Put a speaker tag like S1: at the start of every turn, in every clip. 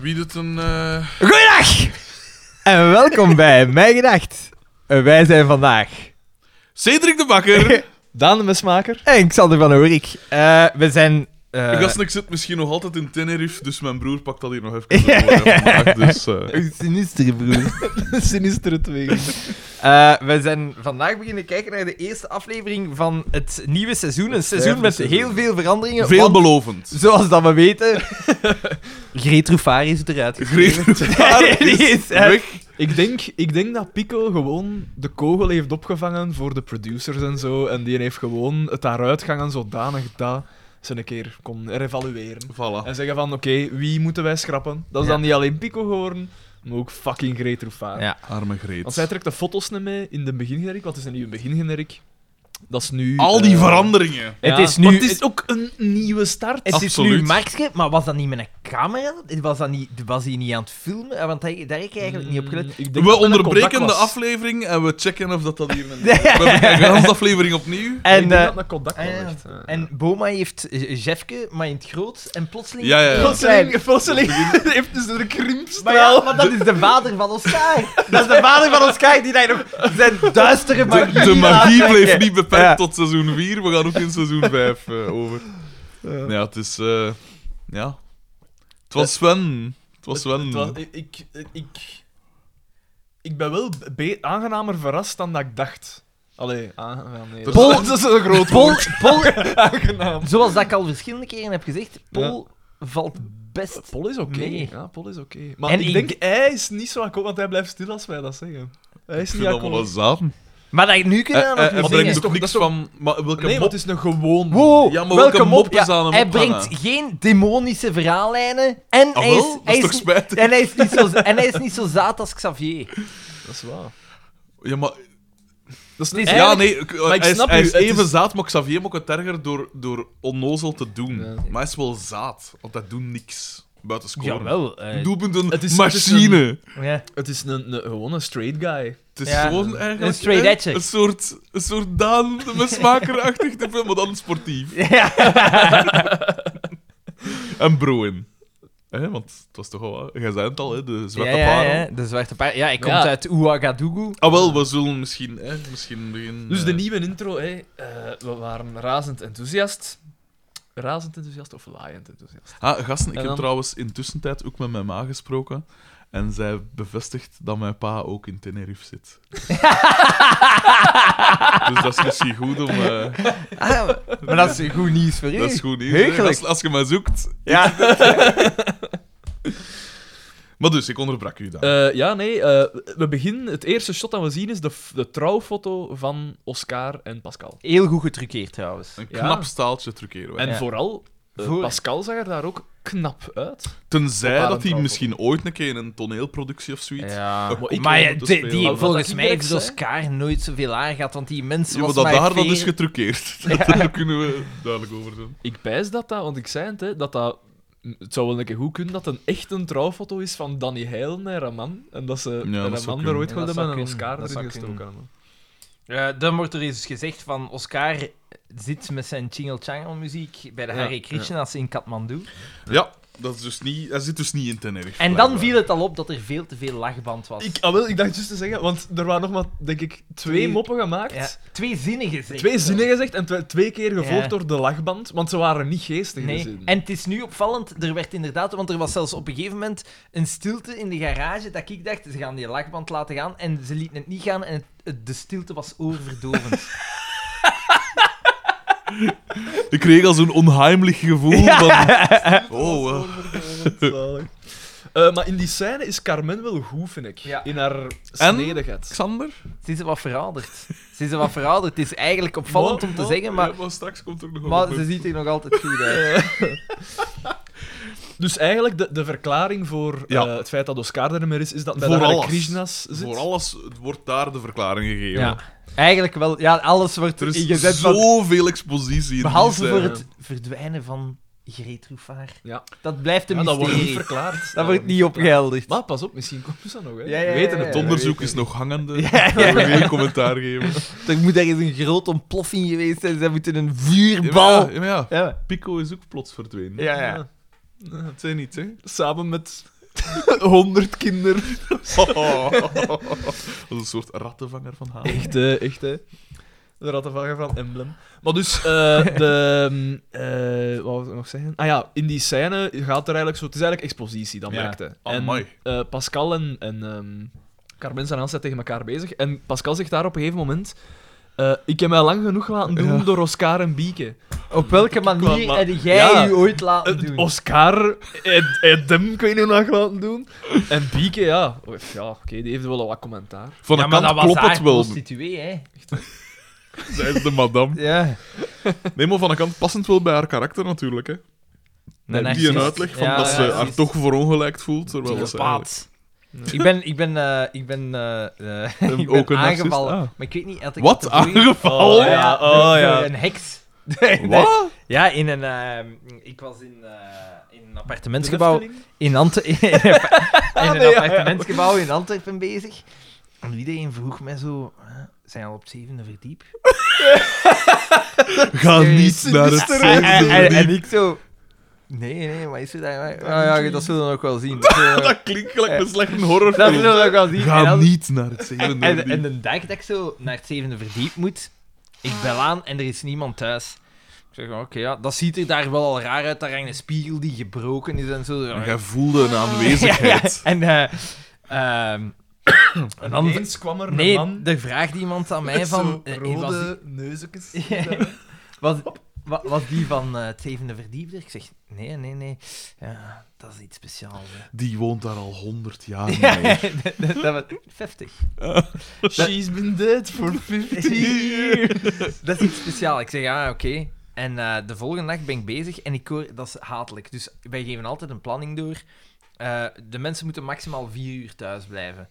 S1: het een... eh,
S2: Goeiedag! En welkom bij Mijn Gedacht. En wij zijn vandaag
S1: Cedric de Bakker.
S3: Daan de Mesmaker.
S2: en Xander van Oorik. Eh, we zijn... eh,
S1: Gasten, ik zit misschien nog altijd in Tenerife, dus mijn broer pakt dat hier nog even voor mij vandaag. Dus, eh,
S2: een sinistere broer.
S3: Sinistere twee.
S2: Eh, we zijn vandaag beginnen kijken naar de eerste aflevering van het nieuwe seizoen. Een seizoen met
S3: seizoen.
S2: heel veel veranderingen. want,
S1: veelbelovend.
S2: zoals dat we weten... Greet Rouffaar is eruit.
S1: Greet daar
S2: Die
S1: is
S2: is echt-
S1: weg.
S3: Ik denk, ik denk dat Pico gewoon de kogel heeft opgevangen voor de producers en zo. En die heeft gewoon het daaruit gangen zodanig dat ze een keer kon evalueren.
S1: Voilà.
S3: En zeggen van, oké, wie moeten wij schrappen? Dat is
S2: Ja.
S3: dan niet alleen Pico geworden, maar ook fucking Greet Roefaar.
S2: Ja.
S1: Arme Greet.
S3: Want zij trekt de foto's niet mee in de begingeneriek. Wat is er nu een begingeneriek? Dat is nu...
S1: Al die
S3: eh,
S1: veranderingen.
S2: Het
S3: ja,
S2: is nu-
S3: maar het is ook een nieuwe start.
S2: Het is nu
S1: Absoluut.
S2: Markske, maar was dat niet met een camera? Was, dat niet, was hij niet aan het filmen? Eh, Want daar, daar heb ik eigenlijk niet op gelet.
S3: Mm, ik denk dat
S1: We
S3: dat een
S1: onderbreken
S3: Kodak
S1: de
S3: was.
S1: aflevering en we checken of dat dat hier... We hebben een hele aflevering opnieuw.
S3: En,
S2: En, eh,
S3: dat een Kodak
S2: ah,
S3: wel
S2: ja.
S3: echt, eh.
S2: en Boma heeft eh, Jefke, maar in het groot. En plotseling...
S1: Ja, ja, ja.
S3: Plotseling, plotseling heeft dus een krimpstraal.
S2: Maar ja, maar dat is de vader van Oscar. Dat is de vader van Oscar die daar nog zijn duistere
S1: De,
S2: magie
S1: de magie
S2: laat
S1: bleef
S2: trekken.
S1: niet beperkt
S2: Ja.
S1: tot seizoen 4. We gaan ook in seizoen 5 over. Ja, het is... eh, ja. Het was Sven. Het was Sven.
S3: Het was- ik, ik, ik, ik ben wel be- aangenamer verrast dan dat ik dacht. Allee, ah, aange- ja, nee, dat-
S2: Pol-
S3: dat is een groot
S2: Paul,
S3: woord.
S2: Paul,
S3: Aangenaam.
S2: zoals dat ik al verschillende keren heb gezegd, Paul valt best...
S3: Pol is oké.
S2: Nee.
S3: Ja, Pol is oké. Maar
S2: En
S3: ik
S2: ik-
S3: denk, hij is niet zo akkoord, want hij blijft stil als wij dat zeggen. Hij is
S1: Ik vind
S3: niet
S1: dat wel
S3: akkoord.
S1: eens aan.
S2: Maar dat nu kunnen aan
S1: Hij
S2: het
S1: hij
S2: zingen.
S1: brengt ook eh, niks van... Maar welke
S3: Nee,
S1: mop
S3: want het is een gewoon...
S2: Wow,
S1: Ja, maar
S2: welke
S1: welke
S2: mop
S1: mop is aan hem
S2: Hij
S1: opgehangen?
S2: brengt geen demonische verhaallijnen. En
S1: Ah,
S2: hij is,
S1: wel? Dat
S2: hij
S1: is toch
S2: niet-
S1: spijtig?
S2: En hij is, niet zo, en hij is niet zo zaad als Xavier.
S3: Dat is waar.
S1: Ja, maar...
S3: Dat is
S2: Het
S3: niet...
S2: is
S1: Ja,
S3: eigenlijk-
S1: nee, ik- eh,
S3: maar ik
S1: hij, is,
S3: snap
S1: hij
S3: u,
S1: is
S3: het
S1: even
S3: is-
S1: zaad, maar Xavier maakt het erger door, door onnozel te doen.
S3: Ja.
S1: Maar hij is wel zaad, want hij doet niks buiten scoren.
S2: Jawel. eh,
S1: Doelpunten,
S3: Het is-
S1: machine.
S3: het
S1: Het is,
S2: ja.
S3: Het is een, een, gewoon een straight guy.
S2: Ja.
S1: gewoon eigenlijk...
S2: Een straight
S1: hè,
S2: edger.
S1: Een soort, een soort Daan de mesmakerachtig te veel, maar dan sportief.
S2: Ja.
S1: En Broen. Hè, want het was toch al... Jij zei het al, hè, de
S2: Ja,
S1: zwarte
S2: ja,
S1: parel.
S2: ja, de zwarte paard. Ja, hij komt
S3: Ja.
S2: uit Ouagadougou.
S1: Ah, wel, we zullen misschien... Hè, misschien begin,
S3: Dus de nieuwe intro, hè, eh, we waren razend enthousiast. Razend enthousiast of laaiend enthousiast?
S1: Ah, gasten, ik
S3: En
S1: heb
S3: dan-
S1: trouwens intussen tijd ook met mijn ma gesproken. En zij bevestigt dat mijn pa ook in Tenerife zit. dus dat is misschien goed om... eh,
S2: Ah, maar dat is goed nieuws voor u.
S1: dat is goed nieuws. hè.
S2: Heugelijk.
S1: Als, als je mij zoekt...
S2: Ja.
S1: Maar dus, ik onderbrak u dan.
S3: Eh, ja, nee. eh, we beginnen. Het eerste shot dat we zien is de, f- de trouwfoto van Oscar en Pascal.
S2: Heel goed getruckeerd trouwens.
S1: Een
S3: ja.
S1: knap staaltje truceren wij.
S3: En
S2: Ja.
S3: vooral, eh,
S2: Voor-
S3: Pascal zag er daar ook knap uit.
S1: Tenzij
S3: Op haar
S1: dat hij
S3: een
S1: misschien ooit een keer een toneelproductie of zoiets...
S2: Ja.
S1: Maar
S2: Maar,
S1: ik moet
S2: ja, die,
S1: dus
S2: die-
S1: spelen. Wat
S2: volgens
S3: dat
S2: mij heeft
S3: indirect,
S2: Oscar nooit zoveel haar gehad, want die mensen
S1: Ja, maar
S2: was
S1: dat
S2: maar
S1: daar dat
S2: veer-
S1: is getruckeerd. Daar kunnen we duidelijk over doen.
S3: Ik bijs dat, dat want ik zei het, hè, dat dat. Het zou wel een keer goed kunnen dat een echt een trouwfoto is van Danny Heil naar Raman. En dat ze
S1: dat zou
S3: Raman
S1: kunnen.
S3: er ooit
S2: Ja, dat
S3: wilde met
S2: zou
S3: een
S2: kunnen.
S3: Oscar
S2: Dat
S3: erin
S2: zou
S3: gestoken hebben.
S2: Eh, dan wordt er eens gezegd van Oscar zit met zijn Chingle Changle muziek bij de
S3: Ja,
S2: Hare Krishna's in Kathmandu.
S1: Ja, dat is dus niet... Hij zit dus niet in Tenerife.
S2: En dan
S1: blijkbaar.
S2: viel het al op dat er veel te veel lachband was.
S3: Ik, ah, wel, ik dacht juist te zeggen, want er waren nog maar, denk ik, twee
S2: Twee-
S3: moppen gemaakt.
S2: Ja, twee zinnen gezegd.
S3: Twee zinnen gezegd en twe- twee keer gevolgd
S2: Ja.
S3: door de lachband, want ze waren niet geestig. de
S2: Nee.
S3: zinnen.
S2: En het is nu opvallend, er werd inderdaad, want er was zelfs op een gegeven moment een stilte in de garage dat ik dacht, ze gaan die lachband laten gaan en ze lieten het niet gaan en het- het- de stilte was oorverdovend.
S1: Ik kreeg al zo'n onheimlich gevoel van... Oh, eh,
S3: Zalig. Eh, maar in die scène is Carmen wel goed, vind ik.
S2: Ja.
S3: In haar snedigheid.
S1: Xander?
S2: ze is wat verouderd. Ze is wat verouderd. Het is eigenlijk opvallend om te zeggen, maar,
S1: ja, straks komt er nog
S2: maar
S1: een-
S2: ze ziet er nog altijd goed uit.
S3: Dus eigenlijk de, de verklaring voor
S1: Ja.
S3: eh, het feit dat Oscar er niet meer is, is dat bij
S1: Voor
S3: de Hare
S1: alles.
S3: Krishna's zit.
S1: Voor alles het wordt daar de verklaring gegeven.
S2: Ja. Eigenlijk wel, ja, alles wordt
S1: Er is
S2: ingezet van
S1: zoveel expositie in
S2: Behalve
S1: die eh,
S2: voor
S1: scène.
S2: het verdwijnen van Greet Roefaar.
S3: Ja.
S2: Dat blijft een
S3: Ja, dat wordt niet
S2: mysterie.
S3: verklaard.
S2: dat wordt niet opgehelderd.
S3: Maar pas op, misschien komt ze nog. Hè.
S2: Ja, ja, ja,
S3: We
S2: ja,
S3: weten het
S1: Het
S2: ja.
S3: onder.
S1: onderzoek
S2: weet
S1: is nog hangende.
S2: Ja,
S1: Ja,
S2: ja.
S1: Geen commentaar geven.
S2: Er moet ergens een grote ontploffing geweest zijn. Ze moeten een vuurbal...
S1: Ja, maar ja,
S2: Ja,
S1: Pico is ook plots verdwenen.
S2: ja. ja.
S3: Ja.
S1: Het zijn niet, hè?
S3: Samen met Honderd kinderen.
S1: Dat is een soort rattenvanger van haar.
S3: Echt, hè, echt, hè. De rattenvanger van Emblem. Maar dus, eh, de... mm, eh, wat wil ik nog zeggen? Ah ja, in die scène gaat er eigenlijk zo... Het is eigenlijk expositie, dat
S1: Ja.
S3: merkte.
S2: Oh,
S1: Amai.
S3: En eh, Pascal en, en ehm, Carmen zijn aanzet tegen elkaar bezig. En Pascal zegt daar op een gegeven moment... eh, ik heb mij lang genoeg laten doen
S1: Ja.
S3: door Oscar en Bieke. Eh,
S2: Op welke manier
S3: maar-
S2: heb jij
S3: Ja.
S2: u ooit laten
S3: Eh,
S2: doen?
S3: Oscar en, en Dem, ik weet niet hoe lang laten doen. En Bieke, ja. Ja, oké, die heeft wel wat commentaar.
S1: Van
S2: ja,
S1: een
S2: maar dat
S1: kant
S2: was
S1: klopt
S2: haar
S1: het wel.
S2: prostituee, hè.
S1: Zij is de madame.
S2: Ja.
S1: Nee, maar van een kant passend wel bij haar karakter natuurlijk. Hè.
S2: Een
S1: Die een
S2: narcist.
S1: uitleg van
S2: Ja,
S1: dat ze
S2: ja,
S1: haar
S2: precies.
S1: toch verongelijkt voelt. Terwijl dat ze eigenlijk-
S2: Psychopaat. Ik ben, ik ben, eh, ik ben, eh, eh,
S1: Een-
S2: ik ben
S1: ook een narcist?
S2: aangevallen.
S1: Ah.
S2: Maar ik weet niet... had ik
S1: Wat?
S2: dat de vorige-
S1: Aangevallen?
S2: Oh ja,
S3: Oh,
S2: door-
S3: ja.
S2: door een heks. Nee, nee.
S1: Wat?
S2: Ja, in een... eh, ik was in, eh, in een appartementsgebouw in Antwerpen... in een Ah,
S3: nee, ja,
S2: appartementsgebouw in Antwerpen bezig. En iedereen vroeg mij zo... eh, zijn we al op het zevende verdiep?
S1: Ga Ah, niet
S3: Serieus,
S1: naar het
S3: mister.
S2: En,
S1: zevende
S2: en- en-
S1: verdiep.
S2: en ik zo... Nee, nee, maar is er daar... Ja, ja, dat zullen we nog wel zien. Dat zullen we nog-
S1: Dat klinkt gelijk een
S2: Ja.
S1: slechte
S2: dat
S1: horrorfilm.
S2: zullen we nog wel zien. En
S1: Ga
S2: dan-
S1: niet naar het zevende
S2: En,
S1: verdiep.
S2: en de dag dat ik zo naar het zevende verdiep moet, ik bel aan en er is niemand thuis. Ik zeg, oké, ja, dat ziet er daar wel al raar uit. Daar hangt een spiegel die gebroken is en zo.
S1: En jij voelde een aanwezigheid.
S2: en, eh, ehm, en dan-
S3: kwam er
S2: nee, er vraagt iemand aan mij van... eh, was, die,
S3: neuzekens.
S2: was, wa- was die van eh, het zevende verdiep er? Ik zeg, nee, nee, nee. Ja, dat is iets speciaals. hè.
S1: Die woont daar al honderd jaar
S2: Ja,
S1: mee.
S2: dat, dat was 50.
S3: She's been dead for 50 years.
S2: Dat is iets speciaals. Ik zeg, ja, oké. En eh, de volgende dag ben ik bezig en ik hoor, dat is hatelijk. Dus wij geven altijd een planning door. Eh, de mensen moeten maximaal vier uur thuis blijven.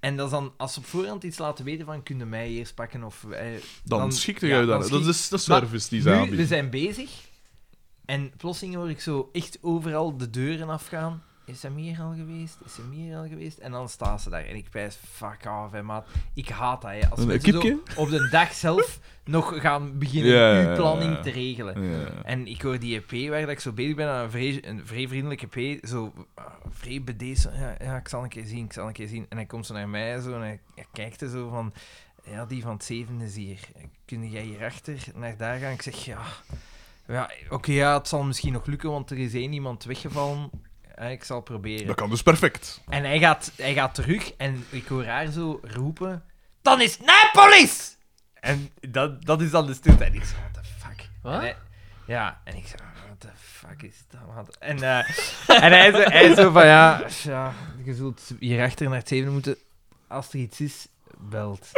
S2: En dat is dan, als ze op voorhand iets laten weten van, kunnen mij eerst pakken of... eh,
S1: Dan,
S2: Dan-
S1: schikte
S2: ja,
S1: jij
S2: dan
S1: daar. Dat
S2: schik-
S1: is de service dus die ze
S2: nu, we
S1: aanbieden.
S2: zijn bezig. En plotseling hoor ik zo echt overal de deuren afgaan. Is hem hier al geweest? Is hem hier al geweest? En dan staan ze daar. En ik wijs, fuck off, hè, maat. Ik haat dat, hè. Als
S1: Een
S2: mensen zo
S1: kipje?
S2: op de dag zelf nog gaan beginnen
S1: Ja, ja, ja,
S2: uw planning
S1: ja.
S2: te regelen.
S1: Ja.
S2: En ik hoor die EP waar dat ik zo bezig ben, aan een vrij, een vrij vriendelijke EP, zo ah, vrij bedeesd. Ja, ja, ik zal een keer zien, ik zal een keer zien. En hij komt zo naar mij zo, en hij, hij kijkt er zo van, ja, die van het zevende is hier. Kun jij hierachter naar daar gaan? Ik zeg, ja, ja oké, ja, het zal misschien nog lukken, want er is één iemand weggevallen. Ja, ik zal proberen.
S1: Dat kan dus perfect.
S2: En hij gaat, hij gaat terug en ik hoor haar zo roepen: Dan is Napolis! En dat, dat is dan de stilte. En ik zeg: What the fuck?
S3: Wat?
S2: En hij- ja, en ik zeg: What the fuck is dat? man?" En, eh, en hij, zo, hij zo van: ja, ja, je zult hierachter naar het zevende moeten. Als er iets is, belt.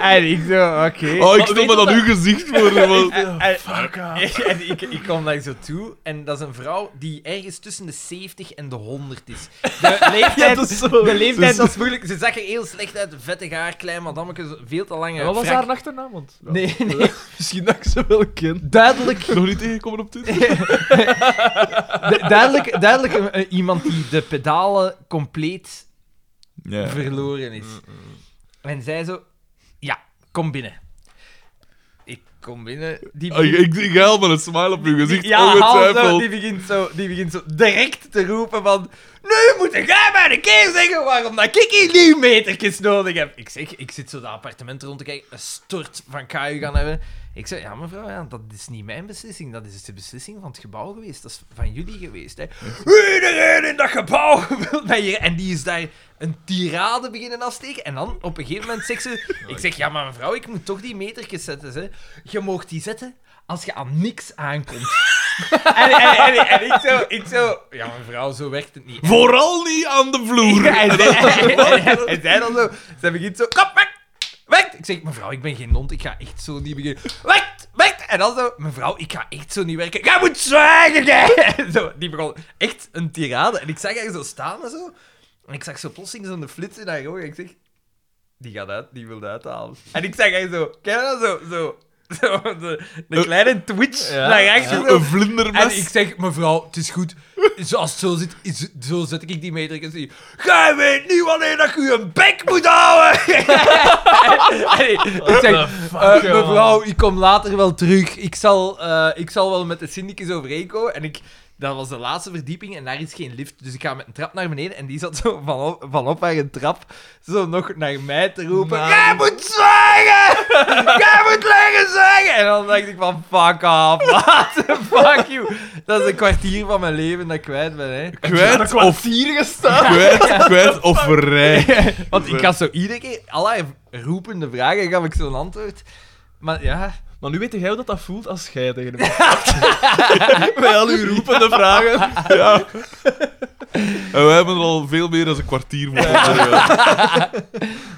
S2: en ik zo: Oké.
S1: Oh, ik
S3: Maar
S1: stel me
S3: weet dat
S1: dat uw gezicht voor. want-
S2: En- en-
S3: ah.
S2: en ik, ik kwam daar zo toe en dat is een vrouw die ergens tussen de 70 en de 100 is. De
S3: Ja,
S2: leeftijd,
S3: dat is zo.
S2: de leeftijd
S1: Dus-
S2: dat is moeilijk. Ze zag er heel slecht uit, vettig haar, klein madammeke, veel te lange
S3: Wat was
S2: frak.
S3: haar achternaam? Want,
S2: Nee, nee,
S3: Misschien dat ik ze wel ken.
S2: duidelijk,
S1: Nog niet tegenkomen op dit.
S2: du- duidelijk, duidelijk een- een- iemand die de pedalen compleet
S1: Ja.
S2: verloren is. En zij zo, ja, kom binnen. Ik kom binnen. Die
S1: Oh, ik, ik, ik haal met een smile op uw gezicht,
S2: Ja, Hans, zo,
S1: ongetwijfeld.
S2: die begint, zo, die begint zo direct te roepen van... Nu moet jij mij een keer zeggen waarom dat ik hier nieuw metertjes nodig heb. Ik zeg, ik zit zo dat appartement rond te kijken. Een stort van KU gaan hebben. Ik zeg, ja mevrouw, ja, dat is niet mijn beslissing. Dat is de beslissing van het gebouw geweest. Dat is van jullie geweest, hè. Iedereen in dat gebouw wil mij hier... En die is daar een tirade beginnen afsteken. En dan, op een gegeven moment, zegt ze... Ik zeg, ja maar mevrouw, ik moet toch die metertjes zetten, hè. Je mag die zetten als je aan niks aankomt. En, en, en, en ik, zo, ik zo, ja, mevrouw, zo werkt het niet.
S1: Vooral niet aan de vloer.
S2: Ja, en, zij- en, en- en zij dan zo, zij begint zo, kap, weg, weg. Ik zeg, mevrouw, ik ben geen hond, ik ga echt zo niet beginnen. Weg, weg. En dan zo, mevrouw, ik ga echt zo niet werken. Jij moet zwijgen, jij. En Zo, die begon echt een tirade. En ik zag haar zo staan en zo. En ik zag zo plotseling zo'n flits in haar ogen. En ik zeg, die gaat uit, die wil uithalen. En ik zag haar zo, ken je dat zo, zo. Zo, de, de kleine twitch
S3: Eh, Ja,
S2: naar achter.
S1: Zo
S2: zo.
S1: Een vlindermes.
S2: En ik zeg, mevrouw, het is goed. Zoals het zo zit, is, zo zet ik die meter en zie. Gij weet niet wanneer dat je een bek moet houden! En ik- ik zeg, eh,
S3: jongen.
S2: mevrouw, ik kom later wel terug. Ik zal, eh, ik zal wel met de syndicus overeenkomen. En ik, Dat was de laatste verdieping en daar is geen lift. Dus ik ga met een trap naar beneden en die zat zo van op, van op haar trap zo nog naar mij te roepen.
S3: Nou.
S2: Jij moet zwijgen! Jij moet liggen zwijgen! En dan dacht ik van, fuck off, maat. Fuck you. Dat is een kwartier van mijn leven dat ik kwijt ben, hè.
S1: Kwijt of...
S3: hier gestaan.
S1: Kwijt, kwijt of vrij.
S2: Want ik had zo iedere keer, allerlei roepende vragen, gaf ik zo'n antwoord. Maar ja,
S3: Maar nu weet jij hoe dat, dat voelt als jij tegen hem praat. Bij al uw roepende vragen.
S1: Ja. En wij hebben er al veel meer dan een kwartier voor onderuit.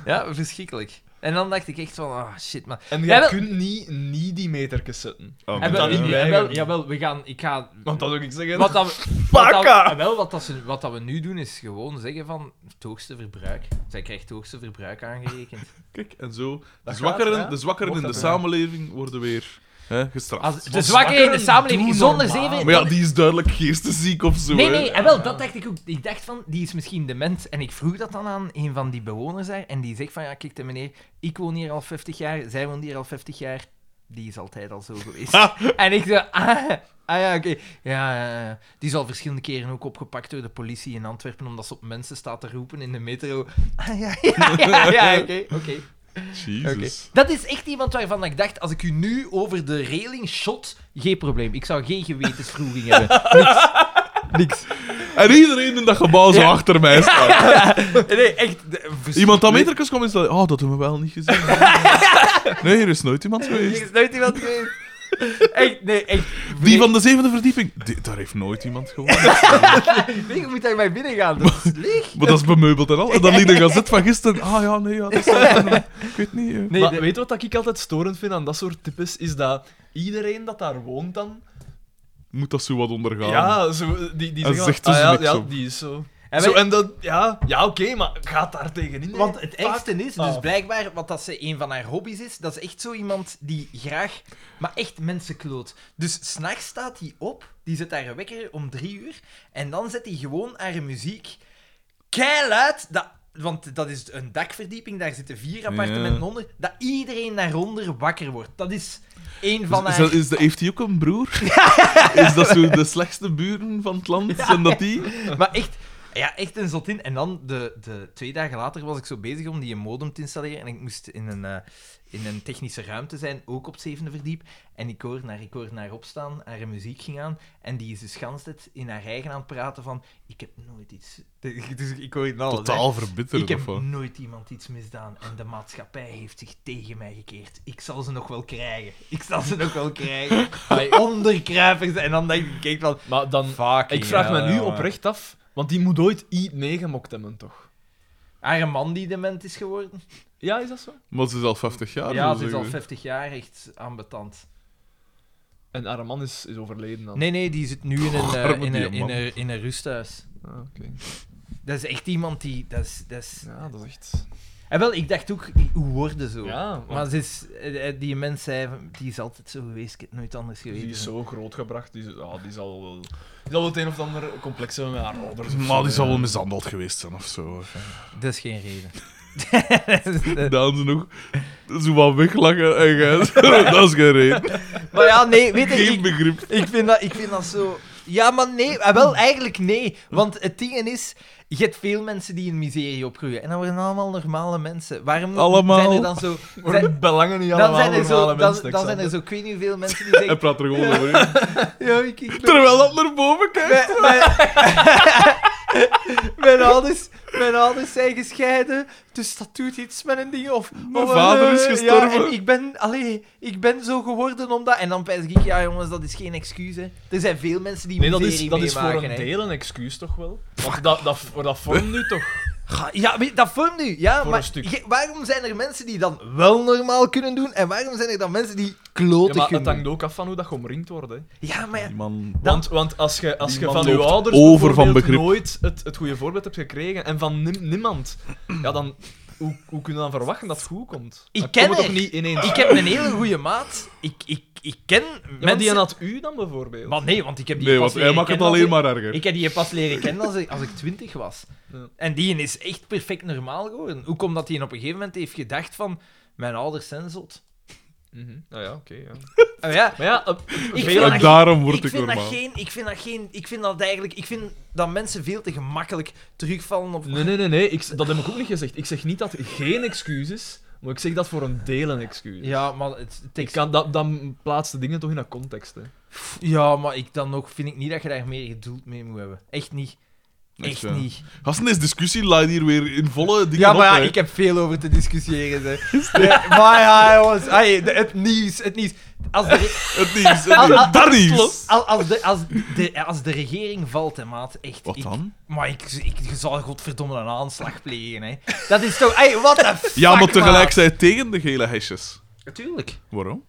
S2: ja, verschrikkelijk. En dan dacht ik echt van, ah shit, maar...
S3: En
S2: Ja,
S3: jij
S2: wel-
S3: kunt niet, niet die metertjes zetten.
S1: Oh,
S2: En
S1: man.
S2: wel,
S3: dat niet
S2: en
S3: weigeren.
S2: wel, jawel, we gaan, ik ga...
S3: Want dat wil ik zeggen.
S2: Wat, dat, we- wat, dat,
S3: Pakka!
S2: en wel, wat, dat ze, wat dat we nu doen, is gewoon zeggen van het hoogste verbruik. Zij krijgt het hoogste verbruik aangerekend.
S1: Kijk, en zo. De
S3: gaat,
S1: zwakkeren,
S3: hè?
S1: de zwakkeren in
S3: Mocht
S1: de
S3: dat wel.
S1: samenleving worden weer hè, gestraft.
S2: Als de
S3: Wat
S2: zwakke in de
S3: zwakkeren
S2: samenleving
S3: doen
S2: zonder
S3: normaal.
S2: zeven...
S1: Maar ja, die is duidelijk geestesziek of zo.
S2: Nee,
S1: hè.
S2: nee, en wel, dat dacht ik ook. Ik dacht van, die is misschien dement. En ik vroeg dat dan aan een van die bewoners daar. En die zegt van, ja, kijk, de meneer, ik woon hier al 50 jaar, zij woont hier al 50 jaar. Die is altijd al zo geweest. en ik zo, ah, ah ja, oké. Ja, ja, ja. die is al verschillende keren ook opgepakt door de politie in Antwerpen, omdat ze op mensen staat te roepen in de metro. Ah ja, ja, ja, ja, oké, oké.
S1: Jezus.
S2: Dat is echt iemand waarvan ik dacht, als ik u nu over de railing shot, geen probleem. Ik zou geen gewetensvroeging hebben. Niks. Niks.
S1: En iedereen in dat gebouw zo
S2: Ja.
S1: achter mij staat.
S2: Nee, echt.
S1: Iemand
S2: de-
S1: dat
S2: verschrikkelijk.
S1: meterkens komt en zegt: Oh, dat hebben we wel niet gezien. Nee, er is nooit iemand
S2: Hier
S1: geweest.
S2: is nooit iemand geweest. Echt, nee, echt.
S1: Die van de zevende verdieping, die- daar heeft nooit iemand gewoond.
S2: Nee, je moet daar maar binnen gaan. Dat is leeg.
S1: Maar dat is bemeubeld en al. En dan liet de gazet van gisteren. Ah ja, nee, ja, dat is Ik weet niet. eh.
S2: Nee,
S3: maar
S2: de-
S3: weet je wat ik altijd storend vind aan dat soort types? Is dat iedereen dat daar woont dan...
S1: Moet dat zo wat ondergaan?
S3: Ja, zo, die, die
S1: En
S3: zeggen
S1: zegt
S3: van,
S1: dus
S3: ah, ja,
S1: niks
S3: ja,
S1: op.
S3: die is zo...
S2: En
S3: zo
S2: wij-
S3: en dat, ja, ja oké, maar gaat daar tegenin. hè?
S2: want het
S3: Fuck.
S2: ergste is, dus
S3: Ah.
S2: blijkbaar, wat dat ze een van haar hobby's is, dat is echt zo iemand die graag, maar echt mensen kloot. Dus s'nachts staat hij op, die zet haar wekker om drie uur, en dan zet hij gewoon haar muziek keiluid, dat, want dat is een dakverdieping, daar zitten vier appartementen
S1: Ja.
S2: onder, dat iedereen daaronder wakker wordt. Dat is een van
S1: Dus Is,
S2: haar...
S1: is, dat- is dat- heeft hij ook een broer? Is dat zo de slechtste buren van het land? Zijn dat die?
S2: Maar echt, ja, echt een zotin. En dan, de, de, twee dagen later was ik zo bezig om die modem te installeren. En ik moest in een, eh, in een technische ruimte zijn, ook op het zevende verdiep. En ik hoorde haar, ik hoorde haar opstaan, haar muziek ging aan. En die is dus gans het in haar eigen aan het praten van... Ik heb nooit iets... Dus ik hoorde alles, hè.
S1: Totaal verbitterd of
S2: Ik heb
S1: wat?
S2: nooit iemand iets misdaan en de maatschappij heeft zich tegen mij gekeerd. Ik zal ze nog wel krijgen. Ik zal ze nog wel krijgen. Bij onderkruipers. En dan denk ik, kijk van...
S3: Maar dan,
S2: Fuck.
S3: ik vraag me nu oprecht af, want die moet ooit iets meegemokt hebben, toch?
S2: Haar man die dement is geworden.
S3: Ja, is dat zo?
S1: Maar ze is al 50 jaar.
S2: ja,
S1: zo
S2: ze is al
S1: zeggen.
S2: 50 jaar, echt ambetant.
S3: En haar man is, is overleden dan.
S2: Nee, nee, die zit nu in een, eh,
S1: Arme
S2: in, een, in,
S1: diamant.
S2: een, in een rusthuis.
S3: Ah, oké.
S2: Dat is echt iemand die... Dat is, dat is...
S3: Ja, dat is echt...
S2: En wel, ik dacht ook, hoe worden zo?
S3: Ja, want-
S2: Maar ze is, eh, eh, die mens zei, van, die is altijd zo geweest, ik heb het nooit anders geweten.
S3: Die is zo grootgebracht, die, is- ah, die zal wel... Die zal wel het een of ander complex hebben met haar ouders. of zo,
S1: Maar die zal
S3: ja.
S1: wel mishandeld geweest zijn of zo.
S2: Dat is geen reden.
S1: Daan ze nog zo wat weglachen en jij zo, Dat is geen reden.
S2: maar ja, nee, weet je,
S1: Geen
S2: ik,
S1: begrip.
S2: ik, vind dat, ik vind dat zo... Ja, maar nee, eh, wel eigenlijk nee. Want het ding is, je hebt veel mensen die in miserie opgroeien. En dat worden allemaal normale mensen. Waarom
S1: Allemaal.
S2: zijn er dan zo...
S3: Maar
S2: zijn-
S3: de belangen niet
S2: dan
S3: allemaal
S2: zijn er zo,
S3: normale
S2: dan,
S3: mensen,
S2: dan zijn er
S3: Alexander.
S2: zo, ik weet niet hoeveel mensen die
S1: Hij
S2: zeggen...
S1: praat er gewoon over in.
S2: ja, ik, ik,
S1: Terwijl dat naar boven kijkt.
S2: mijn, mijn- mijn ouders, mijn ouders zijn gescheiden, dus dat doet iets met een ding. Of,
S1: Mijn
S2: of een,
S1: vader is
S2: eh, Ja,
S1: gestorven.
S2: en ik ben, allee, ik ben zo geworden omdat... En dan pijs ik, ja jongens, dat is geen excuus, hè. Er zijn veel mensen die
S3: Nee, dat is,
S2: miserie
S3: dat is voor
S2: meemaken,
S3: een
S2: hè.
S3: deel een excuus toch wel? Want dat, dat, voor dat vormt nu toch?
S2: Ga- Ja, weet- dat vormt nu. Ja,
S3: Voor
S2: maar
S3: een stuk.
S2: je- waarom zijn er mensen die dan wel normaal kunnen doen en waarom zijn er dan mensen die
S3: Ja,
S2: kloten
S3: maar het
S2: kunnen
S3: hangt ook af van hoe dat je omringd wordt. Hè.
S2: doen? Ja, maar ja,
S1: Die man
S2: Dan-
S3: Want, want als je als
S1: Die
S3: je
S1: man
S3: van je
S1: loopt
S3: ouders
S1: over van
S3: bijvoorbeeld
S1: begrip.
S3: nooit het, het goede voorbeeld hebt gekregen en van nim- niemand, ja, dan hoe, hoe kun je dan verwachten dat het goed komt?
S2: Ik
S3: dan
S2: ken
S3: komt het
S2: haar.
S3: toch niet ineens.
S2: ik heb een hele goede maat. Ik, ik, ik ken
S3: Ja, maar
S2: mensen...
S3: die en had u dan bijvoorbeeld.
S2: Maar nee, want ik heb die
S1: Nee,
S2: pas
S1: want hij
S2: leren
S1: maakt het
S2: kennen als
S1: alleen
S2: ik-
S1: maar erger.
S2: Ik heb die pas leren kennen als ik, als ik twintig was.
S3: Ja.
S2: En die is echt perfect normaal geworden. Ook omdat hij op een gegeven moment heeft gedacht van... Mijn ouders zijn zot.
S3: Mhm. Nou ja, oké. ja.
S2: Ah, ja.
S3: Maar ja, op-
S2: Ik
S3: Veel-
S2: vind,
S1: En
S2: dat,
S1: daarom word
S2: ik
S1: ik
S2: vind dat
S1: normaal.
S2: geen... Ik vind dat geen... Ik vind dat eigenlijk... Ik vind dat mensen veel te gemakkelijk terugvallen op...
S3: Nee, nee, nee, nee. Ik, dat heb ik ook niet gezegd. Ik zeg niet dat geen excuus is, maar ik zeg dat voor een deel een excuus. is.
S2: Ja, maar het, het
S3: Ik kan, dat, dan plaatst de dingen toch in een context. Hè.
S2: Ja, maar ik dan nog vind ik niet dat je daar meer geduld mee moet hebben. Echt niet. Echt,
S1: Echt, ja.
S2: niet.
S1: Gasten, deze discussie laat hier weer in volle dingen
S2: Ja, maar ja,
S1: op, hè.
S2: ik heb veel over te discussiëren. Zeg. Ja, maar ja, jongens. Ai, de- het nieuws, het nieuws. Als de,
S1: Het nieuws, het
S2: Ah,
S1: nieuws.
S2: ah,
S1: dat nieuws!
S2: als, als, de, als, de, als de regering valt, hè, maat. Echt.
S1: Wat
S2: ik-
S1: dan?
S2: Maar ik, ik, je zal godverdomme een aanslag plegen, hè. Dat is toch... Hey, what the fuck,
S1: Ja, maar tegelijk
S2: maat.
S1: zijn het tegen de gele hesjes.
S2: Natuurlijk.
S1: Waarom?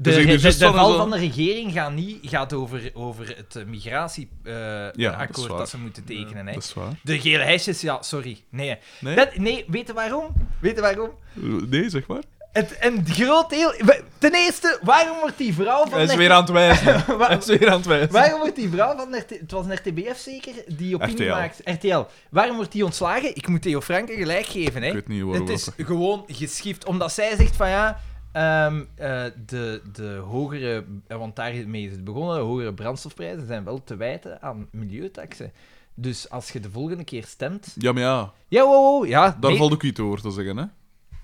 S2: De,
S1: Dus ik
S2: de,
S1: dus
S2: de,
S1: juist
S2: de
S1: van-
S2: val
S1: van-
S2: van de regering gaat, niet, gaat over, over het migratieakkoord
S1: Ja, dat is
S2: akkoord dat,
S1: waar.
S2: ze moeten tekenen. hè.
S1: Dat is waar.
S2: De gele hesjes, ja, sorry. Nee.
S1: Nee?
S2: Dat, nee, weet je waarom? Weet je waarom?
S1: Nee, zeg maar.
S2: Het, een groot deel... we- Ten eerste, waarom wordt die vrouw van...
S3: Hij is
S2: de-
S3: weer aan het wijzen.
S2: wa-
S3: Hij is weer aan het wijzen.
S2: Waarom wordt die vrouw van... de RT Het was een RTBF zeker, die opinie
S1: RTL.
S2: maakt. RTL. Waarom wordt die ontslagen? Ik moet Theo Franken gelijk geven, hè.
S1: Ik weet niet waarom.
S2: Het is
S1: dat-
S2: gewoon geschift. Omdat zij zegt van ja, ehm, eh, de, de hogere, eh, want daarmee is het begonnen, de hogere brandstofprijzen zijn wel te wijten aan milieutaxen. Dus als je de volgende keer stemt...
S1: Ja, maar ja.
S2: Ja, wow, wow, ja.
S1: Daar
S2: nee.
S1: valt ook iets over te zeggen, hè?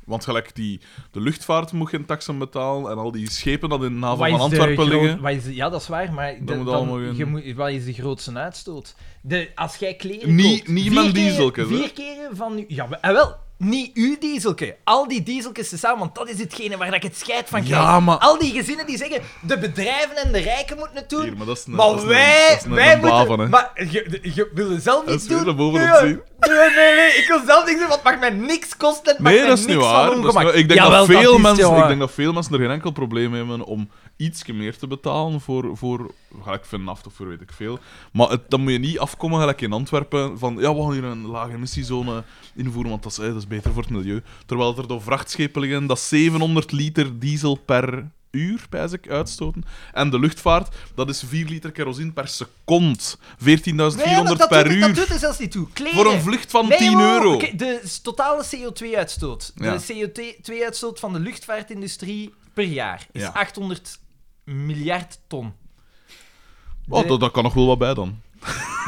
S1: Want gelijk die, de luchtvaart moet geen taxen betalen en al die schepen dat in de haven
S2: Wat
S1: van
S2: is de
S1: Antwerpen
S2: groot-
S1: liggen.
S2: wat is de- ja, dat is waar, maar de-
S1: Dat moet
S2: dan-
S1: allemaal in.
S2: je moet- wat is de grootste uitstoot? De, als jij kleren
S1: Niet-
S2: koopt...
S1: niet
S2: vier
S1: mijn
S2: keren-
S1: dieselke, hè?
S2: Vier keren van... uw- Ja, maar, ah, wel, niet uw dieselke. Al die dieselkes tezamen, want dat is hetgene waar ik het scheid van krijg.
S1: Ja, maar-
S2: Al die gezinnen die zeggen, de bedrijven en de rijken moeten het doen,
S1: Hier, maar dat is een,
S2: maar
S1: dat is een-
S2: wij,
S1: dat is een-
S2: wij
S1: een blaven,
S2: moeten...
S1: hè.
S2: Maar je, je wil het zelf
S1: Dat
S2: niet
S1: is
S2: doen.
S1: weer naar boven
S2: Nee,
S1: op zien.
S2: Nee, nee, nee, ik wil zelf niks doen, want het mag mij niks kosten. het maakt
S1: Nee,
S2: mij
S1: dat is niet
S2: niks
S1: waar.
S2: van
S1: Dat is
S2: ongemak.
S1: niet waar. ik, denk
S2: Jawel,
S1: dat veel
S2: is,
S1: mensen,
S2: jongen.
S1: ik denk dat veel mensen er geen enkel probleem mee hebben om iets meer te betalen voor, voor gelijk vanaf of voor weet ik veel. Maar het, dan moet je niet afkomen gelijk in Antwerpen van ja, we gaan hier een lage emissiezone invoeren, want dat is, eh, dat is beter voor het milieu. Terwijl er door vrachtschepen liggen dat 700 liter diesel per uur, pijs ik, uitstoten. En de luchtvaart, dat is 4 liter kerosine per second. 14.400
S2: Nee, maar dat
S1: per
S2: doet,
S1: uur.
S2: Dat doet er zelfs niet toe. Kleren.
S1: voor een vlucht van
S2: Nee,
S1: 10
S2: wow,
S1: euro.
S2: oké, de s- totale CO2-uitstoot.
S1: Ja.
S2: De CO2-uitstoot van de luchtvaartindustrie per jaar is
S1: Ja.
S2: 800 miljard ton.
S1: Oh, dat, dat kan nog wel wat bij dan.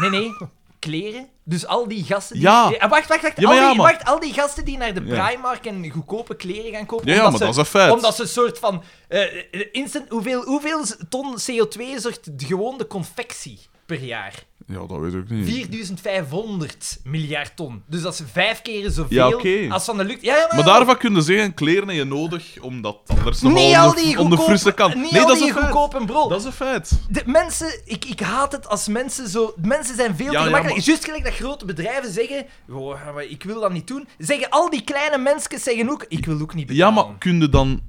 S2: Nee, nee. Kleren. Dus al die gasten. Die...
S1: Ja.
S2: Eh, wacht, wacht, wacht.
S1: Ja,
S2: al,
S1: maar ja,
S2: die,
S1: maar-
S2: wacht al die gasten die naar de
S1: Ja.
S2: Primark en goedkope kleren gaan kopen.
S1: Ja, ja,
S2: omdat
S1: maar
S2: ze-
S1: dat is een feit.
S2: Omdat ze een soort van. eh, eh, instant, hoeveel, hoeveel ton CO2 zorgt gewoon de confectie per jaar?
S1: Ja, dat weet ik niet.
S2: 4500 miljard ton. Dus dat is vijf keer zoveel
S1: Ja, oké.
S2: als van de lucht. Ja, ja,
S1: Maar daarvan kunnen ze geen kleren je nodig, omdat anders nog
S2: niet
S1: wel
S2: al
S1: onder,
S2: die
S1: onder
S2: goedkoop-
S1: frisse kant.
S2: Niet
S1: nee,
S2: al
S1: dat is
S2: die
S1: een feit.
S2: goedkoop en brol.
S1: Dat is een feit.
S2: De mensen, ik, ik haat het als mensen zo. Mensen zijn veel
S1: Ja,
S2: te
S1: ja,
S2: gemakkelijk.
S1: maar-
S2: Juist gelijk dat grote bedrijven zeggen: "Oh, maar ik wil dat niet doen. Zeggen al die kleine mensen zeggen ook: ik wil ook niet
S1: Ja,
S2: betalen.
S1: maar kun je dan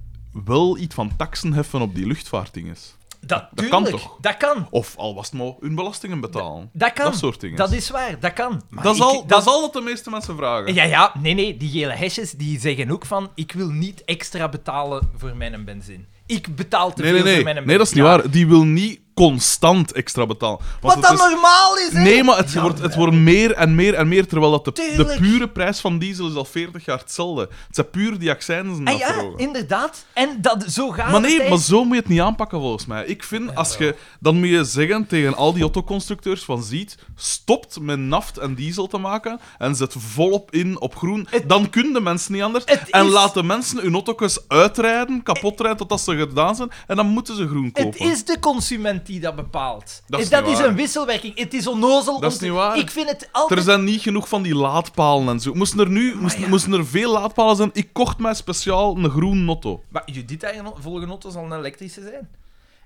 S1: wel iets van taxen heffen op die luchtvaartdinges?
S2: dat,
S1: dat
S2: tuurlijk,
S1: kan toch?
S2: Dat kan.
S1: Of al was het maar hun belastingen betalen?
S2: Dat kan.
S1: Dat soort dingen.
S2: Dat is waar, dat kan. Maar
S1: Dat is,
S2: ik-
S1: al, dat is al wat de meeste mensen vragen.
S2: Ja, ja, nee, nee, die gele hesjes die zeggen ook van: ik wil niet extra betalen voor mijn benzine. Ik betaal te
S1: nee,
S2: veel
S1: nee,
S2: voor
S1: nee.
S2: mijn benzine.
S1: Nee, dat is niet waar. Die wil niet constant extra betalen. Want
S2: Wat
S1: het
S2: dan
S1: is-
S2: normaal is, hè?
S1: Nee, maar het,
S2: Ja,
S1: wordt, het wordt meer en meer en meer, terwijl dat de, de
S2: Tuurlijk.
S1: pure prijs van diesel is al 40 jaar hetzelfde. Het zijn puur die accijnzen
S2: En
S1: dat
S2: Ah, ja,
S1: verhogen.
S2: inderdaad. En Ah, dat, zo gaat
S1: Maar
S2: het.
S1: nee,
S2: hè.
S1: maar zo moet je het niet aanpakken volgens mij. Ik vind, als je, dan moet je zeggen tegen al die autoconstructeurs van ziet, stopt met naft en diesel te maken en zet volop in op groen.
S2: Het-
S1: dan kunnen de mensen niet anders.
S2: Het
S1: En
S2: is- Eh,
S1: laat de mensen hun auto's uitrijden, kapotrijden totdat ze gedaan zijn en dan moeten ze groen kopen.
S2: Het is de consument die dat bepaalt.
S1: Dat is
S2: dat
S1: niet
S2: is
S1: waar.
S2: een wisselwerking. Het is onnozel.
S1: Dat is
S2: om te-
S1: niet waar.
S2: Ik vind het altijd... Ah,
S1: Er zijn niet genoeg van die laadpalen en zo. Moesten er nu moesten,
S2: ja.
S1: moesten er veel laadpalen zijn? Ik kocht mij speciaal een groen notto.
S2: Maar Judith, haar geno- volgende auto zal een elektrische zijn.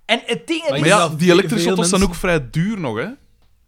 S2: En het ding
S3: Maar
S2: is...
S1: Maar
S3: is
S1: ja,
S3: dat
S1: die
S3: veel
S1: elektrische auto's zijn
S3: mensen-
S1: ook vrij duur nog, hè?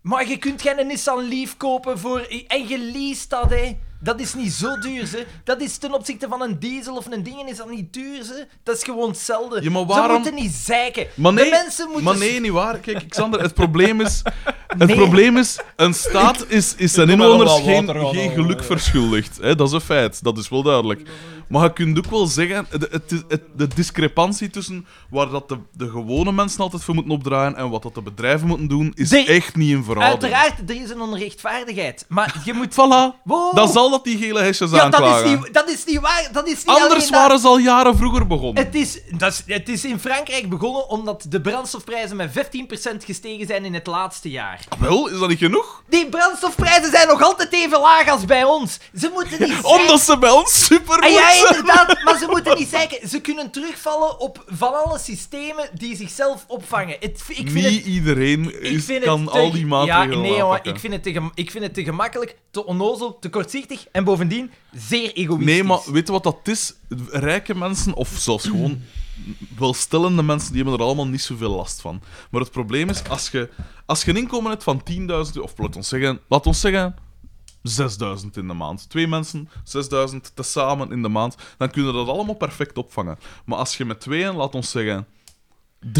S2: Maar je kunt geen Nissan Leaf kopen voor... En je leest dat, hè. Dat is niet zo duur, ze. Dat is ten opzichte van een diesel of een ding, is dat niet duur, ze. Dat is gewoon hetzelfde.
S1: Ja, maar
S2: Ze
S1: waarom-
S2: moeten niet zeiken.
S1: Maar nee,
S2: de mensen moeten...
S1: maar nee, niet waar. Kijk, Xander, het probleem is... Het
S2: Nee.
S1: probleem is, een staat is, is zijn
S2: Ik doe
S1: inwoners
S2: maar wel
S1: geen,
S2: wat water aan,
S1: geen
S2: hoor.
S1: geluk verschuldigd. Hè? Dat is een feit, dat is wel duidelijk. Maar je kunt ook wel zeggen, de, het, is- het- de discrepantie tussen waar dat de, de gewone mensen altijd voor moeten opdraaien en wat dat de bedrijven moeten doen, is
S2: Nee.
S1: echt niet in verhouding.
S2: Uiteraard, er is een onrechtvaardigheid. Maar je moet...
S1: Voilà,
S2: Wow.
S1: dan zal dat die gele hesjes
S2: ja, dat
S1: aanklagen.
S2: is, niet, dat is niet waar. Dat is niet
S1: Anders
S2: alleen dat.
S1: waren ze al jaren vroeger begonnen.
S2: Het is, dat is, het is in Frankrijk begonnen omdat de brandstofprijzen met 15% gestegen zijn in het laatste jaar.
S1: Wel, is dat niet genoeg?
S2: Die brandstofprijzen zijn nog altijd even laag als bij ons. Ze moeten niet zeiken.
S1: Omdat ze bij ons super
S2: Ah,
S1: goed
S2: ja,
S1: zijn.
S2: inderdaad, maar ze moeten niet zeiken. Ze kunnen terugvallen op van alle systemen die zichzelf opvangen. Het, ik vind het
S1: Niet iedereen
S2: ik
S1: is-
S2: vind
S1: kan
S2: het te-
S1: al die maatregelen
S2: Ja, nee, jongen,
S1: aanpakken.
S2: ik vind, het te gem- ik vind het te gemakkelijk, te onnozel, te kortzichtig en bovendien zeer egoïstisch.
S1: Nee, maar weet je wat dat is? Rijke mensen, of zelfs gewoon welstellende mensen, die hebben er allemaal niet zoveel last van. Maar het probleem is, als je, als je een inkomen hebt van 10.000 euro, of laat ons zeggen, laat ons zeggen 6.000 in de maand. Twee mensen, 6.000 tezamen in de maand, dan kunnen we dat allemaal perfect opvangen. Maar als je met tweeën, laat ons zeggen, 3.000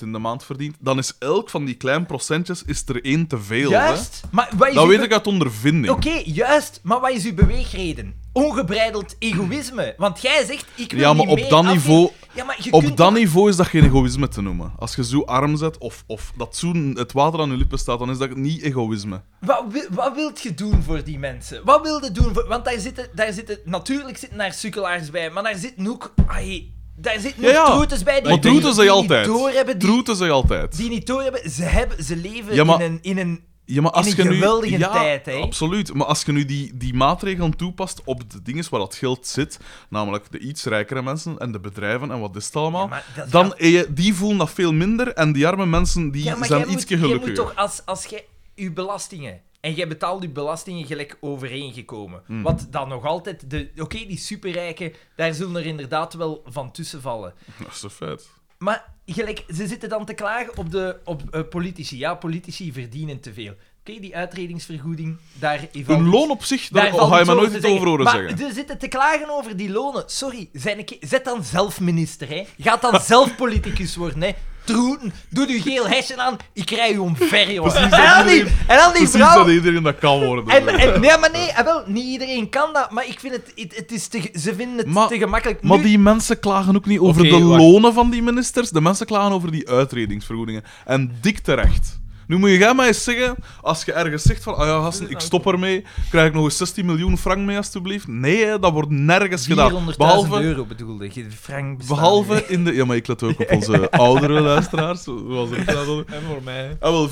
S1: in de maand verdient, dan is elk van die klein procentjes is er één te veel. hè?
S2: Juist, maar wat is
S1: Dat
S2: uw
S1: weet
S2: be-
S1: ik uit ondervinding.
S2: Oké, juist, maar wat is uw beweegreden? Ongebreideld egoïsme. Want jij zegt, ik wil
S1: Ja, maar
S2: niet
S1: op
S2: meer
S1: dat
S2: afge-
S1: niveau-
S2: Ja, maar je
S1: Op
S2: kunt
S1: dat
S2: toch-
S1: niveau is dat geen egoïsme te noemen. Als je zo arm zet of, of dat zo het water aan je lippen staat, dan is dat niet egoïsme.
S2: Wat, wi- wat wilt je doen voor die mensen? Wat wil je doen voor... Want daar zitten, daar zitten... Natuurlijk zitten daar sukkelaars bij, maar daar zitten ook... ai, daar zitten
S1: Ja,
S2: ook
S1: ja.
S2: troetes bij die,
S1: Maar
S2: die,
S1: troetes
S2: die
S1: zijn
S2: niet
S1: altijd.
S2: doorhebben, die,
S1: Troeten zijn altijd.
S2: die niet doorhebben. Ze, hebben, ze leven
S1: Ja, maar-
S2: in een... In een
S1: Ja, maar
S2: in
S1: als
S2: een
S1: je nu,
S2: geweldige
S1: ja,
S2: tijd, hè.
S1: Absoluut. Maar als je nu die, die maatregelen toepast op de dingen waar dat geld zit, namelijk de iets rijkere mensen en de bedrijven en wat is het allemaal,
S2: Ja, maar dat
S1: dan
S2: gaat-
S1: eh, je- die voelen dat veel minder en die arme mensen die
S2: ja, maar jij
S1: zijn
S2: moet,
S1: ietsje
S2: jij
S1: gelukkiger.
S2: moet toch... Als, als jij je belastingen... En jij betaalt je belastingen gelijk overeengekomen.
S1: Hmm.
S2: Wat dan nog altijd... de Oké, die superrijken, daar zullen er inderdaad wel van tussen vallen.
S1: Dat is een feit.
S2: Maar gelijk, ze zitten dan te klagen op, de, op eh, politici. Ja, politici verdienen te veel. Oké, die uitredingsvergoeding, daar...
S1: Hun loon op zich, daar,
S2: dus valt
S1: ga je
S2: iets
S1: me nooit
S2: te
S1: iets over horen
S2: maar
S1: zeggen.
S2: ze zitten te klagen over die lonen. Sorry, zijn een keer- zet dan zelf minister, hè. Gaat dan zelf politicus worden, hè. Troeten, doe uw geel hesje aan, ik rij u omver, jongen.
S1: Precies dat
S2: en al die,
S1: iedereen-
S2: en al die
S1: Precies
S2: vrouwen...
S1: dat iedereen dat kan worden.
S2: En, en, nee, maar nee, eh, wel, niet iedereen kan dat, maar ik vind het... Het, het is te, ge- ze vinden het
S1: Maar-
S2: te gemakkelijk.
S1: Maar
S2: Nu-
S1: die mensen klagen ook niet over
S3: Oké,
S1: de
S3: wacht.
S1: lonen van die ministers. De mensen klagen over die uitredingsvergoedingen. En dik terecht. Nu moet je jij mij eens zeggen, als je ergens zegt van, ah ja, gasten, ik stop ermee, krijg ik nog eens 16 miljoen frank mee, alstublieft. Nee, hè, dat wordt nergens gedaan.
S2: 400.000
S1: Behalve,
S2: euro bedoelde ik. Frank bestaat
S1: behalve
S2: niet.
S1: in de... Ja, maar ik let ook op onze oudere luisteraars. Zoals ik dat al-
S3: En voor mij.
S1: Ah, wel,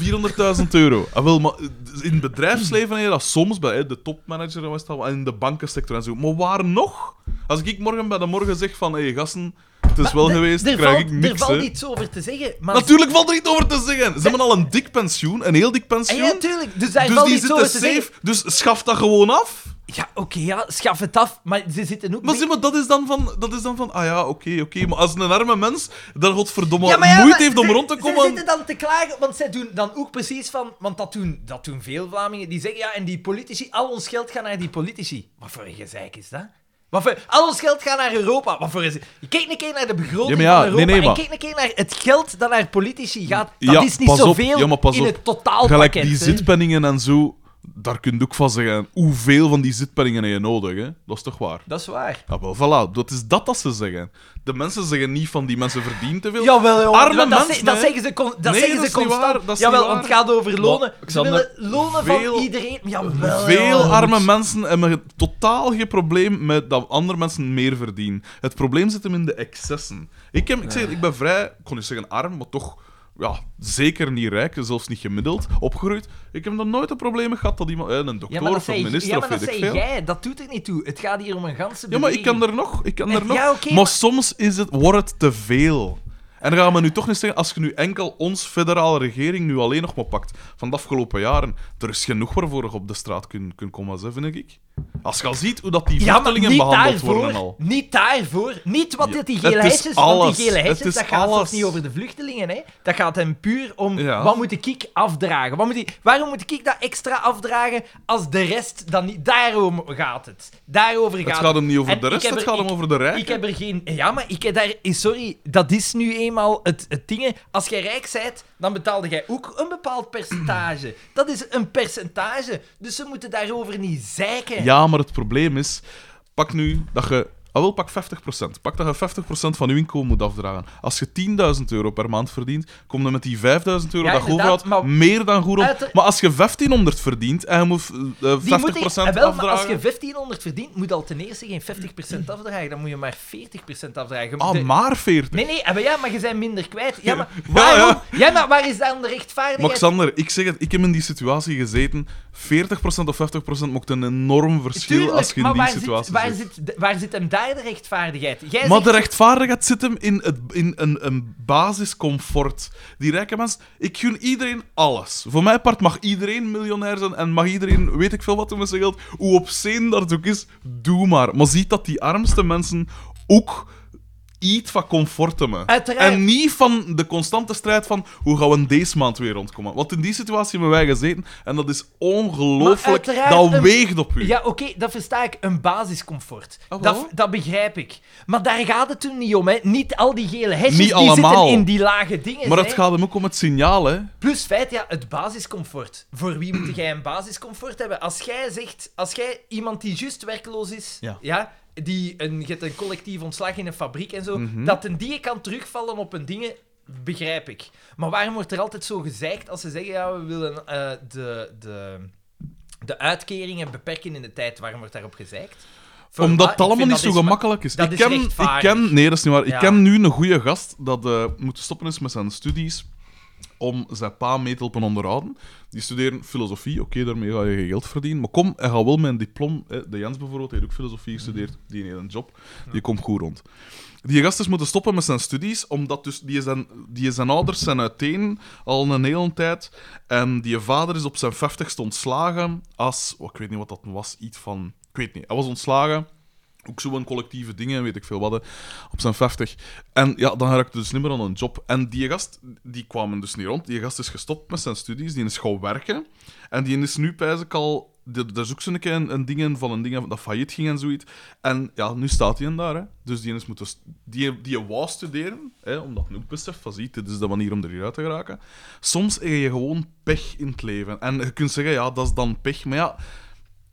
S1: 400.000 euro. Ah, wel, maar eh, in het bedrijfsleven heb je dat soms bij hè, de topmanager en wat is het allemaal, en in de bankensector en zo. Maar waar nog? Als ik morgen bij de morgen zeg van, hé hey, gasten, het is wel
S2: Maar d-
S1: geweest,
S2: er
S1: krijg
S2: valt-
S1: ik niks,
S2: Er valt
S1: hè.
S2: niets over te zeggen. Maar
S1: Natuurlijk valt er niet over te zeggen. Ze hebben al een dik pensioen, een heel dik
S2: Ah
S1: pensioen.
S2: ja, natuurlijk. Dus daar
S1: dus
S2: valt
S1: die
S2: niets over
S1: zitten
S2: te zeggen.
S1: safe, dus schaf dat gewoon af.
S2: Ja, oké, ja, schaf het af. Maar ze zitten ook...
S1: Maar
S2: mee-
S1: zeg maar, dat is dan van, dat is dan van ah ja, oké, oké. Maar als een arme mens daar godverdomme
S2: Ja, maar ja,
S1: moeite
S2: maar
S1: heeft om
S2: ze-
S1: rond te
S2: Ze
S1: komen...
S2: zitten dan te klagen, want zij doen dan ook precies van... Want dat doen, dat doen veel Vlamingen. Die zeggen, ja, en die politici, al ons geld gaat naar die politici. Wat voor een gezeik is dat? Wat voor, al ons geld gaat naar Europa. Wat voor een, je kijkt een keer naar de begroting
S1: Ja, maar ja,
S2: van Europa
S1: nee, nee, maar-
S2: en kijk een keer naar het geld dat naar politici gaat. Dat
S1: Ja,
S2: is niet
S1: pas op.
S2: zoveel
S1: Ja, maar pas
S2: in
S1: op.
S2: het totaalpakket.
S1: Gelijk die
S2: hè.
S1: zitpenningen en zo, daar kun je ook van zeggen. Hoeveel van die zitpenningen heb je nodig? Hè? Dat is toch waar?
S2: Dat is waar.
S1: Ja, wel, voilà. Dat is dat dat ze zeggen. De mensen zeggen niet van die mensen verdienen te veel.
S2: Jawel, jongen.
S1: Arme
S2: want dat,
S1: mensen,
S2: dat
S1: hè?
S2: zeggen ze, con- dat
S1: Nee,
S2: zeggen
S1: dat
S2: ze
S1: is niet
S2: constant.
S1: waar, dat is
S2: Jawel,
S1: niet
S2: want
S1: waar.
S2: het gaat over lonen.
S3: Maar,
S2: ze willen lonen
S1: veel-
S2: van iedereen. Jawel,
S1: Veel
S2: jongen.
S1: arme mensen hebben totaal geen probleem met dat andere mensen meer verdienen. Het probleem zit hem in de excessen. Ik, heb, ik, zeg, het, ik ben vrij, ik kon niet zeggen arm, maar toch ja, zeker niet rijk, zelfs niet gemiddeld, opgegroeid. Ik heb nog nooit een probleem gehad dat iemand, eh, een
S2: Ja,
S1: dokter
S2: maar dat
S1: of een
S2: zei,
S1: minister
S2: ja, maar
S1: of weet
S2: dat
S1: ik
S2: zei
S1: veel.
S2: jij. Dat doet er niet toe. Het gaat hier om een ganse
S1: Ja, maar ik kan
S2: beweging.
S1: er nog. Ik kan er
S2: Eh,
S1: nog.
S2: ja, oké,
S1: maar,
S2: maar-
S1: soms is het, wordt het te veel. En dan gaan we nu toch niet zeggen, als je nu enkel ons federale regering nu alleen nog maar pakt van de afgelopen jaren, er is genoeg waarvoor je op de straat kunt kun komen, hè, vind ik. Als je al ziet hoe dat die
S2: Ja, maar
S1: vluchtelingen
S2: niet
S1: behandeld
S2: daarvoor,
S1: worden al.
S2: niet daarvoor, niet wat
S1: Ja,
S2: dit die
S1: het
S2: gele
S1: is
S2: hesjes, want
S1: alles.
S2: die gele
S1: Het
S2: hesjes,
S1: is
S2: dat gaat
S1: alles.
S2: toch niet over de vluchtelingen, hè? Dat gaat hem puur om,
S1: Ja.
S2: wat moet ik afdragen? Wat moet ik, waarom moet ik dat extra afdragen als de rest dan niet? Daarom gaat het. Daarover gaat
S1: Het gaat hem niet over
S2: En
S1: de
S2: ik
S1: rest,
S2: heb
S1: het
S2: er-
S1: gaat
S2: ik-
S1: hem over de rijk.
S2: Ik heb er geen. Ja, maar ik heb daar. eh, Sorry, dat is nu eenmaal het, het ding. hè. Als jij rijk bent, dan betaalde jij ook een bepaald percentage. Dat is een percentage, dus ze moeten daarover niet zeiken.
S1: Ja, maar het probleem is, pak nu dat je. Ah, wel, pak 50%. Pak dat je 50% van je inkomen moet afdragen. Als je 10.000 euro per maand verdient, kom je met die 5.000 euro
S2: Ja,
S1: dat je
S2: inderdaad,
S1: overhoudt
S2: maar-
S1: meer dan goed op.
S2: Uiter-
S1: Maar als je 1.500 verdient en je moet eh, eh, 50%
S2: Die moet ik- eh, wel, maar als
S1: afdragen...
S2: je 1500 verdient, moet je al ten eerste geen 50% afdragen. Dan moet je maar 40% afdragen. Je moet
S1: Ah,
S2: de-
S1: maar 40.
S2: Nee, nee, eh, maar ja, maar je bent minder kwijt. Ja, maar
S1: Ja,
S2: waarom? Ja,
S1: ja.
S2: maar waar is dan de
S1: Maar
S2: rechtvaardigheid?
S1: Xander, ik zeg het, ik heb in die situatie gezeten. 40% of 50% maakt een enorm verschil
S2: Tuurlijk,
S1: als je in
S2: maar
S1: die
S2: waar
S1: situatie
S2: zit, waar,
S1: zit.
S2: zit, de- waar zit hem daar de rechtvaardigheid? Jij
S1: Maar
S2: zegt-
S1: de rechtvaardigheid zit hem in, het, in een, een basiscomfort. Die rijke mensen, ik gun iedereen alles. Voor mijn part mag iedereen miljonair zijn en mag iedereen, weet ik veel wat doen met zijn geld. Hoe obscene dat het ook is, doe maar. Maar ziet dat die armste mensen ook iets van comfort hebben.
S2: Uiteraard.
S1: En niet van de constante strijd van hoe gaan we deze maand weer rondkomen. Want in die situatie hebben wij gezeten en dat is ongelooflijk.
S2: Maar uiteraard
S1: Dat
S2: een-
S1: weegt op u.
S2: Ja, oké, dat versta ik. Een basiscomfort.
S1: Ah, wel.
S2: dat, dat begrijp ik. Maar daar gaat het toen niet om, hè. Niet al die gele hesjes
S1: Niet
S2: die
S1: allemaal.
S2: zitten in die lage dingen,
S1: maar
S2: hè.
S1: het gaat hem ook om het signaal, hè.
S2: Plus feit, ja, het basiscomfort. Voor wie moet jij een basiscomfort hebben? Als jij zegt, als jij iemand die juist werkloos is,
S1: Ja.
S2: die een, je hebt een collectief ontslag in een fabriek en zo,
S1: Mhm.
S2: dat een die kan terugvallen op een dingen, begrijp ik. Maar waarom wordt er altijd zo gezeikt als ze zeggen, ja, we willen eh, de, de, de uitkeringen beperken in de tijd? Waarom wordt daarop gezeikt? Voor
S1: Omdat
S2: wat?
S1: het
S2: Ik
S1: allemaal
S2: vind
S1: niet
S2: dat
S1: zo
S2: is-
S1: gemakkelijk is.
S2: dat
S1: ik,
S2: is
S1: ken, ik
S2: rechtvaardig.
S1: ken, nee, dat is niet waar.
S2: Ja.
S1: Ik ken nu een goede gast dat eh, moet stoppen is met zijn studies om zijn pa mee te helpen onderhouden. Die studeren filosofie, oké, daarmee ga je geen geld verdienen. Maar kom, hij gaat wel met een diploma. hè. De Jens bijvoorbeeld, hij heeft ook filosofie gestudeerd, die heeft een job, die komt goed rond. Die gast is moeten stoppen met zijn studies, omdat dus die zijn, die zijn ouders zijn uiteen al een hele tijd. En die vader is op zijn 50ste ontslagen als... oh, ik weet niet wat dat was, iets van... Ik weet niet, hij was ontslagen. Ook zo'n collectieve dingen, weet ik veel wat, hè, op zijn 50. En ja, dan raakte dus niet meer aan een job. En die gast, die kwamen dus niet rond. Die gast is gestopt met zijn studies, die is gaan werken. En die is nu, pijs ik al... die- Daar is ook zo'n keer een, een ding in van een ding dat failliet ging en zoiets. En ja, nu staat hij in daar. Hè. Dus die is moeten... st- Die, die wou studeren, hè, omdat hij ook beseft van, zie, dit is de manier om eruit te geraken. Soms heb je gewoon pech in het leven. En je kunt zeggen, ja, dat is dan pech. Maar ja,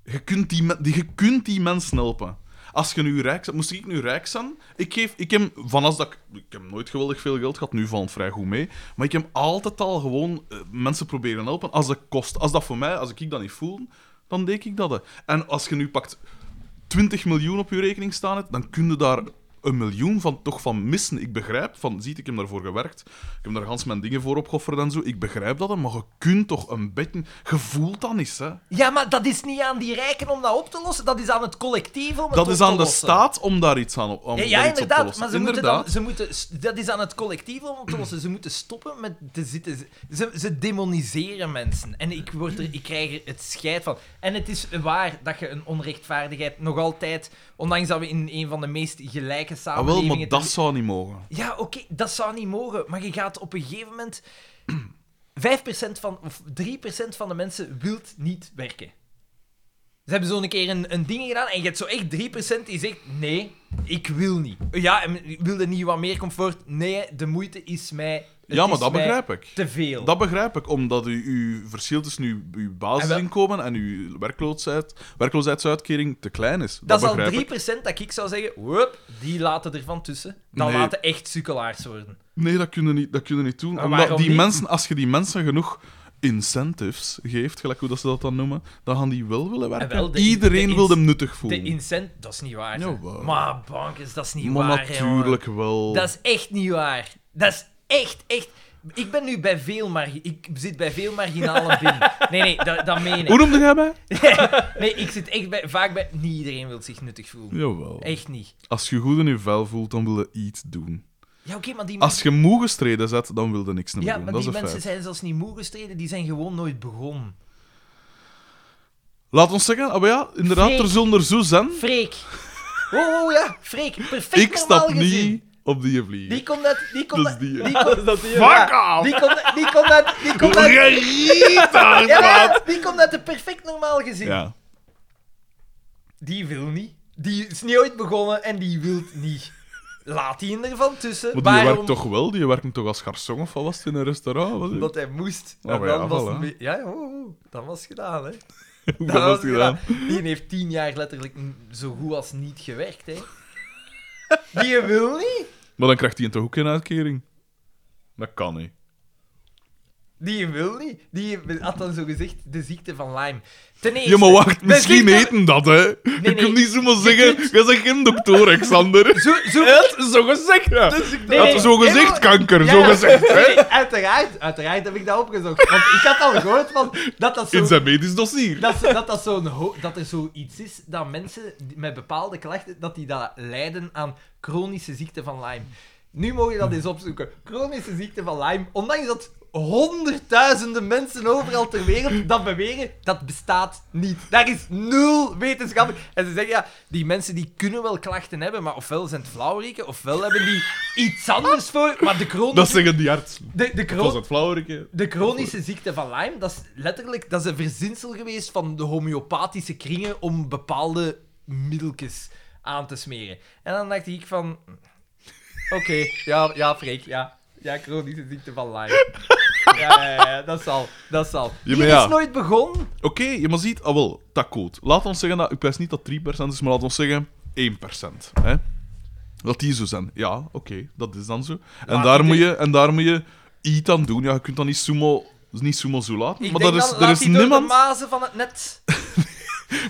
S1: je kunt die, men- die, je kunt die mensen helpen. Als je nu rijk bent, moest ik nu rijk zijn? Ik geef, ik heb, van als dat ik, ik heb nooit geweldig veel geld gehad, nu valt het vrij goed mee. Maar ik heb altijd al gewoon eh, mensen proberen helpen als dat kost. Als dat voor mij, als ik dat niet voel, dan deed ik dat. hè. En als je nu pakt 20 miljoen op je rekening staan hebt, dan kun je daar een miljoen van toch van missen. Ik begrijp van, ziet, ik heb daarvoor gewerkt, ik heb daar gans mijn dingen voor opgeofferd en zo. Ik begrijp dat, hè, maar je kunt toch een beetje, je voelt dat niet, hè?
S2: Ja, maar dat is niet aan die rijken om dat op te lossen. Dat is aan het collectief om het
S1: Dat
S2: op
S1: is
S2: te
S1: aan de
S2: lossen.
S1: staat om daar iets aan om
S2: Ja,
S1: daar iets
S2: ja,
S1: op te
S2: inderdaad.
S1: lossen.
S2: Maar ze
S1: Inderdaad.
S2: moeten dan... Ze moeten, s- dat is aan het collectief om op te lossen. Ze moeten stoppen met te zitten... z- Ze, ze demoniseren mensen. En ik, word er, ik krijg er het scheid van. En het is waar dat je een onrechtvaardigheid nog altijd... Ondanks dat we in een van de meest gelijke
S1: Ah, wel,
S2: samenlevingen...
S1: maar
S2: ter-
S1: dat zou niet mogen.
S2: ja, oké, dat zou niet mogen. Maar je gaat op een gegeven moment... 5% van, of 3% van de mensen wilt niet werken. Ze hebben zo'n keer een, een ding gedaan en je hebt zo echt 3% die zegt: Nee, ik wil niet. Ja, en ik wilde niet wat meer comfort. Nee, de moeite is mij. het
S1: Ja, maar
S2: is
S1: dat
S2: mij
S1: begrijp ik.
S2: Te veel.
S1: Dat begrijp ik, omdat u, uw verschil tussen uw, uw basisinkomen en uw werkloosheid, werkloosheidsuitkering te klein is. Dat,
S2: Dat, is
S1: begrijp ik.
S2: al 3% dat ik zou zeggen: Wup, die laten ervan tussen. Dan
S1: Nee.
S2: laten echt sukkelaars worden.
S1: Nee, dat kun je niet, dat kun je niet doen.
S2: Maar
S1: Omdat
S2: waarom
S1: die
S2: niet?
S1: mensen, als je die mensen genoeg incentives geeft, gelijk hoe dat ze dat dan noemen, dan gaan die wel willen werken.
S2: En Ah, wel, de in-
S1: Iedereen
S2: de
S1: wil
S2: ins-
S1: hem nuttig
S2: De
S1: voelen.
S2: incent, dat is niet waar. hè.
S1: Jawel.
S2: Maar bankers, dat is niet
S1: maar
S2: waar. hè, jongen.
S1: natuurlijk wel.
S2: Dat is echt niet waar. Dat is echt, echt. Ik ben nu bij veel margi- Ik zit bij veel marginalen binnen. Nee, nee, dat, dat meen
S1: Hoe
S2: ik.
S1: noemde jij mij?
S2: Nee, ik zit echt bij, vaak bij. Niet iedereen wil zich nuttig voelen.
S1: Jawel.
S2: Echt niet.
S1: Als je goed in je vel voelt, dan wil je iets doen.
S2: Ja, oké, maar die
S1: Als
S2: mensen.
S1: je moe gestreden zet, dan wilde niks meer
S2: Ja,
S1: doen.
S2: maar
S1: Dat is
S2: die
S1: een
S2: mensen
S1: feit.
S2: zijn zelfs niet moe gestreden, die zijn gewoon nooit begonnen.
S1: Laat ons zeggen, ah, maar ja, inderdaad,
S2: Freek.
S1: er zullen er zo zijn.
S2: Freek. Oh, oh ja, Freek. Perfect
S1: Ik
S2: normaal
S1: stap
S2: gezien.
S1: niet op die vlieg.
S2: Die komt uit. Die komt
S1: Dat is
S2: uit.
S1: die, hè.
S2: Die komt
S3: Dat die,
S1: Fuck
S2: ja,
S1: off!
S2: die komt- die komt uit. Die komt uit.
S1: Gerieter,
S2: Ja,
S1: man.
S2: maar die komt uit de perfect normaal gezin.
S1: Ja.
S2: Die wil niet. Die is niet ooit begonnen en die wil niet. laat hij hem ervan tussen.
S1: Maar die werkt toch wel? Die werkt toch als garçon of wat was het in een restaurant? Wat-
S2: Omdat hij moest.
S1: Ah,
S2: en
S1: maar
S2: dan
S1: ja,
S2: was
S1: voilà.
S2: het be- Ja, ja, oh, oh, dat was gedaan, hè.
S1: Hoe dat was
S2: het
S1: gedaan?
S2: Die heeft tien jaar letterlijk n- zo goed als niet gewerkt, hè. Die wil niet.
S1: Maar dan krijgt hij toch ook geen uitkering? Dat kan niet.
S2: Die wil niet. Die had dan zo gezegd de ziekte van Lyme. Ten eerste,
S1: Ja, maar wacht,
S2: de
S1: misschien
S2: ziekte-
S1: eten dat, hè?
S2: nee.
S1: Ik kan niet zomaar zeggen, jij bent geen dokter, Alexander.
S2: Zo, zo, Dus-
S1: zo gezegd, ja.
S2: Nee,
S1: Had
S2: nee.
S1: zo
S2: Nee,
S1: gezegd
S2: maar-
S1: kanker,
S2: Ja,
S1: zo
S2: ja.
S1: gezegd, hè?
S2: Nee, uiteraard, uiteraard heb ik dat opgezocht. Want ik had al gehoord van dat dat zo...
S1: In zijn medisch dossier.
S2: Dat, ze- dat, dat, zo'n ho- dat er zoiets is dat mensen die- met bepaalde klachten, dat die dat lijden aan chronische ziekte van Lyme. Nu mogen je dat eens opzoeken. Chronische ziekte van Lyme, ondanks dat honderdduizenden mensen overal ter wereld dat beweren, dat bestaat niet. Daar is nul wetenschappelijk... En ze zeggen, ja, die mensen die kunnen wel klachten hebben, maar ofwel zijn het flauwriken, ofwel hebben die iets anders voor, maar de
S1: Dat
S2: chronische...
S1: zeggen die artsen.
S2: De, de
S1: Dat was
S2: chron-
S1: het flauwerke.
S2: de chronische ziekte van Lyme, dat is letterlijk dat is een verzinsel geweest van de homeopathische kringen om bepaalde middeltjes aan te smeren. En dan dacht ik van... Oké, ja, ja, Freek, ja. Ja, chronische ziekte van Lyme. Ja, ja, ja, dat zal, dat zal.
S1: Ja,
S2: Die
S1: maar ja.
S2: is nooit begonnen.
S1: Oké, je maar ziet, ah wel, dat code. Laat ons zeggen dat, ik prijs niet dat 3% is, maar laat ons zeggen 1%. Hè? Dat die zo zijn. Ja, oké, dat is dan zo. En
S2: Laat
S1: daar,
S2: die
S1: moet je, en daar moet je iets aan doen. Ja, je kunt dat niet sumo, niet sumo zo laten.
S2: Ik
S1: maar
S2: denk
S1: daar is,
S2: dan,
S1: er
S2: laat
S1: is
S2: die door
S1: niemand...
S2: de mazen van het net.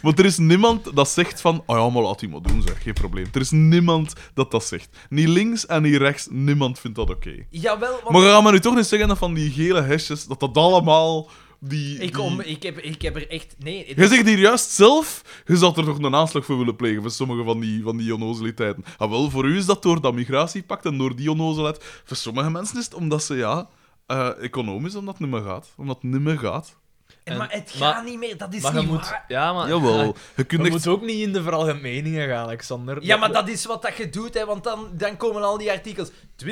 S1: Want er is niemand dat zegt van, oh ja, maar laat die maar doen, zeg, geen probleem. Er is niemand dat dat zegt. Niet links en niet rechts, niemand vindt dat oké.
S2: Jawel, want...
S1: Maar ga maar nu toch niet zeggen dat van die gele hesjes, dat dat allemaal die...
S2: Ik,
S1: die-
S2: om, ik, heb, ik heb er echt... Nee,
S1: Je zegt hier juist zelf, je zou er toch een aanslag voor willen plegen voor sommige van die, van die onnozeliteiten. Ah, wel, voor u is dat door dat migratiepact en door die onnozelheid. Voor sommige mensen is het omdat ze, ja, eh, economisch omdat het niet meer gaat. Omdat het niet meer gaat.
S2: En- maar het
S3: Maar-
S2: gaat niet meer, dat is
S3: Maar je
S2: niet
S3: moet...
S2: waar.
S3: Ja, maar...
S1: Jawel, je
S3: Je
S1: kunt echt
S3: moet ook niet in de veralgemeningen gaan, Alexander.
S2: Ja, maar dat is wat dat je doet, hè, want dan, dan komen al die artikels. 20%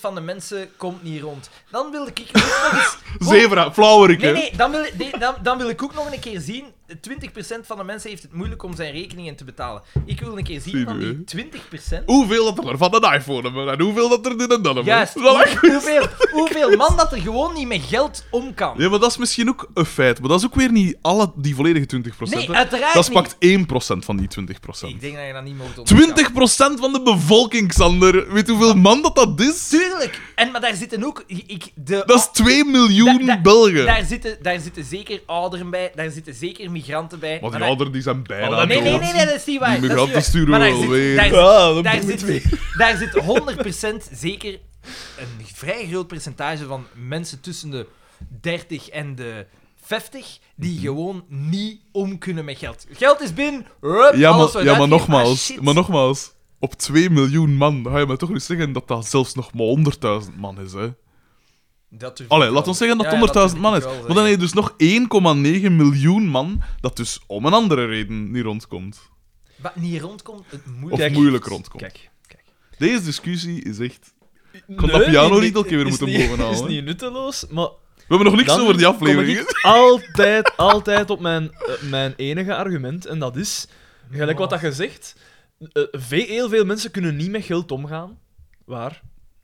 S2: van de mensen komt niet rond. Dan wil ik ook nog eens... Oh,
S1: zebra, flauwerik,
S2: Nee,
S1: hè.
S2: nee, dan wil, ik- nee dan, dan wil ik ook nog een keer zien... 20% van de mensen heeft het moeilijk om zijn rekeningen te betalen. Ik wil een keer zien van die 20%...
S1: Hoeveel dat er van een iPhone hebben en hoeveel dat er dit en dat hebben.
S2: Juist,
S1: Dat lijkt me-
S2: hoeveel, hoeveel man dat er gewoon niet met geld om kan.
S1: Ja, maar dat is misschien ook een feit. Maar dat is ook weer niet alle, die volledige 20%.
S2: Nee,
S1: hè.
S2: uiteraard
S1: Dat is
S2: niet.
S1: pakt 1% van die 20%.
S2: Ik denk dat je dat niet mocht onderschatten.
S1: 20% van de bevolking, Sander. Weet hoeveel man dat dat is?
S2: Tuurlijk! En, maar daar zitten ook... Ik, de,
S1: Dat is 2 miljoen
S2: Da- da-
S1: Belgen.
S2: Daar zitten, daar zitten zeker ouderen bij, daar zitten zeker migranten bij.
S1: maar die
S2: daar-
S1: ouderen die zijn bijna
S3: Oh,
S2: Nee, nee,
S1: dood.
S2: nee, nee, dat is niet waar.
S1: Die
S2: dat is
S1: migranten
S2: niet waar.
S1: sturen
S2: Maar
S1: we
S2: daar
S1: wel
S2: zit-
S1: weer.
S2: Daar,
S3: Ah, dat
S2: zit- daar,
S3: boeit
S2: zit, daar zit 100% zeker een vrij groot percentage van mensen tussen de 30 en de 50 die
S1: Mhm.
S2: gewoon niet om kunnen met geld. Geld is binnen, hup,
S1: Ja, maar,
S2: alles wordt
S1: ja, maar
S2: uitgegeven,
S1: nogmaals,
S2: Ah, shit.
S1: maar nogmaals, op 2 miljoen man ga je me toch niet zeggen dat dat zelfs nog maar 100.000 man is, hè?
S2: Dat durf ik
S1: Allee,
S2: wel.
S1: laat ons zeggen dat
S2: Ja, ja,
S1: het 100.000 man
S2: durf
S1: is.
S2: ik wel
S1: Maar dan heb je dus nog 1,9 miljoen man dat dus om een andere reden niet rondkomt.
S2: zeggen. Wat niet rondkomt, het moet...
S1: Of moeilijk rondkomt.
S3: Kijk, kijk.
S1: Deze discussie is echt... dat pianoriedeltje weer
S3: is
S1: moeten
S3: niet-
S1: bovenhalen,
S3: is
S1: hè.
S3: niet nutteloos, maar...
S1: We hebben nog niks
S3: dan
S1: over die
S3: kom
S1: aflevering.
S3: ik altijd, altijd op mijn, eh, mijn enige argument, en dat is, gelijk wat dat je zegt, eh, ve- heel veel mensen kunnen niet met geld omgaan. Waar?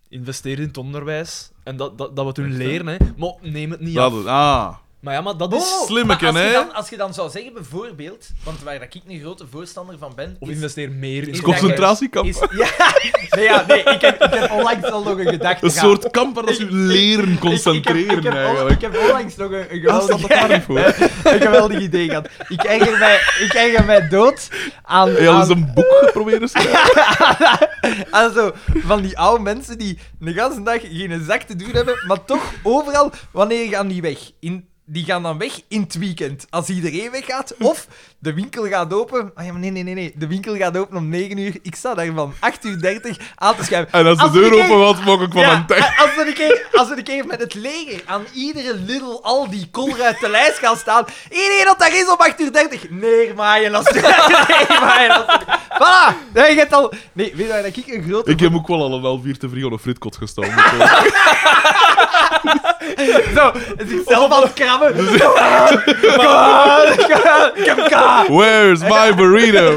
S3: Investeren in het onderwijs. En dat, dat, dat we het hun
S1: Echt, hè?
S3: leren, hè. Maar neem het niet
S1: Ja,
S3: af.
S1: dat- ah.
S3: Maar ja, maar dat
S2: Oh,
S3: is...
S1: slimmeke,
S2: maar als
S1: hè?
S2: Je dan, als je dan zou zeggen, bijvoorbeeld, want waar dat ik een grote voorstander van ben.
S3: Of
S2: is-
S3: investeer meer in...
S2: is
S1: concentratiekamp.
S2: is- ja, nee, ja, nee, ik heb, ik heb onlangs al nog een gedachte
S1: Een
S2: gehad.
S1: soort kamp waar dat ze
S2: Ik-
S1: leren
S2: ik, ik,
S1: concentreren,
S2: heb, ik, heb, on-
S1: eigenlijk.
S2: ik heb onlangs nog een, een
S1: Ja, staat
S2: geweldig,
S1: dat daar niet voor? Hij
S2: een geweldig idee gehad. Ik eigen mij, ik eigen mij dood aan,
S1: had eens
S2: aan,
S1: een boek geprobeerd te schrijven.
S2: aan zo van die oude mensen die de hele dag geen zak te doen hebben, maar toch overal, wanneer gaan die weg? In, die gaan dan weg in het weekend, als iedereen weggaat. Of de winkel gaat open. Ah ja, maar nee, nee, nee, nee. De winkel gaat open om 9 uur. Ik sta daar van 8 uur 30 aan te schuiven.
S1: En als de
S2: Als
S1: deur
S2: ik-
S1: open was, mocht ik van
S2: Ja,
S1: een tech.
S2: a- als we een keer, als we een keer met het leger aan iedere Lidl al die kolder uit de lijst gaan staan. Iedereen dat daar is om 8 uur 30. Neermaaien als Neermaaien als Voilà. Nee, je hebt al... Nee, weet je waar dat ik een grote...
S1: Dus, Ik Dus- heb ook wel al een half uur te vrij op een fritkot gestaan. moet ik zeggen.
S2: Zo, zichzelf aan het krabben. Kom aan, kom aan, kom aan, kom aan.
S1: eh, Where's my burrito?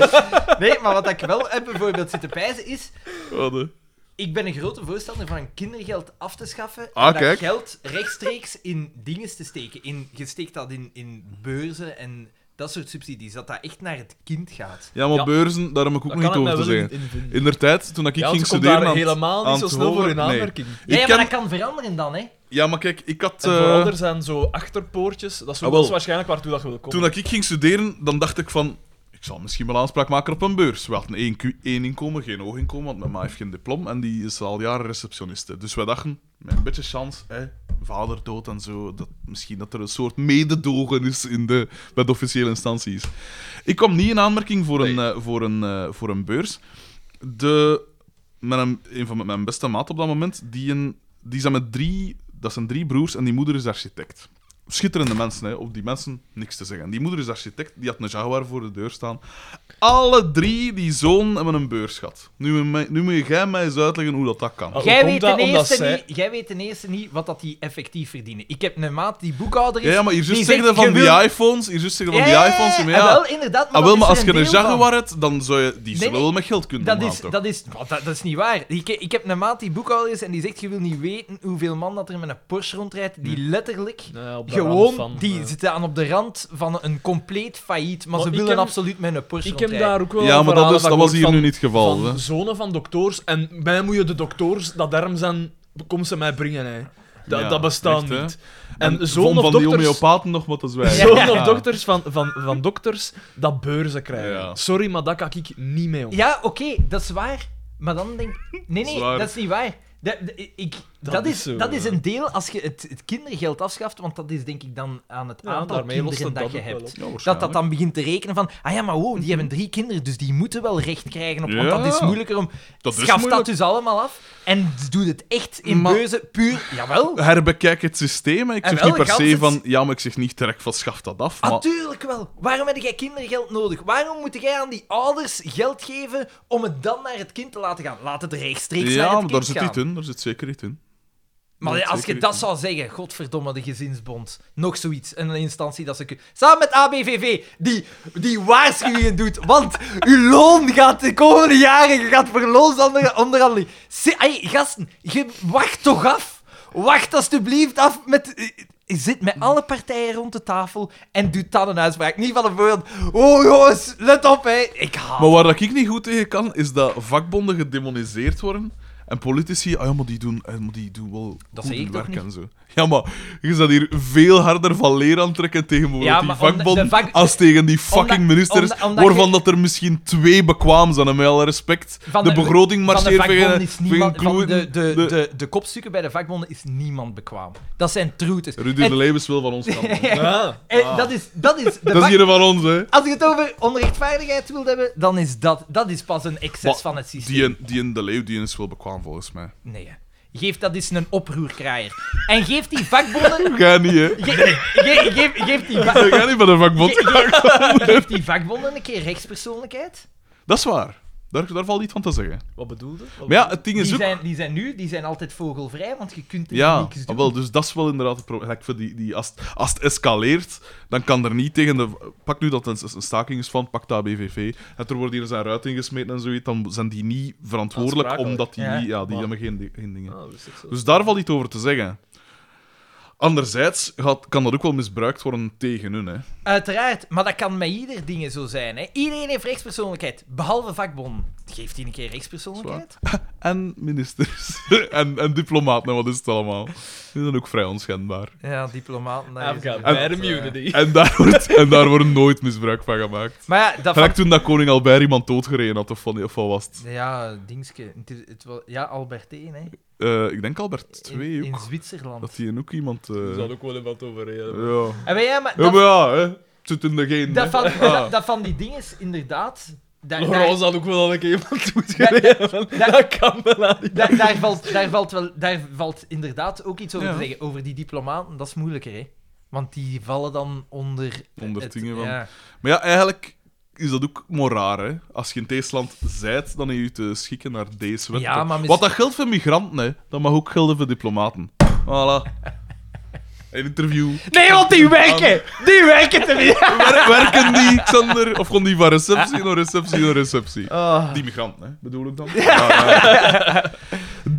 S2: Nee, maar wat ik wel heb bijvoorbeeld zitten pijzen is...
S1: Wat, eh?
S2: Ik ben een grote voorstander van kindergeld af te schaffen.
S1: Ah,
S2: en
S1: kijk.
S2: dat geld rechtstreeks in dingen te steken. In, je steekt dat in, in beurzen en dat soort subsidies. Dat dat echt naar het kind gaat.
S1: Ja, maar
S3: Ja.
S1: beurzen, daar heb ik ook nog
S3: kan
S1: niet
S3: ik mij
S1: over te
S3: wel in,
S1: zeggen.
S3: in vinden.
S1: In der tijd, toen ik
S3: Ja, want
S1: ging
S3: ze komt
S1: studeren...
S3: daar
S1: aan het-
S3: helemaal
S1: aan
S3: niet zo
S1: het
S3: snel voor in
S1: hoger- nee.
S3: aanmerking.
S2: Ja, ja,
S1: Ik
S2: maar
S1: ken-
S2: dat kan veranderen dan, hè.
S3: Oh,
S1: Ja, maar kijk, ik had...
S3: En
S1: eh,
S3: vooral, er zijn zo achterpoortjes. Dat is
S1: Ah,
S3: zo
S1: wel.
S3: dat is waarschijnlijk waartoe dat je wil komen.
S1: Toen ik ging studeren, dan dacht ik van... Ik zal misschien wel aanspraak maken op een beurs. We hadden één, Q- één inkomen, geen hoog inkomen, want mijn ma heeft geen diploma en die is al jaren receptioniste. Dus wij dachten, met een beetje chance, hè, vader dood en zo, dat, misschien dat er een soort mededogen is in de, bij de officiële instanties. Ik kwam niet in aanmerking voor een, eh, voor een, eh, voor een beurs. De, met een, een van mijn beste maat op dat moment, die, een, die zijn met drie, dat zijn drie broers en die moeder is architect. Schitterende mensen, hè. op die mensen niks te zeggen. Die moeder is architect, die had een Jaguar voor de deur staan. Alle drie, die zoon, hebben een beurs gehad. Nu, moet- nu moet jij mij eens uitleggen hoe dat, dat kan.
S3: Oh,
S2: Jij
S3: komt
S2: weet,
S3: dat?
S2: ten
S3: Omdat
S2: eerste
S3: zij-
S2: niet, jij weet ten eerste niet wat dat die effectief verdienen. Ik heb een maat die boekhouder is.
S1: Ja, ja, maar hier
S2: die
S1: juist
S2: zegt,
S1: zeggen van
S2: je
S1: die
S2: wil-
S1: iPhones, hier juist zeggen van
S2: Ja,
S1: die
S2: ja, ja,
S1: iPhones. Maar
S2: ah,
S1: ja,
S2: wel, inderdaad, maar
S1: ah, wel,
S2: dat
S1: maar als
S2: is
S1: je
S2: er
S1: een
S2: deel van.
S1: Jaguar hebt, dan zou je die zullen
S2: nee,
S1: wel met geld kunnen
S2: Dat
S1: omgaan,
S2: is,
S1: toch?
S2: dat, is, maar dat, dat is niet waar. Ik, ik heb een maat die boekhouder is en die zegt: Je wil niet weten hoeveel man dat er met een Porsche rondrijdt. Die
S1: Hm.
S2: letterlijk
S3: Nou ja, op de
S2: gewoon,
S3: rand van,
S2: die
S3: eh.
S2: zitten aan op de rand van een compleet failliet. Maar,
S3: Maar
S2: ze
S3: ik
S2: willen
S3: heb-
S2: absoluut met een Porsche
S3: Ik heb
S2: rondrijden.
S3: daar ook wel
S1: Ja, maar dat,
S3: verhalen
S1: is,
S3: van
S1: dat was
S3: gehoord
S1: hier nu
S3: van-
S1: niet het geval. hè.
S3: Van zonen van dokters. En mij moet je de dokters dat arm zijn, kom ze mij brengen. Hè. Dat,
S1: Ja,
S3: dat bestaat
S1: echt, hè.
S3: niet.
S1: En
S3: En, zoon
S1: van
S3: of
S1: die
S3: dokters,
S1: homeopaten nog wat te zwijgen.
S3: zoon
S2: Ja.
S3: of dokters van, van, van dokters dat beurzen krijgen.
S1: Ja.
S3: Sorry, maar dat kan ik niet mee om.
S2: Ja, oké, dat is waar. Maar dan denk ik... Nee, nee,
S1: Zwaar.
S2: dat is niet waar. Dat, dat- ik, dat,
S3: Dat
S2: is,
S3: is zo,
S2: dat is
S3: ja.
S2: een deel als je het, het kindergeld afschaft, want dat is denk ik dan aan het
S3: Ja,
S2: aantal
S3: daarmee lost
S2: kinderen
S3: het
S2: dat je
S3: dat ook wel
S2: hebt.
S1: Ja,
S2: Dat
S1: waarschijnlijk.
S2: dat dan begint te rekenen van, ah ja, maar wow,
S3: Mhm.
S2: die hebben drie kinderen, dus die moeten wel recht krijgen. Op, Want
S1: Ja.
S2: dat is moeilijker om...
S1: Dat is
S2: Schaf dat
S1: moeilijk.
S2: dus allemaal af en doe het echt in
S1: Maar-
S2: beurzen, puur... Jawel,
S1: Herbekijk het systeem. hè. Ik
S2: En
S1: zeg
S2: wel,
S1: niet per
S2: gans
S1: se
S2: het-
S1: van... Ja, maar ik zeg niet direct van schaf dat af.
S2: Ah,
S1: Maar
S2: natuurlijk wel. Waarom heb jij kindergeld nodig? Waarom moet jij aan die ouders geld geven om het dan naar het kind te laten gaan? Laat het rechtstreeks naar
S1: ja,
S2: het
S1: maar
S2: kind
S1: daar zit
S2: gaan.
S1: iets in. Daar zit zeker iets in.
S2: Maar
S1: Dat
S2: als je
S1: zeker
S2: dat
S1: niet.
S2: zou zeggen, godverdomme, de gezinsbond. Nog zoiets. Een instantie dat ze... kun- Samen met ABVV, die, die waarschuwingen doet. Want uw loon gaat de komende jaren... Je gaat verloonsonderhandeling... Se- Ai, gasten, je wacht toch af. Wacht alstublieft af met... eh, Zit met alle partijen rond de tafel en doet dan een uitspraak. Niet van een voorbeeld. Oh jongens, let op hè. Ik haat
S1: Maar waar dat ik niet goed tegen kan, is dat vakbonden gedemoniseerd worden. En politici, ah ja, maar die doen, eh, maar die doen wel
S2: Dat
S1: goed
S2: zeg ik
S1: hun
S2: toch
S1: werk
S2: niet?
S1: en zo. Ja, maar je staat hier veel harder van leer aan trekken tegen
S2: Ja,
S1: die
S2: maar om de-
S1: vakbonden
S2: de vak-
S1: als tegen die fucking
S2: omdat-
S1: ministers,
S2: omdat- omdat
S1: waarvan
S2: je-
S1: dat er misschien twee bekwaam zijn, en met alle respect.
S2: Van
S1: de, begroting marcheert eh,
S2: van de vakbonden
S1: tegen,
S2: is niemand,
S1: tegen
S2: van
S1: kloeten.
S2: de, de, de, de, kopstukken bij de vakbonden is niemand bekwaam. Dat zijn troetes.
S1: Rudy
S2: En-
S1: de Leeuwis wil van ons kant.
S3: Ja.
S2: en dat is, dat is, de
S1: Dat is
S2: vak-
S1: hier van ons, hè.
S2: Als je het over onrechtvaardigheid wil hebben, dan is dat, dat is pas een excess
S1: Maar
S2: van het systeem.
S1: Die, in- die in de leeuw die is wel bekwaam, volgens mij.
S2: Nee, hè. geef dat eens een oproerkraaier. En geef die vakbonden...
S1: Ga niet, hè.
S2: Ge, ge- geef, geef, die va-
S1: Ga niet van een vakbond.
S2: ge- geef die vakbonden een keer rechtspersoonlijkheid.
S1: Dat is waar. Daar, daar valt niet van te zeggen.
S3: Wat bedoelde?
S1: Maar ja, het ding
S2: Die
S1: is ook...
S2: zijn, die zijn nu die zijn altijd vogelvrij, want je kunt er
S1: Ja,
S2: niks doen.
S1: ah, wel, dus dat is wel inderdaad het probleem. Like, voor die, die, als, het- als het escaleert, dan kan er niet tegen de... Pak nu dat het een, een staking is van, pak de ABVV. En er wordt hier zijn ruit ingesmeten en zoiets. Dan zijn die niet verantwoordelijk,
S3: Aansprakelijk.
S1: omdat die...
S2: Ja.
S1: Ja, ja die
S3: Maar-
S1: hebben geen, di- geen dingen.
S3: Ah, wist ik zo.
S1: Dus daar valt iets over te zeggen. Anderzijds gaat, kan dat ook wel misbruikt worden tegen hun, hè.
S2: Uiteraard, maar dat kan met ieder ding zo zijn. Hè. Iedereen heeft rechtspersoonlijkheid, behalve vakbonden. Geeft die een keer rechtspersoonlijkheid?
S1: En ministers. en, en diplomaten, en wat is het allemaal? Die zijn ook vrij onschendbaar.
S2: Ja, diplomaten. daar
S3: I've
S2: is
S3: got
S2: het.
S3: bad immunity.
S1: En daar wordt, en daar wordt nooit misbruik van gemaakt.
S2: Eh, Maar ja, dat
S1: Gelijk
S2: vak...
S1: toen dat koning Albert iemand doodgereden had, of, van, of wat was het?
S2: Ja, dingske. Het is- het wel- Ja, Albert 1, hè.
S1: Eh, ik denk Albert
S2: In,
S1: 2
S2: in
S1: ook.
S2: Zwitserland.
S1: Dat hij ook iemand... eh,
S3: Daar zal ook wel even wat over reden.
S1: ja.
S2: En maar ja, maar
S1: ja,
S2: dat,
S1: maar ja, hè. Het zit in de geen.
S2: dat,
S1: hè.
S2: van,
S1: Ah.
S2: dat, dat van die dingen is inderdaad... daar- daar-
S3: Laurent zal ook wel al een keer iemand
S2: da-
S3: doodgereden. Dat kan wel aan die-
S2: daar, daar, valt, daar, valt wel, daar valt inderdaad ook iets over
S1: Ja.
S2: te zeggen. Over die diplomaten, dat is moeilijker, hè. Want die vallen dan onder...
S1: Onder
S2: het-
S1: dingen van-
S2: ja.
S1: Maar ja, eigenlijk is dat ook maar raar, hè. Als je in het eerste zijt, dan heb je je te schikken naar deze wet.
S2: Ja, maar mis-
S1: Wat dat geldt voor migranten, hè, dat mag ook gelden voor diplomaten. Voilà. Een interview.
S2: Nee, want die werken! Die werken te weer!
S1: Wer- werken die, Xander? Of kon die van receptie naar receptie naar receptie?
S2: Ah.
S1: Die migranten, hè, bedoel ik dan? Ja, ja.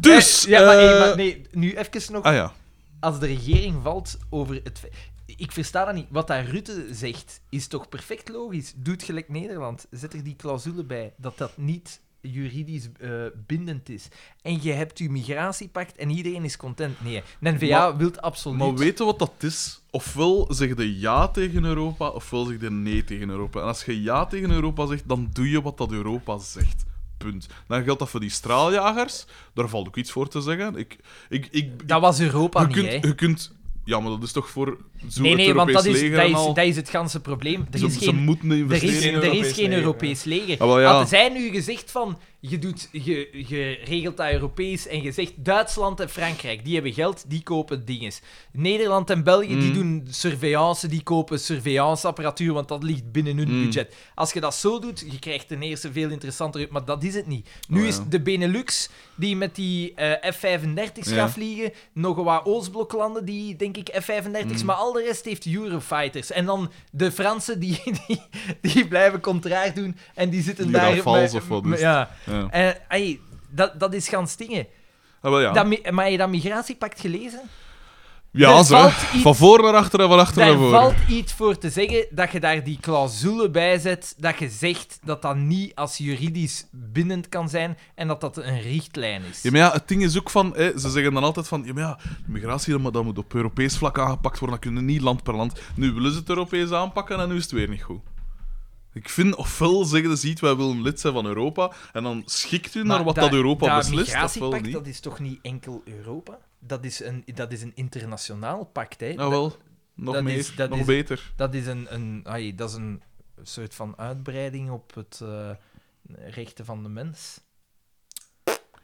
S1: Dus...
S2: Ja, maar, hey,
S1: eh,
S2: maar nee, nu even nog.
S1: Ah ja.
S2: Als de regering valt over het... fe- Ik versta dat niet. Wat dat Rutte zegt, is toch perfect logisch? Doet gelijk Nederland. Zet er die clausule bij dat dat niet juridisch eh, bindend is. En je hebt je migratiepact en iedereen is content. Nee, de N-VA
S1: Maar-
S2: wil absoluut...
S1: Maar weet je wat dat is? Ofwel zeg je ja tegen Europa, ofwel zeg je nee tegen Europa. En als je ja tegen Europa zegt, dan doe je wat dat Europa zegt. Punt. Dan geldt dat voor die straaljagers. Daar valt ook iets voor te zeggen. Ik, ik, ik,
S2: Dat was Europa
S1: je,
S2: niet, hè?
S1: kunt, je kunt... Ja, maar dat is toch voor zo'n
S2: Nee, nee, want
S1: Europees
S2: dat is,
S1: leger
S2: dat,
S1: en
S2: is,
S1: al.
S2: dat is het ganse probleem. Er
S1: ze,
S2: is
S1: ze
S2: geen
S1: moeten
S2: Er
S1: investeren
S2: is,
S1: in
S3: geen
S2: er is geen
S3: Europees leger,
S2: Europees leger.
S1: Ah, wel, ja.
S2: Hadden zij nu gezegd van, je, doet, je, je regelt dat Europees en je zegt Duitsland en Frankrijk, die hebben geld, die kopen dinges. Nederland en België,
S1: Mm.
S2: die doen surveillance, die kopen surveillanceapparatuur, want dat ligt binnen hun
S1: Mm.
S2: budget. Als je dat zo doet, je krijgt ten eerste veel interessanter, maar dat is het niet. Nu
S1: Oh, ja.
S2: is de Benelux, die met die eh, F-35's
S1: Ja.
S2: gaat vliegen, nog een wat Oostbloklanden, die denk ik
S1: Mm.
S2: F-35's, maar al de rest heeft Eurofighters. En dan de Fransen, die, die, die blijven contrair doen en die zitten
S1: Die
S2: daar...
S1: gaan vals
S2: met-
S1: of wat dus.
S2: met-
S1: is het?
S2: Ja.
S1: Ja.
S2: En, ey, dat, dat is gaan stingen.
S1: Ah, wel ja.
S2: Dat mi- maar heb je dat migratiepact gelezen?
S1: ja,
S2: er
S1: zo.
S2: valt
S1: hè.
S2: iets-
S1: Van voor naar achter en van achter
S2: Daar
S1: naar voor.
S2: valt iets voor te zeggen dat je daar die clausule bij zet, dat je zegt dat dat niet als juridisch bindend kan zijn en dat dat een richtlijn is.
S1: Ja, maar ja, het ding is ook van... Hè, ze zeggen dan altijd van... Ja, maar ja, migratie dat moet, dat moet op Europees vlak aangepakt worden. Dat kunnen niet land per land. Nu willen ze het Europees aanpakken en nu is het weer niet goed. Ik vind, ofwel zeggen ze ziet, wij willen lid zijn van Europa. En dan schikt u naar
S2: Maar
S1: wat dat, Europa beslist, ofwel
S2: migratiepact,
S1: niet.
S2: dat is toch niet enkel Europa? Dat is een, dat is een internationaal pact, hè?
S1: Nou wel, nog
S2: dat
S1: meer,
S2: is- dat
S1: nog
S2: is-
S1: beter.
S2: Dat is een, een, ai, dat is een soort van uitbreiding op het eh, rechten van de mens.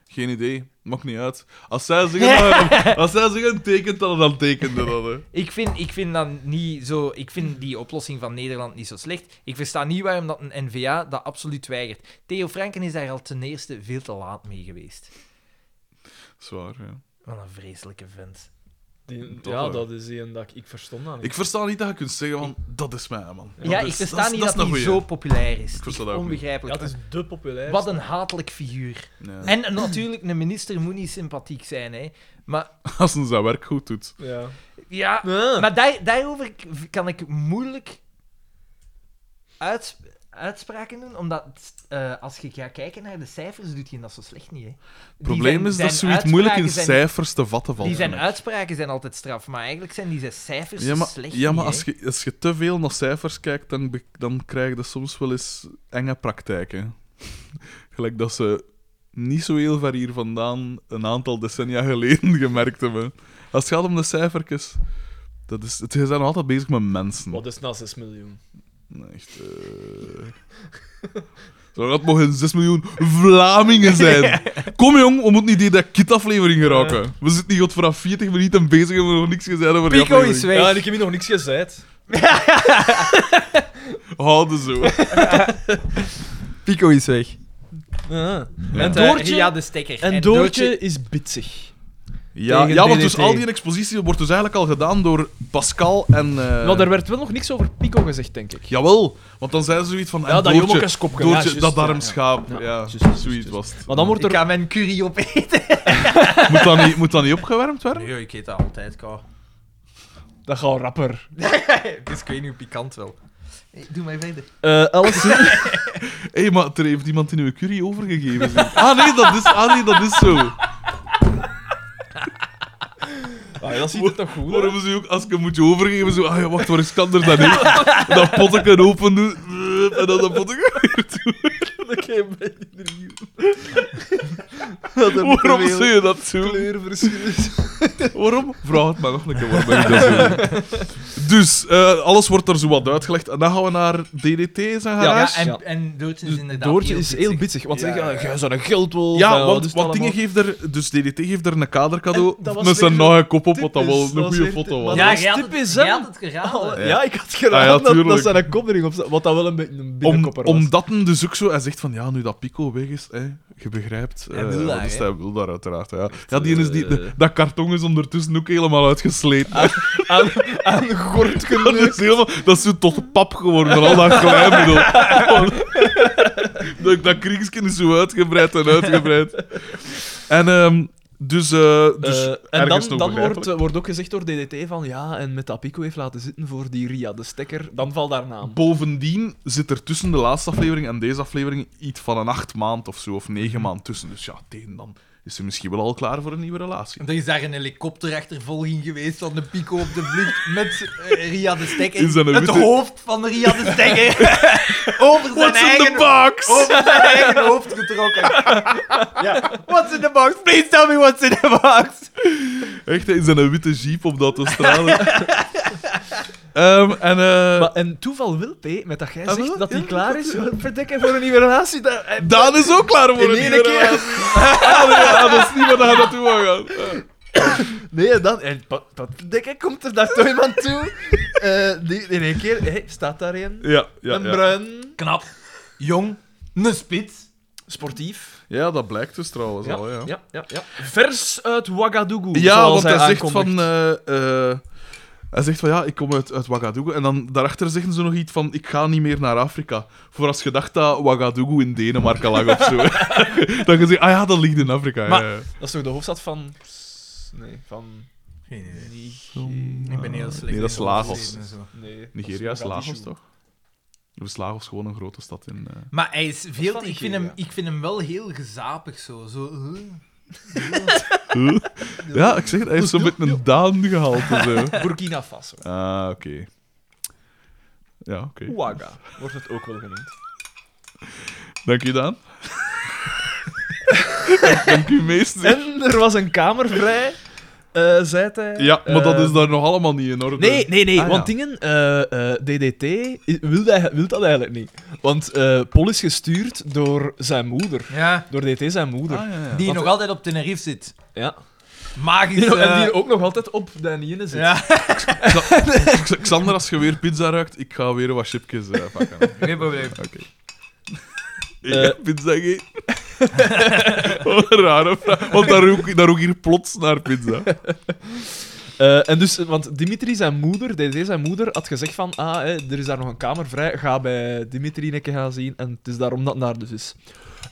S1: Geen idee, maakt niet uit. Als zij zeggen, als zij zeggen tekent dan, dan tekende dat. Hè.
S2: Ik vind, ik vind dat niet zo... Ik vind die oplossing van Nederland niet zo slecht. Ik versta niet waarom dat een NVA dat absoluut weigert. Theo Franken is daar al ten eerste veel te laat mee geweest.
S1: Zwaar, ja.
S2: Wat een vreselijke vent.
S3: Die-
S1: Toch,
S3: ja,
S1: hoor.
S3: dat is die en dat ik, ik verstond dat niet.
S1: Ik versta niet dat je kunt zeggen van, dat is mij, man.
S2: Ja,
S1: Dat
S2: ik
S1: is-
S2: versta
S1: dat is-
S2: niet
S1: dat
S2: dat,
S1: is een
S2: hij
S1: goeie.
S2: zo populair is.
S1: versta
S2: Echt
S1: dat ook niet.
S3: Ja,
S2: onbegrijpelijk.
S3: het is de populair.
S2: Wat een hatelijk figuur.
S1: Ja.
S2: En een- natuurlijk, een minister moet niet sympathiek zijn, hè. Maar
S1: Als ze zijn werk goed doet.
S3: Ja.
S2: ja,
S3: Maar...
S2: maar daar, daarover k- kan ik moeilijk uits- uitspraken doen, omdat eh, als je gaat kijken naar de cijfers, doet je dat zo slecht niet, hè.
S1: Het probleem is dat zoiets moeilijk in cijfers te vatten valt.
S2: Die zijn
S1: vind ik.
S2: uitspraken zijn altijd straf, maar eigenlijk zijn die zijn cijfers
S1: ja, maar,
S2: slecht
S1: ja,
S2: niet,
S1: maar
S2: hè.
S1: als, je, als je te veel naar cijfers kijkt, dan, be- dan krijg je soms wel eens enge praktijken. Gelijk dat ze niet zo heel ver hier vandaan een aantal decennia geleden gemerkt hebben. Als het gaat om de cijfertjes, dat is, het, je zijn nog altijd bezig met mensen.
S3: Wat is nou 6 miljoen?
S1: Nee, Echt, eh. Zou dat mogen 6 miljoen Vlamingen zijn? Kom jong, we moeten niet die dat kitaflevering geraken. We zitten hier tot vanaf 40 minuten bezig en we hebben nog niks gezegd over die
S2: Pico is
S1: aflevering.
S2: weg.
S3: Ja, en ik heb hier nog niks gezegd.
S1: Houden zo.
S2: Pico is weg.
S3: Ja.
S1: En
S3: En
S1: Doortje-
S3: Doortje...
S2: eh, Ja, de stekker.
S3: En Doortje is bitsig.
S1: Ja,
S3: Tegen
S1: ja want
S3: DDT.
S1: dus al die expositie wordt dus eigenlijk al gedaan door Pascal en... eh,
S3: Nou, daar werd wel nog niks over Pico gezegd, denk ik.
S1: Jawel, want dan zijn ze zoiets van... en
S3: dat
S1: Doortje,
S3: jommekeskopje. Ja,
S1: Doortje,
S3: juist,
S1: dat
S3: ja, ja.
S1: darmschaap. Ja,
S3: Ja, juist, juist,
S1: zoiets
S3: juist.
S1: was het.
S3: Maar dan wordt
S2: Ik
S3: er...
S2: ga mijn curry opeten.
S1: moet, dat niet, moet dat niet opgewermd worden?
S2: Nee, ik eet dat altijd, kou.
S3: Dat gaat rapper.
S2: Dus ik weet niet hoe pikant wel. Doe mij verder.
S3: Eh alles...
S1: Hé, hey, maar er heeft iemand in uw curry overgegeven. zie ik. Ah nee, dat is, ah, nee, dat is zo.
S3: Ah, dat ziet er toch goed
S1: Waarom
S3: uit?
S1: ze ook, als ik hem moet je overgeven, zo... Ah ja, wacht, waar is Kander dan heen? Dat potje open doen. eh, En dan dat potje... Waarom
S3: veel
S1: zie je dat zo?
S3: kleurverschillen?
S1: Waarom? Vraag het mij nog een keer. Waarom ben ik dat zo? doen? Dus, eh, alles wordt er zo wat uitgelegd. En dan gaan we naar DDT, zijn
S3: Ja,
S1: garage.
S2: en,
S3: ja.
S2: en Doortje is inderdaad
S3: Doortje is heel
S2: bitter.
S3: bitsig, want ze
S2: Ja,
S3: zeggen,
S2: ja.
S3: jij zou een geldwolf.
S1: Ja,
S3: en wat
S1: want,
S3: is het
S1: want dingen
S3: allemaal?"
S1: geeft er... Dus DDT geeft er een kadercadeau
S3: En dat was
S1: met zijn
S3: weer
S1: nage kop op, wat dat wel
S3: typisch,
S1: een
S3: dat was
S1: goede
S3: weer
S1: foto
S3: typisch.
S1: was.
S3: Ja,
S2: Ja,
S3: dat
S2: je
S3: is
S2: had het,
S3: typisch,
S2: je
S3: hè?
S2: had het geraden.
S3: Ja, ik had gedaan
S1: Ah, ja,
S3: dat,
S1: tuurlijk.
S3: dat zijn een kop erop zat, wat dat wel een beetje een
S1: Om,
S3: binnenkopper was.
S1: omdat hem dus ook zo... Hij zegt van, ja, nu dat Pico weg is, hè, je begrijpt.
S2: Hij
S1: eh,
S2: wil daar,
S1: dus
S2: hè?
S1: hij wil daar uiteraard. Ja, ja die is die,
S3: eh.
S1: dat karton is ondertussen ook helemaal uitgesleten.
S3: Aan, aan gortken.
S1: Dat is, helemaal, dat is zo tot pap geworden, al dat glijmiddel. dat, dat kringsken is zo uitgebreid en uitgebreid. En ehm, dus... eh, dus
S3: Eh, en
S1: ergens
S3: dan,
S1: nog
S3: dan wordt, eh, wordt ook gezegd door DDT van ja, en met dat Pico heeft laten zitten voor die Ria de stekker, dan valt daar naam.
S1: Bovendien zit er tussen de laatste aflevering en deze aflevering iets van een acht maand of zo, of
S3: Mhm.
S1: negen maand tussen. Dus ja, tegen dan is ze misschien wel al klaar voor een nieuwe relatie.
S2: Er is daar een helikopterachtervolging geweest van de Pico op de vlucht met eh, Ria de Stekker.
S1: Is dat een
S2: het
S1: witte-
S2: hoofd van Ria de Stekker over zijn
S1: What's in the
S2: eigen,
S1: box?
S3: Oh,
S2: over zijn eigen hoofd getrokken. ja. What's in the box? Please tell me what's in the box.
S1: Echt, hè, in zijn witte jeep op de autostrade. Ehm, en... eh,
S3: Maar, en toeval wil, P, met dat jij
S1: Ah,
S3: zegt
S1: wel?
S3: dat hij
S1: Ja,
S3: klaar is, verdekken voor een nieuwe relatie. Dat, eh,
S1: Daan is ook klaar voor
S3: In
S1: een
S3: één
S1: nieuwe
S3: keer.
S1: relatie. Ah, nee, ah, dat is niet waar hij naartoe wou gaan. Eh,
S3: nee, dan, en, pa- pa- verdekken komt er daar toch iemand toe. Eh, die, in één keer, hé, staat daar een.
S1: Ja, ja,
S3: een
S1: ja.
S3: bruin.
S2: Knap, jong, een spits.
S3: Sportief.
S1: ja, dat blijkt dus trouwens
S3: Ja,
S1: al, ja.
S3: ja, ja, ja. Vers uit Ouagadougou.
S1: Ja,
S3: zoals
S1: want hij, zegt
S3: aankondigt.
S1: van... eh, eh, hij zegt van, ja, ik kom uit, uit Ouagadougou. En dan daarachter zeggen ze nog iets van, ik ga niet meer naar Afrika. Voor als je dacht dat Ouagadougou in Denemarken lag of zo. dan je zegt, ah ja, dat ligt in Afrika. ja,
S3: Maar-
S1: ja.
S3: Dat is toch de hoofdstad van. Nee, van.
S2: Geen idee.
S3: Nigeria.
S2: Ik ben heel slecht.
S1: Nee, dat is
S2: in
S1: Lagos.
S2: en zo.
S3: Nee,
S1: Nigeria is Lagos,
S3: Mogadishu.
S1: toch? Of is Lagos gewoon een grote stad in... eh,
S2: Maar hij is veel...
S3: van
S2: Ik vind, hem,
S3: Nigeria.
S2: ik vind hem wel heel gezapig zo. zo eh.
S1: Ja, ik zeg het, hij heeft zo met een Daan gehaald en zo.
S2: eh.
S3: Burkina Faso.
S1: Ah, oké. Ja, oké.
S3: Ouaga wordt het ook wel genoemd.
S1: Dank je, Daan. Dank u, meester.
S3: En er was een kamer vrij, eh zei hij.
S1: Ja, maar dat is
S3: Eh,
S1: daar nog allemaal niet in orde.
S3: Nee, nee, nee,
S1: Ah,
S3: want
S1: ja.
S3: dingen, eh, eh, DDT i- wil, dat- wil dat eigenlijk niet. Want eh Paul is gestuurd door zijn moeder.
S2: Ja.
S3: Door DDT zijn moeder.
S1: Ah, ja, ja.
S2: Die
S3: Want-
S2: nog altijd op Tenerife zit.
S3: Ja.
S2: Magisch.
S3: Die, en
S2: eh,
S3: die ook nog altijd op Daniëne zit.
S2: ja.
S1: X- Xander, als je weer pizza ruikt, ik ga weer wat chipjes eh, pakken. Oké.
S2: Geen probleem.
S1: Ik
S3: Eh.
S1: heb pizza gegeten. Wat een rare vraag. Want daar rook, daar rook hier plots naar pizza.
S3: Eh, en dus, eh, want Dimitri, zijn moeder, DDT, zijn moeder, had gezegd van, ah, hè, er is daar nog een kamer vrij, ga bij Dimitri een keer gaan zien. En het is daarom dat het naar dus is.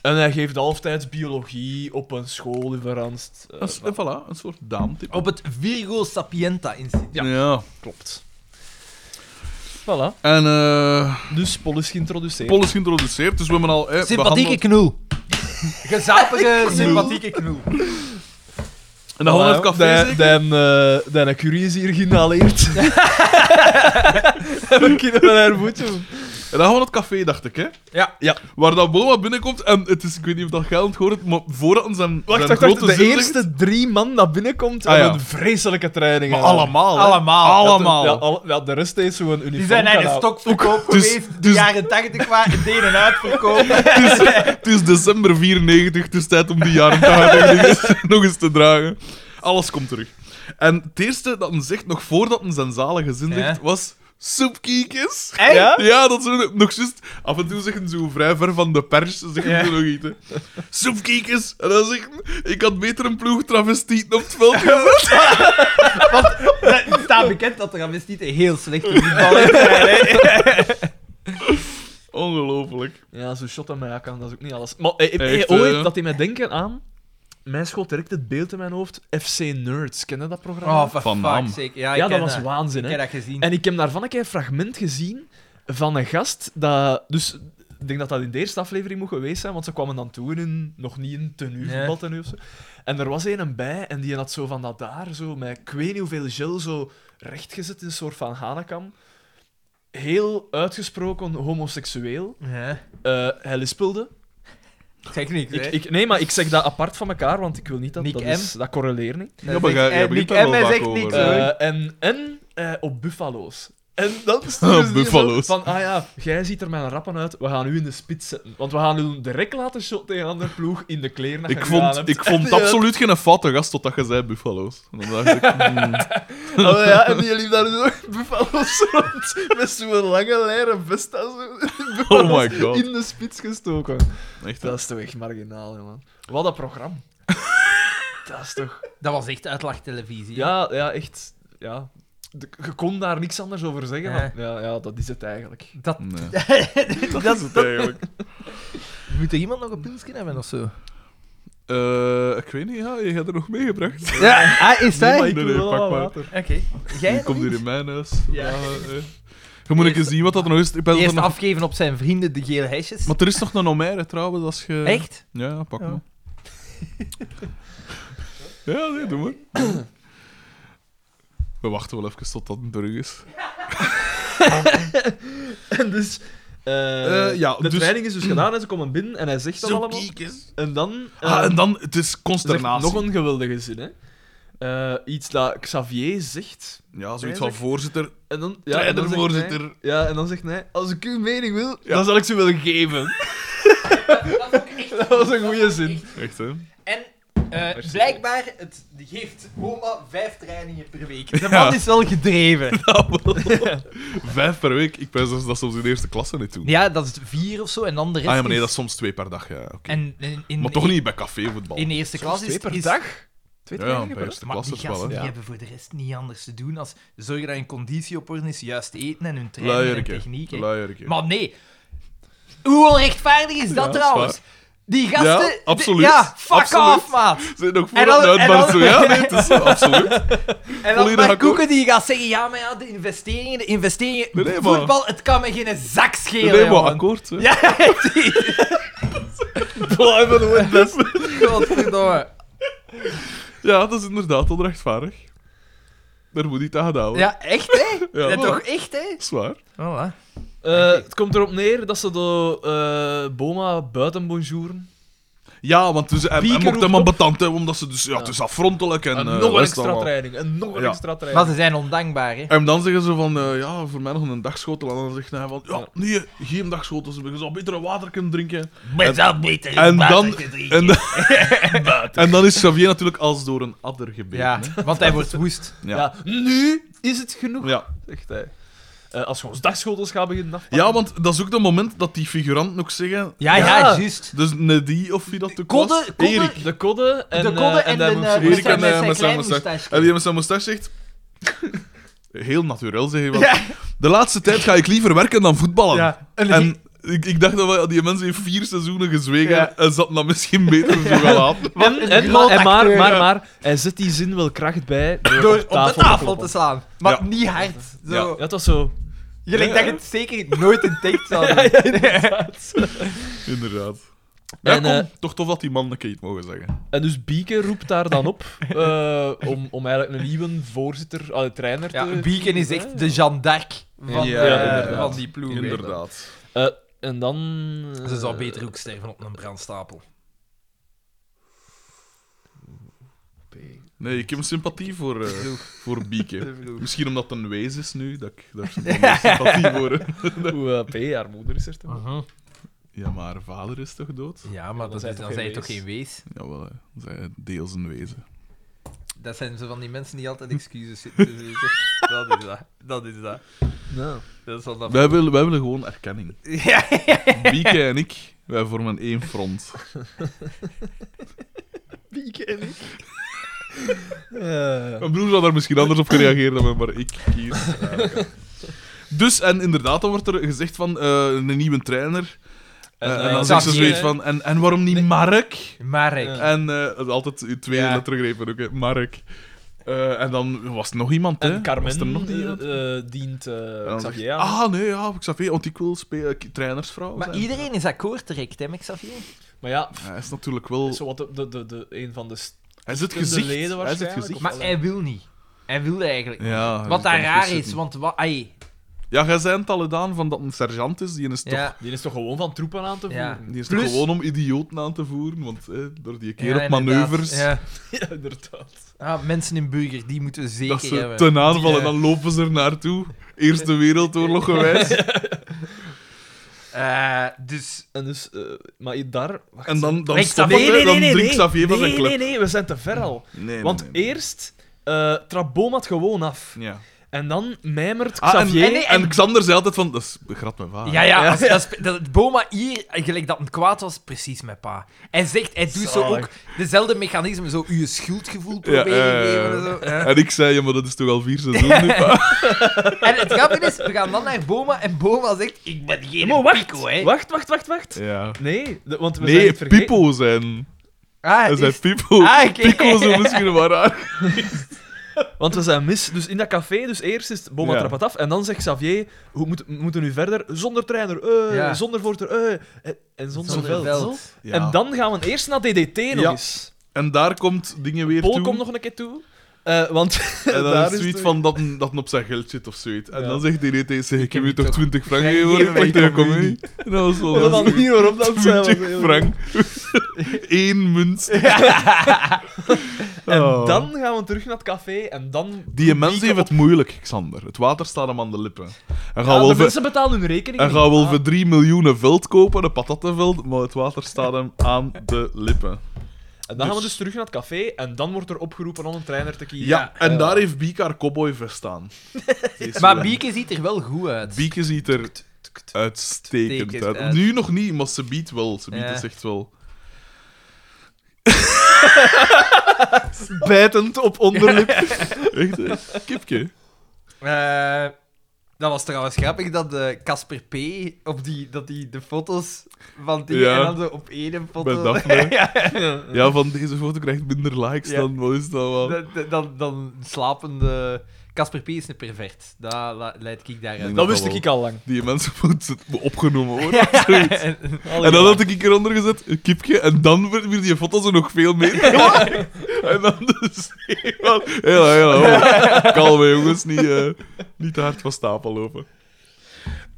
S3: En hij geeft halftijds biologie op een school in Verranst. Eh,
S1: Dat is- en voilà, een soort daamtip.
S2: Op het Virgo Sapienta Instituut.
S3: Ja. Klopt. Voilà.
S1: En eh
S3: Dus Paul is geïntroduceerd.
S1: Paul is geïntroduceerd, dus we hebben al... eh,
S2: Sympathieke
S1: behandeld-
S2: knoel. Gezapige, sympathieke knoel.
S1: En dan gaan we naar het café, zeker?
S3: Dan, eh, dan een curie is hier geïnhaleerd. En we kunnen wel haar voet doen.
S1: En dan gaan we naar het café, dacht ik, hè?
S2: Ja.
S3: Ja.
S1: Waar dat Boma binnenkomt, en het is, ik weet niet of dat jij het hoort, maar voordat zijn, zijn
S3: Wacht, wacht, wacht.
S1: grote
S3: De
S1: zin ligt-
S3: eerste drie man dat binnenkomt,
S1: Ah,
S3: hebben
S1: ja.
S3: een vreselijke training.
S1: Maar
S3: gedaan.
S1: allemaal, hè?
S2: Allemaal.
S1: Allemaal. oh,
S3: Ja, al- ja, de rest heeft zo'n uniform.
S2: Die zijn naar de
S3: kanaal.
S2: stokverkoop
S1: Dus-
S2: geweest. De
S1: dus-
S2: jaren 80 waren deden en uitverkoop.
S1: het, is, het is december 94, het is tijd om die jaren 80 nog eens- nog eens te dragen. Alles komt terug. En het eerste dat hij zegt, nog voordat hij zijn zalige zin
S2: Ja.
S1: zegt, was... Soepkiekjes.
S2: Echt?
S3: Ja?
S1: Ja, dat is nog juist. Af en toe zeggen ze vrij ver van de pers. Ze zeggen
S2: Ja.
S1: ze nog iets. hè. Soepkiekjes. En dan zegt hij, ik had beter een ploeg travestieten op het veld gezet.
S2: Het staat bekend dat travestieten heel slecht in voetballen zijn. hè.
S1: Ongelooflijk.
S3: Ja, zo'n shot aan mij kan, dat is ook niet alles. Maar eh, eh,
S1: Echt,
S3: ooit
S1: eh.
S3: dat hij mij denken aan... Mij schoot direct het beeld in mijn hoofd. FC Nerds, ken je dat programma?
S2: Oh, for
S1: Van
S2: fuck's
S1: naam.
S2: sake. Ja, ik
S3: ja,
S2: ken
S3: dat was waanzin,
S2: Ik
S3: hè.
S2: heb dat gezien.
S3: En ik heb daarvan een keer een fragment gezien van een gast dat... Dus ik denk dat dat in de eerste aflevering moet geweest zijn, want ze kwamen dan toe in nog niet in tenue,
S2: Nee.
S3: voetbaltenue of zo. En er was een een bij en die had zo van dat daar, zo met ik weet niet hoeveel gel, zo rechtgezet in een soort van hanekam. Heel uitgesproken homoseksueel.
S2: Ja.
S3: Eh, hij lispelde.
S2: Zeg niks, hè.
S3: Ik, ik, nee, maar ik zeg dat apart van elkaar, want ik wil niet dat
S2: Nick
S3: dat,
S2: M.
S3: is, dat correleert niet.
S1: Ja, maar jij- jij
S2: Eh,
S1: begint
S2: Nick
S1: daar wel eh.
S2: M, hij
S1: vaak
S2: zegt
S1: over,
S2: niks.
S1: hè.
S2: hoor.
S3: Eh, en en eh, op buffalo's. En dan sturen ze die
S1: Buffalo's.
S3: zo van, ah ja, jij ziet er mijn rappen uit, we gaan u in de spits zetten. Want we gaan u direct laten shot tegen een andere ploeg in de kleren dat je
S1: Ik
S3: gedaan
S1: vond,
S3: hebt.
S1: ik vond
S3: En
S1: het
S3: die-
S1: absoluut geen fatte gast totdat je zei Buffalo's. En dan dacht ik, hmm,
S3: Oh ja, en die liep daar zo buffalo's rond met zo'n lange leren vest aan zo,
S1: oh my god.
S3: in de spits gestoken.
S1: Echt, hè?
S3: Dat is toch echt marginaal, hè, man. Wat een programma. Dat is toch...
S2: Dat was echt uitlachtelevisie. hè?
S3: Ja, ja, echt. Ja. De- je kon daar niks anders over zeggen.
S2: Nee.
S3: dan- Ja, ja, dat is het eigenlijk.
S2: Dat...
S1: Nee.
S2: dat,
S1: Dat is het eigenlijk.
S2: Moet er iemand nog een pilsje hebben of zo?
S1: Eh, ik weet niet, ja, je hebt er nog meegebracht.
S2: Ja, ah, is
S3: Nee,
S2: hij?
S3: maar ik
S1: Nee,
S3: wil
S1: nee,
S3: wel
S1: pak
S3: wat
S1: maar.
S3: water.
S2: Oké. Jij
S1: Die komt
S2: nog
S1: hier
S2: iets?
S1: in mijn huis.
S2: Ja.
S1: Ja. eh. Je moet even
S2: Eerst-
S1: zien wat dat nog is. Ik ben er
S2: Eerst
S1: nog...
S2: afgeven op zijn vrienden de gele hesjes.
S1: Maar eh, er is nog een Omer, trouwens, als je...
S2: Echt?
S1: Ja, ja, pak
S2: Ja.
S1: maar. ja, nee, doe maar. We wachten wel even tot dat een brug is.
S3: En dus... eh,
S1: Eh, ja,
S3: de
S1: dus-
S3: training is dus gedaan en ze komen binnen en hij zegt dat allemaal.
S1: eens.
S3: En dan...
S1: Ah,
S3: eh,
S1: en dan, het is
S3: zegt
S1: consternatie.
S3: nog een geweldige zin, hè. Eh, iets dat Xavier zegt.
S1: Ja, zoiets van
S3: Eigenlijk-
S1: voorzitter.
S3: En dan, ja, en dan
S1: Trainer,
S3: zegt hij-
S1: voorzitter.
S3: ja, en dan zegt hij, als ik uw mening wil,
S1: Ja.
S3: dan zal ik ze wel geven. dat was een goede zin.
S1: Echt, hè?
S2: En eh, blijkbaar, het geeft Homa vijf trainingen per week. De man
S1: Ja.
S2: is wel gedreven.
S1: Vijf per week. Ik ben zelfs dat soms in de eerste klasse niet doen.
S2: Ja, dat is vier of zo. En dan de rest
S1: ah ja, maar nee,
S2: is-
S1: dat is soms twee per dag. Ja, oké.
S2: En in, in,
S1: maar toch niet bij cafévoetbal.
S2: in eerste klas is...
S3: Twee per
S2: is-
S3: dag? Twee
S1: Ja, ja,
S3: trainingen
S1: bij
S3: per dag?
S1: eerste
S2: Maar die
S1: klasse
S2: gasten
S1: wel, hè.
S2: die
S3: Ja.
S2: hebben voor de rest niet anders te doen als zorgen dat hun conditie op orde is, juist eten en hun training en
S1: Luierke.
S2: techniek. hè.
S1: Luierke.
S2: Maar nee, hoe onrechtvaardig is dat
S1: dat is
S2: trouwens? Die gasten...
S1: Ja, absoluut.
S2: de- ja, fuck
S1: Absoluut.
S2: off, maat.
S1: Zijn ook voor
S2: En dan-
S1: het
S2: en dan-
S1: uitbarsten. Ja, nee, het is absoluut.
S2: En dan
S1: Volledig
S2: maar
S1: akkoord.
S2: Koeken die gaat zeggen, ja, maar ja, de investeringen, de investeringen,
S1: Nee, nee, maar-
S2: voetbal, het kan me geen zak schelen,
S1: Nee, maar
S2: jongen.
S1: akkoord. hè.
S2: Ja,
S3: Blijven doen, best.
S2: godverdomme.
S1: Ja, dat is inderdaad onrechtvaardig. Daar moet iets aan gedaan worden.
S2: Ja, echt, hè?
S1: Ja,
S2: dat
S1: maar-
S2: toch echt, hè?
S1: Dat is waar.
S2: Voilà.
S3: Eh, het komt erop neer dat ze de eh, Boma buiten bonjouren.
S1: Ja, want dus, hij, hij
S3: Pieken
S1: mocht
S3: roept
S1: hem aan
S3: op.
S1: betant hebben, omdat ze dus... Ja,
S3: Ja.
S1: het is afrontelijk en...
S3: En,
S1: eh,
S3: nog een
S1: rest
S3: extra
S1: allemaal.
S3: training. En nog een
S1: Ja.
S3: extra
S2: Maar
S3: training.
S2: ze zijn ondankbaar, hè?
S1: En dan zeggen ze van, eh, ja, voor mij nog een dagschotel. En dan zegt hij van, ja,
S3: Ja.
S1: nee, geen dagschotel. Ze zou beter een water kunnen drinken.
S2: Maar dat beter
S1: en
S2: water
S1: dan-
S2: te drinken.
S1: En, en dan is Xavier natuurlijk als door een adder gebeten.
S2: Ja,
S1: hè.
S2: want hij wordt woest.
S1: Ja.
S3: Ja, nu is het genoeg,
S1: ja.
S3: zegt hij. Eh, als we ons dagschotels gaan beginnen afpakken.
S1: Ja, want dat is ook dat moment dat die figuranten ook zeggen...
S2: Ja, ja,
S3: Ja.
S2: juist.
S1: Dus Nedie, of wie dat ook
S2: Kodde-
S1: was.
S2: Kodde-
S1: Erik.
S3: De kodde en...
S2: de
S3: eh,
S2: kodde en,
S3: daar
S2: de...
S3: moet
S2: eh,
S3: ze-
S1: Erik
S2: moest hij
S1: en, eh,
S2: met
S1: met
S2: zijn
S1: zijn
S2: moustache.
S1: En die met zijn moustache zegt... Heel natuurlijk zeg je wel. De laatste tijd ga ik liever werken dan voetballen.
S3: Ja.
S1: En, ik, ik dacht dat we- die mensen in vier seizoenen gezwegen
S3: Ja.
S1: en zat dan misschien beter zo wel aan.
S3: En,
S2: een
S3: en-
S2: groot
S3: en maar,
S2: acteur,
S3: maar,
S2: ja.
S3: maar, hij zet die zin wel kracht bij door,
S2: Door op de tafel te
S3: kloppen.
S2: slaan. Maar
S1: Ja.
S2: niet hard. Zo.
S3: Ja, dat was zo.
S2: Je denkt dat je het zeker nooit in tekst zou doen.
S1: Inderdaad. Ja,
S3: En,
S1: kom,
S3: eh,
S1: toch tof dat die mannen een keer iets mogen zeggen.
S3: En dus Bieke roept daar dan op eh, om, om eigenlijk een nieuwe voorzitter, eh, trainer
S2: Ja,
S3: te...
S2: Beacon is echt de Jeanne d'Arc van,
S1: Ja,
S2: eh,
S3: inderdaad.
S2: van die ploeg. hè.
S1: Inderdaad.
S3: Eh, en dan... eh,
S2: Ze zou beter ook sterven op een brandstapel.
S1: Nee, ik heb een sympathie voor, eh, voor Bieke. Misschien omdat het een wees is nu, dat ik daar sympathie- sympathie voor heb.
S3: Hoe eh, P, haar moeder is er toch?
S2: Mhm.
S1: Ja, maar haar vader is toch dood?
S2: Ja, maar dat
S3: zijn
S2: is,
S3: toch
S2: dan
S3: geen
S2: zijn je toch
S3: wees?
S2: geen wees?
S1: Jawel, hè. zij deels een wezen.
S2: Dat zijn zo van die mensen die altijd excuses zitten te zoeken. Dat is dat. Dat is dat.
S3: Nou.
S2: Dat is wel dat.
S1: Wij willen, wij willen gewoon erkenning.
S2: Ja,
S1: Bieke en ik, wij vormen één front.
S3: Bieke en ik. Eh,
S1: Mijn broer zou daar misschien anders op gereageerd hebben, maar ik kies. Dus, en inderdaad, dan wordt er gezegd van eh, een nieuwe trainer. Eh, en,
S3: eh,
S1: dan
S2: Xavier,
S1: zegt ze zoiets
S3: hè?
S1: van, en, en waarom niet Mark?
S2: Marek.
S3: Ja.
S1: En eh, altijd in twee
S2: Ja.
S1: lettergrepen ook, hè. Mark. Eh, en dan was er nog iemand, hè?
S3: En Carmen
S1: was er nog
S3: eh,
S1: iemand?
S3: eh, dient
S1: En
S3: eh
S1: dan zegt-
S3: Xavier aan.
S1: Ah, nee, ja, Xavier, want ik wil spelen, eh, trainersvrouw
S2: Maar
S1: zijn.
S2: iedereen is akkoord direct, hè, met Xavier?
S3: Maar ja,
S1: Hij is natuurlijk wel...
S3: zo wat de, de, de, de, een van de... st-
S1: Hij zit
S3: de
S1: gezicht.
S3: leden
S1: Hij zit
S3: waarschijnlijk,
S1: gezicht.
S3: of-
S2: Maar hij wil niet. Hij wil eigenlijk niet.
S1: Ja,
S2: Wat
S1: dat
S2: daar
S1: kan
S2: raar
S1: goed
S2: is,
S1: zitten.
S2: want... wa- ai,
S1: Ja, jij zei het al gedaan van dat een sergeant is, die is toch...
S2: Ja.
S3: Die is toch gewoon van troepen aan te
S2: Ja.
S3: voeren?
S1: Die is
S2: Plus-
S1: toch gewoon om idioten aan te voeren, want eh, door die keer
S2: Ja,
S1: op
S2: inderdaad.
S1: manoeuvres...
S2: Ja.
S3: Ja, inderdaad.
S2: Ah, mensen in burger, die moeten we zeker
S1: Dat ze
S2: hebben.
S1: ten aanval en
S2: Die,
S1: dan lopen ze er naartoe. Eerste Wereldoorlog gewijs.
S2: eh, eh, dus...
S3: En dus, eh, maar je daar... wacht,
S1: En dan, dan
S2: Nee,
S1: stopt
S2: Xavier,
S1: het,
S2: nee,
S1: hè. dan
S3: nee,
S1: drinkt Xavier van
S3: nee,
S1: zijn club.
S3: nee, nee, we zijn te ver al.
S1: Nee,
S3: Want
S1: nee, nee.
S3: eerst eh trapt Boom het gewoon af.
S1: Ja.
S3: En dan mijmert
S1: Ah, en,
S3: Xavier...
S2: en nee,
S1: en Xander zei altijd van, dat is begrat mijn vader.
S2: Ja, ja,
S3: Ja.
S2: als- dat is- dat, Boma hier, gelijk dat een kwaad was, precies mijn pa. Hij zegt, hij doet zo
S3: Zalig.
S2: ook dezelfde mechanisme, zo je schuldgevoel
S1: Ja,
S2: proberen te
S1: eh,
S2: geven en zo. Ja.
S1: En ik zei, ja, maar dat is toch al vier seizoenen nu, pa?
S2: En het grappige is, we gaan dan naar Boma en Boma zegt, ik ben geen
S3: Maar wacht,
S2: pico, hè.
S3: wacht, wacht, wacht, wacht.
S1: Ja.
S3: Nee, de- want we zijn
S1: eh- Nee,
S3: het vergeten.
S1: Pipo zijn.
S2: Ah,
S1: Hij
S2: is-
S1: zei Pipo.
S2: Ah, oké.
S1: Pico zo misschien wel raar.
S3: Want we zijn mis. Dus in dat café, dus eerst is het Boma
S1: Ja.
S3: trapt het af. En dan zegt Xavier, hoe moet, we moeten nu verder? Zonder trainer, eh,
S2: Ja.
S3: zonder voorter, eh, en, en zonder,
S2: Zonder
S3: veld.
S2: veld.
S1: Ja.
S3: En dan gaan we eerst naar DDT nog
S1: Ja.
S3: eens.
S1: En daar komt dingen weer
S3: Pol
S1: toe.
S3: komt nog een keer toe. Eh, want
S1: En dan
S3: daar
S1: is het zoiets
S3: de-
S1: van dat een- dat een op zijn geld zit of zoiets. En
S3: Ja.
S1: dan zegt die DT, zeg, ik
S2: heb
S1: heb je
S2: je
S1: toch
S2: toch
S1: 20 frank
S2: frank
S1: gegeven?
S2: gegeven
S1: Ik
S2: bij
S1: dacht, kom mee. En dat was wel
S3: De
S1: dat was
S3: manier waarop dat zei was
S1: 20
S3: heel-
S1: frank. Eén munt.
S3: En
S1: Oh.
S3: dan gaan we terug naar het café en dan...
S1: Die mensen
S3: pieken
S1: heeft
S3: op-
S1: het moeilijk, Xander. Het water staat hem aan de lippen. Hij gaat
S3: Ja, de
S1: wel voor-
S3: mensen betalen hun rekening
S1: hij
S3: niet.
S1: gaat wel
S3: Ah.
S1: voor 3 miljoen een veld kopen, een patatenveld, maar het water staat hem aan de lippen.
S3: En dan gaan we
S1: Dus-
S3: dus terug naar het café en dan wordt er opgeroepen om een trainer te kiezen.
S1: Ja, en
S3: Eh,
S1: daar heeft Biek haar cowboyvest aan. Die is
S2: Maar
S1: wel-
S2: Bieke ziet er wel goed uit.
S1: Bieke ziet er uitstekend
S2: Uitstekend
S1: uit.
S2: uit.
S1: Nu nog niet, maar ze biedt wel. Ze biedt
S2: Ja.
S1: is echt wel... Bijtend op onderlip. Echt, hè? kipje.
S2: Eh, dat was trouwens grappig dat eh, Casper P. op die, dat die de foto's van die
S1: Ja.
S2: en dan zo op één foto.
S1: Bij Daphne.
S2: ja,
S1: Ja, van deze foto krijgt minder likes
S2: Ja.
S1: dan... Wat is dat wel?
S2: dat- dat- dan, dan slapende. Casper P. is een pervert. Dat la- leid ik daaruit.
S1: Dat
S3: Dat wist
S1: wel.
S3: ik al lang.
S1: Die mensen moeten opgenomen worden. of zoiets.
S3: Al
S1: En dan
S3: heel
S1: had ik eronder gezet, een kipje, en dan werd weer die foto's er nog veel meer gemaakt. En dan dus... Heel, heel, heel. Kalm, hè, jongens. Niet, eh, niet te hard van stapel lopen.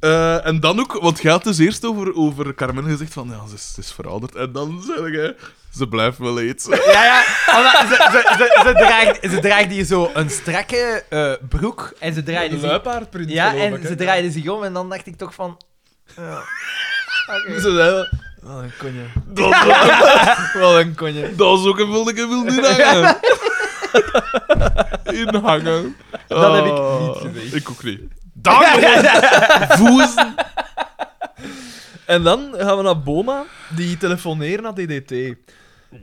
S1: Eh, en dan ook, want je had dus eerst over, over Carmen gezegd van, ja, ze is, ze is verouderd. En dan zeg je, ze blijft wel iets.
S2: Ja, ja. omdat ze, ze, ze, ze, draagt, ze draagt hier zo een strakke eh, broek. En ze
S3: lang.
S2: draaide
S3: Een
S2: zich,
S3: luipaardprint,
S2: ja,
S3: geloof
S2: en
S3: ik,
S2: ze
S3: hè.
S2: draaide zich om. En dan dacht ik toch van. ja. Oké.
S3: Ze zei wel, Wat een konje.
S1: Dat, dat,
S3: Wat een konje.
S1: dat is ook een wilde, ik wil niet hangen. Inhangen.
S2: Dat heb ik
S1: Ah,
S2: niet gezegd.
S1: Ik ook niet. Daar, voezen.
S3: En dan gaan we naar Boma, die telefoneert naar DDT.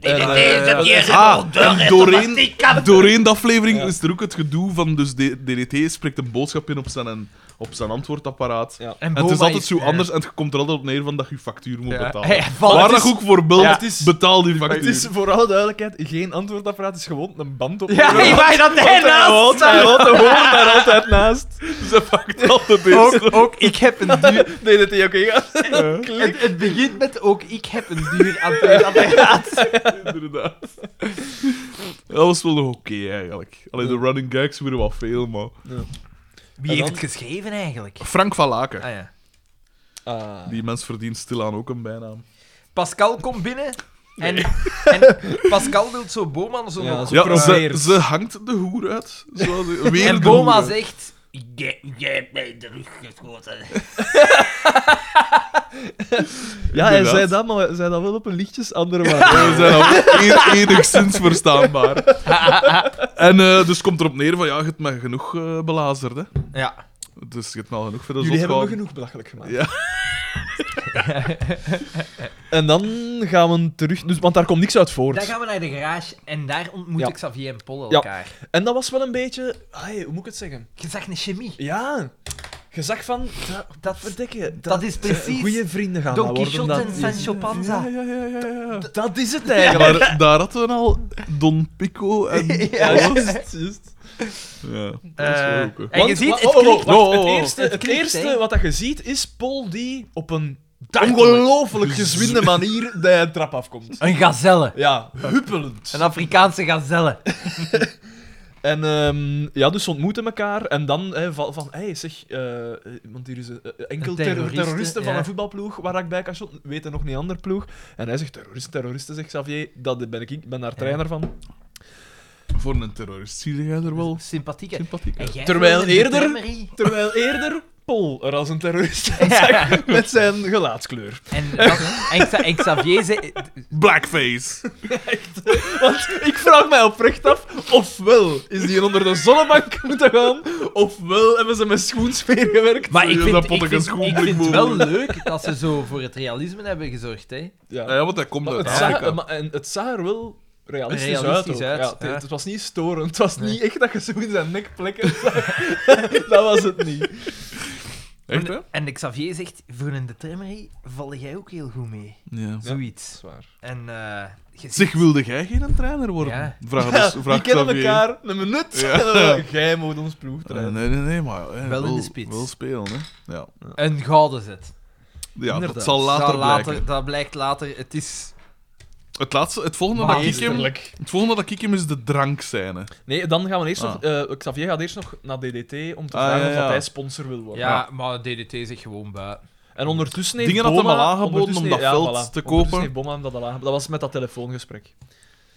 S3: En, eh,
S1: Ah, en doorheen, doorheen de aflevering is er ook het gedoe van... Dus D- DDT spreekt een boodschap in op zijn, op zijn antwoordapparaat.
S3: Ja.
S1: En het
S2: Boma
S1: is altijd
S2: is-
S1: zo
S2: ja.
S1: anders en het komt er altijd op neer van dat je factuur moet
S2: Ja.
S1: betalen.
S2: Hey, van-
S1: Waar
S2: het
S1: dat
S2: is-
S1: ook voor belt,
S3: Ja, het is-
S1: betaal die
S3: Maar het
S1: factuur.
S3: is voor alle duidelijkheid geen antwoordapparaat, het is gewoon een band op.
S2: Ja, je mag dat
S3: Want hij houdt- Hij
S2: daarnaast.
S3: houdt de hoorn daar altijd naast.
S1: Ze pakt altijd deze.
S2: Ook, ook ik heb een duur.
S3: DDT, oké, ja.
S2: Het, het begint met ook ik heb een duur antwoordapparaat.
S1: Inderdaad. Dat was wel nog oké, eigenlijk. Alleen de running gags weer wat veel, maar...
S2: Wie
S3: En
S2: heeft
S3: dan?
S2: het geschreven eigenlijk?
S1: Frank van Laken.
S2: Ah, ja.
S3: Ah.
S1: Die mens verdient stilaan ook een bijnaam.
S2: Pascal komt binnen. En, en Pascal wil zo Boma zo
S3: Ja,
S2: nog-
S3: zo-
S1: Ja, ze,
S3: Geprobeerd.
S1: ze hangt de hoer uit. Zoals, weer
S2: En
S1: de
S2: Boma
S1: hoer.
S2: zegt... "Jij- Jij hebt mij in de rug geschoten.
S3: Ja, hij
S1: Inderdaad.
S3: zei dat, maar hij zei dat wel op een lichtjes andere manier.
S1: We zijn al e- enigszins verstaanbaar. En eh, dus komt erop neer van, ja, je hebt me genoeg eh, belazerd, hè.
S2: Ja.
S1: Dus je hebt me al genoeg voor de
S3: Jullie
S1: zot gehouden.
S3: hebben me genoeg belachelijk gemaakt.
S1: Ja.
S3: en dan gaan we terug... Dus, want daar komt niks uit voort.
S2: Dan gaan we naar de garage en daar ontmoeten
S3: Ja.
S2: Xavier en Paul
S3: Ja.
S2: elkaar.
S3: En dat was wel een beetje... ai, hoe moet ik het zeggen?
S2: Je zag een chemie.
S3: Ja. Je zag van... Dat,
S2: Dat-
S3: verdikken.
S2: dat is precies
S3: Goede vrienden gaan
S2: Don
S3: dat worden.
S2: Quixote
S3: Dat,
S2: en Sancho Panza.
S1: Ja, ja, ja, ja, ja.
S3: dat is het eigenlijk.
S1: Maar daar hadden we al Don Pico en
S2: Ja.
S1: alles.
S3: Juist, juist.
S1: Ja, dat is
S2: Eh,
S1: wel ook, hè.
S2: en je
S3: Want-
S2: ziet,
S3: wa-
S2: het
S3: oh, oh,
S2: klinkt...
S3: wacht,
S1: Oh, oh, oh.
S3: Het eerste,
S2: Het
S3: het
S2: klinkt, hè.
S3: eerste wat dat je ziet is Paul die op een
S2: Dartelijk.
S3: ongelooflijk gezwinde manier de trap afkomt.
S2: Een gazelle.
S3: Ja, huppelend.
S2: Een Afrikaanse gazelle.
S3: En ehm, ja, dus ze ontmoeten elkaar. En dan hè, van, van hey, zeg, eh, eh, want hier is een, eh, enkel
S2: Een
S3: terroristen
S2: terroriste,
S3: van
S2: ja.
S3: een voetbalploeg waar ik bij kan shotten. Weet er nog niet ander ploeg. En hij zegt, terroristen, terroristen, zegt Xavier. Dat ben ik, ik ben daar trainer van.
S1: Voor een terrorist zie jij er wel
S2: Sympathiek. hè?
S1: sympathiek
S2: En
S1: uit.
S2: jij
S3: Terwijl
S2: wilde
S3: eerder-
S2: de Demerie.
S3: Terwijl eerder Paul er als een terrorist uitzag met zijn gelaatskleur.
S2: En, dat- en, Xa- en Xavier zei...
S1: Blackface!
S3: Want ik vraag mij oprecht af, ofwel is die onder de zonnebank moeten gaan, ofwel hebben ze met schoensfeer gewerkt.
S2: Maar ik
S1: dat
S2: vind, ik
S1: potje
S2: vind,
S1: schoon
S2: ik
S1: moet
S2: vind het
S1: worden.
S2: wel leuk dat ze zo voor het realisme hebben gezorgd. Hè.
S3: Ja.
S1: Ah, Ja, want hij komt
S3: Maar
S1: uit
S3: het, zag,
S1: Afrika.
S3: eh, maar- en het zag er wel realistisch, uit.
S2: Realistisch
S3: ook.
S2: uit,
S3: Ja, het,
S2: ja.
S3: het was niet storend. Het was
S2: Nee.
S3: niet echt dat je zo in zijn nek plekken zag. dat was het niet.
S1: Echt, hè?
S2: En Xavier zegt, voor een determinerie val jij ook heel goed mee.
S1: Ja.
S2: Zoiets.
S3: Zwaar.
S2: En eh je
S1: Zeg, wilde jij geen trainer worden?
S2: Ja.
S1: Vraag dus,
S3: die
S1: vraag
S3: kennen
S1: Xavier.
S3: elkaar een minuut.
S1: Ja.
S3: en dan zeggen we, Jij moet ons ploeg
S1: Eh,
S3: trainen.
S1: nee, nee, nee, maar... eh,
S2: Wel in de spits.
S1: Wel spelen, hè. Ja,
S2: ziet een gouden zet.
S1: ja dat
S3: Inderdaad.
S1: zal later,
S2: dat,
S1: blijken.
S2: dat blijkt later. Het is...
S1: Het, laatste, het, volgende dat ik hem,
S3: Meesterlijk.
S1: het volgende dat ik hem is de drankscène.
S3: Nee, dan gaan we eerst
S1: Ah.
S3: nog... eh, Xavier gaat eerst nog naar DDT om te
S1: Ah,
S3: vragen
S1: ja,
S3: of
S1: ja.
S3: dat hij sponsor wil worden.
S2: Ja, maar DDT zegt gewoon buiten.
S3: En ondertussen heeft
S1: Dingen had
S3: Boma...
S1: hem al aangeboden
S3: ondertussen
S1: om
S3: heeft-
S1: dat veld te
S3: ondertussen
S1: kopen.
S3: heeft Boma hem dat al aangeboden. Dat was met dat telefoongesprek.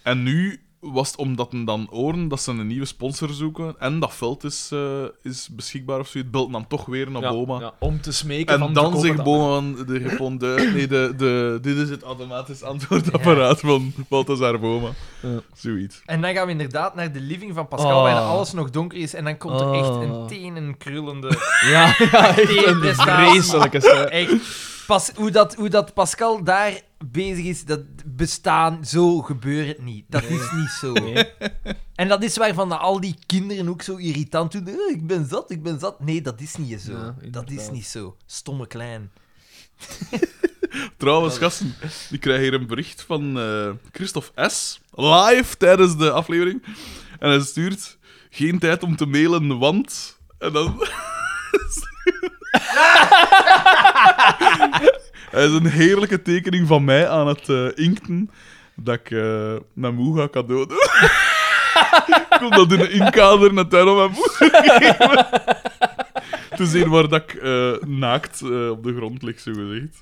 S1: En nu was het omdat hem dan horen dat ze een nieuwe sponsor zoeken en dat veld is, eh, is beschikbaar of zoiets, belt dan toch weer naar
S3: Ja,
S1: Boma.
S3: ja, om te smeken van
S1: En
S3: te
S1: dan
S3: kopen
S1: zegt
S3: dat-
S1: Boma van de geponde, nee, de, de, dit is het automatisch antwoordapparaat van Balthazar Boma.
S3: Ja.
S1: Zoiets.
S2: En dan gaan we inderdaad naar de living van Pascal,
S3: Oh.
S2: waarin alles nog donker is. En dan komt er echt een
S3: Oh.
S2: tenenkrullende...
S3: Ja, ja echt
S2: Die
S3: een
S2: prestatie.
S1: Ah.
S3: vreselijke scène.
S2: echt... Pas, hoe, dat, hoe dat Pascal daar bezig is, dat bestaan, zo gebeurt het niet. Dat is niet zo. En dat is waarvan dat al die kinderen ook zo irritant doen. "Eh, ik ben zat, ik ben zat. Nee, dat is niet zo.
S3: Ja,
S2: dat is
S3: inderdaad.
S2: niet zo. Stomme klein.
S1: Trouwens, gasten, ik krijg hier een bericht van eh Christophe S. Live tijdens de aflevering. En hij stuurt: Geen tijd om te mailen, want. En dan. Hij is een heerlijke tekening van mij aan het eh, inkten dat ik eh mijn moe ga cadeau doen. ik kom dat in een inkader naar tuin om mijn moe te geven. Te zien waar dat ik eh, naakt eh, op de grond lig, zo gezegd.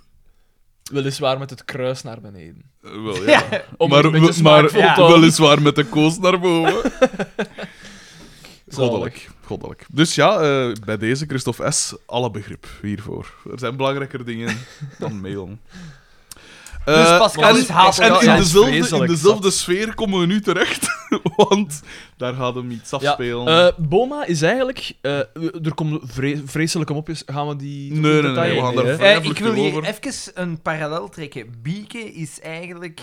S3: Weliswaar met het kruis naar beneden.
S1: Eh, wel, ja.
S3: Om
S1: maar
S3: het een beetje
S1: maar
S3: smaakvol te houden.
S1: weliswaar met de koos naar boven.
S3: Zalig.
S1: Goddelijk, goddelijk. Dus ja, eh, bij deze Christophe S. alle begrip hiervoor. Er zijn belangrijker dingen dan mailen.
S2: Dus
S1: Eh,
S2: Pascal
S1: en-
S2: is haat-
S1: En in
S2: Ja,
S1: dezelfde, in
S3: vreselijk
S1: dezelfde sfeer komen we nu terecht, want daar gaat hem iets
S3: Ja,
S1: afspelen.
S3: eh, Boma is eigenlijk... eh, er komen vre- vreselijke mopjes. Gaan we die...
S1: Nee, nee, nee,
S3: detail-
S1: we gaan
S3: hè?
S1: daar-
S2: Eh,
S1: Ja,
S2: ik wil hier
S1: over.
S2: even een parallel trekken. Bieke is eigenlijk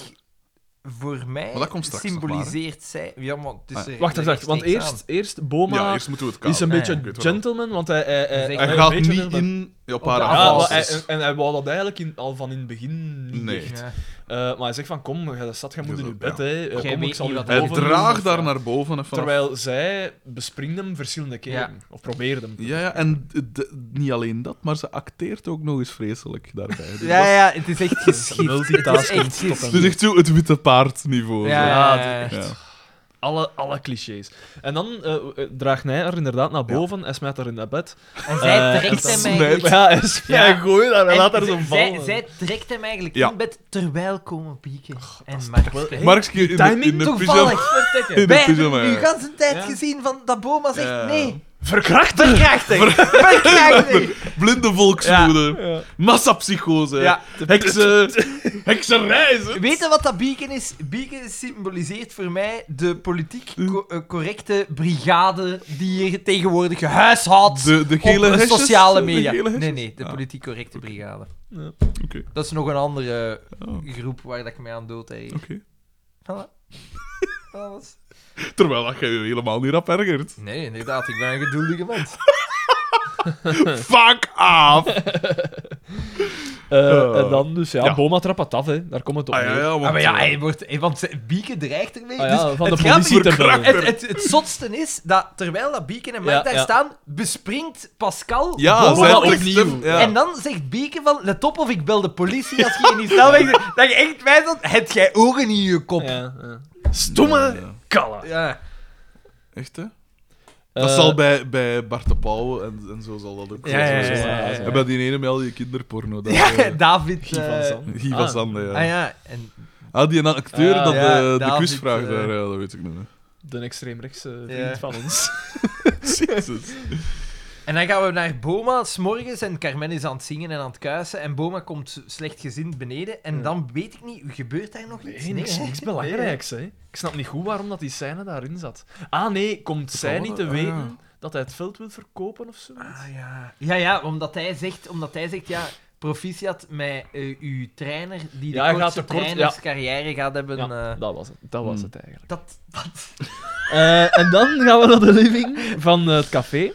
S2: voor mij
S1: Maar dat komt straks nog
S2: symboliseert zij. Ja, maar het is eh,
S1: Ah,
S2: er
S3: Wacht, wacht, wacht.
S2: rechtstreeks
S3: Want
S2: aan.
S3: eerst, eerst Boma
S1: ja, eerst moeten we het kader.
S3: is een
S2: Ah,
S3: beetje
S2: ja.
S1: Ik weet wel.
S3: gentleman, want hij... hij, hij-
S2: Hij
S3: hij
S1: Hij
S3: een
S1: gaat
S3: beetje
S1: niet
S3: erbij-
S1: in ja, op
S2: de
S1: haar
S2: Ja,
S3: Ja,
S2: afwas.
S1: afwas.
S3: maar hij- en, en hij wou dat eigenlijk in, al van in het begin niet
S1: Nee.
S3: echt.
S2: Ja.
S3: Eh, maar hij zegt van, kom, jij zat, jij moet
S1: Dus
S3: in je
S1: dat-
S3: bed,
S1: ja.
S3: hè. Eh,
S2: Jij
S3: Kom,
S2: weet
S3: ik zal
S2: niet
S3: je
S2: wat
S1: Hij
S2: boven-
S1: draagt daar naar boven. en vanaf-
S3: Terwijl zij bespringt hem verschillende keren. Of probeerde hem.
S1: Ja, ja, en d- d- niet alleen dat, maar ze acteert ook nog eens vreselijk daarbij. Dus
S2: Ja, ja, het is echt geschikt. Het is
S3: Multitasking
S2: echt
S3: tot
S1: dat-
S2: geschikt.
S1: Het is echt zo het witte paard niveau.
S2: Ja,
S1: zo.
S2: ja,
S3: Ja,
S2: ja,
S1: Ja.
S2: ja.
S3: Alle, alle clichés. En dan eh, eh, draagt hij haar inderdaad naar boven. Hij smijt haar in dat bed.
S2: En zij
S3: Eh,
S2: trekt
S1: dat
S2: hem
S1: smijt-
S2: eigenlijk.
S3: Ja, hij, is,
S2: Ja.
S3: hij gooit haar en
S2: en
S3: laat haar
S2: z-
S3: zo
S2: zij,
S3: vallen.
S2: zij trekt hem eigenlijk
S1: Ja.
S2: in bed terwijl komen pieken. en Mark
S3: wel echt-
S1: Markske in de,
S3: Timing
S1: in de pyjama.
S2: Toevallig.
S1: In de
S2: Wij hebben
S1: pyjama,
S2: nu
S1: ja.
S2: gans een tijd
S3: Ja.
S2: gezien van dat Boma zegt
S1: Ja.
S2: nee.
S3: Verkrachten!
S2: Verkrachtig. Verkrachtig.
S1: Blinde volksmoede.
S3: Ja.
S1: Massapsychose.
S3: Ja.
S1: Heksen. Heksenreizen.
S2: Weet je wat dat beacon is? Beacon symboliseert voor mij de politiek co- eh, correcte brigade die hier tegenwoordig gehuishoudt
S1: De, de gele
S2: op de
S1: hesjes,
S2: sociale
S1: de
S2: media.
S1: gele
S2: nee,
S1: hesjes?
S2: nee, de
S1: Ah,
S2: politiek correcte brigade.
S1: Oké.
S2: Dat is nog een andere
S1: Oh,
S2: eh, groep waar dat ik mee aan dood heb.
S1: oké.
S2: Voilà. Alles.
S1: Terwijl dat je je helemaal niet rap ergert.
S2: Nee, inderdaad, ik ben een geduldige mens.
S1: Fuck af!
S3: Eh,
S1: Eh,
S3: en dan dus, ja,
S1: ja.
S3: Boma trapt het af, hè. Daar komt het op
S1: Ah, ja,
S3: neer.
S1: ja, want,
S2: Ah, maar ja,
S1: eh,
S2: hij wordt, hij- want ze- Bieke dreigt ermee.
S3: Ah, ja,
S2: dus
S3: van de
S2: het, grappige-
S3: politie te
S1: verkracht.
S3: bellen.
S2: het, het, het zotste is dat terwijl dat Bieke en Mark
S3: Ja,
S2: daar
S3: ja.
S2: staan, bespringt Pascal.
S1: ja,
S2: Boma
S1: zij
S2: op-
S3: opnieuw.
S1: opnieuw. Ja.
S2: En dan zegt Bieke van, let op of ik bel de politie als je in die snelweg zit. Dat je echt wijst dat, heb jij ogen in je kop.
S3: Ja, ja.
S1: Stomme.
S3: Kalla.
S2: Ja.
S1: Echt, hè? Dat
S3: Eh,
S1: zal bij, bij Bart de Pauw en, en zo zal dat ook
S2: Eh. Ja, ja,
S1: zo
S2: ja,
S1: zijn.
S2: ja, ja.
S1: En bij die ene met al die kinderporno. Dat,
S2: Ja,
S1: eh,
S2: David.
S3: Guy van
S2: eh,
S3: Zandt.
S1: Guy van
S3: Ah.
S1: Sande, ja.
S2: Ah ja, en
S1: Ah, die ene acteur
S3: Ah,
S1: dat
S2: Eh, ja,
S1: de, de
S2: David,
S1: quizvraag
S2: eh,
S1: daar, ja, dat weet ik niet meer.
S3: De extreemrechtse vriend
S2: Ja.
S3: van ons.
S1: Jezus.
S2: En dan gaan we naar Boma, s'morgens, en Carmen is aan het zingen en aan het kuisen. En Boma komt slecht gezind beneden. En
S3: Ja.
S2: dan weet ik niet, gebeurt daar nog iets?
S3: Nee, niks,
S2: hè?
S3: niks belangrijks. Hè. Ik snap niet goed waarom dat die scène daarin zat. Ah nee, komt zij
S1: kan
S3: niet
S1: wel,
S3: te
S1: ah, ja.
S3: weten dat hij het veld wil verkopen of zo?
S2: Ah, ja. ja, ja, omdat hij zegt, omdat hij zegt ja, proficiat met eh, uw trainer, die de
S3: Ja, hij gaat
S2: kortste
S3: tekort, ja.
S2: trainerscarrière gaat hebben.
S3: Ja,
S2: eh,
S3: dat was het. Dat was
S1: Hmm.
S3: het eigenlijk.
S2: dat, dat.
S3: Eh, en dan gaan we naar de living van eh, het café,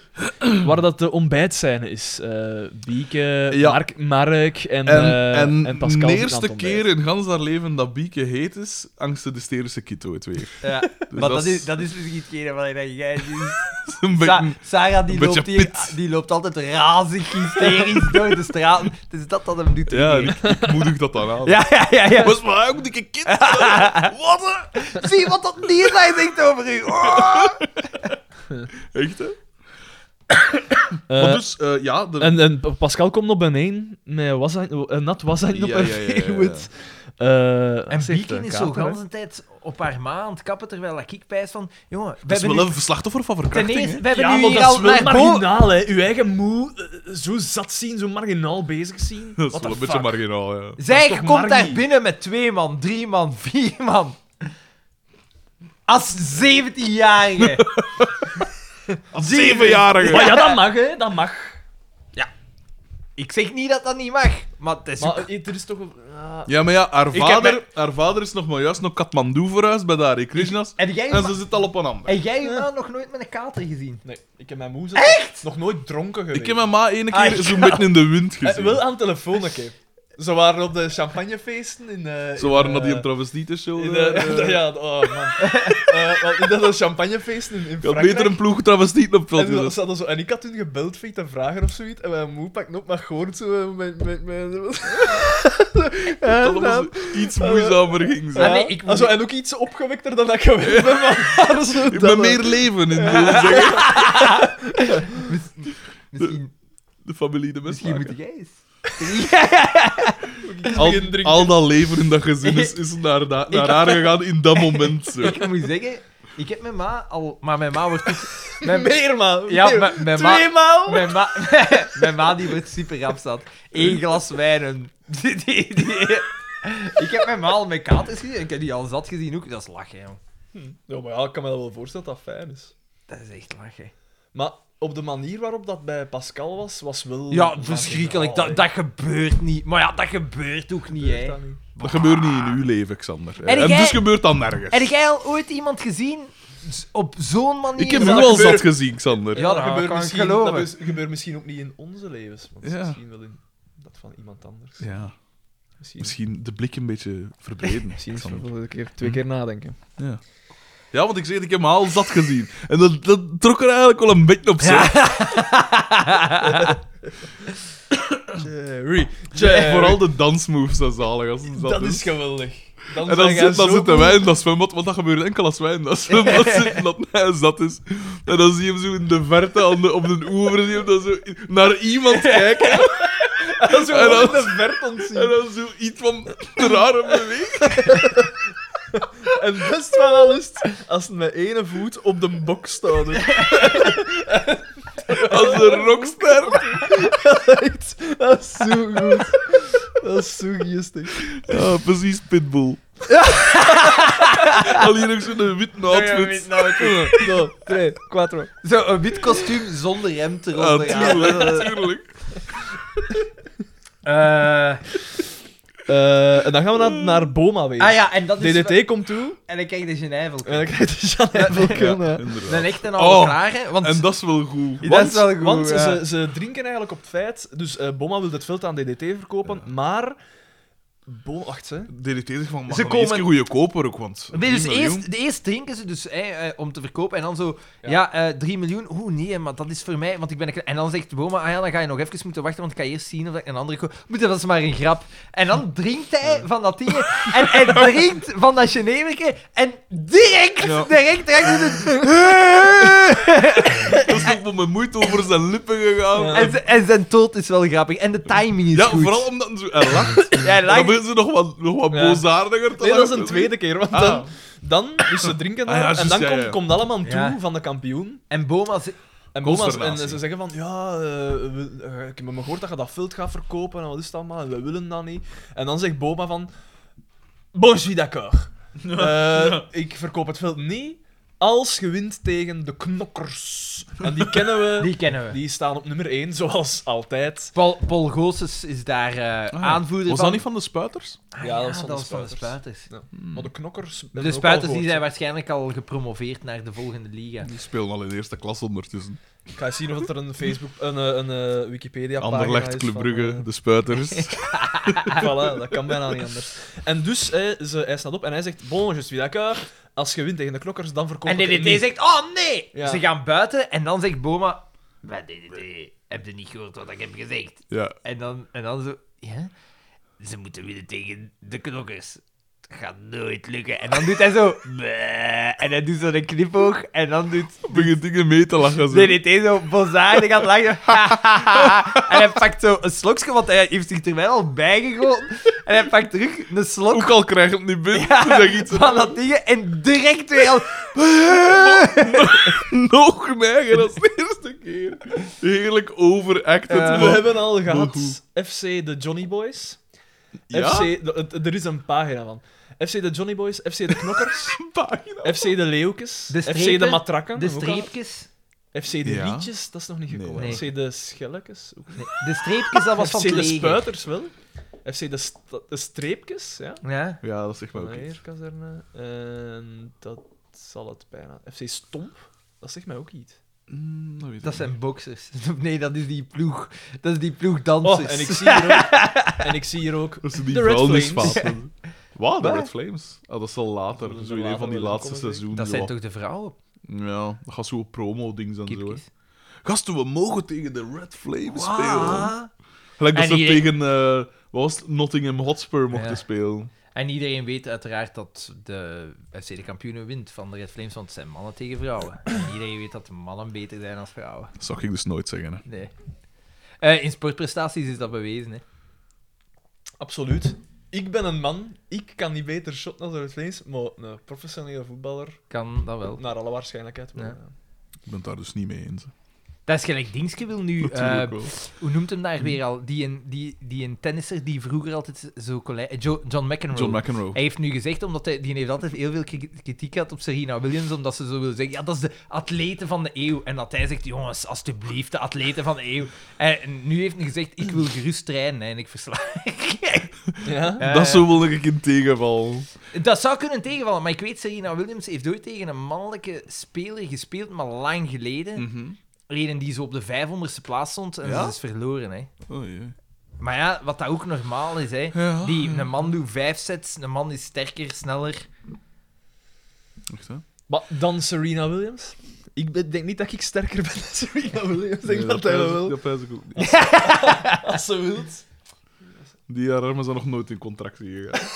S3: waar dat de ontbijtscène is. Eh Bieke,
S1: Ja.
S3: Mark, Mark en,
S1: En,
S3: eh,
S1: en,
S3: en Pascal.
S1: de
S3: zitten aan het
S1: eerste
S3: ontbijt.
S1: keer in gans haar leven dat Bieke heet is, angsten de sterische kito het weer.
S2: Ja.
S1: Dus
S2: maar dat is, dat is misschien hetgene wat ik denk, jij is-
S1: een
S2: Sa-
S1: beetje...
S2: Sarah die
S1: een beetje
S2: loopt, hier,
S1: pit.
S2: die loopt altijd razig, hysterisch door de straat. Het is dat dat hem doet.
S1: Ja,
S2: denken.
S1: ik, ik moedig dat dan aan.
S2: ja, ja, ja, ja.
S1: Was maar ook dikke kind. Wat? hè?
S2: Zie wat dat dierlijn denkt over u. Oh.
S1: Echt, hè?
S3: Eh,
S1: maar dus, eh, ja... De...
S3: en, en Pa- Pascal komt op beneden met washandje- een nat washandje op
S1: Ja,
S3: een
S1: ja, ja, ja,
S3: veengoed. Eh,
S2: En
S3: ze heeft
S2: Bieken
S3: een
S2: is
S3: kater,
S2: zo
S3: hè.
S2: de hele tijd op haar ma aan het kappen, terwijl ik pijs van... Jongen, we
S1: Dat is
S2: hebben
S1: wel
S2: nu,
S1: een slachtoffer van
S2: ten
S1: verkrachting,
S2: eerste,
S1: hè?
S2: we hebben
S3: Ja,
S2: nu
S3: maar
S2: hier
S3: dat
S2: al
S3: is wel
S2: naar boven...
S3: marginaal, hè. Uw eigen moe eh, zo zat zien, zo marginaal bezig zien.
S1: Dat is
S3: What
S1: wel een
S3: the
S1: beetje
S3: fuck?
S1: marginaal, ja.
S2: Zij
S3: toch
S2: komt daar
S3: margie?
S2: binnen met twee man, drie man, vier man. Als 17-jarige.
S1: Als zevenjarige.
S3: Maar ja, dat mag, hè. Dat mag.
S2: Ik zeg niet dat dat niet mag, maar het is ook...
S3: Maar eh, er is toch... een- ah.
S1: Ja, maar ja, haar
S3: heb
S1: vader,
S3: mij-
S1: haar vader is nog maar juist nog Kathmandu verhuisd bij de Hare Krishnas.
S2: En jij,
S1: En
S2: ma-
S1: ze zit al op een ander.
S2: en jij ma nog nooit met een kater gezien?
S3: Nee, ik heb mijn moe Echt? nog nooit dronken geweest.
S1: Ik heb mijn ma ene
S2: Ah,
S1: keer zo'n beetje in de wind
S3: Eh,
S1: gezien.
S3: Wel aan telefoon een keer. Ze waren op de champagnefeesten in... eh,
S1: Ze waren
S3: in,
S1: naar die eh,
S3: eh,
S1: travestietenshow.
S3: in
S1: show.
S3: de- Ja, oh man. Eh, wel, in dat champagnefeesten in, in
S1: ik had
S3: Frankrijk.
S1: beter een ploeg travestieten op veld
S3: en, dan
S1: gezet.
S3: zaten zo, en ik had toen gebeld voor te vragen of zoiets. En mijn moe pakt op, maar gewoon zo... eh, Met, met, met,
S1: Dat
S3: en,
S1: allemaal
S3: dan,
S1: zo iets moeizamer ging
S2: Ah,
S1: zijn.
S2: nee, ik
S3: Ah, zo, en ook iets opgewekter dan dat ik gewend ben. Maar, zo,
S1: Ik
S3: dat,
S1: ben
S3: eh.
S1: meer leven in de,
S2: Misschien,
S1: de familie de
S2: misschien
S1: mensen.
S2: moet jij eens.
S1: Al,
S3: beginnen drinken.
S1: al dat leven in dat gezin is, is naar, da- naar haar gegaan in dat moment. Zo.
S2: Ik moet zeggen, ik heb mijn ma al... Maar mijn ma wordt toch... Mijn,
S3: Meer, man.
S2: Ja,
S3: Meer.
S2: mijn- mijn ma-
S3: Tweemaal.
S2: Mijn ma, mijn ma die wordt super rapstad. Eén glas wijn en... Die, die, die- Ik heb mijn ma al met katers gezien. Ik heb die al zat gezien ook. Dat is lachen, jong.
S3: Ja, maar ja, ik kan me dat wel voorstellen dat dat fijn is.
S2: Dat is echt lachen.
S3: Maar op de manier waarop dat bij Pascal was, was wel...
S2: Ja, verschrikkelijk.
S3: marginaal,
S2: Dat, dat gebeurt niet. Maar ja, dat Oh. gebeurt ook
S3: hè.
S2: niet,
S3: Gebeurt
S2: hè.
S3: dat niet.
S1: Dat gebeurt niet in uw leven, Xander.
S2: En
S1: En,
S2: jij-
S1: dus gebeurt dat nergens.
S2: Heb jij al ooit iemand gezien z- op zo'n manier?
S1: Ik heb u
S2: Dat-
S1: al
S3: gebeurt.
S1: zat gezien, Xander.
S2: Ja, dat kan ik
S3: misschien,
S2: geloven.
S3: dat is- gebeurt misschien ook niet in onze levens. Want het is
S1: Ja.
S3: misschien wel in dat van iemand anders.
S1: Ja,
S3: Misschien,
S1: misschien de blik een beetje verbreden. Xander.
S3: volgende keer twee keer nadenken.
S1: Ja. ja, want ik zeg, ik heb me al zat gezien. En dat, dat trok er eigenlijk wel een beetje op zich.
S3: Jerry.
S1: Ja, Vooral de dansmoves, dat is zalig. Als het zat
S3: Dat is geweldig. Dan
S1: En dan,
S3: zijn jij
S1: zit, dan
S3: zo
S1: zitten
S3: goed.
S1: wij in dat zwembad, want dat gebeurt enkel als wij in dat zwembad zitten, dat hij zat is. En dan zie je hem zo in de verte aan de, op de oever, zie je hem dan zo in- naar iemand kijken.
S3: Dat
S1: En dan-
S3: is gewoon in de verte ontzien.
S1: En dan zo iets van rare beweging.
S3: En best wel al is het als het met ene voet op de bok staat. Dus hè.
S1: Als een rockster.
S3: Echt, dat is zo goed. Dat is zo geestig.
S1: Ja, precies, Pitbull. Alleen nog zo'n wit outfit.
S3: Zo, twee, quattro.
S2: Zo, een wit kostuum zonder rem te
S1: Ja,
S2: ronden.
S1: Ah, tuurlijk, tuurlijk.
S3: Eh, en dan gaan we naar, naar Boma weer.
S2: ah ja, en dat is...
S3: DDT komt toe
S2: En ik krijg dus de Genève.
S3: en dan krijg je Janijvel
S1: Ja,
S3: kunnen.
S2: Dan
S1: inderdaad.
S2: echt een oude
S1: Oh.
S2: klaar, hè. Want...
S1: En dat is wel goed.
S2: Ja, dat is wel goed,
S3: want
S2: ja.
S3: ze, ze drinken eigenlijk op het feit... Dus eh Boma wil het veld aan DDT verkopen, maar Boonacht, hè?
S1: DDT zegt van, maar
S2: Ze
S1: dan eerst
S2: komen-
S1: een goede koper ook, want...
S2: Nee, dus
S1: 3 miljoen.
S2: eerst, de eerst drinken ze dus hè, eh, om te verkopen en dan zo,
S3: Ja.
S2: ja, eh, 3 miljoen, oeh nee, maar dat is voor mij, want ik ben een kle- En dan zegt Boma, ah ja, dan ga je nog even moeten wachten, want ik ga eerst zien of ik een andere ko- Moet dat is maar een grap. En dan drinkt hij van dat ding en hij drinkt van dat Geneverke en direct,
S1: Ja.
S2: direct, direct doet het-
S1: Dat is nog met mijn moeite over zijn lippen gegaan.
S3: Ja.
S2: en, z- en zijn dood is wel grappig en de timing is
S1: Ja,
S2: goed.
S1: vooral omdat hij zo- hij lacht.
S2: Ja, hij
S1: En dan
S2: lacht.
S1: begint ze nog wat, nog wat
S3: Ja.
S1: boosaardiger te
S3: Nee, dat is
S1: lachen.
S3: een tweede keer. Want
S1: Ah.
S3: dan, dan dus ze drinken
S1: Ah, ja,
S3: daar, en
S1: juist,
S3: dan
S1: ja,
S3: komt,
S1: ja.
S3: komt allemaal toe
S2: Ja.
S3: van de kampioen.
S2: En Boma, ze-
S3: En, Boma's, en
S1: Consternatie.
S3: ze zeggen van, ja, eh, we- eh, ik heb me gehoord dat je dat veld gaat verkopen en wat is dat allemaal, en we willen dat niet. En dan zegt Boma van, bon, je suis d'accord. Eh, Ik verkoop het veld niet als je wint tegen de knokkers. En die kennen we, die,
S2: die kennen we.
S3: staan op nummer 1, zoals altijd.
S2: Paul, Paul Goossens is daar eh,
S1: Ah, ja.
S2: aanvoerder
S1: Was
S2: van.
S1: dat niet van de spuiters?
S2: Ah,
S3: Ja, dat was van de
S2: was
S3: Spuiters.
S2: Spuiters.
S3: Maar de knokkers... hebben we
S2: De
S3: ook al
S2: spuiters die
S3: gehoord.
S2: zijn waarschijnlijk al gepromoveerd naar de volgende liga.
S1: Die spelen al in eerste klas ondertussen.
S3: Ik ga eens zien of er een Facebook, een, eh, een, eh, Wikipedia-pagina
S1: Anderlecht,
S3: is
S1: Club
S3: van,
S1: Brugge,
S3: eh,
S1: de spuiters.
S3: voilà, dat kan bijna niet anders. En dus, eh, ze, hij staat op en hij zegt, bon, je suis d'accord. Als je wint tegen de klokkers, dan verkoop
S2: En
S3: ik het niet.
S2: DDT zegt, oh nee!
S3: Ja.
S2: Ze gaan buiten en dan zegt Boma, maar DDT, heb je niet gehoord wat ik heb gezegd?
S1: ja.
S2: En dan, en dan zo, ja, ze moeten winnen tegen de knokkers. Dat gaat nooit lukken. En dan doet hij zo, "Bleh." en hij doet zo'n knipoog en dan doet
S1: Begint dingen mee te lachen. Zo.
S2: DDT zo bozaar, gaat lachen. en hij pakt zo een slokje, want hij heeft zich er wel al bijgegoten. En hij pakt terug een slok.
S1: Ook al krijg je het niet binnen,
S2: Ja,
S1: zeg iets
S2: van dat ding en direct weer al...
S1: nog neiger als de eerste keer. Heerlijk overacted.
S2: eh,
S3: We
S1: maar-
S3: hebben al gehad
S1: goed.
S3: FC de Johnny Boys.
S1: ja?
S3: FC, de- het- er is een pagina van. FC de Johnny Boys, FC de Knokkers,
S1: pagina.
S3: FC de Leeuwkes,
S2: De
S3: FC de
S2: strepen,
S3: Matrakken,
S2: De
S3: ook al.
S2: streepjes...
S3: FC de
S1: Ja.
S3: Rietjes, dat is nog niet
S1: Nee.
S3: gekomen.
S2: Nee.
S3: FC de Schellekes, ook.
S2: Nee, de streepjes, dat was van
S3: FC
S2: het
S3: de
S2: leger.
S3: Spuiters wel. FC de, sta- de Streepjes, ja.
S2: Ja.
S1: Ja, dat zegt mij ook iets.
S3: Legerkazerne. En dat zal het bijna. FC Stomp, dat zegt mij ook iets.
S1: Mm, dat weet ik
S2: Dat
S1: niet.
S2: zijn boxers. Nee, dat is die ploeg. Dat is die ploeg
S3: Oh,
S2: dansers.
S3: en ik zie hier ook. en ik zie hier ook.
S1: Dat ze die
S3: De Red
S1: vuilnisvaten. Wat? De
S3: Wat?
S1: Red Flames? Ah, dat is al later.
S3: Dat is
S1: zo
S3: al
S1: in een
S3: later,
S1: van die
S3: dat
S1: laatste
S3: komt, denk ik.
S1: seizoenen.
S2: Dat
S1: wel.
S2: zijn toch de vrouwen?
S1: Ja, dat gaat zo op promo-dings en zo. hè.
S2: Kipjes.
S1: Gasten, we mogen tegen de Red Flames spelen.
S2: Wow.
S1: Gelijk dat
S2: En
S1: ze
S2: iedereen-
S1: tegen eh, wat was het? Nottingham Hotspur mochten
S2: Ja.
S1: spelen.
S2: En iedereen weet uiteraard dat de FC de kampioenen wint van de Red Flames, want het zijn mannen tegen vrouwen. En iedereen weet dat mannen beter zijn dan vrouwen.
S1: Dat zag ik dus nooit zeggen. Hè.
S2: Nee. Eh, in sportprestaties is dat bewezen, hè.
S3: Absoluut. Ik ben een man, ik kan niet beter shotten dan Red Flames, maar een professionele voetballer,
S2: Kan dat wel.
S3: naar alle waarschijnlijkheid. eh, wel,
S2: Ja.
S3: ja.
S1: Ik ben het daar dus niet mee eens. hè.
S2: Dat is gelijk Dingske wil nu... eh,
S1: Natuurlijk wel.
S2: hoe noemt hem daar weer al? Die een, die, die een tennisser die vroeger altijd zo... colli- eh, Jo- John McEnroe.
S1: John McEnroe.
S2: hij heeft nu gezegd, omdat hij, die heeft altijd heel veel kri- kritiek gehad op Serena Williams, omdat ze zo wil zeggen, ja, dat is de atleten van de eeuw. En dat hij zegt, jongens, alstublieft, de atleten van de eeuw. En nu heeft hij gezegd, ik wil gerust trainen en ik versla.
S3: Ja?
S2: Eh,
S1: dat is zo wil ik in tegenval.
S2: dat zou kunnen tegenvallen, maar ik weet, Serena Williams heeft ooit tegen een mannelijke speler gespeeld, maar lang geleden.
S1: Mhm.
S2: Reden die zo op de 500ste plaats stond en
S1: Ja?
S2: ze is verloren, hè.
S1: Oh, jee.
S2: Maar ja, wat dat ook normaal is, hè.
S1: Ja.
S2: Die, een man doet vijf sets, een man is sterker, sneller.
S1: Echt, hè?
S3: Maar dan Serena Williams? Ik ben- denk niet dat ik sterker ben dan Serena Williams. Ik denk
S1: Nee,
S3: dat hij
S1: pijs
S3: wel
S1: ik-
S3: wil.
S1: Dat pijs ik ook niet.
S3: Als ze wilt.
S1: Die armen zijn nog nooit in contract gegaan.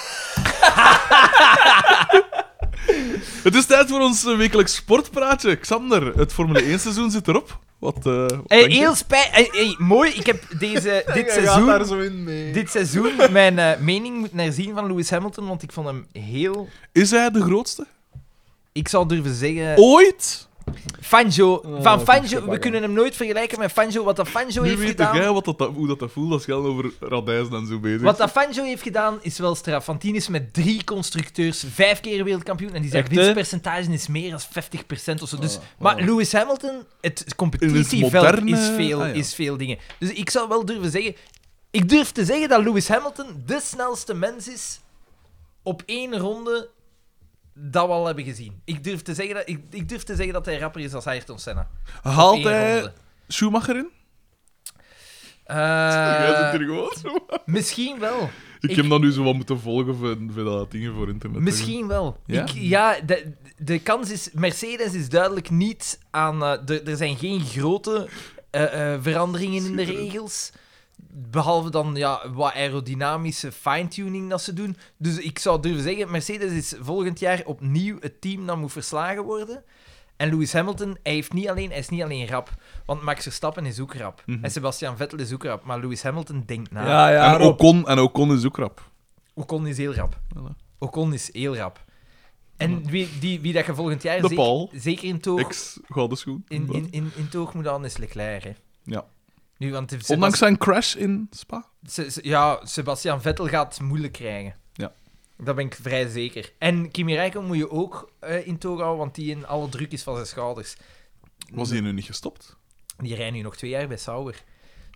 S1: het is tijd voor ons eh, wekelijks sportpraatje. Xander, het Formule 1 seizoen zit erop. Wat, eh, wat
S2: Eh,
S1: denk je?
S2: heel spijt... eh, eh, mooi, ik heb deze, dit
S3: Jij gaat
S2: seizoen...
S3: daar zo in mee.
S2: Dit seizoen mijn eh, mening moet naar zien van Lewis Hamilton, want ik vond hem heel...
S1: Is hij de grootste?
S2: Ik zou durven zeggen...
S1: Ooit?
S2: Fangio.
S3: Oh,
S2: van
S3: ik heb
S2: Fangio, we
S3: gebakken.
S2: kunnen hem nooit vergelijken met Fangio. Wat dat Fangio
S1: Nu
S2: heeft
S1: weet jij
S2: gedaan...
S1: wat dat, hoe dat, dat voelt als je al over radijzen en zo bezig
S2: Wat dat Fangio heeft gedaan, is wel straf. Want die is met drie constructeurs vijf keer wereldkampioen. En die zijn
S3: Echt, hè?
S2: winstpercentage is meer dan 50% of zo. Dus,
S1: Oh, oh.
S2: Maar Lewis Hamilton, het competitieveld
S1: moderne-
S2: is, veel,
S1: ah, ja.
S2: is veel dingen. Dus ik zou wel durven zeggen... Ik durf te zeggen dat Lewis Hamilton de snelste mens is op één ronde dat we al hebben gezien. Ik durf te zeggen dat, ik, ik durf te zeggen dat hij rapper is als Ayrton Senna. Op
S1: Haalt
S2: één
S1: hij
S2: ronde.
S1: Schumacher in?
S2: Eh,
S1: jij zit er gewoon zo.
S2: misschien wel.
S1: Ik,
S2: Ik-
S1: heb dat nu zo wat moeten volgen van, van dat dingen voor internet.
S2: Misschien wel.
S1: Ja?
S2: Ja, ik, ja de, de kans is... Mercedes is duidelijk niet aan... eh, de- er zijn geen grote eh, eh, veranderingen in de regels. Behalve dan ja, wat aerodynamische fine-tuning dat ze doen. Dus ik zou durven zeggen, Mercedes is volgend jaar opnieuw het team dat moet verslagen worden. En Lewis Hamilton, hij, heeft niet alleen, hij is niet alleen rap. Want Max Verstappen is ook rap.
S1: Mhm.
S2: En Sebastian Vettel is ook rap. Maar Lewis Hamilton denkt na.
S3: Ja, ja,
S1: en,
S3: Rob.
S1: Ocon, en Ocon is ook rap.
S2: Ocon is heel rap.
S1: Voilà.
S2: Ocon is heel rap. En wie, die, wie dat je volgend jaar
S1: De
S2: zeker,
S1: Paul.
S2: zeker in toog,
S1: Ex gouden schoen.
S2: in, in, in, in toog moet aan is Leclerc. Hè.
S1: Ja.
S2: Nu, want de
S1: Ondanks
S2: Sebast-
S1: zijn crash in Spa.
S2: Se- se- ja, Sebastian Vettel gaat het moeilijk krijgen.
S1: Ja.
S2: Dat ben ik vrij zeker. En Kimi Räikkönen moet je ook eh, in toog houden, want die in alle druk is van zijn schouders.
S1: Was hij nu niet gestopt?
S2: Die rijdt nu nog twee jaar bij Sauber.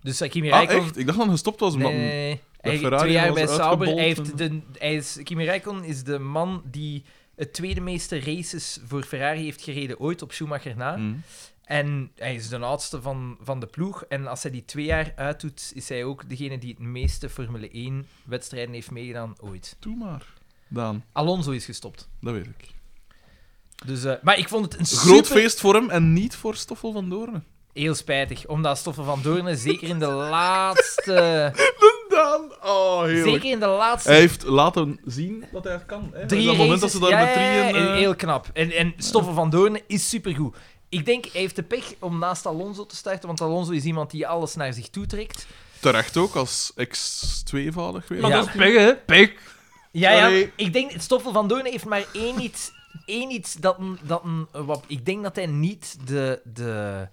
S2: Dus dat Kimi
S1: Ah,
S2: Räikkönen...
S1: echt? Ik dacht dat hij gestopt was.
S2: Nee,
S1: Omdat...
S2: nee, nee. Hij-
S1: Ferrari
S2: twee jaar
S1: was
S2: bij Sauber. Hij
S1: uitgebold
S2: heeft de, hij is, Kimi Räikkönen is de man die het tweede meeste races voor Ferrari heeft gereden ooit op Schumacher na.
S1: Mm.
S2: En hij is de oudste van, van de ploeg. En als hij die twee jaar uitdoet, is hij ook degene die het meeste Formule 1-wedstrijden heeft meegedaan ooit.
S1: Doe maar. Daan,
S2: Alonso is gestopt.
S1: dat weet ik.
S2: Dus, eh, maar ik vond het een
S1: Groot
S2: super...
S1: feest voor hem en niet voor Stoffel van Doorn.
S2: Heel spijtig, omdat Stoffel van Doornen zeker in de laatste...
S1: Daan, oh, heerlijk.
S2: zeker in de laatste
S1: Hij heeft laten zien dat hij het kan. Hè?
S2: Drie
S1: dat moment dat
S2: races,
S1: ze daar
S2: ja,
S1: met
S2: ja,
S1: drieën...
S2: ja,
S1: eh,
S2: Heel knap. En, en Stoffel van Doorn is supergoed. Ik denk, hij heeft de pech om naast Alonso te starten, want Alonso is iemand die alles naar zich toe trekt.
S1: eh, Terecht ook, als ex-tweevoudig weer.
S2: Maar Ja. dat
S3: pik, hè? Pik.
S2: Ja, ja.
S1: Allee.
S2: Ik denk, Stoffel van Doorn heeft maar één iets, één iets dat, een- dat een, eh, wat, ik denk dat hij niet de, de...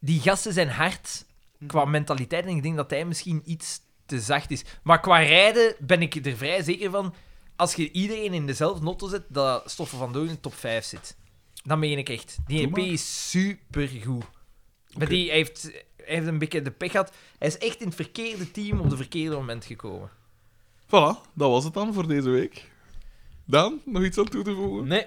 S2: Die gasten zijn hard qua
S1: Mhm.
S2: mentaliteit en ik denk dat hij misschien iets te zacht is. Maar qua rijden ben ik er vrij zeker van, als je iedereen in dezelfde notto zet, dat Stoffel van Doorn top 5 zit. Dat meen ik echt. Die
S1: Doe
S2: EP
S1: maar.
S2: is supergoed. Maar die heeft, hij heeft een beetje de pech gehad. Hij is echt in het verkeerde team op het verkeerde moment gekomen.
S1: Voilà, dat was het dan voor deze week. Daan, nog iets aan toe te voegen?
S3: Nee.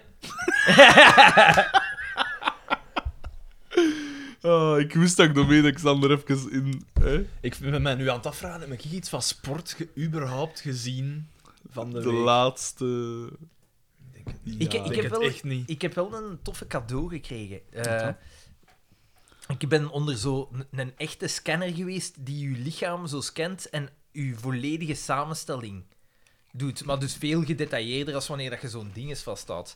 S1: Ah, ik wist dat ik door Alexander even in... Hè?
S3: Ik ben mij nu aan het afvragen, heb ik iets van sport ge- überhaupt gezien van de,
S1: De,
S3: week?
S1: laatste...
S2: Ik-
S3: Ja,
S2: ik
S3: denk
S2: heb
S3: het
S2: wel-
S3: echt niet.
S2: Ik heb wel een toffe cadeau gekregen. Eh, ik ben onder zo'n een echte scanner geweest die uw lichaam zo scant en uw volledige samenstelling doet. Maar dus veel gedetailleerder als wanneer dat je zo'n ding eens vasthoudt.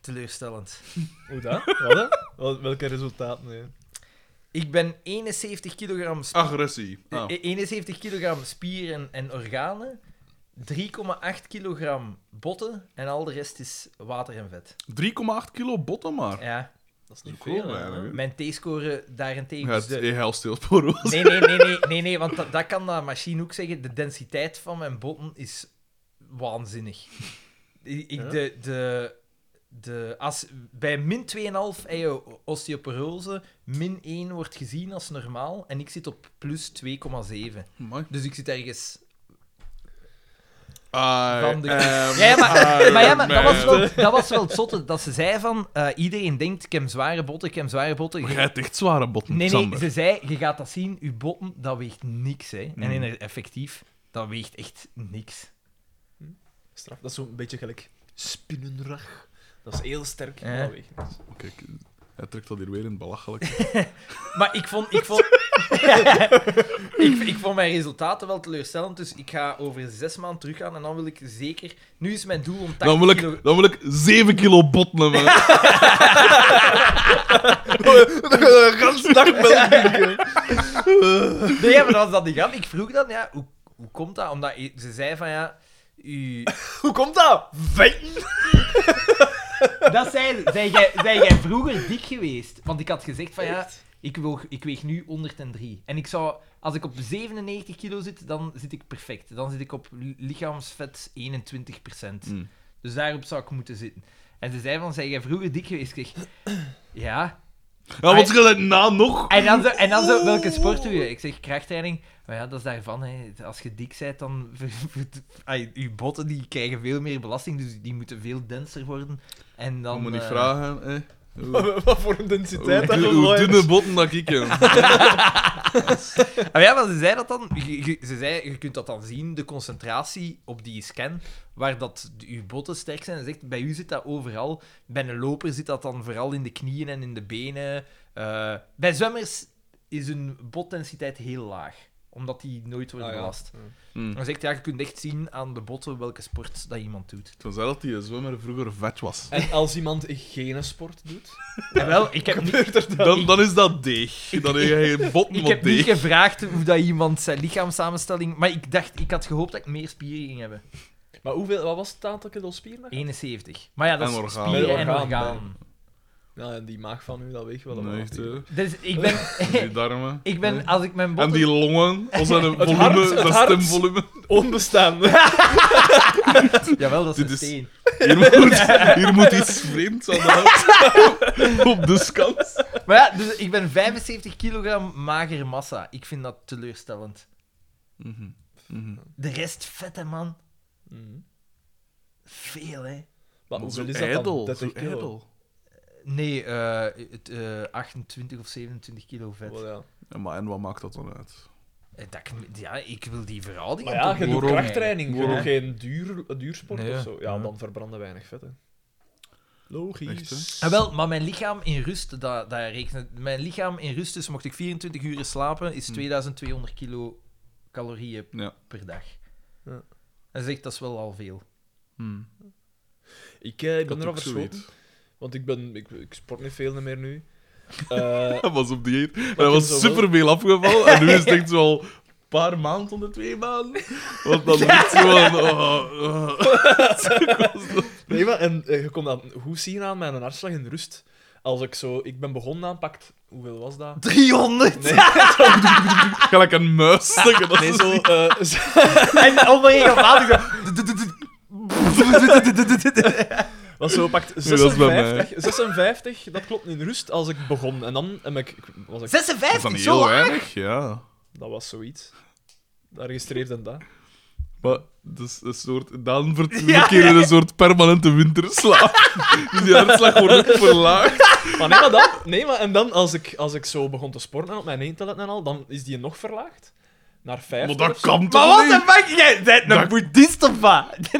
S2: Teleurstellend.
S3: Hoe dat? Wat, hè? Wel- Welke resultaten? hè?
S2: Ik ben 71 kilogram, sp-
S1: Agressie.
S3: Oh.
S1: Ah.
S2: eh, 71 kilogram spieren en organen, 3,8 kilogram botten en al de rest is water en vet.
S1: 3,8 kilo botten maar.
S2: Ja.
S3: Oh. Dat is niet
S1: ook wel
S3: veel, hè?
S1: weinig, hè?
S2: Mijn T-score daarentegen
S1: Ja,
S2: is
S1: het
S2: de
S1: is heel stil voor ons.
S2: Nee, nee, nee, nee, nee, nee want dat, dat kan dat machine ook zeggen. De densiteit van mijn botten is waanzinnig. Ik, ik-
S3: Ja?
S2: de, de, de, als, bij min 2,5 heb je osteoporose, min 1 wordt gezien als normaal en ik zit op plus 2,7.
S1: Amai.
S2: Dus ik zit ergens...
S1: I
S2: Van de-
S1: am
S2: Ja, ja,
S1: Iron
S2: Maar ja, maar dat was
S1: Man.
S2: wel, dat was wel het zotte, dat ze zei van... eh, iedereen denkt, ik heb zware botten, ik heb zware botten.
S1: Maar Jij hebt echt zware botten,
S2: Nee, nee,
S1: Sander.
S2: ze zei, je gaat dat zien, je botten, dat weegt niks. Hè.
S1: Mm.
S2: En in, effectief, dat weegt echt niks.
S3: Straf. Dat is zo'n beetje gelijk spinnenrag. Dat is heel sterk.
S2: Ja.
S3: maar weet je niet.
S1: Kijk, hij trekt dat hier weer in het belachelijk.
S2: Maar ik vond... Ik vond, ik, ik vond mijn resultaten wel teleurstellend, dus ik ga over zes maanden teruggaan en dan wil ik zeker... Nu is mijn doel om 80
S1: Dan wil, ik,
S2: kilo...
S1: dan wil ik 7 kilo botten hebben.
S3: Gans dag melk drinken.
S2: Nee, maar dat was dat niet grap. Ik vroeg dan, ja, hoe, hoe komt dat? Omdat i- ze zei van, ja... U...
S3: Hoe komt dat? Vetten.
S2: Dat zei ze. Zei jij, zei jij vroeger dik geweest? Want ik had gezegd van, ja...
S3: Echt?
S2: Ik, woog, ik weeg nu 103. En ik zou, als ik op 97 kilo zit, dan zit ik perfect. Dan zit ik op li- lichaamsvet 21
S1: Mm.
S2: Dus daarop zou ik moeten zitten. En ze zei van, zijn jij vroeger dik geweest? Ik zeg, ja.
S1: Ja, wat is er na nog?
S2: En dan, zo, en dan zo, welke sport doe je? Ik zeg, krachttraining. Maar ja, dat is daarvan. Hè. Als je dik bent, dan... Ai, je botten die krijgen veel meer belasting, dus die moeten veel denser worden. En dan...
S1: Dan moet
S2: eh,
S1: niet vragen. hè. Hoe,
S3: Wat voor een densiteit
S1: hoe,
S3: dat
S1: dun-
S3: wel
S1: hoe
S3: is.
S1: dunne botten dat ik heb.
S2: Ah, ja, maar ze zei dat dan. Je, je- ze zei, je kunt dat dan zien, de concentratie op die scan, waar dat de- uw botten sterk zijn. Ze zegt, bij u zit dat overal. Bij een loper zit dat dan vooral in de knieën en in de benen. Eh, bij zwemmers is hun bottensiteit heel laag, omdat die nooit worden
S3: Ah, ja.
S2: belast.
S1: Hm.
S2: Ze zegt, ja, je kunt echt zien aan de botten welke sport dat iemand doet.
S1: Tenzij dat die zwemmer vroeger vet was.
S3: En als iemand geen sport doet,
S2: En wel, ik heb niet...
S1: Dan, dan is dat deeg. Dan heb je geen bot,
S2: Ik
S1: maar
S2: heb niet
S1: deeg.
S2: gevraagd hoe dat iemand zijn lichaamssamenstelling... Maar ik dacht, ik had gehoopt dat ik meer spieren ging hebben.
S3: maar hoeveel, wat was het aantal kilo spieren? dat je-
S2: 71. Maar ja, dat
S1: En
S2: is
S1: orgaan.
S2: spieren en
S3: Met orgaan,
S2: orgaan.
S3: Nou, en die maag van u, dat weegt wel
S1: Nee,
S3: allemaal
S1: echt,
S3: niet.
S1: hè.
S2: Dus ik ben...
S1: Die darmen.
S2: ik ben, als ik mijn
S1: En
S2: botten...
S1: die longen. Als dat een
S3: Het
S1: volume,
S3: hart, het
S1: dat
S3: hart.
S1: stemvolume.
S3: Onbestaande.
S2: Jawel, dat
S1: Dit
S2: is een
S1: is-
S2: steen.
S1: Hier moet, hier moet iets vreemds aan de hand. Op de scans.
S2: Maar ja, dus ik ben 75 kilogram magere massa. Ik vind dat teleurstellend.
S1: Mhm, mhm.
S2: De rest vette, man.
S3: Mhm.
S2: Veel, hè.
S3: Maar
S1: Maar
S3: hoeveel
S1: zo
S3: is dat
S1: ijdel,
S3: dan? 30
S1: zo
S3: kilo?
S1: ijdel.
S2: Nee, eh, het, eh, 28 of 27 kilo vet.
S3: Wel, ja.
S1: Ja, maar en wat maakt dat dan uit?
S2: Eh, Dat, ik- ja, ik wil die verhouding.
S3: Maar ja, je doet
S1: Waarom?
S3: krachttraining, je
S1: Waarom?
S3: doet geen duur, duursport
S2: Nee.
S3: of zo. Ja,
S2: Ja.
S3: dan verbranden weinig vet, hè.
S1: Echt, hè?
S3: Logisch.
S2: Ah, wel, maar mijn lichaam in rust, dat, dat rekent. Mijn lichaam in rust, dus mocht ik 24 uur slapen, is
S1: Hm.
S2: 2200 kilo calorieën
S1: Ja.
S2: per dag.
S3: Ja.
S2: En zegt dat is wel al veel.
S1: Hm.
S3: Ik, eh, Hmm. ik ben
S1: had
S3: erop
S1: ook
S3: verschoten,
S1: zoiets.
S3: want ik, ben, ik, ik sport niet veel meer nu. Eh,
S1: Hij was op dieet en
S3: heb
S1: hij
S3: zo
S1: was
S3: wel-
S1: super veel afgevallen. En nu is het echt zo al een paar maanden onder twee maanden. Want dan is het zo van... oh, oh.
S3: Nee, maar en, eh, je kon dat goed zien aan mijn hartslag in rust. Als ik zo... Ik ben begonnen aanpakt... Hoeveel was dat?
S2: 300!
S3: Nee,
S1: Gelijk een muis. denk je, dat
S3: nee
S1: is
S3: zo...
S1: niet-
S3: eh, z-
S2: en onder je gevaarlijk
S3: was zo pakt
S1: Nee, dat is bij mij.
S3: 56, 56, dat klopt in rust, als ik begon. En dan heb ik... ik- Was ik
S1: Dat is dan
S2: 56, zo
S1: heel
S2: laag?
S1: weinig, ja.
S3: dat was zoiets. Dat registreerde dat.
S1: Maar dus een soort, dan ver- verkeren we een soort permanente winterslaap. Dus die hartslag wordt ook verlaagd.
S3: Maar nee, maar dan... Nee, maar en dan, als ik, als ik zo begon te sporten en op mijn eentelen en al, dan is die nog verlaagd. Naar 50
S1: Maar
S3: of
S1: dat
S3: zo.
S1: kan
S2: Maar
S1: toch
S2: wat de
S1: niet?
S2: fuck? Jij bent een
S1: Dat-
S2: boeddhist of wat?
S1: Ze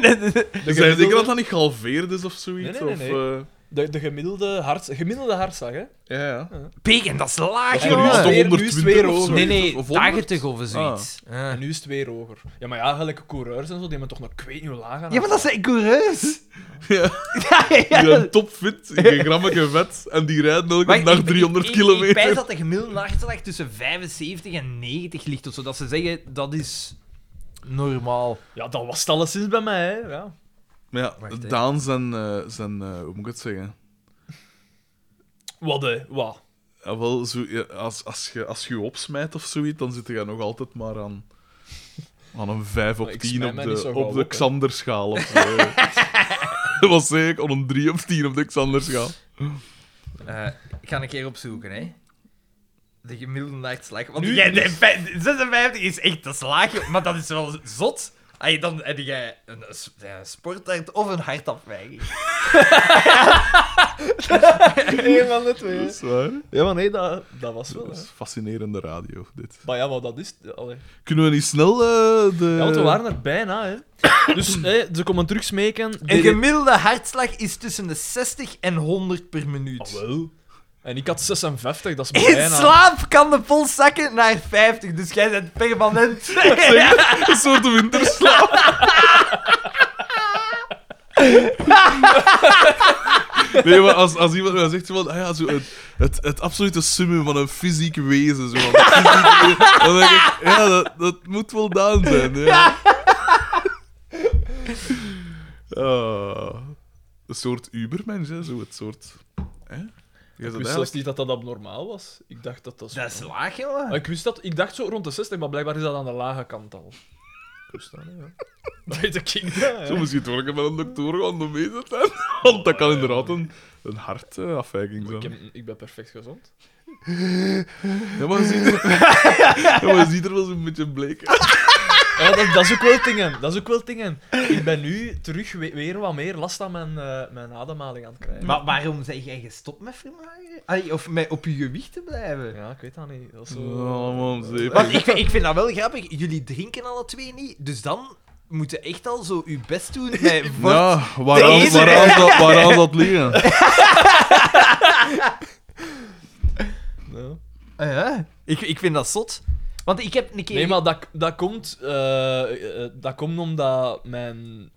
S1: zijn zeker dat dat niet gehalveerd is of zoiets?
S3: Nee, nee, nee,
S1: Of,
S3: De, de gemiddelde, hart, gemiddelde hartslag, hè.
S1: eh, ja, ja.
S2: Pegen, dat is laag,
S3: En
S1: Maar nu is
S3: ja.
S1: het
S2: jongen.
S3: weer- nu
S1: 120
S3: is het weer
S1: of
S3: hoog.
S1: zoiets,
S2: Nee, nee,
S1: of 100.
S2: 80 of zoiets. Ja.
S3: En nu is het weer hoger. Ja, maar ja, gelijke coureurs en zo, die hebben toch nog, ik weet niet hoe laag aan.
S2: Ja, maar dat zijn coureurs.
S1: Ja.
S2: ja, ja.
S1: Die zijn topfit, geen grammetje vet, en die rijden elke
S2: Maar ik-
S1: dag
S2: ik-
S1: 300
S2: ik- ik- Ik
S1: kilometer.
S2: pijs dat de gemiddelde hartslag tussen 75 en 90 ligt, of zo. Dat ze zeggen, dat is normaal.
S3: Ja, dat was het alleszins bij mij, hè. Ja.
S1: maar ja,
S2: Wacht, hè.
S1: Daan zijn, eh, zijn eh, hoe moet ik het zeggen?
S3: Wat, hè? Wat?
S1: Ja, wel, zo, ja, als, als, je, als je je opsmijt of zoiets, dan zit je nog altijd maar aan, aan een 5 op
S3: Maar ik
S1: 10
S3: smijt
S1: op
S3: mij niet zo
S1: de,
S3: gauw
S1: op de
S3: op, hè.
S1: Xanderschaal. of zo. Dat was zeker om een 3 op 10 op de Xanderschaal.
S2: Eh, ik ga een keer opzoeken, hè. De gemiddelde hartslag. Want
S3: Nu-
S2: jij,
S3: nu-
S2: de vij- 56 is echt dat is laag, joh. maar dat is wel zot. Ay, dan heb jij een, s- ja, een sporthart of een hartafwijking.
S3: Eén van de twee.
S1: Dat is waar.
S3: Ja, maar nee, dat, dat was wel,
S1: Dat
S3: hè.
S1: is fascinerende radio, dit.
S3: Maar ja, maar dat is... Allee.
S1: Kunnen we niet snel eh, de...
S3: Ja, want we waren er bijna, hè. Dus hè, ze komen terug smeken.
S2: Een
S3: DDT
S2: gemiddelde hartslag is tussen de 60 en 100 per
S3: Ah,
S2: minuut.
S3: wel. En ik had 56, dat is maar
S2: In
S3: bijna...
S2: slaap kan de pols zakken naar 50, dus jij bent permanent.
S1: Een soort winterslaap. Nee, maar als, als iemand mij zegt zo van, ah ja, zo het, het, het absolute summum van een fysiek wezen, zo van, een fysiek wezen, dan denk ik, ja, dat, dat moet wel Daan zijn. Ja. Ah, een soort Ubermensch, hè, zo het soort. Hè? Je
S3: Ik
S1: bent
S3: wist zelfs
S1: eigenlijk
S3: niet dat dat abnormaal was. Ik dacht dat dat... zo-
S2: Dat is laag,
S3: Maar
S2: jongen.
S3: ik wist dat... Ik dacht zo rond de 60, maar blijkbaar is dat aan de lage kant al. Ik wist dat niet, ja. Dat weet ik niet, hè.
S1: Zo, misschien toch ik met een dokter gaan doen mee zitten. Want dat kan inderdaad een, een hartafwijking
S3: Ik,
S1: zijn.
S3: heb- ik ben perfect gezond.
S1: Ja, maar je ziet er, ja, maar je ziet er wel zo'n beetje bleek uit.
S3: Ja, dat, dat is ook wel dingen. Dat is ook wel dingen. Ik ben nu terug we- weer wat meer last aan mijn, eh, mijn ademhaling aan het krijgen.
S2: Maar waarom zeg jij gestopt met vermageren? Allee, Of met op je gewicht te blijven?
S3: Ja, ik weet dat niet. Dat is zo...
S1: Ja, Oh, man, zeep.
S2: Want ik, vind- ik vind dat wel grappig. Jullie drinken alle twee niet, dus dan moeten echt al zo uw best doen met voor-
S1: Ja, waaraan,
S2: Deze.
S1: waaraan, dat, waaraan dat liggen?
S3: Ja.
S2: Ah ja. ik, ik vind dat zot. Want ik heb een keer...
S3: Nee, maar dat, dat, komt, eh, eh, dat komt omdat mijn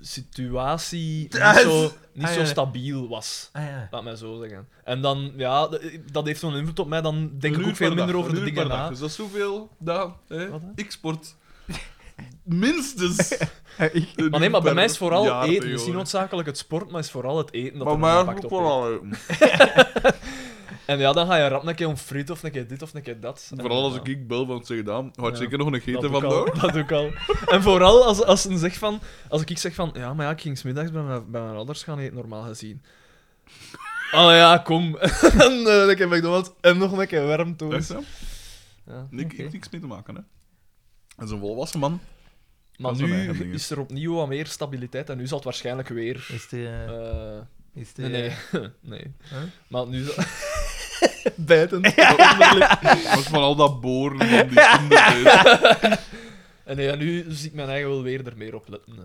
S3: situatie niet
S2: Ah,
S3: zo, niet
S2: ah,
S3: zo
S2: ja.
S3: stabiel was.
S2: Ah ja.
S3: Laat mij zo zeggen. En dan, ja, d- dat heeft zo'n invloed op mij. Dan denk
S1: Een
S3: ik
S1: uur
S3: ook veel
S1: per
S3: minder
S1: dag,
S3: over
S1: een
S3: de
S1: uur
S3: dingen
S1: per dag.
S3: na.
S1: Dus dat is zoveel dat hè,
S3: Wat, hè?
S1: ik sport minstens. een
S3: Maar nee,
S1: uur
S3: maar bij
S1: per
S3: mij is vooral
S1: jaarperiode.
S3: eten. Het is niet noodzakelijk het sport, maar het is vooral het eten dat
S1: Maar
S3: er
S1: mij
S3: een
S1: is
S3: impact
S1: ook
S3: op heeft.
S1: wel aan.
S3: En ja, dan ga je rap een keer om friet of een keer dit of een keer dat. En
S1: Vooral als
S3: ja,
S1: ik ik bel van het zeggen, dan had
S3: Ja.
S1: zeker nog een geten
S3: dat
S1: van
S3: ook al,
S1: nou.
S3: Dat doe ik al. En vooral als, als, een zeg van, als ik zeg van, ja, maar ja, ik ging smiddags bij mijn, bij mijn ouders gaan eten, normaal gezien. Oh ja, kom. en eh, een keer McDonald's en nog een keer warm
S1: Echt,
S3: toast.
S1: hè?
S3: Ja,
S1: Nik-
S3: oké.
S1: Niks mee te maken, hè. Dat is een volwassen man.
S3: Maar
S1: Dat is een
S3: nu
S1: eigen ding.
S3: is er opnieuw wat meer stabiliteit en nu zal het waarschijnlijk weer...
S2: Is de...
S3: eh,
S2: is de
S3: nee, nee. nee.
S2: Huh?
S3: Maar nu... zal- Bijten. Onderlip.
S1: Dat is van al dat boren van die kinderbeest.
S3: En nee, ja, nu zie ik mijn eigen wel weer er meer op letten. eh.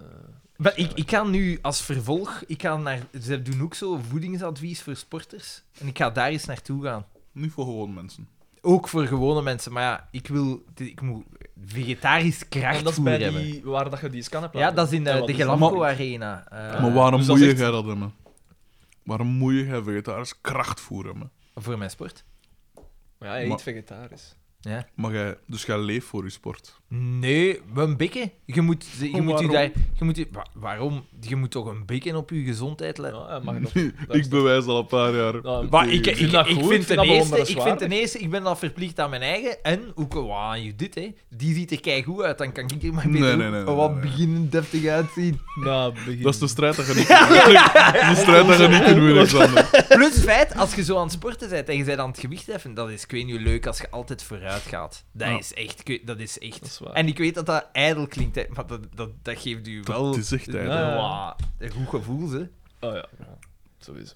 S2: Maar ik, ik ga nu als vervolg... Ik ga naar, ze doen ook zo voedingsadvies voor sporters. En ik ga daar eens naartoe gaan.
S1: Niet voor gewoon mensen.
S2: Ook voor gewone mensen. Maar ja, ik wil... Ik moet vegetarisch
S3: en dat is
S2: krachtvoer
S3: bij
S2: hebben.
S3: die, waar dat je die scan hebt
S2: Ja,
S3: laten
S2: dat is in
S3: doen.
S2: de,
S3: wat
S2: de
S3: dat?
S2: Gelamco Arena. eh,
S1: maar waarom
S3: dus dat
S1: moet je
S3: is echt-
S1: jij dat hebben? Waarom moet je jij vegetarisch kracht voeren? hebben?
S2: Voor mijn sport?
S3: Maar ja, hij
S1: Maar-
S3: eet vegetarisch.
S2: Ja.
S1: Maar jij, dus jij leeft voor je sport.
S2: Nee, maar een bikken. Je moet je,
S1: Maar
S2: moet je
S1: waarom?
S2: daar... Je moet je, wa- waarom? Je moet toch een bikken op je gezondheid letten?
S3: Ja, hij mag nog. dat is
S1: ik bewijs al een paar jaar.
S3: Nou,
S2: Maar ik, ik,
S3: Ik vind
S2: ik,
S3: dat goed,
S2: ik
S3: ik
S2: vind
S3: vind
S2: ten
S3: dat
S2: eerste, ik
S3: bewonderenswaardig.
S2: vind ten eerste, ik ben al verplicht aan mijn eigen. En ook, wauw, je dit, hè. Die ziet er keigoed uit, dan kan ik er maar
S1: Nee,
S2: beter
S1: nee, nee,
S2: ook
S1: nee, nee,
S2: wat
S1: nee.
S2: beginnen deftig uitzien.
S3: Nou, begin.
S1: Dat is de
S2: dus-
S1: strijd dat je niet De strijd dat je niet kunt winnen, Xander.
S2: Plus het feit, als je zo aan het sporten bent en je bent aan het gewicht heffen, dat is, ik weet niet, leuk als je altijd vooruit gaat. Dat
S1: Ja.
S2: is echt, ik weet- dat is echt.
S3: Dat is waar.
S2: En ik weet dat dat ijdel klinkt, hè, maar dat, dat, dat geeft u wel
S1: Dat is echt tijd.
S3: Ja.
S2: een wauw, een goed gevoel, hè.
S3: Oh ja, ja, sowieso.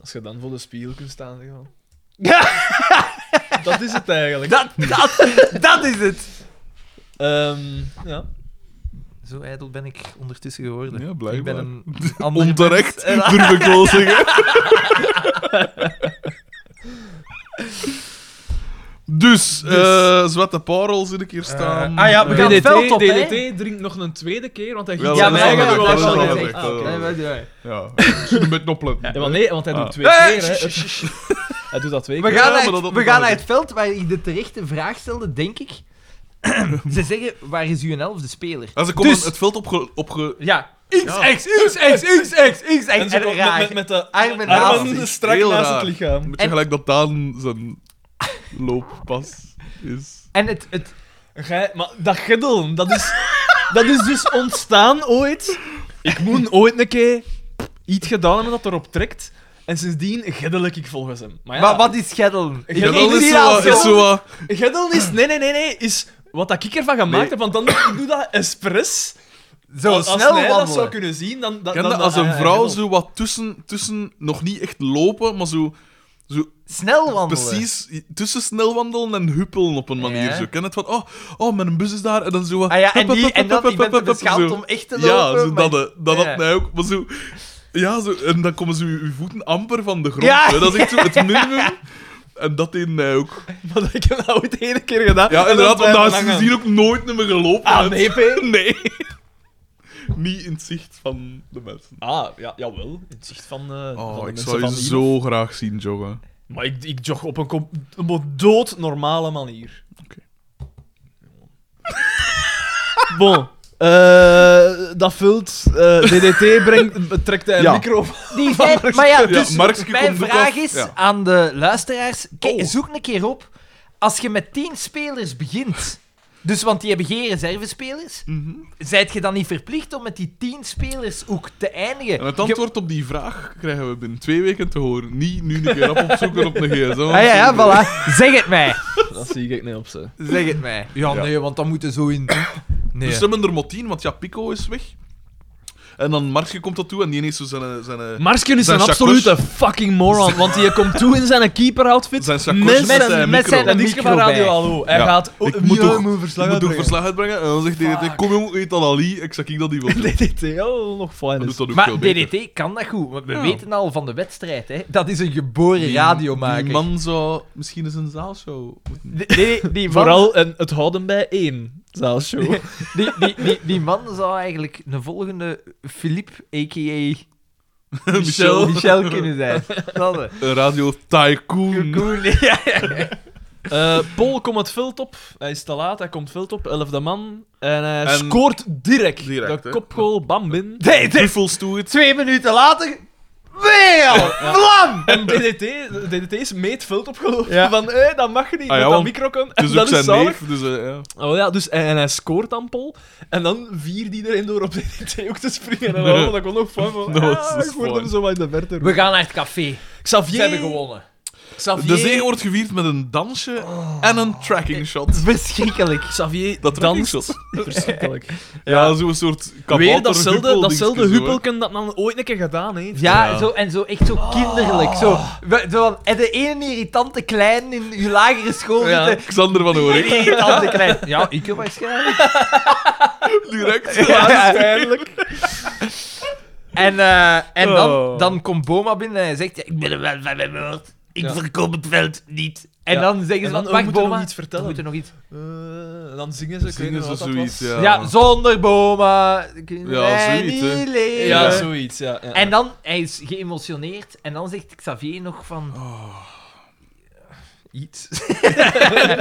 S3: Als je dan voor de spiegel kunt staan, zeg van...
S2: Ja,
S3: Dat is het eigenlijk.
S2: dat, dat, dat is het.
S3: Ehm, ja.
S2: Zo ijdel ben ik ondertussen geworden.
S1: Ja,
S2: ik ben
S1: blijkbaar.
S2: een ander mens.
S1: Onterecht, durf ik wel zeggen. Dus, eh Zwarte Parel zit ik hier staan.
S2: Eh, ah ja, we
S3: Hm.
S2: gaan-
S1: Eh,
S2: het veld op, hè?
S3: DDT drinkt nog een tweede keer, want hij
S1: Wel,
S3: giet...
S2: Ja,
S1: dat
S2: maar
S1: is
S2: hij
S1: wel
S2: gaat
S1: leuk,
S2: wel
S1: dat is
S2: wel
S1: wel
S2: wel
S1: leuk,
S2: zeggen.
S1: dat is wel
S2: Nee,
S1: leuk.
S2: maar doe maar.
S1: Ja, ik zit een beetje opletten.
S3: Ja, maar nee, want hij
S1: Ah.
S3: doet twee
S2: Eh,
S3: keer, hè. Hij doet dat twee
S2: We
S3: keer.
S1: Ja,
S2: gaan,
S1: maar
S2: naar
S1: dat
S2: het,
S1: op-
S2: we gaan naar het veld waar ik de terechte vraag stelde, denk ik. Ze zeggen, waar is uw elfde speler?
S1: Als ik kom
S2: Dus-
S1: het veld opge... opge
S2: Ja. X,
S1: Ja.
S2: X, X, X, X, X, X, X.
S3: En ze
S2: En
S3: komt
S2: raar.
S3: met, met, met de
S2: Armen naast
S3: armen
S1: zich.
S3: strak
S1: Heel
S3: naast het
S1: raar.
S3: lichaam.
S1: Een beetje
S2: En-
S1: gelijk dat Daan zijn looppas is.
S2: En het, het...
S3: Gij, maar dat giddel, dat is, dat is dus ontstaan ooit. Ik moet ooit een keer iets gedaan hebben dat erop trekt. En sindsdien giddel ik volgens hem. Maar ja,
S2: Maar wat is Geddel?
S3: Ja,
S1: Ja,
S3: dat
S1: dat
S3: is
S1: is
S3: niet
S1: zo wat-
S3: als
S1: is
S3: je-
S1: zo wat...
S3: giddel is... Nee, nee, nee, nee. Is wat dat ik ervan gemaakt
S1: Nee.
S3: heb. Want dan ik doe dat expres.
S2: Zo
S3: als, als
S2: snel
S3: hij dat zou
S2: wandelen.
S3: kunnen zien, dan... dan,
S1: Ken
S3: dan
S1: dat
S2: eh,
S1: als een
S3: ah, ja,
S1: vrouw
S3: giddel.
S1: zo wat tussen, tussen... Nog niet echt lopen, maar zo... zo
S2: Snel wandelen.
S1: precies tussen snel wandelen en huppelen op een manier.
S2: Ja.
S1: Zo. Ken het van... Oh, oh, mijn bus is daar. En dan zo wat...
S2: Ah ja, en,
S1: hup,
S2: die,
S1: hup,
S2: en dat,
S1: hup,
S2: ik
S1: hup,
S2: ben te
S1: hup, hup, zo.
S2: beschaamd om echt te lopen.
S1: Ja, zo,
S2: maar-
S1: dat, eh, dat
S2: Ja.
S1: had mij ook. Maar zo... Ja, zo, en dan komen ze uw uw voeten amper van de grond.
S2: Ja.
S1: hè. Dat is echt zo het minimum. En dat deed mij ook.
S3: Maar dat ik heb dat ooit één keer gedaan.
S1: Ja,
S3: en dan
S1: inderdaad, want daar
S3: blijft
S1: is
S3: hangen.
S1: sindsdien ook nooit meer gelopen.
S3: Ah, nee, P.
S1: Nee. Niet in het zicht van de mensen.
S3: Ah, ja, jawel. In het zicht van, eh van
S1: Oh,
S3: de
S1: ik
S3: mensen
S1: zou
S3: van
S1: je
S3: hier.
S1: zo graag zien joggen.
S3: Maar ik, ik jog op een com- op een doodnormale manier.
S1: Oké.
S3: Bon. Eh, dat vult. eh, DDT brengt, trekt hij
S1: Ja.
S3: een micro
S2: Die zijn, maar ja, dus
S1: Markske
S2: mijn
S1: komt ook
S2: vraag
S1: af.
S2: is
S1: Ja.
S2: aan de luisteraars: kijk,
S1: Oh.
S2: zoek een keer op. Als je met tien spelers begint, dus want die hebben geen reservespelers,
S1: Mhm.
S2: zijt je dan niet verplicht om met die tien spelers ook te eindigen?
S1: En het
S2: Je-
S1: antwoord op die vraag krijgen we binnen twee weken te horen. Niet nu een keer op opzoeken op de gsm.
S2: Ah ja, ja, voilà. Zeg het mij.
S3: dat zie ik niet op ze.
S2: Zeg het mij. Ja,
S1: Ja.
S2: nee, want dan moeten zo in. Nee.
S1: Dus ze hebben er maar tien, want ja, Pico is weg. En dan Marsje komt dat toe en die heeft zo zijn... eh, zijn
S3: Marsken is
S1: Zijn
S3: een absolute fucking moron, want die komt toe in zijn keeper-outfit.
S1: Zijn sacoche
S3: met-
S1: met
S2: een-
S1: zijn
S2: met
S1: micro.
S2: zijn-
S3: En niks van Radio
S2: bij.
S3: Hallo. Hij
S1: Ja.
S3: gaat...
S1: Ik
S3: oh,
S1: moet
S3: ja,
S1: toch-
S3: ik moet verslag
S1: moet nog
S3: uitbrengen.
S1: verslag uitbrengen. En dan zegt DDT,
S3: Fuck.
S1: kom jong, eet dat Ali. Ik zeg ik dat die wil. doen.
S3: DDT, oh, nog fijn
S1: Dat
S3: is.
S1: doet dat ook
S2: Maar
S1: veel beter.
S2: DDT kan dat goed, want we
S1: Ja.
S2: weten al van de wedstrijd. Hè. Dat is een geboren
S1: Die-
S2: radiomaker.
S1: Die man zou misschien eens een zaalshow moeten...
S2: Die- die- die man-
S3: Vooral en het houden bij één zaalshow.
S2: Die, die, die, die man zou eigenlijk een volgende Philippe, a.k.a.
S1: Michel.
S2: Michel kunnen zijn. Dat is
S1: Een radio tycoon.
S2: Cocoon, ja.
S3: Eh Paul komt het veld op. Hij is te laat, hij komt veld op. Elfde man. En
S2: eh,
S3: hij
S1: En-
S3: scoort direct.
S1: Direct,
S3: de
S1: hè.
S3: kopgoal, bam, binnen.
S2: Nee, nee,
S1: Truffels toe het.
S2: Twee minuten later, weer al. Vlam!
S3: En DDT, DDT is mee het veld opgelopen.
S2: Ja.
S3: Van, hé, dat mag
S1: Ah,
S3: niet,
S1: ja,
S3: met dat
S1: want
S3: micro kan.
S1: Het
S3: En
S1: is ook
S3: dat is
S1: zijn
S3: zalig.
S1: neef, dus eh, ja.
S3: Oh ja, dus, en, en hij scoort dan Paul. En dan viert iedereen door op DDT ook te springen. En dan, dat kon nog fun. man.
S1: Dat was- dat
S3: Ah,
S1: was
S3: ik word
S1: fun.
S3: hem zo wat in de verte.
S2: We gaan naar het café. Ze hebben
S3: Xavier,
S2: gewonnen.
S1: De
S3: Xavier,
S1: zee wordt gevierd met een dansje
S2: Oh.
S1: en een tracking shot.
S2: Verschrikkelijk.
S3: Xavier
S1: Dat tracking
S3: danst.
S1: shot.
S3: Verschrikkelijk.
S1: Ja, zo'n soort kabouter
S3: Weer datzelfde,
S1: huppel
S3: datzelfde
S1: dingetje zo, hè.
S3: huppelken dat men ooit een keer gedaan heeft.
S2: Ja,
S1: Ja.
S2: Zo, en zo echt zo kinderlijk. Zo, we- zo van, en de ene irritante klein in uw lagere school
S3: Ja.
S2: zitten.
S1: Xander van
S2: Die
S1: Oorik.
S2: irritante klein. Ja, ik waarschijnlijk.
S1: Direct.
S3: Waarschijnlijk.
S2: En, eh, en dan,
S3: Oh.
S2: dan komt Boma binnen en hij zegt, ja, ik ben er wel van mijn woord. Ik
S3: Ja.
S2: verkoop het veld niet. En
S3: Ja.
S2: dan zeggen ze,
S3: En dan,
S2: van,
S3: oh,
S2: wacht
S3: we moeten
S2: Boma,
S3: nog iets vertellen.
S2: we moeten nog iets.
S3: Eh, dan zingen ze, ik
S1: Zingen
S3: weet
S1: ze
S3: niet wat dat
S1: zoiets,
S3: was.
S1: ja.
S2: Ja, zonder Boma kunnen
S1: Ja,
S2: wij
S1: zoiets, hè.
S2: niet leven.
S3: Ja,
S1: Ja.
S3: zoiets, ja. ja.
S2: En dan, hij is geëmotioneerd, en dan zegt Xavier nog van...
S1: Oh.
S2: Iets.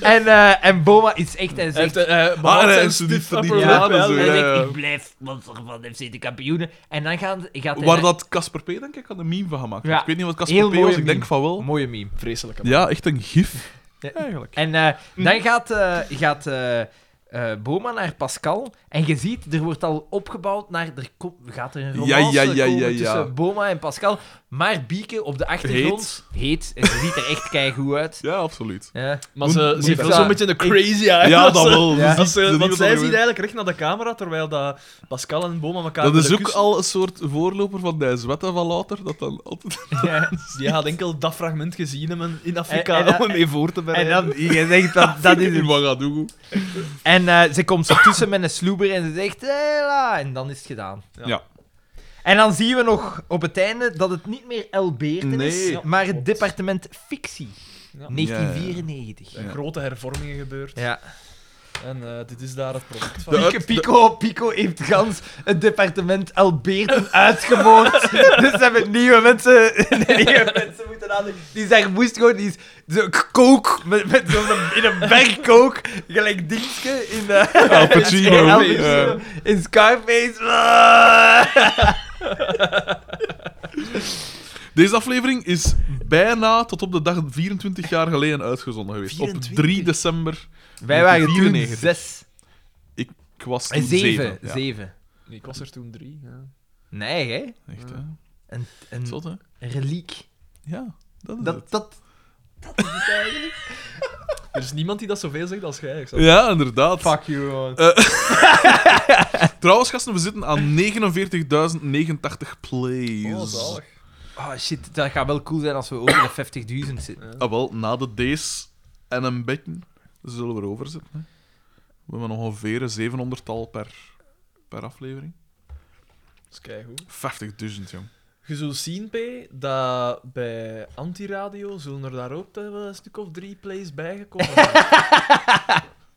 S2: en, eh, en Boma is echt, hij
S3: Hij
S2: zegt...
S3: heeft, eh, eh,
S1: Ah,
S3: behaald
S1: nee,
S3: zijn
S1: en ze die-
S3: stief
S1: die
S3: upper
S1: platen
S3: lip,
S1: zo,
S3: ja.
S2: hij
S1: ja,
S2: zegt,
S1: ja.
S2: ik blijf monster van FC de kampioenen. En dan gaan, gaat hij...
S1: Waar dat Casper P. denk ik aan de meme van gemaakt heeft.
S2: Ja.
S1: Ik weet niet wat
S2: Heel
S1: Casper P.
S2: mooie
S1: was, ik
S2: meme.
S1: denk van wel.
S2: Mooie meme.
S3: Vreselijke man.
S1: Ja, echt een gif.
S2: Ja.
S1: Eigenlijk.
S2: En eh, dan gaat, eh, gaat eh, eh, Boma naar Pascal. En je ziet, er wordt al opgebouwd naar... Er kom- gaat er een
S1: Ja,
S2: romance
S1: ja, ja,
S2: komen
S1: ja, ja.
S2: tussen Boma en Pascal. Maar Bieke op de achtergrond... Heet. En ze ziet er echt keigoed uit.
S1: Ja, absoluut.
S2: Ja.
S3: Maar ze,
S1: Moet-
S3: ze heeft
S2: moet-
S3: wel zo'n
S2: Ja.
S3: beetje een crazy eye.
S1: Ja,
S3: als
S1: dat
S3: ze-
S1: wel.
S2: Ja.
S1: Ze
S3: als
S1: ziet-
S3: ze-
S1: ze ziet
S3: want
S1: wat
S3: zij
S1: er
S3: ziet
S1: gebeurt.
S3: eigenlijk recht naar de camera, terwijl dat Pascal en Boma elkaar
S1: Dat is
S3: willen
S1: ook
S3: kussen.
S1: al een soort voorloper van de zwetten van later, dat dan altijd...
S2: Ja.
S3: Die had enkel dat fragment gezien hebben in Afrika
S2: En- en-
S3: om mee voor te bereiden.
S2: En dan, je zegt dat, dat is
S1: in
S2: het.
S1: Ouagadougou.
S2: En eh, ze komt zo tussen met een sloeber en ze zegt, hela, en dan is het gedaan.
S3: Ja.
S1: Ja.
S2: En dan zien we nog op het einde dat het niet meer El Beerten is,
S1: Nee.
S2: maar het
S3: Klopt.
S2: departement fictie,
S3: Ja.
S2: 1994. Ja.
S3: Er zijn Grote hervormingen gebeurd. En eh, dit is daar het product van.
S1: De
S2: Pico,
S1: uit-
S2: Pico, Pico heeft gans het departement El Beerten uitgemoord. dus ze hebben nieuwe mensen, nieuwe mensen moeten aandoen. Die zijn woest gewoon, die is zo kook, met, met zo'n- in een berg kook, gelijk dingetje in de...
S1: Al Pacino.
S2: Al
S1: eh,
S2: Pacino In Scarface. Ah.
S1: Deze aflevering is bijna tot op de dag 24 jaar geleden uitgezonden geweest. Op 3
S3: 24?
S1: december.
S2: Wij waren toen
S1: 94.
S2: zes.
S1: Ik was toen
S2: En Eh, zeven.
S1: Ja.
S2: Zeven.
S3: Ik was er toen drie. Ja.
S2: Nee, hè?
S1: Echt, hè?
S2: Een, een
S1: Zot, hè?
S2: reliek.
S1: Ja, dat is het.
S2: Dat, dat...
S3: Er is niemand die dat zoveel zegt als jij. Ik zou-
S1: Ja, inderdaad.
S2: you, man.
S1: Trouwens, gasten, we zitten aan 49.080 plays.
S3: Oh, zalig.
S2: Oh shit, dat gaat wel cool zijn als we over de 50.000 zitten.
S1: Ah, wel, na de D's en een beetje zullen we erover zitten. Hè. We hebben ongeveer een 700-tal per, per aflevering.
S3: Dat is keigoed.
S1: 50.000, jong.
S3: Je zult zien, P, dat bij Antiradio zullen er daar ook eh, wel een stuk of drie plays bijgekomen zijn.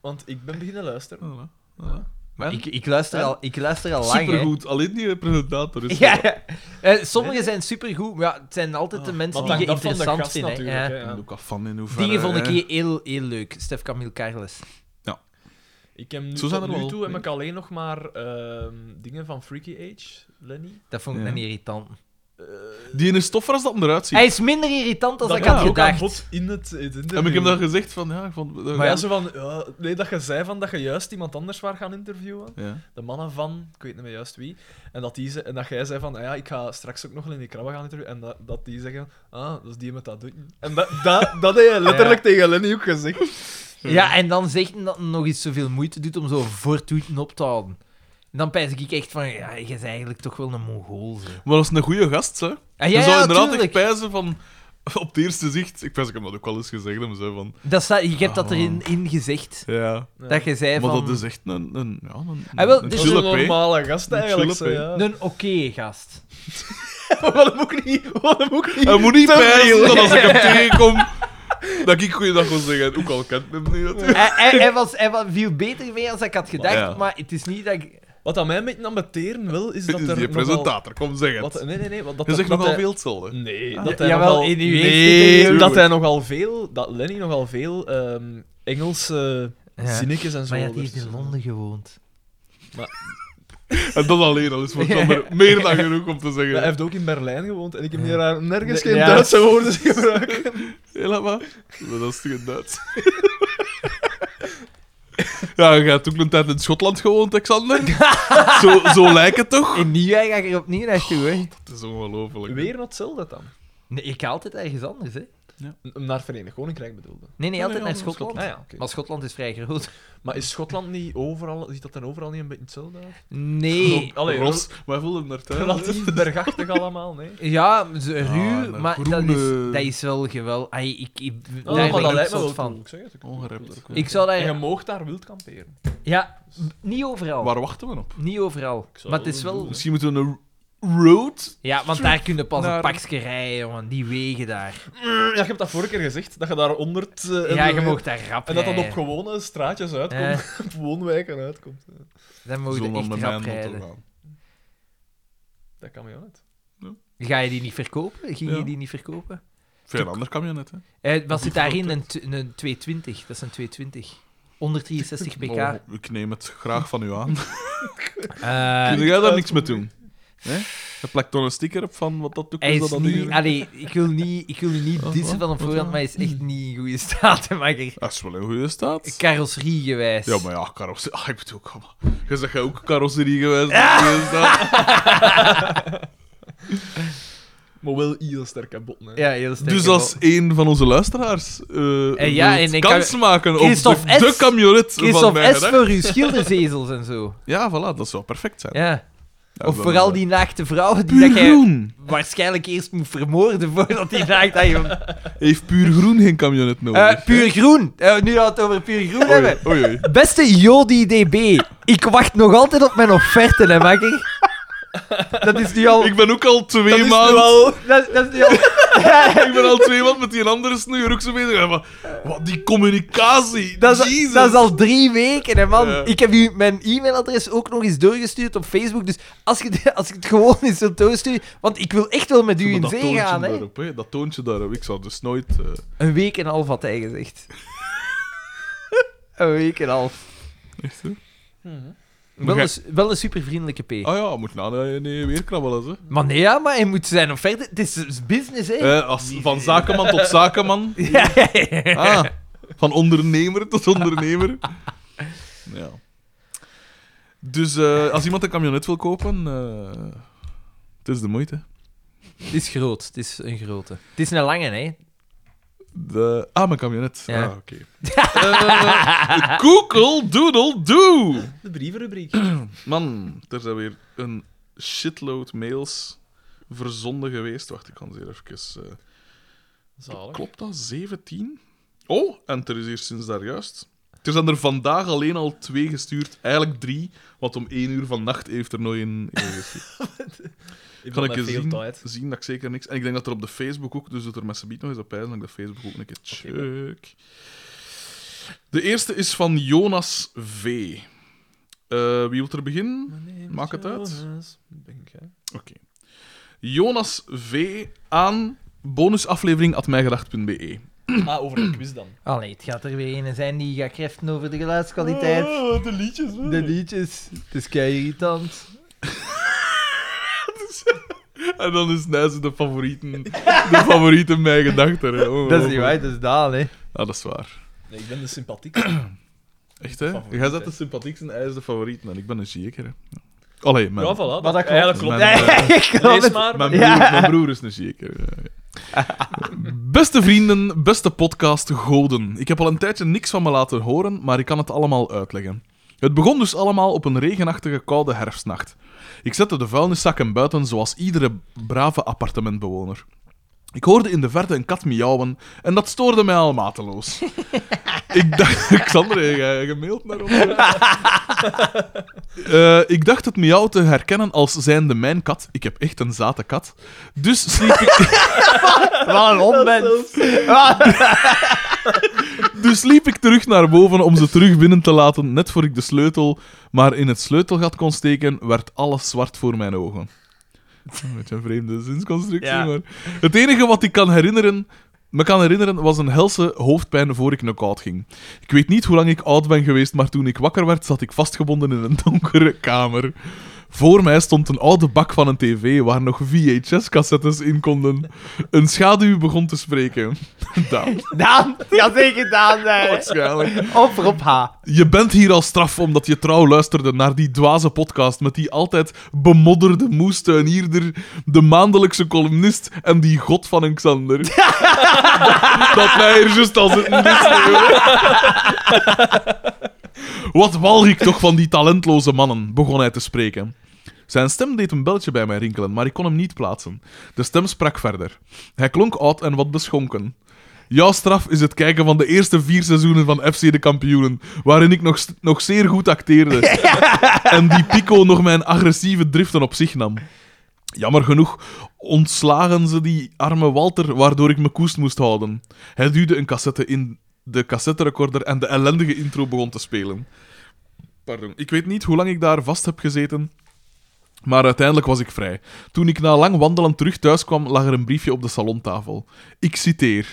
S3: Want ik ben beginnen luisteren.
S1: Voilà, voilà.
S2: Maar ik, ik, luister
S3: Ja.
S2: al, ik luister al lang, hè.
S1: Supergoed. Alleen die presentator is...
S2: Ja, ja. Eh, sommige
S3: Nee.
S2: zijn supergoed, maar ja, het zijn altijd de
S1: Ah,
S2: mensen
S3: Want
S2: die je
S3: dat dat van de
S2: interessant
S3: gast
S2: vinden. hè.
S3: natuurlijk.
S2: Ja.
S3: hè, ja.
S1: Ik ook af van in hoeverre...
S2: Dingen vond ik
S1: hè.
S2: hier heel, heel leuk. Stef Camille Carles.
S3: Ik heb nu,
S1: Zo zijn
S3: tot
S1: er
S3: nu
S1: wel,
S3: toe heb
S1: nee.
S3: ik alleen nog maar ehm, dingen van Freaky Age, Lenny.
S2: Dat vond ik
S1: Ja.
S2: een irritant.
S1: Die ene stoffer als dat hem eruit ziet.
S2: Hij is minder irritant dan
S3: dat
S2: ik
S3: kwam
S2: had
S3: ook aan
S2: gedacht.
S3: bod in het. in het
S1: En ik heb
S3: interview.
S1: dan gezegd van, ja, ik vond... eh,
S3: Maar ja, zo van, ja, nee, dat je zei van dat je juist iemand anders waar gaan interviewen.
S1: Ja.
S3: De mannen van, ik weet niet meer juist wie. En dat, die, ze- en dat jij zei van, ah ja, ik ga straks ook nog wel in die krabben gaan interviewen. En dat, dat die zeggen, ah, dat is die met dat doekje. En dat, dat, dat heb je letterlijk tegen Lenny ook gezegd.
S2: Ja, en dan zegt hij dat hij nog eens zoveel moeite doet om zo voortoeten op te houden. En dan pijs ik echt van, ja, je is eigenlijk toch wel een Mongool. Zo.
S1: Maar dat is een goede gast, hè. je
S2: Ah, ja,
S1: zou
S2: ja,
S1: inderdaad echt
S2: tuurlijk.
S1: pijzen van... Op het eerste zicht... Ik pijs, ik heb dat ook wel eens gezegd, hem zo van...
S2: Dat staat, je hebt dat
S1: Ah.
S2: erin in gezegd.
S1: Ja.
S3: Ja.
S2: Dat je zei
S1: Maar
S2: van,
S1: dat dus is echt een... een ja, een,
S2: Ah, wel,
S1: een
S2: dit
S3: Dat is een
S1: chille P.
S3: normale gast
S1: Een
S3: eigenlijk.
S1: chille
S3: zo, ja.
S2: een oké gast.
S3: Wat hem ook niet, wat hem ook niet.
S1: Hij moet niet
S3: te
S1: pijzen
S3: veel.
S1: dat als ik hem tegenkom... Dat ik goeiedag wil zeggen. Ook al kent hem niet, natuurlijk.
S2: hij, hij, hij was, hij wa- viel beter mee dan ik had gedacht,
S1: Ja.
S2: maar het is niet dat ik...
S3: Wat aan mij een beetje ambeteren wil, is
S1: Dit
S3: dat
S1: is
S3: er
S1: die
S3: nogal-
S1: presentator, kom zeg het.
S3: Wat, nee, nee, nee. Wat, dat
S1: Je
S3: er-
S1: zegt
S3: dat
S1: nogal
S3: hij-
S1: veel hetzelfde.
S3: Nee,
S1: Ah.
S3: dat hij
S2: Ja,
S3: nogal...
S2: jawel, in uw eerste
S3: nee,
S2: interview.
S3: dat hij nogal veel... Dat Lenny nogal veel ehm, Engelse zinnetjes en zo...
S2: Maar ja, die
S3: ertussen
S2: heeft in
S3: zet.
S2: Londen gewoond.
S1: En dat alleen al is voor Sander meer dan genoeg om te zeggen.
S3: Maar hij heeft ook in Berlijn gewoond en ik heb
S2: Ja.
S3: hier daar nergens
S2: Nee,
S3: geen
S2: ja.
S3: Duitse woorden zien gebruiken.
S1: Hela, maar. Dat is toch in Duits? ja, je hebt ook een tijd in Schotland gewoond, Alexander. zo, zo lijkt het toch?
S2: In Nieuwjaar ga ik er opnieuw naartoe, hè.
S1: Het is ongelooflijk.
S3: Weer not hetzelfde dan.
S2: Nee, ik ga altijd ergens anders, hè.
S3: Om Naar Verenigd Koninkrijk bedoelde.
S2: Nee, nee, altijd
S1: nee,
S2: naar
S1: ja,
S2: Schotland.
S3: Ah ja, oké.
S2: Maar Schotland is vrij groot.
S3: Maar is Schotland niet overal... Ziet dat dan overal niet een beetje hetzelfde uit?
S2: Nee.
S3: Allee,
S1: Ros, maar hij voelde hem naar thuis.
S3: Relatief bergachtig allemaal, nee.
S2: Ja, ze- ruw,
S1: een
S2: maar dat
S1: groene-
S2: is, dat is wel geweldig. Ai, ik, ik,
S3: Oh,
S2: daar
S3: maar
S2: ben
S3: dat
S2: ik
S3: lijkt me
S2: zot
S3: wel
S2: van.
S3: cool, ik zeg het. Ik vind het
S1: Ongerept.
S3: cool.
S1: ook, ja.
S2: Ik zou
S3: En je
S2: daar...
S3: moogt daar wild kamperen.
S2: Ja, niet overal.
S1: Waar wachten we op?
S2: Niet overal.
S3: zou
S2: Maar het
S3: dat
S2: is
S3: wel
S2: wel...
S3: doen,
S1: Misschien moeten we een r- road...
S2: Ja, want daar kun je pas
S1: Naar-
S2: een pakje rijden, jongen. Die wegen daar.
S3: Ja, je hebt dat vorige keer gezegd, dat je daar onder... het, eh,
S2: Ja,
S3: en-
S2: je mag daar rap
S3: En dat dat
S2: rijden. Eh,
S3: op gewone straatjes uitkomt, op woonwijken uitkomt.
S2: Dan mogen
S1: Zullen
S2: je
S1: we met
S2: echt
S1: mijn
S2: rap
S1: motto
S2: rijden.
S1: gaan.
S3: Dat kan mij wel uit.
S2: Ga je die niet verkopen? Ging
S1: Ja.
S2: je die niet verkopen?
S1: Veel ander kan je net, hè.
S2: Eh, wat zit
S1: Die
S2: daarin? Een, t- een 220. Dat is een 220. 163 pk.
S1: Maar Oh, ik neem het graag van u aan.
S2: Eh,
S1: Kun jij daar niks mee doen? Hè? Je plakt dan een sticker op van wat dat ook
S2: hij
S1: is. Dat
S2: is
S1: dat
S2: niet...
S1: hier-
S2: Allee, ik wil niet, ik wil je niet
S1: Oh,
S2: dissen
S1: wat?
S2: van
S1: Wat
S2: op voorhand,
S1: dan?
S2: maar hij is echt niet in goede staat. hè, Maar ik-
S1: Dat is wel een goede staat.
S2: Carrosserie gewijs.
S1: Ja, maar ja, carrosserie. Ah, ik bedoel, kom maar. Je zegt jij ook carrosserie geweest. is dat?
S3: Maar wel heel sterke botten. Hè.
S2: Ja, heel sterk.
S1: Dus als een van onze luisteraars eh
S2: En ja,
S1: wilt
S2: en ik
S1: kans
S2: kan-
S1: maken op
S2: Christophe
S1: de, de
S2: S.
S1: camionet van
S2: Christophe
S1: mij,
S2: S. voor uw schilderzezels en zo.
S1: Ja, voilà, dat zou perfect zijn.
S2: Ja.
S1: Ja,
S2: Of
S1: dan
S2: vooral
S1: is
S2: die naakte vrouwen
S1: dat-
S2: die dat
S1: Puur
S2: jij
S1: groen.
S2: waarschijnlijk eerst moet vermoorden voordat die naakt aan je
S1: Heeft puur groen geen camionet nodig?
S2: Eh, puur groen. Eh, nu dat we het over puur groen
S1: Oei,
S2: hebben.
S1: oei, oei.
S2: Beste Jody DB, ik wacht nog altijd op mijn offerte, hè, makker. Dat is nu al...
S1: Ik ben ook al
S2: dat
S1: twee
S2: is
S1: maanden...
S2: nu al... Dat, dat is nu al...
S1: Ik ben al twee maanden met die andere snoeier ook zo bezig. Ja, maar Wat, die communicatie.
S2: Dat is,
S1: Jezus.
S2: dat is al drie weken, hè, man.
S1: Ja.
S2: Ik heb u mijn e-mailadres ook nog eens doorgestuurd op Facebook. Dus als je, de- als je het gewoon eens wilt doorsturen... Want ik wil echt wel met u
S1: Maar
S2: in
S1: dat
S2: zee
S1: toontje
S2: gaan, hè.
S1: daarop, hè. Dat toontje daarop. Ik zou dus nooit... eh,
S2: Een week en een half had hij gezegd. een week en een half.
S1: echt, hè.
S2: Wel een, wel een supervriendelijke P. Oh.
S1: Ah ja, moet na nee, nee, weer krabbelen, hè.
S2: Maar nee, ja, maar hij moet zijn offerte... Het is- is business, hè.
S1: Eh, als, van zakenman tot zakenman.
S2: Ja, ja, ja.
S1: Ah, van ondernemer tot ondernemer. Ja. Dus eh, als iemand een camionet wil kopen, eh, het is de moeite.
S2: Het is groot, het is een grote. Het is een lange, hè?
S1: De, ah, mijn camionet.
S2: Ja.
S1: Ah, oké. Eh, Google Doodle Doo.
S3: De brievenrubriek.
S1: Man, er zijn weer een shitload mails verzonden geweest. Wacht, ik kan ze hier even... eh,
S3: Zalig.
S1: Klopt dat? 17? Oh, en er is hier sinds daar juist. Er zijn er vandaag alleen al twee gestuurd. Eigenlijk drie, want om één uur van nacht heeft er nog één één gestuurd.
S3: Ik
S1: Kan
S3: kan
S1: ik
S3: veel
S1: eens zien,
S3: tijd.
S1: zien dat ik zeker niks... En ik denk dat er op de Facebook ook, dus doet er met z'n biet nog eens op ijs, dat ik de Facebook ook een keer check. De eerste is van Jonas V. Eh, wie wil er beginnen? Maak het uit.
S3: Denk, hè.
S1: Oké. Jonas V. aan bonusaflevering.mijgedacht.be
S3: Ah, over de quiz dan.
S2: Allee, het gaat er weer een zijn die gaat kreften over de geluidskwaliteit.
S3: Oh, de liedjes. hè.
S2: De liedjes, het is kei irritant.
S1: En dan is Nijs de favorieten, de favoriet in mijn gedachten. hè. Oh,
S2: Dat is
S1: oh,
S2: niet
S1: oh.
S2: waar, dat is Daan, hè.
S1: Ja, dat is waar.
S3: Nee, ik ben de sympathiek.
S1: Echt, hè?
S3: Favoriet,
S1: Jij bent
S3: hè.
S1: de sympathiekste en hij is de favorieten. En ik ben een zeker, hè. Ja. Allee, mijn,
S3: Ja, voilà. Dat,
S2: Maar dat klopt.
S3: Eigenlijk
S1: Mijn,
S2: Ja,
S3: klopt.
S1: eh,
S2: ik geloof
S3: Lees
S2: het.
S3: maar.
S1: mijn,
S3: Maar,
S1: broer,
S2: Ja.
S1: mijn broer is een zeker. Beste vrienden, beste podcast goden. Ik heb al een tijdje niks van me laten horen, maar ik kan het allemaal uitleggen. Het begon dus allemaal op een regenachtige, koude herfstnacht. Ik zette de vuilniszakken buiten zoals iedere brave appartementbewoner. Ik hoorde in de verte een kat miauwen en dat stoorde mij al mateloos. ik dacht... Xander, heb jij gemaild naar ons? Eh, ik dacht het miauw te herkennen als zijnde mijn kat. Ik heb echt een zate kat. Dus sliep ik...
S2: Wat een onmens. Wat-
S1: Dus liep ik terug naar boven om ze terug binnen te laten, net voor ik de sleutel maar in het sleutelgat kon steken, werd alles zwart voor mijn ogen. Een beetje een vreemde zinsconstructie,
S2: Ja.
S1: maar... Het enige wat ik kan herinneren, me kan herinneren was een helse hoofdpijn voor ik knock-out ging. Ik weet niet hoe lang ik oud ben geweest, maar toen ik wakker werd, zat ik vastgebonden in een donkere kamer. Voor mij stond een oude bak van een tv waar nog VHS-cassettes in konden. Een schaduw begon te spreken. Daan,
S2: Daan, ja zeker Daan zijn.
S1: waarschijnlijk.
S2: Of Rob H.
S1: Je bent hier als straf omdat je trouw luisterde naar die dwaze podcast met die altijd bemodderde moestuinierder, de maandelijkse columnist en die god van een Xander. dat, dat mij hier juist al zitten liefsneeuwen. Wat walg ik toch van die talentloze mannen, begon hij te spreken. Zijn stem deed een beltje bij mij rinkelen, maar ik kon hem niet plaatsen. De stem sprak verder. Hij klonk oud en wat beschonken. Jouw straf is het kijken van de eerste vier seizoenen van FC de Kampioenen, waarin ik nog, st- nog zeer goed acteerde. en die Pico nog mijn agressieve driften op zich nam. Jammer genoeg ontslagen ze die arme Walter, waardoor ik me koest moest houden. Hij duwde een cassette in de cassetterecorder en de ellendige intro begon te spelen. Pardon. Ik weet niet hoe lang ik daar vast heb gezeten, maar uiteindelijk was ik vrij. Toen ik na lang wandelen terug thuis kwam, lag er een briefje op de salontafel. Ik citeer.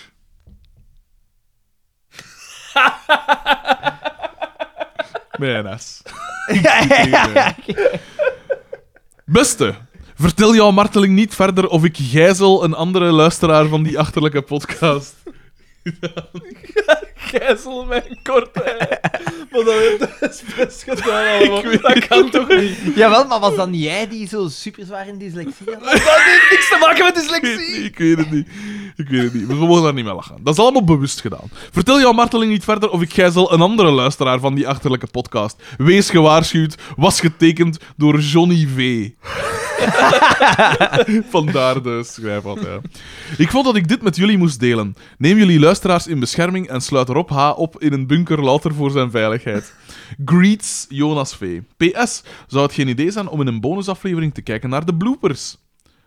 S1: Mijn as. eh. Beste, vertel jouw marteling niet verder of ik gijzel een andere luisteraar van die achterlijke podcast.
S3: Gijzel mijn korte. Maar dat heeft de expres gedaan allemaal. Dat kan toch niet?
S2: Jawel, maar was dan jij die zo super zwaar in dyslexie had?
S3: Dat heeft niks te maken met
S1: Ik weet, het niet,
S3: dyslexie.
S1: ik weet het niet. Ik weet het niet. We mogen daar niet mee lachen. Dat is allemaal bewust gedaan. Vertel jouw marteling niet verder of ik gijzel een andere luisteraar van die achterlijke podcast. Wees gewaarschuwd, was getekend door Johnny V. Vandaar de schrijfhand, ja. Ik vond dat ik dit met jullie moest delen. Neem jullie luisteraars in bescherming en sluit Rob H. op in een bunker louter voor zijn veiligheid. Greets Jonas V. PS, zou het geen idee zijn om in een bonusaflevering te kijken naar de bloopers?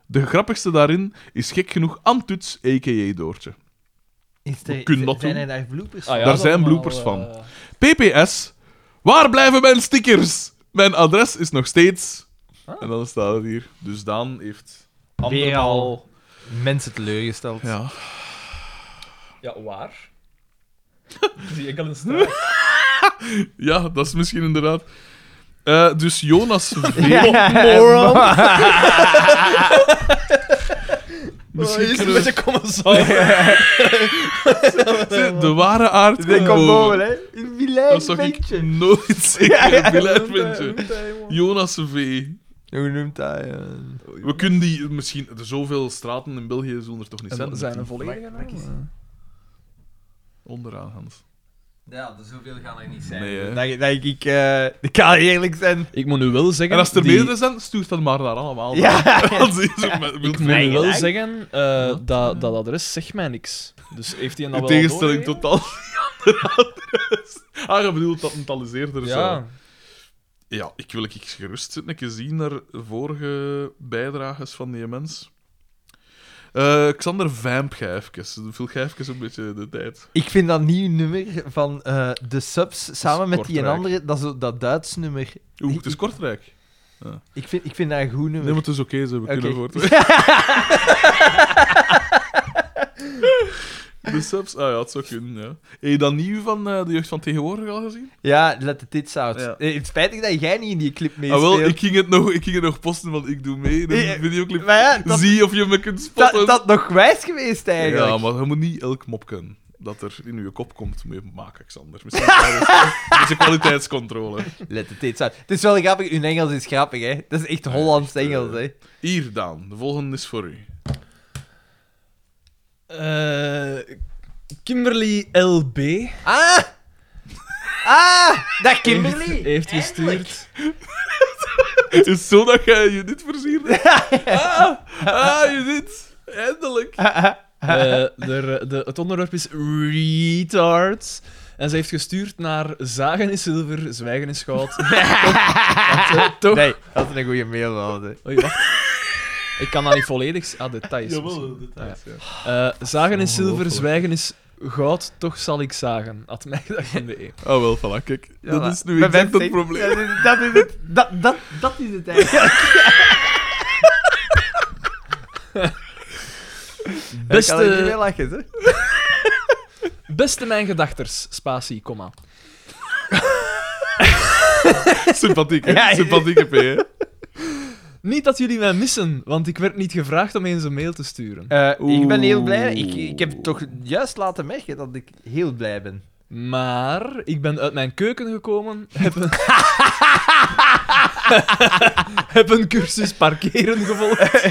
S1: De grappigste daarin is gek genoeg Antuts, a.k.a. Doortje.
S2: Is
S1: We kunnen dat
S2: zijn
S1: doen.
S2: er daar bloepers?
S3: Ah ja,
S1: Daar
S3: dat
S1: zijn
S3: allemaal,
S1: bloopers
S3: eh,
S1: van. PPS, waar blijven mijn stickers? Mijn adres is nog steeds... En dan staat het hier. Dus Daan heeft...
S2: Weer
S1: andermaal-
S2: al mensen teleurgesteld.
S1: Ja.
S3: Ja, waar? Zie ik al een straat.
S1: ja, dat is misschien inderdaad... Eh, dus Jonas V. Oh,
S2: Oh,
S3: Moron.
S1: Misschien
S3: is een
S1: kunnen we-
S3: beetje commensaar.
S1: eh, De ware aard
S2: Die
S1: komt
S2: komt boven,
S1: boven.
S2: hè? Een
S1: Dat
S2: vilain
S1: zag ik
S2: ventje.
S1: nooit zeker. Een billet ventje.
S3: Hoe
S1: Jonas V.
S2: Hoe noemt hij? eh?
S1: We kunnen die misschien... er Zoveel straten in België zullen er toch niet zijn?
S3: Zijn er
S1: Die
S3: volledige namen?
S1: Onderaan, Hans.
S2: Ja, dus zoveel gaan er niet zijn.
S1: Nee, hè.
S2: Dat, ik- dat ik, ik, eh, ik kan eerlijk zijn.
S3: Ik moet nu wel zeggen...
S1: En als er
S3: die-
S1: meerdere zijn, stuurt dat maar naar allemaal.
S2: Ja.
S1: Dan zien ze met- wilt
S3: Ik moet
S1: veel-
S2: Nee,
S3: nu wel
S2: gelijk.
S3: zeggen, eh, dat, dat adres zegt mij niks. Dus heeft hij dat
S1: In
S3: wel
S1: tegenstelling
S3: tot.
S1: tot al die andere. Ah, je bedoelt dat het al eens eerder is, hè?
S3: Ja.
S1: Ja, ik wil ik gerust zitten. Ik zie naar vorige bijdrages van die mens. Eh Xander, vamp jij even. Vul jij even een beetje de tijd.
S2: Ik vind dat nieuw nummer van eh, de subs samen met die en
S1: Kortrijk.
S2: andere, dat, zo, dat Duits nummer.
S1: Oeh, het is Kortrijk.
S2: Ik vind, ik vind dat een goed
S1: Nee,
S2: nummer.
S1: maar het is oké, ze hebben
S2: Oké.
S1: kunnen voort. De subs? Ah ja, het zou kunnen, ja. Heb je dat nieuw van eh, de jeugd van tegenwoordig al gezien?
S2: Ja, let de tits out.
S1: Ja.
S2: Eh, Het spijtig dat jij niet in die clip meespeelt.
S1: Ah, wel, ik ging, het nog, ik ging het nog posten, want ik doe mee in
S2: Eh,
S1: een videoclip.
S2: Maar ja, dat,
S1: Zie of je me kunt
S2: dat,
S1: spotten.
S2: dat nog wijs geweest eigenlijk.
S1: ja, maar je moet niet elk mopken dat er in je kop komt mee maken, Xander. Misschien een beetje kwaliteitscontrole.
S2: Let de tits out. Het is wel grappig, hun Engels is grappig, hè. Dat is echt Hollands
S1: echt, eh,
S2: Engels, hè.
S1: Hier, Daan. De volgende is voor u.
S3: Eh, Kimberly LB
S2: Ah! Ah! Dat Kimberly!
S3: heeft gestuurd.
S1: Het is zo dat jij je dit versiert. Ah, ah, je dit. Eindelijk.
S3: Eh, de, de, het onderwerp is retards. En ze heeft gestuurd naar zagen is zilver, zwijgen is goud. Wacht, eh,
S2: Nee, dat is een goede mail wel, hè.
S3: Oei, wacht. Ik kan dat niet volledig. Ah, details. misschien.
S1: Jawel, dat is, ja.
S3: Eh, zagen is zilver,
S2: Ongelooflijk.
S3: zwijgen is goud, toch zal ik zagen. Had mij gedacht in de E.
S1: Oh, wel, voilà, kijk. dat
S2: voilà.
S1: is
S2: Mijn
S1: nu exact
S2: best,
S1: het
S2: hè.
S1: probleem.
S2: Dat is, dat is het. Dat, dat, dat is het eigenlijk. Ik kan er niet mee
S3: Beste,
S2: lachen, hè.
S3: beste mijn gedachters, spatie, komma.
S1: Sympathiek, hè?
S2: Ja, ja.
S1: Sympathieke P, hè?
S3: Niet dat jullie mij missen, want ik werd niet gevraagd om eens een mail te sturen.
S2: Eh, ik ben heel blij.
S1: Oeh.
S2: Ik, ik heb toch juist laten merken dat ik heel blij ben.
S3: Maar ik ben uit mijn keuken gekomen, heb een, heb een cursus parkeren gevolgd.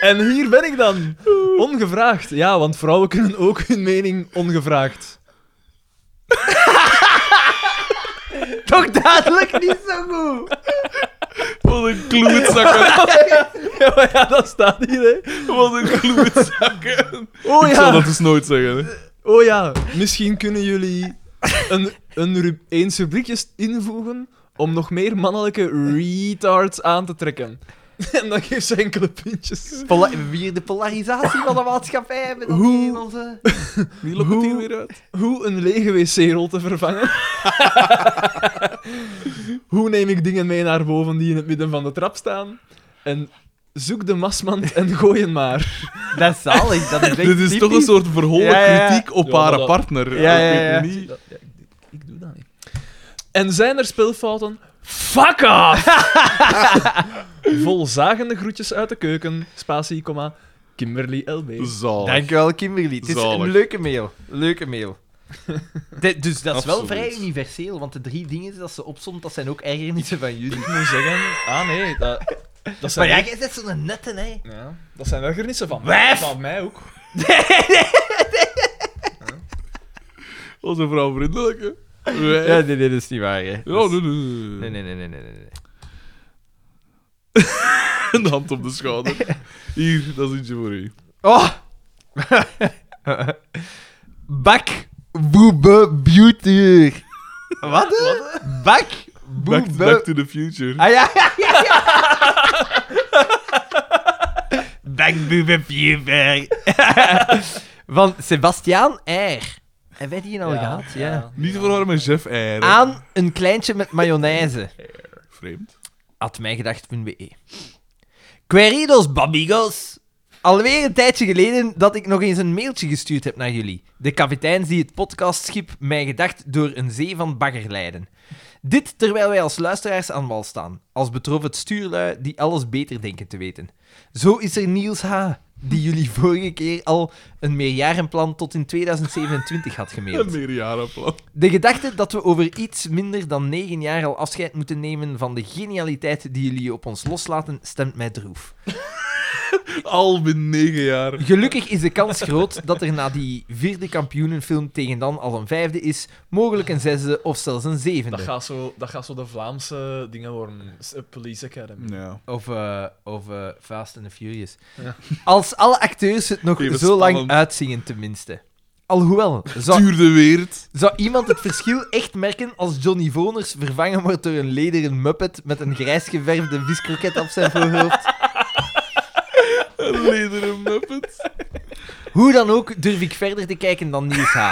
S3: En hier ben ik dan, ongevraagd. Ja, want vrouwen kunnen ook hun mening ongevraagd.
S2: Toch dadelijk niet zo goed.
S1: Wat een kloetzakken.
S3: Ja, maar ja, dat staat hier, hè.
S1: Wat een kloetzakken.
S3: Oh
S1: Ik zal dat
S3: ja,
S1: dus nooit zeggen, hè.
S3: oh ja. Misschien kunnen jullie een, een ru eens rubriekje invoegen om nog meer mannelijke retards aan te trekken. En dan geeft ze enkele puntjes.
S2: Pola- weer de polarisatie van de maatschappij hebben. dat
S3: Hoe-
S2: die in onze...
S1: Wie lokt het hier
S3: Hoe-
S1: weer uit?
S3: Hoe een lege wc-rol te vervangen. Hoe neem ik dingen mee naar boven die in het midden van de trap staan? En zoek de masmand en gooi hem maar.
S2: Dat is zalig. Dat is echt
S1: Dit is toch een
S2: typisch.
S1: soort verholen
S2: Ja, ja, ja.
S1: kritiek op
S3: Ja,
S1: haar
S3: voilà.
S1: partner.
S2: Ja, ja, ja.
S1: Ik weet niet.
S3: Ik doe dat niet. En zijn er speelfouten? Fuck off! Vol zagende groetjes uit de keuken. Spatie, comma, Kimberly LB.
S1: Zalig.
S2: Oh. Dankjewel, Kimberly. Het is
S1: Zalig.
S2: een leuke mail. Leuke mail. De- dus dat is wel
S1: Absoluut.
S2: vrij universeel, want de drie dingen dat ze opzomt, dat zijn ook ergernissen van jullie.
S3: Ik moet zeggen... Ah, nee. Dat, dat
S2: Maar
S3: zijn...
S2: ja, jij bent zo'n nette, hè.
S3: Ja, dat zijn ergernissen van
S2: Wijf!
S3: Van mij ook.
S1: Onze vrouw vriendelijk, hè? Wij-
S2: Ja,
S1: Ja,
S2: nee, nee, dat is niet waar, hè. Dat is-
S1: nee, nee.
S2: Nee, nee, nee, nee, nee, nee, nee.
S1: Een hand op de schouder. Hier, dat is ietsje voor u.
S2: Oh! Bak Boebe Beauty. Wat? Bak
S1: Back,
S2: Boebe...
S1: back to the future.
S2: Ah ja, ja, ja, ja. Bak Boebe Beauty. Van Sebastiaan R. Hebben wij die al gehad? Ja.
S1: Niet te verwarren met Jeff Eyre.
S2: Aan een kleintje met mayonaise.
S1: Vreemd.
S2: At mijgedacht.be. E. Queridos, babigos. Alweer een tijdje geleden dat ik nog eens een mailtje gestuurd heb naar jullie. De kapiteins die het podcastschip Mijn Gedacht door een zee van bagger leiden. Dit terwijl wij als luisteraars aan wal staan, als betrof het stuurlui die alles beter denken te weten. Zo is er Niels H., die jullie vorige keer al een meerjarenplan tot in 2027 had gemaild.
S1: Een meerjarenplan.
S2: De gedachte dat we over iets minder dan negen jaar al afscheid moeten nemen van de genialiteit die jullie op ons loslaten, stemt mij droef.
S1: Al binnen negen jaar.
S2: Gelukkig is de kans groot dat er na die vierde kampioenenfilm tegen dan al een vijfde is, mogelijk een zesde of zelfs een
S3: Dat
S2: zevende.
S3: gaat, zo, dat gaat zo de Vlaamse dingen worden. S- eh, Police Academy.
S1: Ja.
S2: Of, eh, of eh, Fast and the Furious.
S3: Ja.
S2: Als alle acteurs het nog
S1: Even
S2: zo lang
S1: spannend.
S2: uitzingen, tenminste. Alhoewel, zou
S1: Tuur de Weert.
S2: Zou iemand het verschil echt merken als Johnny Voners vervangen wordt door een lederen muppet met een grijs geverfde viskroket op zijn voorhoofd?
S1: Een lederen muppet.
S2: Hoe dan ook durf ik verder te kijken dan Niels H.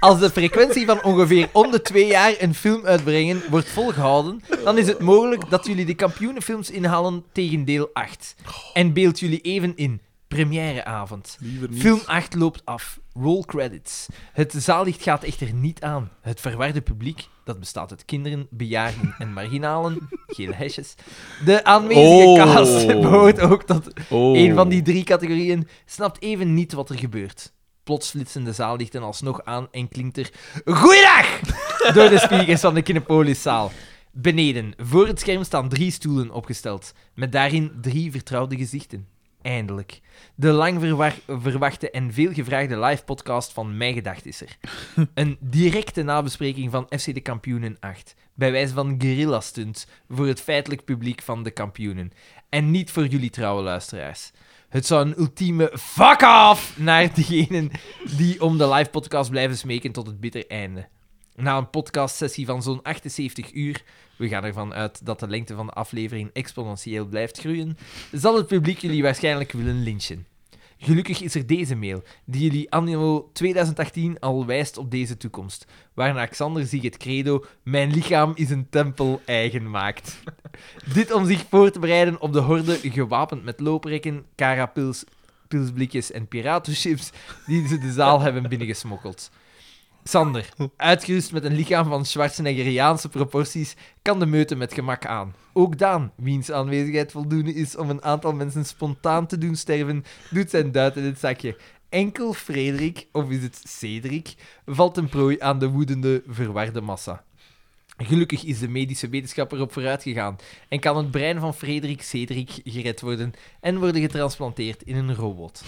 S2: Als de frequentie van ongeveer om de twee jaar een film uitbrengen wordt volgehouden, dan is het mogelijk dat jullie de kampioenenfilms inhalen tegen deel 8. En beeld jullie even in. Premièreavond.
S1: Liever niet.
S2: Film 8 loopt af. Roll credits. Het zaallicht gaat echter niet aan. Het verwarde publiek, dat bestaat uit kinderen, bejaarden en marginalen, gele hesjes. De aanwezige
S1: Oh.
S2: cast behoort ook tot
S1: Oh.
S2: een van die drie categorieën snapt even niet wat er gebeurt. Plots flitsen de zaallichten alsnog aan en klinkt er Goeiedag! door de speakers van de Kinepoliszaal. Beneden, voor het scherm staan drie stoelen opgesteld, met daarin drie vertrouwde gezichten. Eindelijk. De lang verwa- verwachte en veel gevraagde live podcast van Mijn Gedacht is er. Een directe nabespreking van FC de Kampioenen 8, bij wijze van guerrilla stunt voor het feitelijk publiek van de kampioenen. En niet voor jullie trouwe luisteraars. Het zou een ultieme fuck off naar diegenen die om de live podcast blijven smeken tot het bitter einde. Na een podcastsessie van zo'n 78 uur, we gaan ervan uit dat de lengte van de aflevering exponentieel blijft groeien, zal het publiek jullie waarschijnlijk willen lynchen. Gelukkig is er deze mail, die jullie anno 2018 al wijst op deze toekomst, waarna Xander zich het credo Mijn lichaam is een tempel eigen maakt. Dit om zich voor te bereiden op de horde, gewapend met looprekken, carapils, pilsblikjes en piratenchips, die ze de zaal hebben binnengesmokkeld. Sander, uitgerust met een lichaam van Schwarzeneggeriaanse proporties, kan de meute met gemak aan. Ook Daan, wiens aanwezigheid voldoende is om een aantal mensen spontaan te doen sterven, doet zijn duit in het zakje. Enkel Frederik, of is het Cedric, valt een prooi aan de woedende, verwarde massa. Gelukkig is de medische wetenschapper op vooruit gegaan en kan het brein van Frederik Cedric gered worden en worden getransplanteerd in een robot.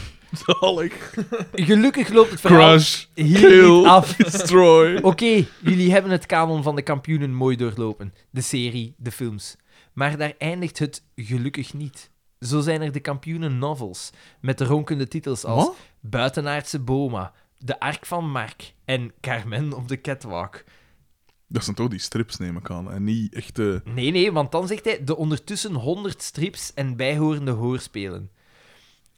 S1: Zalig.
S2: Gelukkig loopt het verhaal
S1: Crush.
S2: hier
S1: Kill.
S2: niet af. Oh,
S1: Destroy.
S2: Oké, jullie hebben het kanon van de kampioenen mooi doorlopen. De serie, de films. Maar daar eindigt het gelukkig niet. Zo zijn er de kampioenen novels, met ronkende titels als
S1: Wat?
S2: Buitenaardse Boma, De Ark van Mark en Carmen op de Catwalk.
S1: Dat zijn toch die strips, neem ik aan. En niet eh, echte...
S2: Nee, nee, want dan zegt hij de ondertussen 100 strips en bijhorende hoorspelen.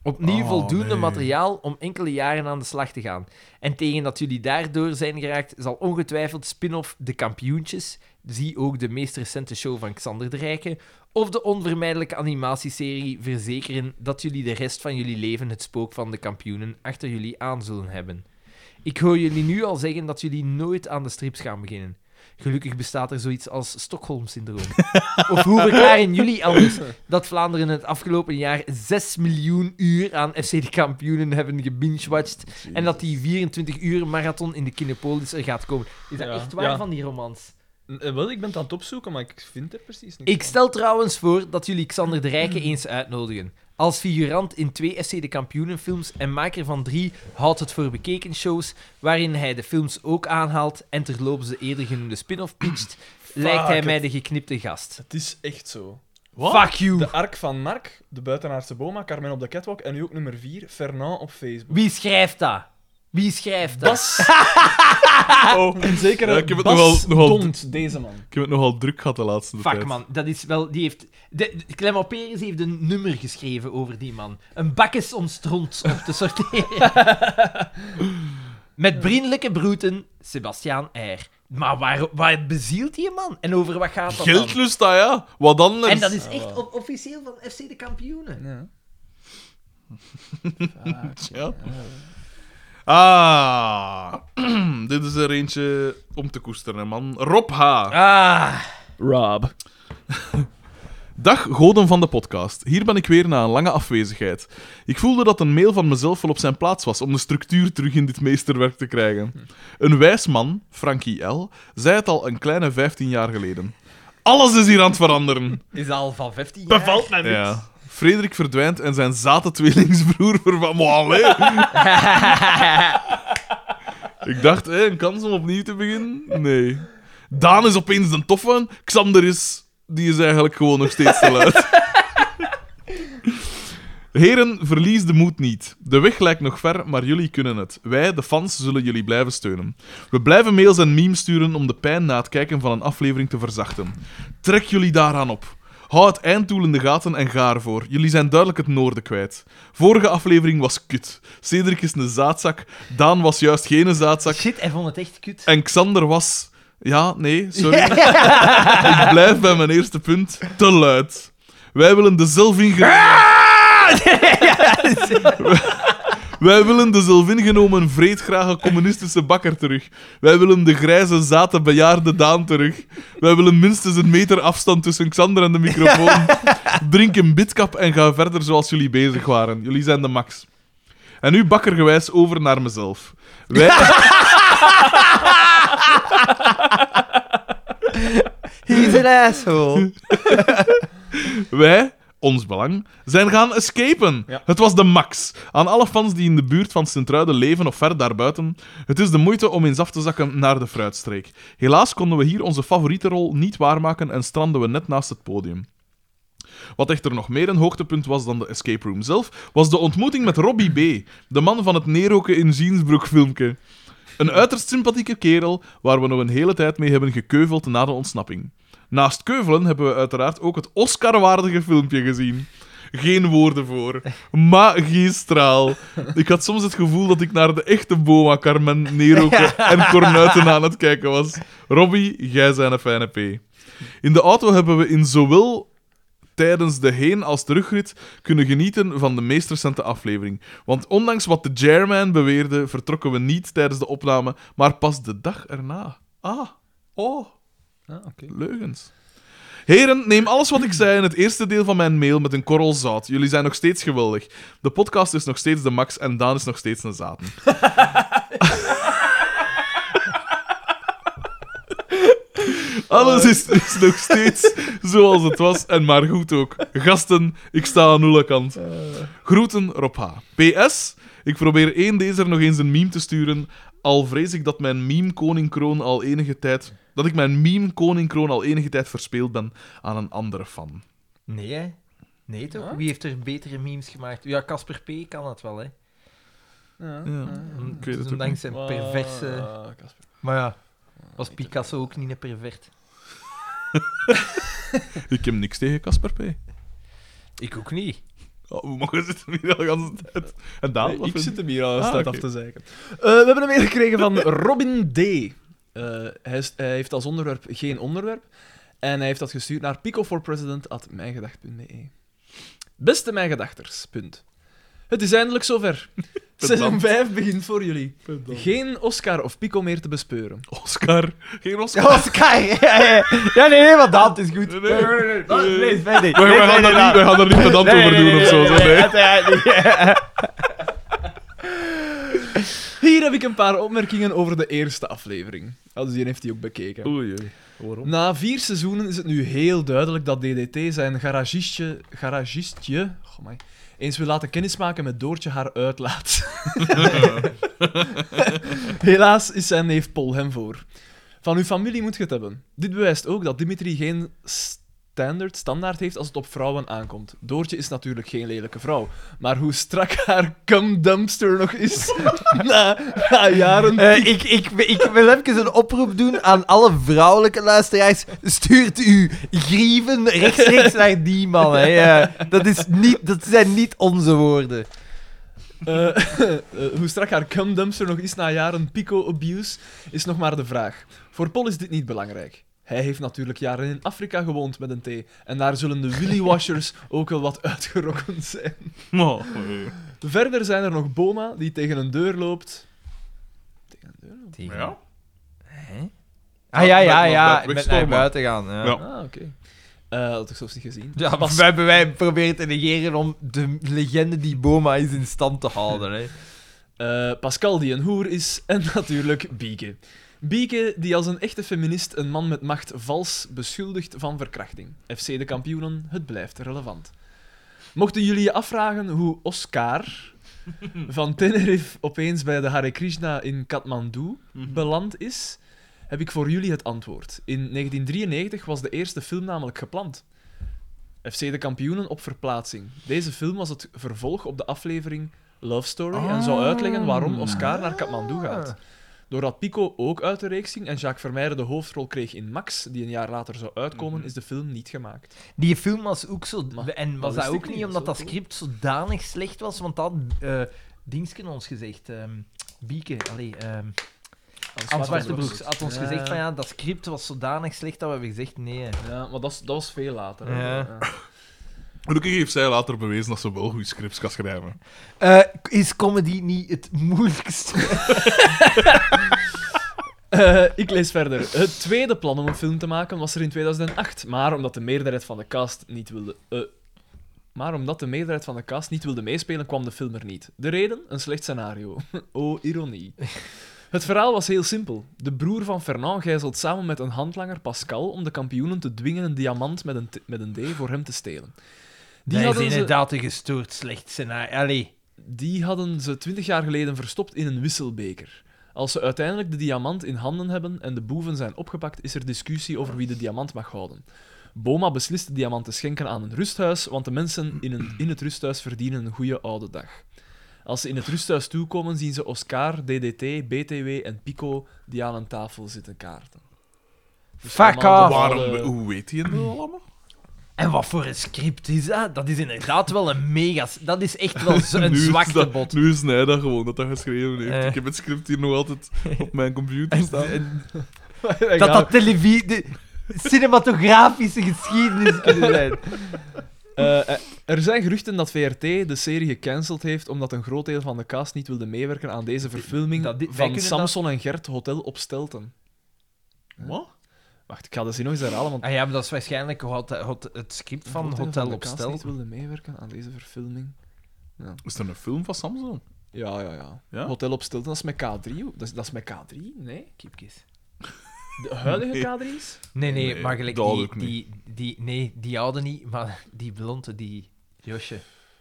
S2: Opnieuw
S1: Oh,
S2: voldoende
S1: nee.
S2: materiaal om enkele jaren aan de slag te gaan. En tegen dat jullie daardoor zijn geraakt, zal ongetwijfeld spin-off De Kampioentjes, zie ook de meest recente show van Xander de Rijke, of de onvermijdelijke animatieserie verzekeren dat jullie de rest van jullie leven het spook van de kampioenen achter jullie aan zullen hebben. Ik hoor jullie nu al zeggen dat jullie nooit aan de strips gaan beginnen. Gelukkig bestaat er zoiets als Stockholm-syndroom. Of hoe verklaren jullie anders dat Vlaanderen het afgelopen jaar 6 miljoen uur aan FC de kampioenen hebben gebingewatcht en dat die 24 uur marathon in de Kinepolis er gaat komen? Is dat
S3: Ja.
S2: echt waar
S3: Ja.
S2: van die romans?
S3: Eh, Wel, ik ben het aan het opzoeken, maar ik vind er precies niks.
S2: Ik stel trouwens voor dat jullie Xander de Rijke eens uitnodigen. Als figurant in twee FC de Kampioenenfilms en maker van drie Houdt het voor bekeken shows, waarin hij de films ook aanhaalt en terloops de eerder genoemde spin-off pitcht, lijkt hij
S3: het-
S2: mij de geknipte gast.
S3: Het is echt zo.
S2: Fuck you!
S3: De Ark van Mark, de buitenaardse Boma, Carmen op de Catwalk en nu ook nummer 4, Fernand op Facebook.
S2: Wie schrijft dat? Wie schrijft dat?
S3: Bas!
S1: Oh.
S3: En zeker
S1: Ja, ik heb het
S3: Bas
S1: nogal- nogal-
S3: Dont, deze man.
S1: Ik heb het nogal druk gehad de laatste tijd.
S2: Fuck man, dat is wel. Die heeft. De, de- Clement Peres heeft een nummer geschreven over die man. Een bakkes om stront op te sorteren. Met vriendelijke broeten, Sebastiaan Eyre. Maar waar, waar bezielt die man? En over wat gaat dat? dan?
S1: Geldlust, ah ja. Wat anders?
S2: En dat is echt o- officieel van FC de kampioenen.
S3: Ja.
S1: Ja. Ah. Dit is er eentje om te koesteren, man. Rob H.
S2: Ah,
S3: Rob.
S1: Dag goden van de podcast. Hier ben ik weer na een lange afwezigheid. Ik voelde dat een mail van mezelf wel op zijn plaats was om de structuur terug in dit meesterwerk te krijgen. Een wijs man, Frankie L., zei het al een kleine 15 jaar geleden. Alles is hier aan het veranderen.
S2: is al van 15 jaar.
S3: Bevalt mij niet.
S1: Ja. Frederik verdwijnt en zijn zate tweelingsbroer vervangt. Maar allee. Ik dacht, hé, een kans om opnieuw te beginnen? Nee. Daan is opeens een toffe. Xander is... Die is eigenlijk gewoon nog steeds te luid. Heren, verlies de moed niet. De weg lijkt nog ver, maar jullie kunnen het. Wij, de fans, zullen jullie blijven steunen. We blijven mails en memes sturen om de pijn na het kijken van een aflevering te verzachten. Trek jullie daaraan op. Hou het einddoel in de gaten en ga ervoor. Jullie zijn duidelijk het noorden kwijt. Vorige aflevering was kut. Cedric is een zaadzak. Daan was juist geen zaadzak.
S2: Shit, hij vond het echt kut.
S1: En Xander was... Ja, nee, sorry. Ik blijf bij mijn eerste punt. Te luid. Wij willen de zelfingewijde...
S2: Ja! ja,
S1: Wij willen de zelfingenomen vreedgrage communistische bakker terug. Wij willen de grijze, zate, bejaarde Daan terug. Wij willen minstens een meter afstand tussen Xander en de microfoon. Drink een bitkap en ga verder zoals jullie bezig waren. Jullie zijn de max. En nu bakkergewijs over naar mezelf. Wij...
S2: He's an asshole.
S1: Wij, ons belang, zijn gaan escapen.
S3: Ja.
S1: Het was de max. Aan alle fans die in de buurt van Sint-Truiden leven of ver daarbuiten, het is de moeite om eens af te zakken naar de fruitstreek. Helaas konden we hier onze favoriete rol niet waarmaken en stranden we net naast het podium. Wat echter nog meer een hoogtepunt was dan de escape room zelf, was de ontmoeting met Robbie B., de man van het neerroken in Ziensbroek filmpje. Een uiterst sympathieke kerel waar we nog een hele tijd mee hebben gekeuveld na de ontsnapping. Naast keuvelen hebben we uiteraard ook het Oscar-waardige filmpje gezien. Geen woorden voor. Magistraal. Ik had soms het gevoel dat ik naar de echte Boma Carmen, Neroke en Cornuiten aan het kijken was. Robbie, jij zijn een fijne P. In de auto hebben we in zowel tijdens de heen- als terugrit kunnen genieten van de meest recente aflevering. Want ondanks wat de chairman beweerde, vertrokken we niet tijdens de opname, maar pas de dag erna. Ah, oh. Leugens. Heren, neem alles wat ik zei in het eerste deel van mijn mail met een korrel zout. Jullie zijn nog steeds geweldig. De podcast is nog steeds de max en Daan is nog steeds een zaten. Alles is, is nog steeds zoals het was en maar goed ook. Gasten, ik sta aan uw kant. Groeten, Rob H. PS, ik probeer één deze nog eens een meme te sturen. Al vrees ik dat mijn meme koning al enige tijd... Dat ik mijn meme koning al enige tijd verspeeld ben aan een andere fan.
S2: Nee, hè? Nee, toch? Wie heeft er betere memes gemaakt? Ja, Casper P. kan dat wel, hè? Ah,
S1: weet het ook
S2: Ondanks zijn
S3: Wow,
S2: perverse...
S3: ah, Casper.
S2: Maar ja, was Picasso ook niet een pervert?
S1: Ik heb niks tegen Casper P.
S2: Ik ook niet.
S1: Oh, hoe mogen ze het hier al de hele tijd? En Daan,
S3: Nee,
S1: wat
S3: ik
S1: vind
S3: zit hem hier al
S1: Ah,
S3: staat
S1: oké.
S3: af te zeiken. Eh, we hebben een mail gekregen van Robin D. Eh, hij, is- hij heeft als onderwerp geen onderwerp. En hij heeft dat gestuurd naar picoforpresident.mijngedacht.be. Beste mijngedachters, punt. Het is eindelijk zover. Seizoen 5 begint voor jullie. Geen Oscar of Pico meer te bespeuren.
S1: Oscar. Geen Oscar.
S2: Oscar! Oh, Ja, ja. ja, nee, nee, maar dat is goed.
S1: Nee, nee, nee, nee.
S2: Dat- nee, wij niet.
S1: We, we
S2: Nee,
S1: gaan
S2: nee,
S1: daar niet, we gaan daar niet pedant
S2: nee,
S1: over
S2: nee,
S1: doen
S2: nee,
S1: of zo.
S2: nee,
S1: zo,
S2: nee,
S1: nee.
S2: uiteraard niet.
S3: Hier heb ik een paar opmerkingen over de eerste aflevering. Ah, dus die heeft hij ook bekeken.
S1: Oei, oei. Waarom?
S3: Na vier seizoenen is het nu heel duidelijk dat DDT zijn garagistje, garagistje goh, amai, eens wil laten kennismaken met Doortje haar uitlaat. Helaas is zijn neef Paul hem voor. Van uw familie moet je het hebben. Dit bewijst ook dat Dimitri geen standaard, standaard heeft als het op vrouwen aankomt. Doortje is natuurlijk geen lelijke vrouw. Maar hoe strak haar cum dumpster nog is na, na jaren...
S2: Eh, ik, ik, ik wil even een oproep doen aan alle vrouwelijke luisteraars. Stuurt u grieven rechtstreeks naar die man. Hè. Eh, dat, is niet, dat zijn niet onze woorden.
S3: Eh, eh, hoe strak haar cumdumpster nog is na jaren pico-abuse, is nog maar de vraag. Voor Paul is dit niet belangrijk. Hij heeft natuurlijk jaren in Afrika gewoond met een thee. En daar zullen de willy-washers ook wel wat uitgerokken zijn.
S1: Oh, oei.
S3: Verder zijn er nog Boma, die tegen een deur loopt. Tegen een deur loopt?
S1: Ja?
S2: Hè? Ah ja,
S1: Ja,
S2: ja,
S1: met-
S2: ja.
S1: met- met
S2: Met naar
S1: stormen.
S2: buiten gaan. Ja.
S1: Ja.
S3: Ah, oké. Eh, dat had ik zelfs niet gezien.
S2: Ja, wij hebben wij proberen te negeren om de legende die Boma is in stand te houden. Hè.
S3: Eh, Pascal die een hoer is en natuurlijk Bieke. Bieke die als een echte feminist een man met macht vals beschuldigt van verkrachting. FC de kampioenen, het blijft relevant. Mochten jullie je afvragen hoe Oscar van Tenerife opeens bij de Hare Krishna in Kathmandu beland is, heb ik voor jullie het antwoord. In 1993 was de eerste film namelijk gepland. FC de kampioenen op verplaatsing. Deze film was het vervolg op de aflevering Love Story en zou uitleggen waarom Oscar naar Kathmandu gaat. Doordat Pico ook uit de reeks ging en Jacques Vermeijden de hoofdrol kreeg in Max, die een jaar later zou uitkomen,
S1: Mhm.
S3: is de film niet gemaakt.
S2: Die film was ook zo.
S3: Maar
S2: en was dat,
S3: dat wist ik
S2: ook
S3: niet,
S2: niet
S3: dat
S2: omdat
S3: is wel
S2: dat
S3: cool.
S2: script zodanig slecht was? Want dat eh Dingsken ons gezegd. ehm, Bieke, allee, ehm Anne Zwartebroeks had ons
S3: Ja.
S2: gezegd van ja, dat script was zodanig slecht dat we hebben gezegd nee.
S3: Ja, maar dat, is- dat was veel later. hè.
S2: Ja.
S3: Ja.
S1: Gelukkig heeft zij later bewezen dat ze wel goed scripts kan schrijven.
S2: Eh, is comedy niet het moeilijkste?
S3: Eh, ik lees verder. Het tweede plan om een film te maken was er in 2008, maar omdat de meerderheid van de cast niet wilde... eh, maar omdat de meerderheid van de cast niet wilde meespelen, kwam de film er niet. De reden? Een slecht scenario. oh, ironie. Het verhaal was heel simpel. De broer van Fernand gijzelt samen met een handlanger Pascal om de kampioenen te dwingen een diamant met een, t- met een D voor hem te stelen.
S2: Die dat is
S3: ze-
S2: inderdaad een gestoord slecht scenario. Allee.
S3: die hadden ze twintig jaar geleden verstopt in een wisselbeker. Als ze uiteindelijk de diamant in handen hebben en de boeven zijn opgepakt, is er discussie over wie de diamant mag houden. Boma beslist de diamant te schenken aan een rusthuis, want de mensen in, een, in het rusthuis verdienen een goede oude dag. Als ze in het rusthuis toekomen, zien ze Oscar, DDT, BTW en Pico die aan een tafel zitten kaarten. Dus
S2: Fuck
S3: allemaal de
S2: off.
S1: Waarom,
S3: bepaalde-
S1: hoe weet hij het nou allemaal?
S2: En wat voor een script is dat? Dat is inderdaad wel een mega... Dat is echt wel zo- een
S1: Nu is
S2: zwakte
S1: dat-
S2: bot.
S1: Nu is Nijda gewoon dat dat geschreven heeft.
S2: Eh.
S1: Ik heb het script hier nog altijd op mijn computer
S2: En-
S1: staan.
S2: en-
S3: Wij
S2: dat
S3: gaan-
S2: dat televisie... cinematografische geschiedenis kunnen zijn.
S3: Eh, eh, er zijn geruchten dat VRT de serie gecanceld heeft omdat een groot deel van de cast niet wilde meewerken aan deze verfilming
S2: Dat die- wij
S3: van
S2: kunnen
S3: Samson en Gert Hotel op Stelten.
S1: Wat?
S3: Wacht, ik ga de zin nog eens herhalen, want
S2: Ah ja, maar dat is waarschijnlijk hot- hot- het script
S3: een
S2: van
S3: groot deel
S2: Hotel
S3: de
S2: op
S3: cast
S2: Stel.
S3: niet wilde meewerken aan deze verfilming.
S1: Is er een film van Samsung?
S3: Ja, ja, ja.
S1: Ja?
S3: Hotel op Stelten, dat is met K3. o- Dat is, dat is met K3? Nee?
S2: Kiepkes.
S3: De huidige
S1: Nee.
S3: K3's?
S2: Nee, nee,
S1: Nee,
S2: maar gelijk
S1: dat
S2: die,
S1: ook niet.
S2: die, die... Nee, die oude niet, maar die blonde, die... Josje.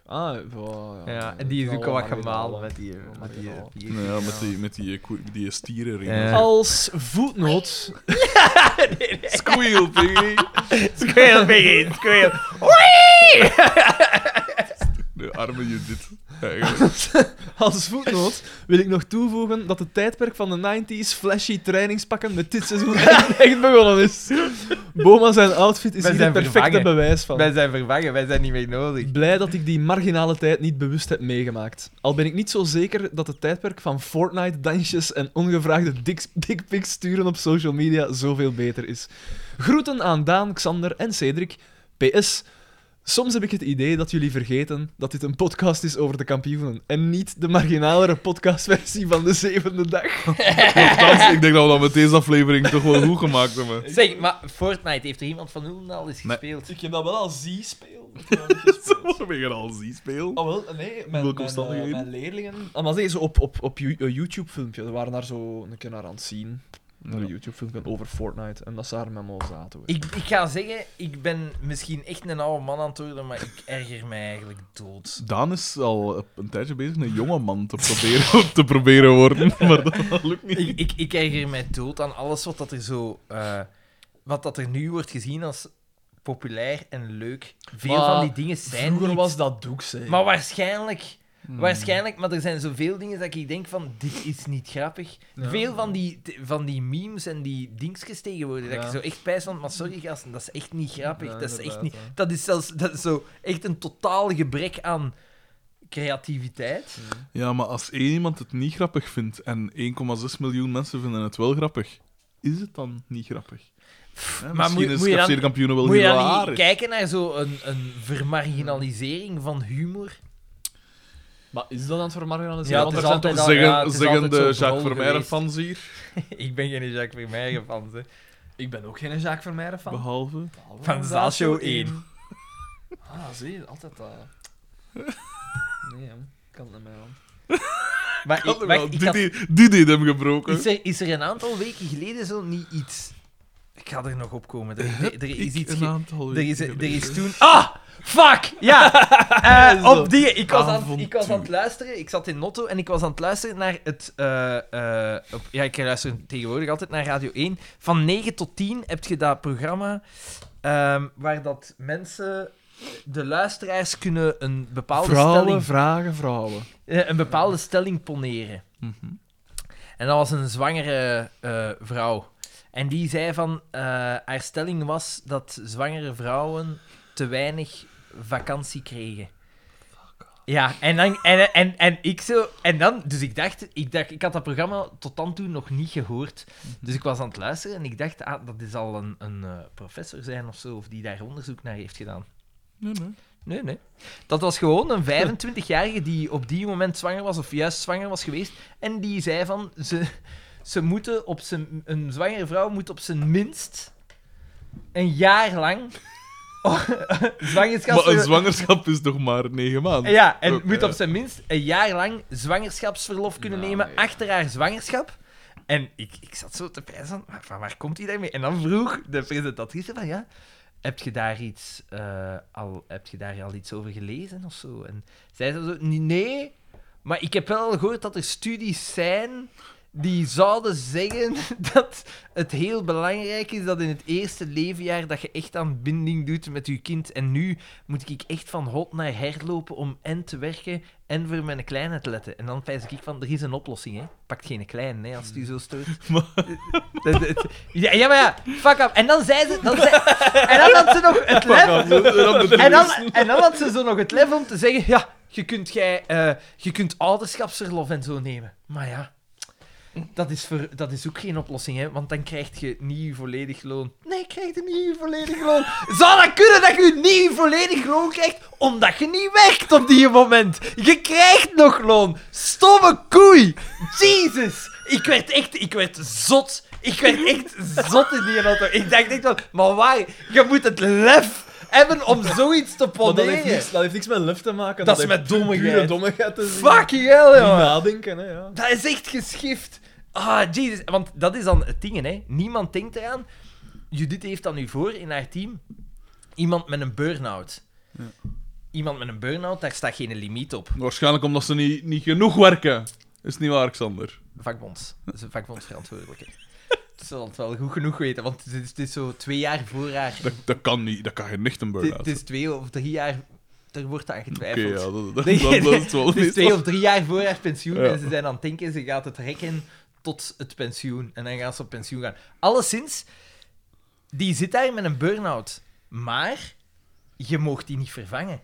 S3: Ah, wow,
S2: Ja,
S3: ja.
S2: en die is ook al wat gemalen
S3: met
S2: met die... eh,
S3: Oh,
S2: Met die, eh,
S3: marginaal.
S2: die-
S1: Nou ja, met die, met die, eh, koe- die stieren erin.
S2: Eh.
S3: Als voetnoot
S1: Squeal, piggy!
S2: Squeal, Biggie, squeal.
S1: De arme Judith. Eigenlijk.
S3: Als voetnoot wil ik nog toevoegen dat het tijdperk van de 90s flashy trainingspakken met dit seizoen echt, echt begonnen is. Boma zijn outfit is
S2: Wij
S3: hier
S2: zijn
S3: het perfecte
S2: vervangen.
S3: bewijs van.
S2: Wij zijn vervangen, wij zijn niet meer nodig.
S3: Blij dat ik die marginale tijd niet bewust heb meegemaakt. Al ben ik niet zo zeker dat het tijdperk van Fortnite-dansjes en ongevraagde diks- dickpics sturen op social media zoveel beter is. Groeten aan Daan, Xander en Cedric. PS. Soms heb ik het idee dat jullie vergeten dat dit een podcast is over de kampioenen en niet de marginalere podcastversie van de zevende dag.
S1: Nochtans, ik denk dat we dat met deze aflevering toch wel goed gemaakt hebben.
S2: Zeg, maar Fortnite, heeft er iemand van Ulden al eens
S1: Nee.
S2: gespeeld?
S3: Ik heb dat wel al zie speel.
S1: Wat ben je al zie spelen?
S3: Oh, wel, nee, mijn,
S1: Welke
S3: mijn,
S1: omstandigheden?
S3: eh, mijn leerlingen. Ah, maar nee, zo op, op, op Yo- een YouTube-filmpje. Ze waren daar zo een keer naar aan het zien. Naar
S1: Ja.
S3: Een YouTube-filmpje over Fortnite. En dat ze daar met me zaten. hoor.
S2: Ik, ik ga zeggen, ik ben misschien echt een oude man aan het worden, maar ik erger mij eigenlijk dood.
S1: Daan is al op een tijdje bezig een jonge man te proberen, te proberen worden, maar dat, dat lukt niet.
S2: Ik, ik, ik erger mij dood aan alles wat dat er zo... eh, wat dat er nu wordt gezien als populair en leuk. Veel
S3: Maar
S2: van die dingen zijn
S3: Vroeger
S2: niet.
S3: was dat Hmm. doek, zeg.
S2: Maar waarschijnlijk... Waarschijnlijk, maar er zijn zoveel dingen dat ik denk van, dit is niet grappig.
S3: Ja.
S2: Veel van die, van die memes en die dingetjes tegenwoordig, dat
S3: Ja.
S2: je zo echt pijs van, maar sorry gasten, dat is echt niet grappig.
S3: Ja,
S2: dat is echt
S3: inderdaad,
S2: niet...
S3: hè.
S2: Dat is zelfs dat is zo echt een totaal gebrek aan creativiteit.
S1: Ja, maar als één iemand het niet grappig vindt en 1,6 miljoen mensen vinden het wel grappig, is het dan niet grappig? Hè,
S2: maar
S1: misschien
S2: moet-
S1: is
S2: moet je dan-
S1: FC de kampioenen wel
S2: Moet je
S1: heel
S2: dan niet
S1: aardig.
S2: kijken naar zo'n een vermarginalisering van humor?
S3: Maar is dat aan het vermarginaliseren?
S2: Ja,
S3: Want
S2: het
S3: er
S2: is altijd
S3: zijn toch...
S2: al-
S1: Zeggen,
S2: ja, het is
S1: zeggen
S2: altijd
S1: de
S2: zo
S1: Jacques
S2: verholpen
S1: Vermeijden
S2: geweest.
S1: fans hier,
S2: Ik ben geen Jacques Vermeijden fan, hè.
S3: Ik ben ook geen Jacques Vermeijden fan.
S1: behalve...
S2: Van Zaashow 1.
S3: Ah, zie je, altijd dat. Nee, hè. Ik kan het niet meer aan.
S2: Maar ik, wacht, ik
S1: dit,
S2: had-
S1: deed- dit deed hem gebroken.
S2: is, er, is er een aantal weken geleden zo niet iets... Ik ga er nog op komen. Er, er- er is
S1: Ik
S2: iets...
S1: een
S2: ge-
S1: aantal
S2: Er is,
S1: weken
S2: er
S1: geleden.
S2: is toen... Ah! Fuck! Ja! Eh,
S3: Zo.
S2: op die... Ik was, aan, ik was aan het
S1: Avontuur.
S2: luisteren. Ik zat in Notto en ik was aan het luisteren naar het... eh, eh, op- ja, ik luister tegenwoordig altijd naar Radio 1. Van 9 tot 10 heb je dat programma ehm, waar dat mensen... De luisteraars kunnen een bepaalde
S3: Vrouwen
S2: stelling...
S3: vragen vrouwen.
S2: eh, een bepaalde stelling poneren.
S1: Mhm.
S2: En dat was een zwangere eh, vrouw. En die zei van... eh, haar stelling was dat zwangere vrouwen te weinig vakantie kregen. Ja, en, dan, en, en, en ik zo... En dan... Dus ik dacht, ik dacht... Ik had dat programma tot dan toe nog niet gehoord. Dus ik was aan het luisteren en ik dacht... Ah, dat is al een, een eh, professor zijn of zo. Of die daar onderzoek naar heeft gedaan.
S1: Nee, nee.
S2: Nee, nee. Dat was gewoon een 25-jarige die op die moment zwanger was, of juist zwanger was geweest. En die zei van, ze, ze moeten op zijn, een zwangere vrouw moet op zijn minst een jaar lang
S1: Maar een
S2: zwangerschapsverlof...
S1: zwangerschap is toch maar negen maanden?
S2: Ja, en
S1: Oké.
S2: moet op zijn minst een jaar lang zwangerschapsverlof kunnen
S3: Nou,
S2: nemen
S3: ja.
S2: achter haar zwangerschap. En ik, ik zat zo te pijzen, maar van waar komt hij daarmee? En dan vroeg de presentatrice van, ja, heb je daar iets, eh, al, heb je daar al iets over gelezen of zo? En zij zei zo, "Nee, nee, maar ik heb wel al gehoord dat er studies zijn die zouden zeggen dat het heel belangrijk is dat in het eerste leefjaar dat je echt aan binding doet met je kind. En nu moet ik echt van hot naar her lopen om en te werken en voor mijn kleine te letten. En dan pijs ik van, er is een oplossing, hè. Pakt geen klein, hè, als het u zo stoort. Dat- dat- ja, ja, maar ja, fuck up. En dan zei ze... Dan zei, en dan had ze nog het lef... En dan, en dan had ze zo nog het lef om te zeggen... Ja, je kunt, jij, eh, je kunt ouderschapsverlof en zo nemen. Maar ja... Dat is, voor, dat is ook geen oplossing, hè? want dan krijg je niet je volledig loon. Nee, ik krijg niet je volledig loon. Zou dat kunnen dat je niet je volledig loon krijgt omdat je niet werkt op die moment? Je krijgt nog loon. Stomme koei. Jezus. Ik werd echt ik werd zot. Ik werd echt zot in die auto. Ik dacht echt wel, maar waar? Je moet het lef hebben om zoiets te
S3: Maar dat, heeft
S2: poneren.
S3: niks, dat heeft niks met lef te maken.
S2: Oh, Dat is
S3: heeft
S2: met dommigheid.
S3: Pure dommigheid te zien.
S2: Fucking hell,
S3: Niet
S2: joh.
S3: nadenken, hè, ja.
S2: Dat is echt geschift. Ah, jezus. Want dat is dan het ding, hè. Niemand denkt eraan. Judith heeft dan nu voor in haar team iemand met een burn-out. Iemand met een burn-out, daar staat geen limiet op.
S1: Waarschijnlijk omdat ze niet, niet genoeg werken. Is niet waar, Xander?
S2: Vakbonds. Dat is een vakbondsverantwoordelijke. Ze zal het wel goed genoeg weten, want het is, het is zo twee jaar voor haar.
S1: Dat, dat kan niet. Dat kan geen echt een
S2: Het, het
S1: burn-out.
S2: is twee of drie jaar... Er wordt aan
S1: Oké,
S2: getwijfeld.
S1: ja, dat, dat,
S2: Nee,
S1: dat- dat is wel
S2: het is
S1: niet
S2: twee
S1: waar.
S2: of drie jaar voor haar pensioen
S1: Ja.
S2: en ze zijn aan het denken, ze gaat het rekken tot het pensioen. En dan gaan ze op pensioen gaan. Alleszins, die zit daar met een burn-out. Maar je moogt die niet vervangen.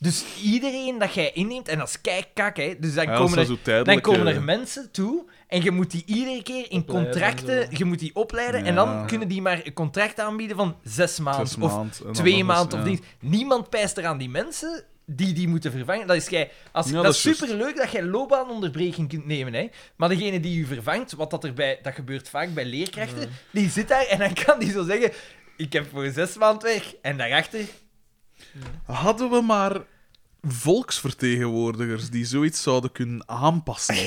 S2: Dus iedereen dat jij inneemt, en dat is kijk, kak, hè. Dus dan
S1: Ja, dat
S2: komen
S1: zijn
S2: er
S1: zo
S2: dan
S1: tijdelijke-
S2: komen er mensen toe en je moet die iedere keer in
S3: Opleiden en
S2: contracten,
S3: zo.
S2: je moet die opleiden en dan
S1: Ja.
S2: kunnen die maar een contract aanbieden van zes maanden
S1: zes
S2: of
S1: maand, en dan
S2: twee
S1: nog
S2: maanden of
S1: eens,
S2: niet. Niemand pijst er aan die mensen die die moeten vervangen. Dat is, jij, als,
S1: Ja,
S2: dat
S1: dat
S2: is
S1: is
S2: superleuk dat jij loopbaanonderbreking kunt nemen, hè. maar degene die u vervangt, wat dat, erbij, dat gebeurt vaak bij leerkrachten, die zit daar en dan kan die zo zeggen, ik heb voor zes maanden weg en daarachter...
S1: ja. Hadden we maar volksvertegenwoordigers die zoiets zouden kunnen aanpassen.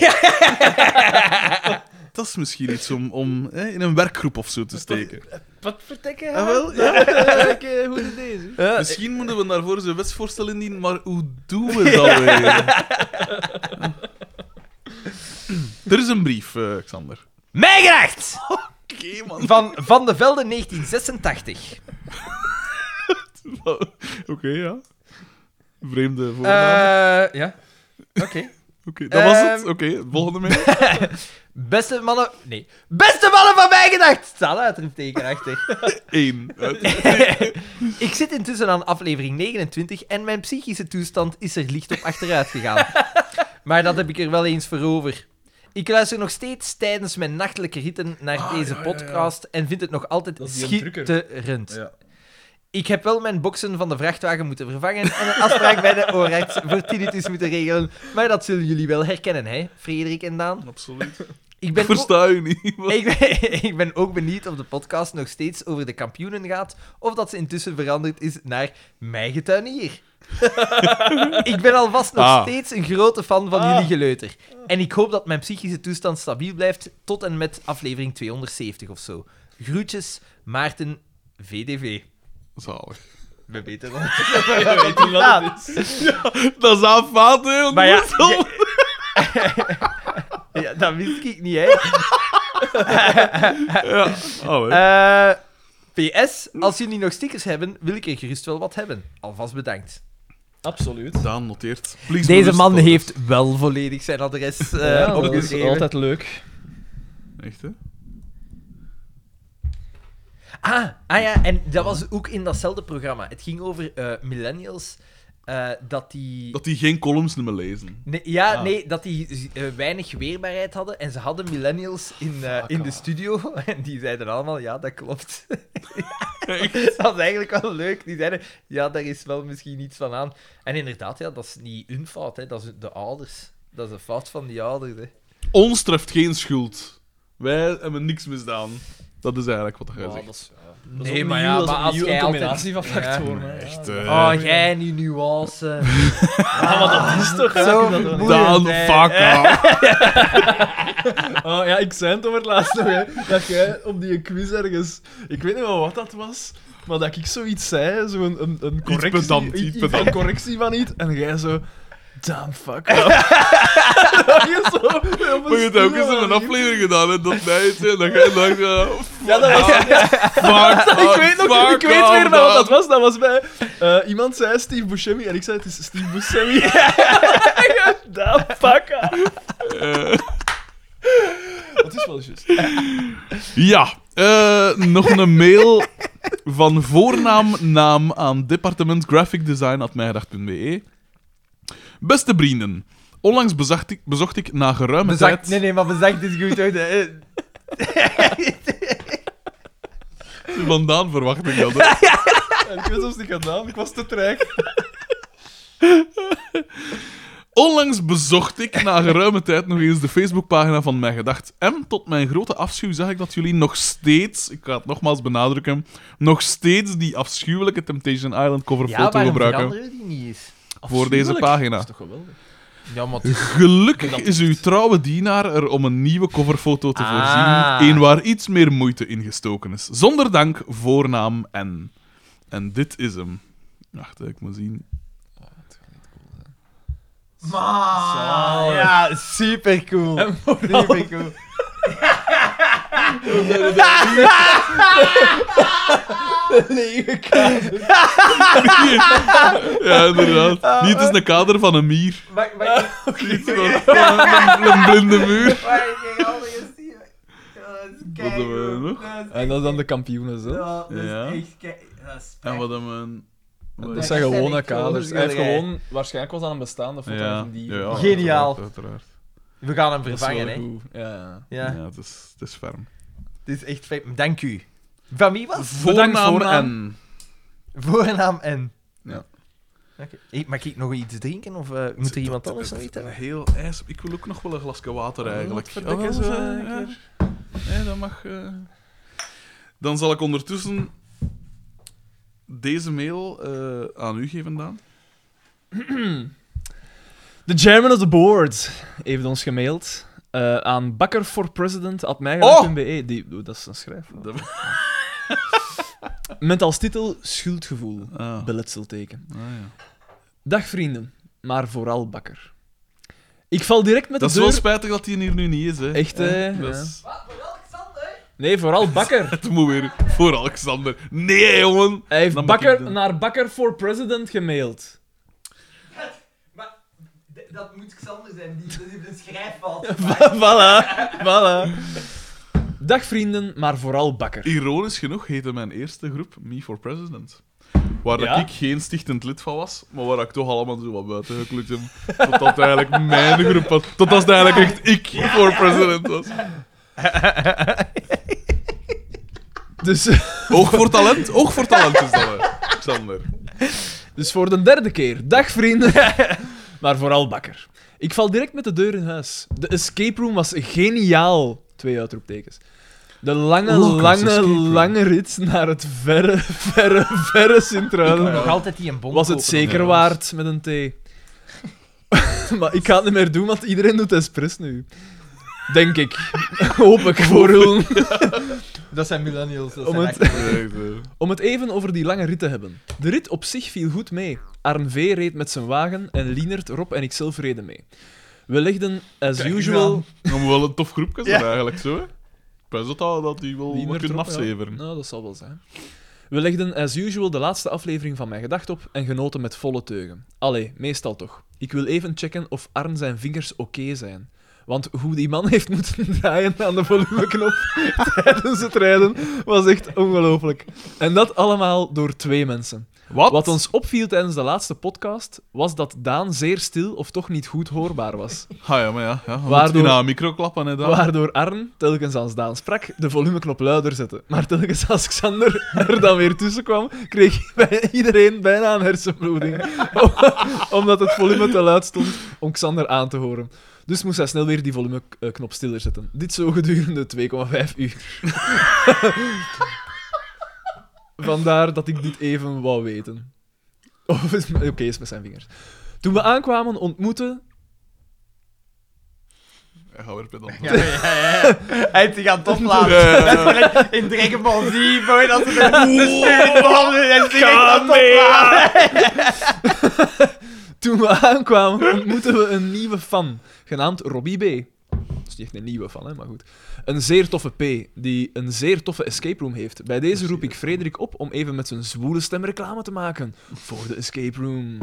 S1: dat is misschien iets om, om hè, in een werkgroep of zo te steken.
S3: Wat vertekken?
S1: Ah, wel, ja.
S3: Hoe is deze?
S2: eh,
S1: Misschien moeten we daarvoor eens een wetsvoorstel indienen, maar hoe doen we dat weer? er is een brief, eh, Xander.
S2: Mijgedacht!
S1: Oké, man.
S2: Van Van de Velde 1986.
S1: Oké, ja. Vreemde voornaam.
S2: Eh ja. Oké.
S1: Oké, dat was het.
S2: ehm.
S1: Oké, volgende mail.
S2: Beste mannen. Nee. Beste mannen van mij gedacht! Staat een uitroepteken achter.
S1: Eén. Uit.
S2: Ik zit intussen aan aflevering 29 en mijn psychische toestand is er licht op achteruit gegaan. Maar dat heb ik er wel eens voor over. Ik luister nog steeds tijdens mijn nachtelijke ritten naar
S3: Ah,
S2: deze
S3: ja, ja, ja.
S2: podcast en vind het nog altijd
S3: Dat is die drukker.
S2: schitterend.
S1: Ja.
S2: Ik heb wel mijn boksen van de vrachtwagen moeten vervangen en een afspraak bij de oogarts voor tinnitus moeten regelen. Maar dat zullen jullie wel herkennen, hè, Frederik en Daan?
S1: Absoluut.
S2: Ik
S1: Ik
S2: ben ook-
S1: versta u niet. Wat-
S2: ik ben, ik ben ook benieuwd of de podcast nog steeds over de kampioenen gaat, of dat ze intussen veranderd is naar mijn getuinier. ik ben alvast nog
S1: Ah.
S2: steeds een grote fan van
S3: Ah.
S2: jullie geleuter. En ik hoop dat mijn psychische toestand stabiel blijft tot en met aflevering 270 of zo. Groetjes, Maarten, VDV.
S1: Zalig.
S2: We weten wel.
S3: We weten wat het is.
S1: Dat is aanvaard, hè.
S2: Maar ja,
S1: onnozel.
S2: Ja, dat wist ik niet, hè.
S1: ja. Oh, hè.
S2: Eh, PS, als jullie nog stickers hebben, wil ik er gerust wel wat hebben. Alvast bedankt.
S3: Absoluut.
S1: Daan noteert. Please
S2: Deze
S1: bewust
S2: man
S1: worden.
S2: heeft wel volledig zijn adres eh
S3: Ja, dat is
S2: opgeschreven.
S3: altijd leuk.
S1: Echt, hè?
S2: Ah, ah ja, en dat was ook in datzelfde programma. Het ging over eh, millennials eh, dat die...
S1: Dat die geen columns meer lezen.
S2: Nee, ja,
S3: Ah.
S2: nee, dat die eh, weinig weerbaarheid hadden. En ze hadden millennials in, eh, in de
S3: off.
S2: studio. En die zeiden allemaal, ja, dat klopt. dat was eigenlijk wel leuk. Die zeiden, ja, daar is wel misschien iets van aan. En inderdaad, ja, dat is niet hun fout, hè. dat is de ouders. Dat is de fout van die ouders. Hè.
S1: Ons treft geen schuld. Wij hebben niks misdaan. Dat is eigenlijk wat jij
S3: Ja,
S1: zegt.
S3: dat is, ja.
S2: Nee, maar ja, maar als jij
S3: een
S2: altijd-
S3: combinatie van factoren.
S1: Ja,
S3: hè.
S1: echt,
S3: Ja,
S1: eh.
S2: Oh, jij en die nuance.
S3: Ja, maar dat is toch
S2: Zo
S3: dat-
S2: vermoeiend.
S1: Daan,
S2: Nee.
S1: fuck off.
S3: Oh, ja, ik zei het over het laatst nog, hè, dat jij op die quiz ergens... Ik weet niet wel wat dat was, maar dat ik zoiets zei, zo'n een, een correctie...
S1: pedant, iets
S3: i- i-
S1: pedant.
S3: Een correctie van iets, en jij zo... Damn, fuck off." dat je zo... op
S1: Maar je hebt ook eens
S3: stoere
S1: een
S3: manier-
S1: aflevering gedaan, hè, dat mij het zei, en dat jij dacht... eh,
S3: Ja, dat was...
S1: Fuck
S3: ik weet, nog, ik weet weer
S1: wel
S3: nog wat dat was. Dat was bij... eh, iemand zei Steve Buscemi, en ik zei het is Steve Buscemi. Damn, fuck off.
S1: Eh.
S3: Dat is wel juist.
S1: Ja, eh, nog een mail van voornaam naam aan departement graphic design at mijgedacht.be. Beste vrienden, onlangs bezacht ik, bezocht ik na geruime tijd...
S2: Bezakt, nee, nee, maar bezakt is goed. Hoor. Eh,
S1: Vandaan verwacht ik dat. hè.
S3: En ik weet soms niet gedaan, ik was te traag.
S1: Onlangs bezocht ik na geruime tijd nog eens de Facebookpagina van Mijn Gedacht. En tot mijn grote afschuw zag ik dat jullie nog steeds, ik ga het nogmaals benadrukken, nog steeds die afschuwelijke Temptation Island
S2: ja,
S1: coverfoto
S2: waarom
S1: gebruiken
S2: veranderen die niet eens?
S1: voor deze pagina.
S3: Dat is toch geweldig.
S2: Ja, maar
S1: Gelukkig
S3: Dat
S1: is
S3: is
S1: uw trouwe dienaar er om een nieuwe coverfoto te
S2: Ah.
S1: voorzien. Een waar iets meer moeite in gestoken is. Zonder dank, voornaam en. En dit is hem. Wacht, hè, ik moet zien.
S3: Zalig.
S2: Ah, Ja, supercool.
S3: En
S2: Supercool.
S3: Lege kamer.
S1: ja, inderdaad. Niet eens een kader van een mier. Ah,
S2: Maar, maar,
S1: Iets van van een, een blinde muur.
S2: maar ik heb al eens zien. Dat is
S1: Wat hebben we
S2: keigoed.
S1: nog?
S2: Dat is
S3: En dat is dan de kampioenen zelf.
S2: Ja, dat
S1: Ja.
S2: is echt kei- dat is
S1: En
S2: echt-
S1: wat hebben we...
S3: Dat
S2: is
S3: zijn
S2: echt
S3: gewone
S2: echt
S3: kaders. Hij heeft
S2: schilderij.
S3: gewoon... Waarschijnlijk was dat een bestaande foto
S1: Ja,
S3: van die...
S1: ja, ja,
S2: Geniaal.
S1: uiteraard, uiteraard.
S2: We gaan hem
S3: Dat is wel
S2: vervangen, hè.
S3: goed. Ja, ja.
S1: Ja,
S2: Ja,
S1: het, is, het is ferm.
S2: dit is echt fijn. Dank u. Van wie was?
S1: Voornaam,
S3: voornaam.
S1: en...
S2: Voornaam en...
S1: Ja.
S2: Oké. Hey, mag ik nog iets drinken? Of eh, moet er iemand anders nog iets
S1: Een
S2: hebben?
S1: heel ijs... Ik wil ook nog wel een glasje water, eigenlijk.
S3: Godverdikke,
S1: Oh,
S3: zo,
S1: ja,
S3: een
S1: ja.
S3: keer.
S1: Nee, dat mag... eh. Dan zal ik ondertussen deze mail eh, aan u geven, Daan.
S3: De chairman of the board heeft ons gemaild eh, aan bakkerforpresident.mijgedacht.be. Die- oh, Dat is een schrijf.
S1: Dat-
S3: Met als titel Schuldgevoel.
S1: Ah,
S3: Beletselteken.
S1: ah, ja.
S3: Dag vrienden, maar vooral bakker. Ik val direct met
S1: Dat is
S3: de
S1: wel
S3: deur...
S1: spijtig dat hij hier nu niet is, hè. Eh,
S3: Echt, hè?
S1: Dat
S3: Ja.
S1: is-
S2: Ah,
S3: Nee, vooral bakker.
S1: Het moet weer voor Alexander. Nee, jongen!
S3: Hij heeft
S1: Dan moet ik
S3: bakker
S1: doen.
S3: naar bakker voor president gemaild.
S2: Dat moet Xander zijn, die heeft een schrijfval.
S3: voilà, voilà. Dag vrienden, maar vooral bakker.
S1: Ironisch genoeg heette mijn eerste groep Me for President. Waar dat
S3: Ja?
S1: ik geen stichtend lid van was, maar waar ik toch allemaal zo wat buiten geklut heb. Tot dat eigenlijk mijn groep was. Tot dat eigenlijk echt ik voor president was.
S3: Dus,
S1: Oog voor talent, oog voor talent is dat, hè, Xander.
S3: dus voor de derde keer. Dag vrienden, maar vooral bakker. Ik val direct met de deur in huis. De escape room was geniaal. Twee uitroeptekens. De lange,
S1: Lockers
S3: lange,
S1: escape room.
S3: lange rit naar het verre, verre, verre Sint-Truiden.
S2: Nog altijd die een bom
S3: was het
S2: kopen.
S3: zeker
S1: ja.
S3: waard met een T. maar ik ga het niet meer doen, want iedereen doet expres nu. Denk ik. Hoop ik voor hun.
S2: Dat zijn millennials. Dat
S3: Om
S2: zijn
S3: het-
S2: echt-
S1: Echt, hè.
S3: Om het even over die lange rit te hebben. De rit op zich viel goed mee. Arn V reed met zijn wagen en Lienert, Rob en ikzelf reden mee. We legden, as
S2: Kijk
S3: usual...
S1: Dan moet wel een tof groepje zijn,
S2: Ja.
S1: eigenlijk, zo, hè. Ik wens dat dat dat die wel wat
S3: Lienert,
S1: Oh, kunnen
S3: Rob, ja.
S1: afzeveren.
S3: Nou, dat zal wel zijn. We legden, as usual, de laatste aflevering van Mijn Gedacht op en genoten met volle teugen. Allee, meestal toch. Ik wil even checken of Arn zijn vingers oké zijn. Want hoe die man heeft moeten draaien aan de volumeknop tijdens het rijden was echt ongelooflijk. En dat allemaal door twee mensen.
S1: Wat?
S3: Wat ons opviel tijdens de laatste podcast was dat Daan zeer stil of toch niet goed hoorbaar was.
S1: Ah ja, maar ja. ja. we
S3: Waardoor-
S1: moeten in een micro klappen, hè, daar.
S3: Waardoor Arn, telkens als Daan sprak, de volumeknop luider zette. Maar telkens als Xander er dan weer tussen kwam, kreeg bij- iedereen bijna een hersenbloeding. Om- Omdat het volume te luid stond om Xander aan te horen. Dus moest hij snel weer die volumeknop stiller zetten. Dit zo gedurende 2,5 uur. Vandaar dat ik dit even wou weten. Of is- Oké, is met zijn vingers. Toen we aankwamen, ontmoette
S1: Hij gaat weer pedant.
S2: Ja, ja, ja, ja. Hij heeft zich aan het opladen.
S1: Ja, ja, ja.
S2: Dat is gelijk In Dragon Ball Z, boy, dat is een stuurbehandel. Hij is zich echt aan het opladen.
S3: Toen we aankwamen, ontmoetten we een nieuwe fan, genaamd Robbie B. Dat is niet echt een nieuwe fan, hè, maar goed. Een zeer toffe P, die een zeer toffe escape room heeft. Bij deze roep ik Frederik op om even met zijn zwoele stem reclame te maken voor de escape room.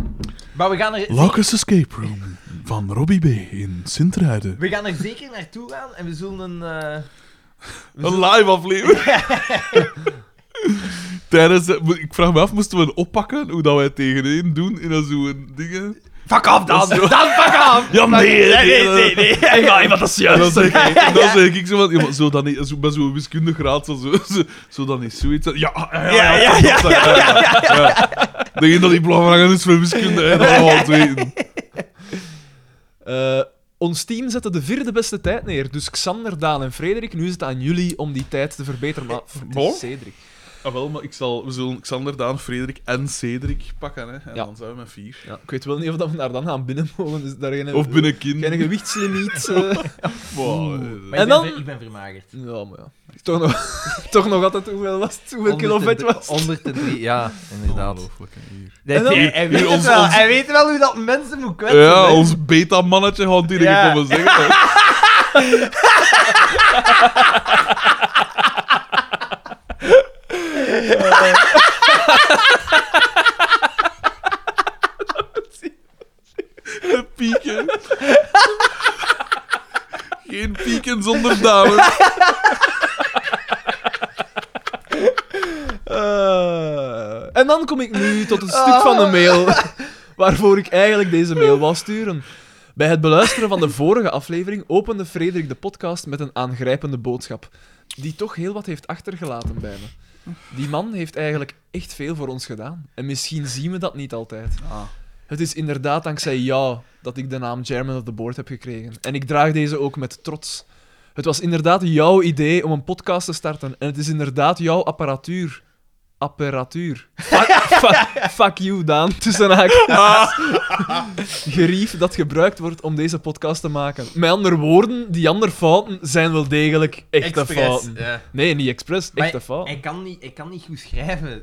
S2: Maar we gaan er...
S1: Locust Escape Room van Robbie B. in Sint-Truiden.
S2: We gaan er zeker naartoe gaan en we zullen een... eh,
S1: Een live aflevering. Tijdens de- mo- ik vraag me af, moesten we een oppakken? Hoe dat wij het tegen één doen in dat zo'n dingen?
S2: Fuck off dan! Dan fuck off!
S1: Ja, nee,
S2: Nee, nee, nee, nee.
S3: Ja, wat dat is
S1: En dan zeg ik, en dan zeg ik zo van, ja, maar zou dat niet, zo, bij zo'n wiskundig raad, zo, zo, zo, zou dat niet zoiets zijn? Ja, ja, ja, ja,
S2: ja,
S1: dat- dat- ja, ja, ja. Denk je dat die belangrijk is voor wiskunde? Hè? Dat we al weten.
S3: Eh, ons team zette de vierde beste tijd neer, dus Xander, Daan en Frederik, nu is het aan jullie om die tijd te verbeteren. Maar het is
S1: Bon.
S3: Cedric.
S1: Ah, wel, maar ik zal, we zullen Xander, Daan, Frederik en Cedric pakken, hè. En
S3: Ja.
S1: dan zijn we met vier.
S3: Ja, ik weet wel niet of dat we daar dan gaan binnen mogen, dus daar geen,
S1: Of binnen kind.
S3: geen gewichtslimiet. eh.
S1: Wow,
S2: Maar
S1: eh,
S3: En
S2: ik ben,
S3: dan-
S2: ver- ik ben vermagerd.
S3: Ja, maar ja. Toch nog, toch nog altijd hoeveel was het? Hoeveel kilo vet was het?
S2: 103, ja, inderdaad.
S1: Ongelooflijk, hè, hier.
S2: Nee,
S3: En dan-
S2: hij- hij, weet
S1: Ons-
S2: het wel.
S1: ons-
S2: hij weet wel hoe dat mensen moet kwetsen.
S1: Ja,
S2: hè.
S1: ons beta-mannetje gaat hier
S2: Ja.
S1: ja. komen zeggen. hè. De pieken. Geen pieken zonder dames.
S3: Eh, en dan kom ik nu tot het stuk van de mail waarvoor ik eigenlijk deze mail wou sturen. Bij het beluisteren van de vorige aflevering opende Frederik de podcast met een aangrijpende boodschap, die toch heel wat heeft achtergelaten bij me. Die man heeft eigenlijk echt veel voor ons gedaan. En misschien zien we dat niet altijd.
S2: Ah.
S3: Het is inderdaad dankzij jou dat ik de naam Chairman of the Board heb gekregen. En ik draag deze ook met trots. Het was inderdaad jouw idee om een podcast te starten. En het is inderdaad jouw apparatuur. Apparatuur. Fuck, fuck, fuck you, Daan. Tussen haakjes.
S2: Ah.
S3: Gerief dat gebruikt wordt om deze podcast te maken. Met andere woorden, die andere fouten zijn wel degelijk echte
S2: Expres,
S3: fouten.
S2: ja.
S3: Nee, niet expres.
S2: Maar
S3: Echte fouten.
S2: Hij kan, niet, hij kan niet goed schrijven.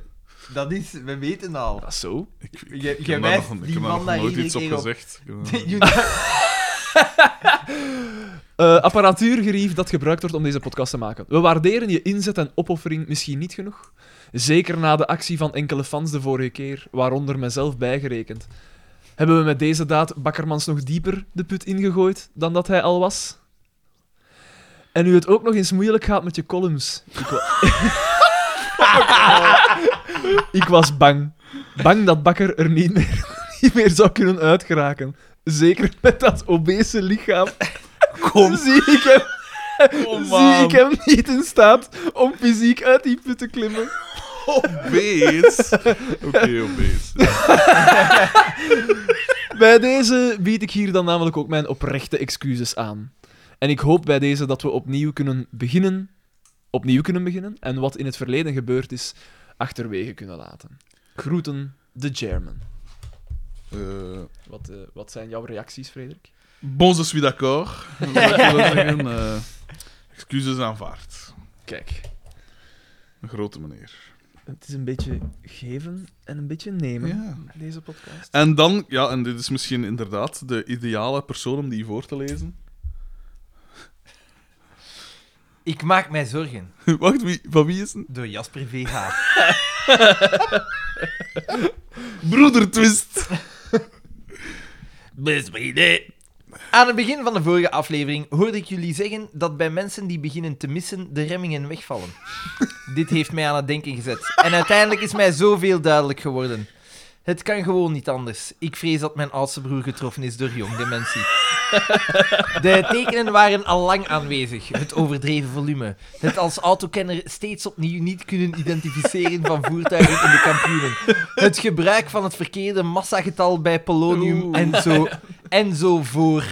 S2: Dat is, we weten al.
S3: Dat is Ah, zo.
S1: Ik, ik,
S2: Jij-
S1: ik
S2: jij
S1: heb daar
S2: wijst
S1: nog, ik
S2: die
S1: heb daar
S2: man
S1: nog
S2: daar
S1: nooit
S2: iedere
S1: iets op
S2: keer op.
S1: gezegd. Ik heb daar nog-
S2: Je-
S3: Eh, apparatuur, Gerief, dat gebruikt wordt om deze podcast te maken. We waarderen je inzet en opoffering misschien niet genoeg. Zeker na de actie van enkele fans de vorige keer, waaronder mezelf bijgerekend. Hebben we met deze daad Bakkermans nog dieper de put ingegooid dan dat hij al was? En nu het ook nog eens moeilijk gaat met je columns. Ik, wa- ik was bang. Bang dat Bakker er niet meer, niet meer zou kunnen uitgeraken. Zeker met dat obese lichaam
S1: Kom,
S3: zie ik hem,
S1: kom
S3: zie
S1: man.
S3: ik hem niet in staat om fysiek uit die put te klimmen.
S1: Obese. Oké, obese.
S3: Bij deze bied ik hier dan namelijk ook mijn oprechte excuses aan. En ik hoop bij deze dat we opnieuw kunnen beginnen, opnieuw kunnen beginnen en wat in het verleden gebeurd is, achterwege kunnen laten. Groeten, de German.
S1: Eh,
S3: Wat, eh, wat zijn jouw reacties, Frederik?
S1: Bon, je suis d'accord. Dat wil ik wel zeggen. Eh, excuses aanvaard.
S3: Kijk,
S1: Een grote meneer.
S3: het is een beetje geven en een beetje nemen,
S1: Ja.
S3: deze podcast.
S1: En dan, ja, en dit is misschien inderdaad de ideale persoon om die voor te lezen.
S2: Ik maak mij zorgen.
S1: Wacht, wie, van wie is het?
S2: Door Jasper VH.
S1: Broedertwist!
S2: Best vrienden. Aan het begin van de vorige aflevering hoorde ik jullie zeggen dat bij mensen die beginnen te missen de remmingen wegvallen. Dit heeft mij aan het denken gezet. En uiteindelijk is mij zoveel duidelijk geworden. Het kan gewoon niet anders. Ik vrees dat mijn oudste broer getroffen is door jongdementie. De tekenen waren al lang aanwezig. Het overdreven volume. Het als autokenner steeds opnieuw niet kunnen identificeren van voertuigen in de kampioenen. Het gebruik van het verkeerde massagetal bij polonium
S1: Oeh.
S2: en zo, en zo voor.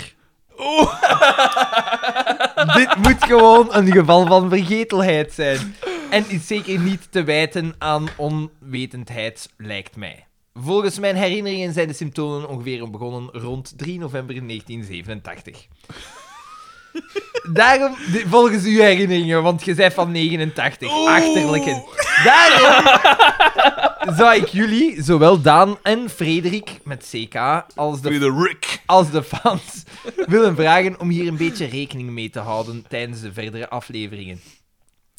S2: Dit moet gewoon een geval van vergetelheid zijn. En is zeker niet te wijten aan onwetendheid, lijkt mij. Volgens mijn herinneringen zijn de symptomen ongeveer begonnen rond 3 november 1987. Daarom, di- volgens uw herinneringen, want je bent van 89, achterlijken. Daarom zou ik jullie, zowel Daan en Frederik met CK, als de
S1: Rick.
S2: als de fans willen vragen om hier een beetje rekening mee te houden tijdens de verdere afleveringen.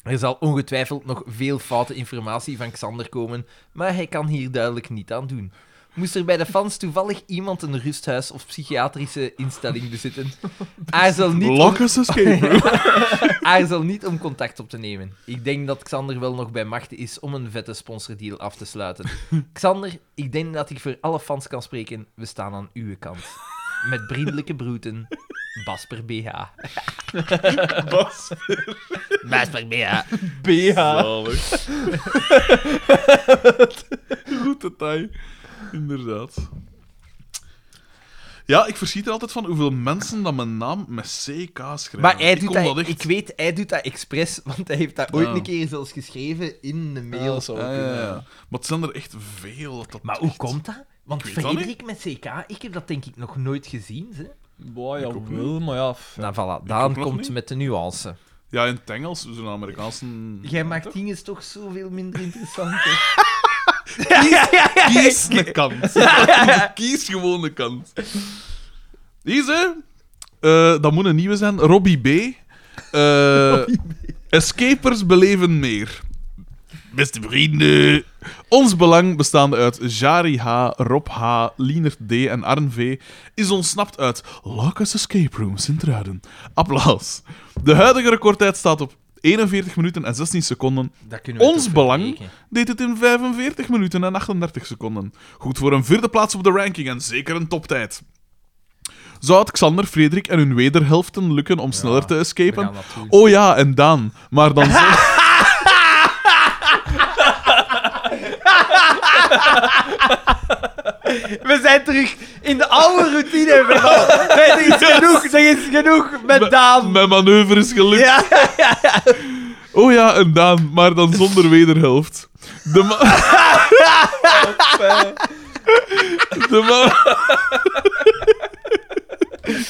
S2: Er zal ongetwijfeld nog veel foute informatie van Xander komen, maar hij kan hier duidelijk niet aan doen. Moest er bij de fans toevallig iemand een rusthuis of psychiatrische instelling bezitten, aarzel niet om-
S1: Lock us escape.
S2: aarzel niet om contact op te nemen. Ik denk dat Xander wel nog bij machten is om een vette sponsordeal af te sluiten. Xander, ik denk dat ik voor alle fans kan spreken. We staan aan uw kant. Met vriendelijke broeten, Basper BH.
S1: Bas.
S2: Basper BH.
S3: BH.
S1: Zalig. Goed detail. Inderdaad. Ja, ik verschiet er altijd van hoeveel mensen dat mijn naam met CK schrijven.
S2: Maar hij
S1: Ik
S2: doet
S1: kom
S2: dat,
S1: echt-
S2: ik weet, hij doet dat expres, want hij heeft dat ooit
S1: Ja.
S2: een keer zelfs geschreven in de mail.
S3: Ah, zo.
S1: Ah, ja, ja, ja. Maar het zijn er echt veel. Dat dat
S2: maar hoe
S1: echt-
S2: komt dat? Want
S1: Ik weet dat
S2: Frederik met CK, ik heb dat denk ik nog nooit gezien. Ze.
S3: Boah,
S1: Ik
S3: ja,
S1: ook
S3: wel, maar ja. f-
S2: Nou, voilà,
S1: ook
S2: Daan
S1: nog
S2: komt
S1: niet.
S2: met de nuance.
S1: Ja, in het Engels, zo'n Amerikaanse...
S2: Jij maakt dingen toch zoveel minder interessant.
S1: Kies de kant. Kies gewoon de kant. Deze, eh, dat moet een nieuwe zijn. Robbie B. Eh, Escapers beleven meer. Beste vrienden. Ons belang, bestaande uit Jari H., Rob H., Lienert D. en Arn V., is ontsnapt uit Lucas Escape Room Sint-Truiden. Applaus. De huidige recordtijd staat op 41 minuten en 16 seconden.
S2: Dat kunnen we
S1: Ons
S2: toch
S1: belang?
S2: verbreken.
S1: deed het in 45 minuten en 38 seconden. Goed voor een vierde plaats op de ranking en zeker een toptijd. Zou het Xander, Frederik en hun wederhelften lukken om sneller te
S2: We
S1: escapen?
S2: gaan dat doen.
S1: Oh ja, en Daan. Maar dan... zo-
S2: Oh, We zijn terug in de oude routine. bro. Zeg is genoeg, zeg is genoeg met Daan.
S1: Mijn manoeuvre is gelukt.
S2: Ja.
S1: Oh ja, en Daan. Maar dan zonder wederhelft. De ma... De man.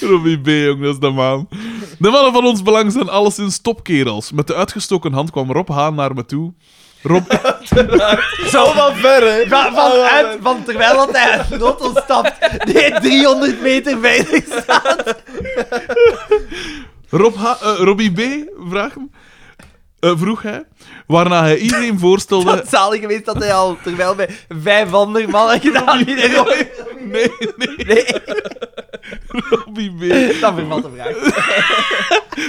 S1: Robbie B, jong, dat is de man. De mannen van ons belang zijn alleszins topkerels. Met de uitgestoken hand kwam Rob Haan naar me toe. Rob,
S3: Zo van ver, hè?
S2: Van, Oh, van, uit, van terwijl dat hij uit de auto stapt, die 300 meter veilig staat.
S1: Rob H, eh, Robbie B, vraag hem, eh, vroeg hij. Waarna hij iedereen voorstelde...
S2: Het zalig geweest dat hij al terwijl bij vijf andere mannen gedaan in de
S1: Nee, nee,
S2: Nee,
S1: Robbie B.
S2: dat vervat de vraag.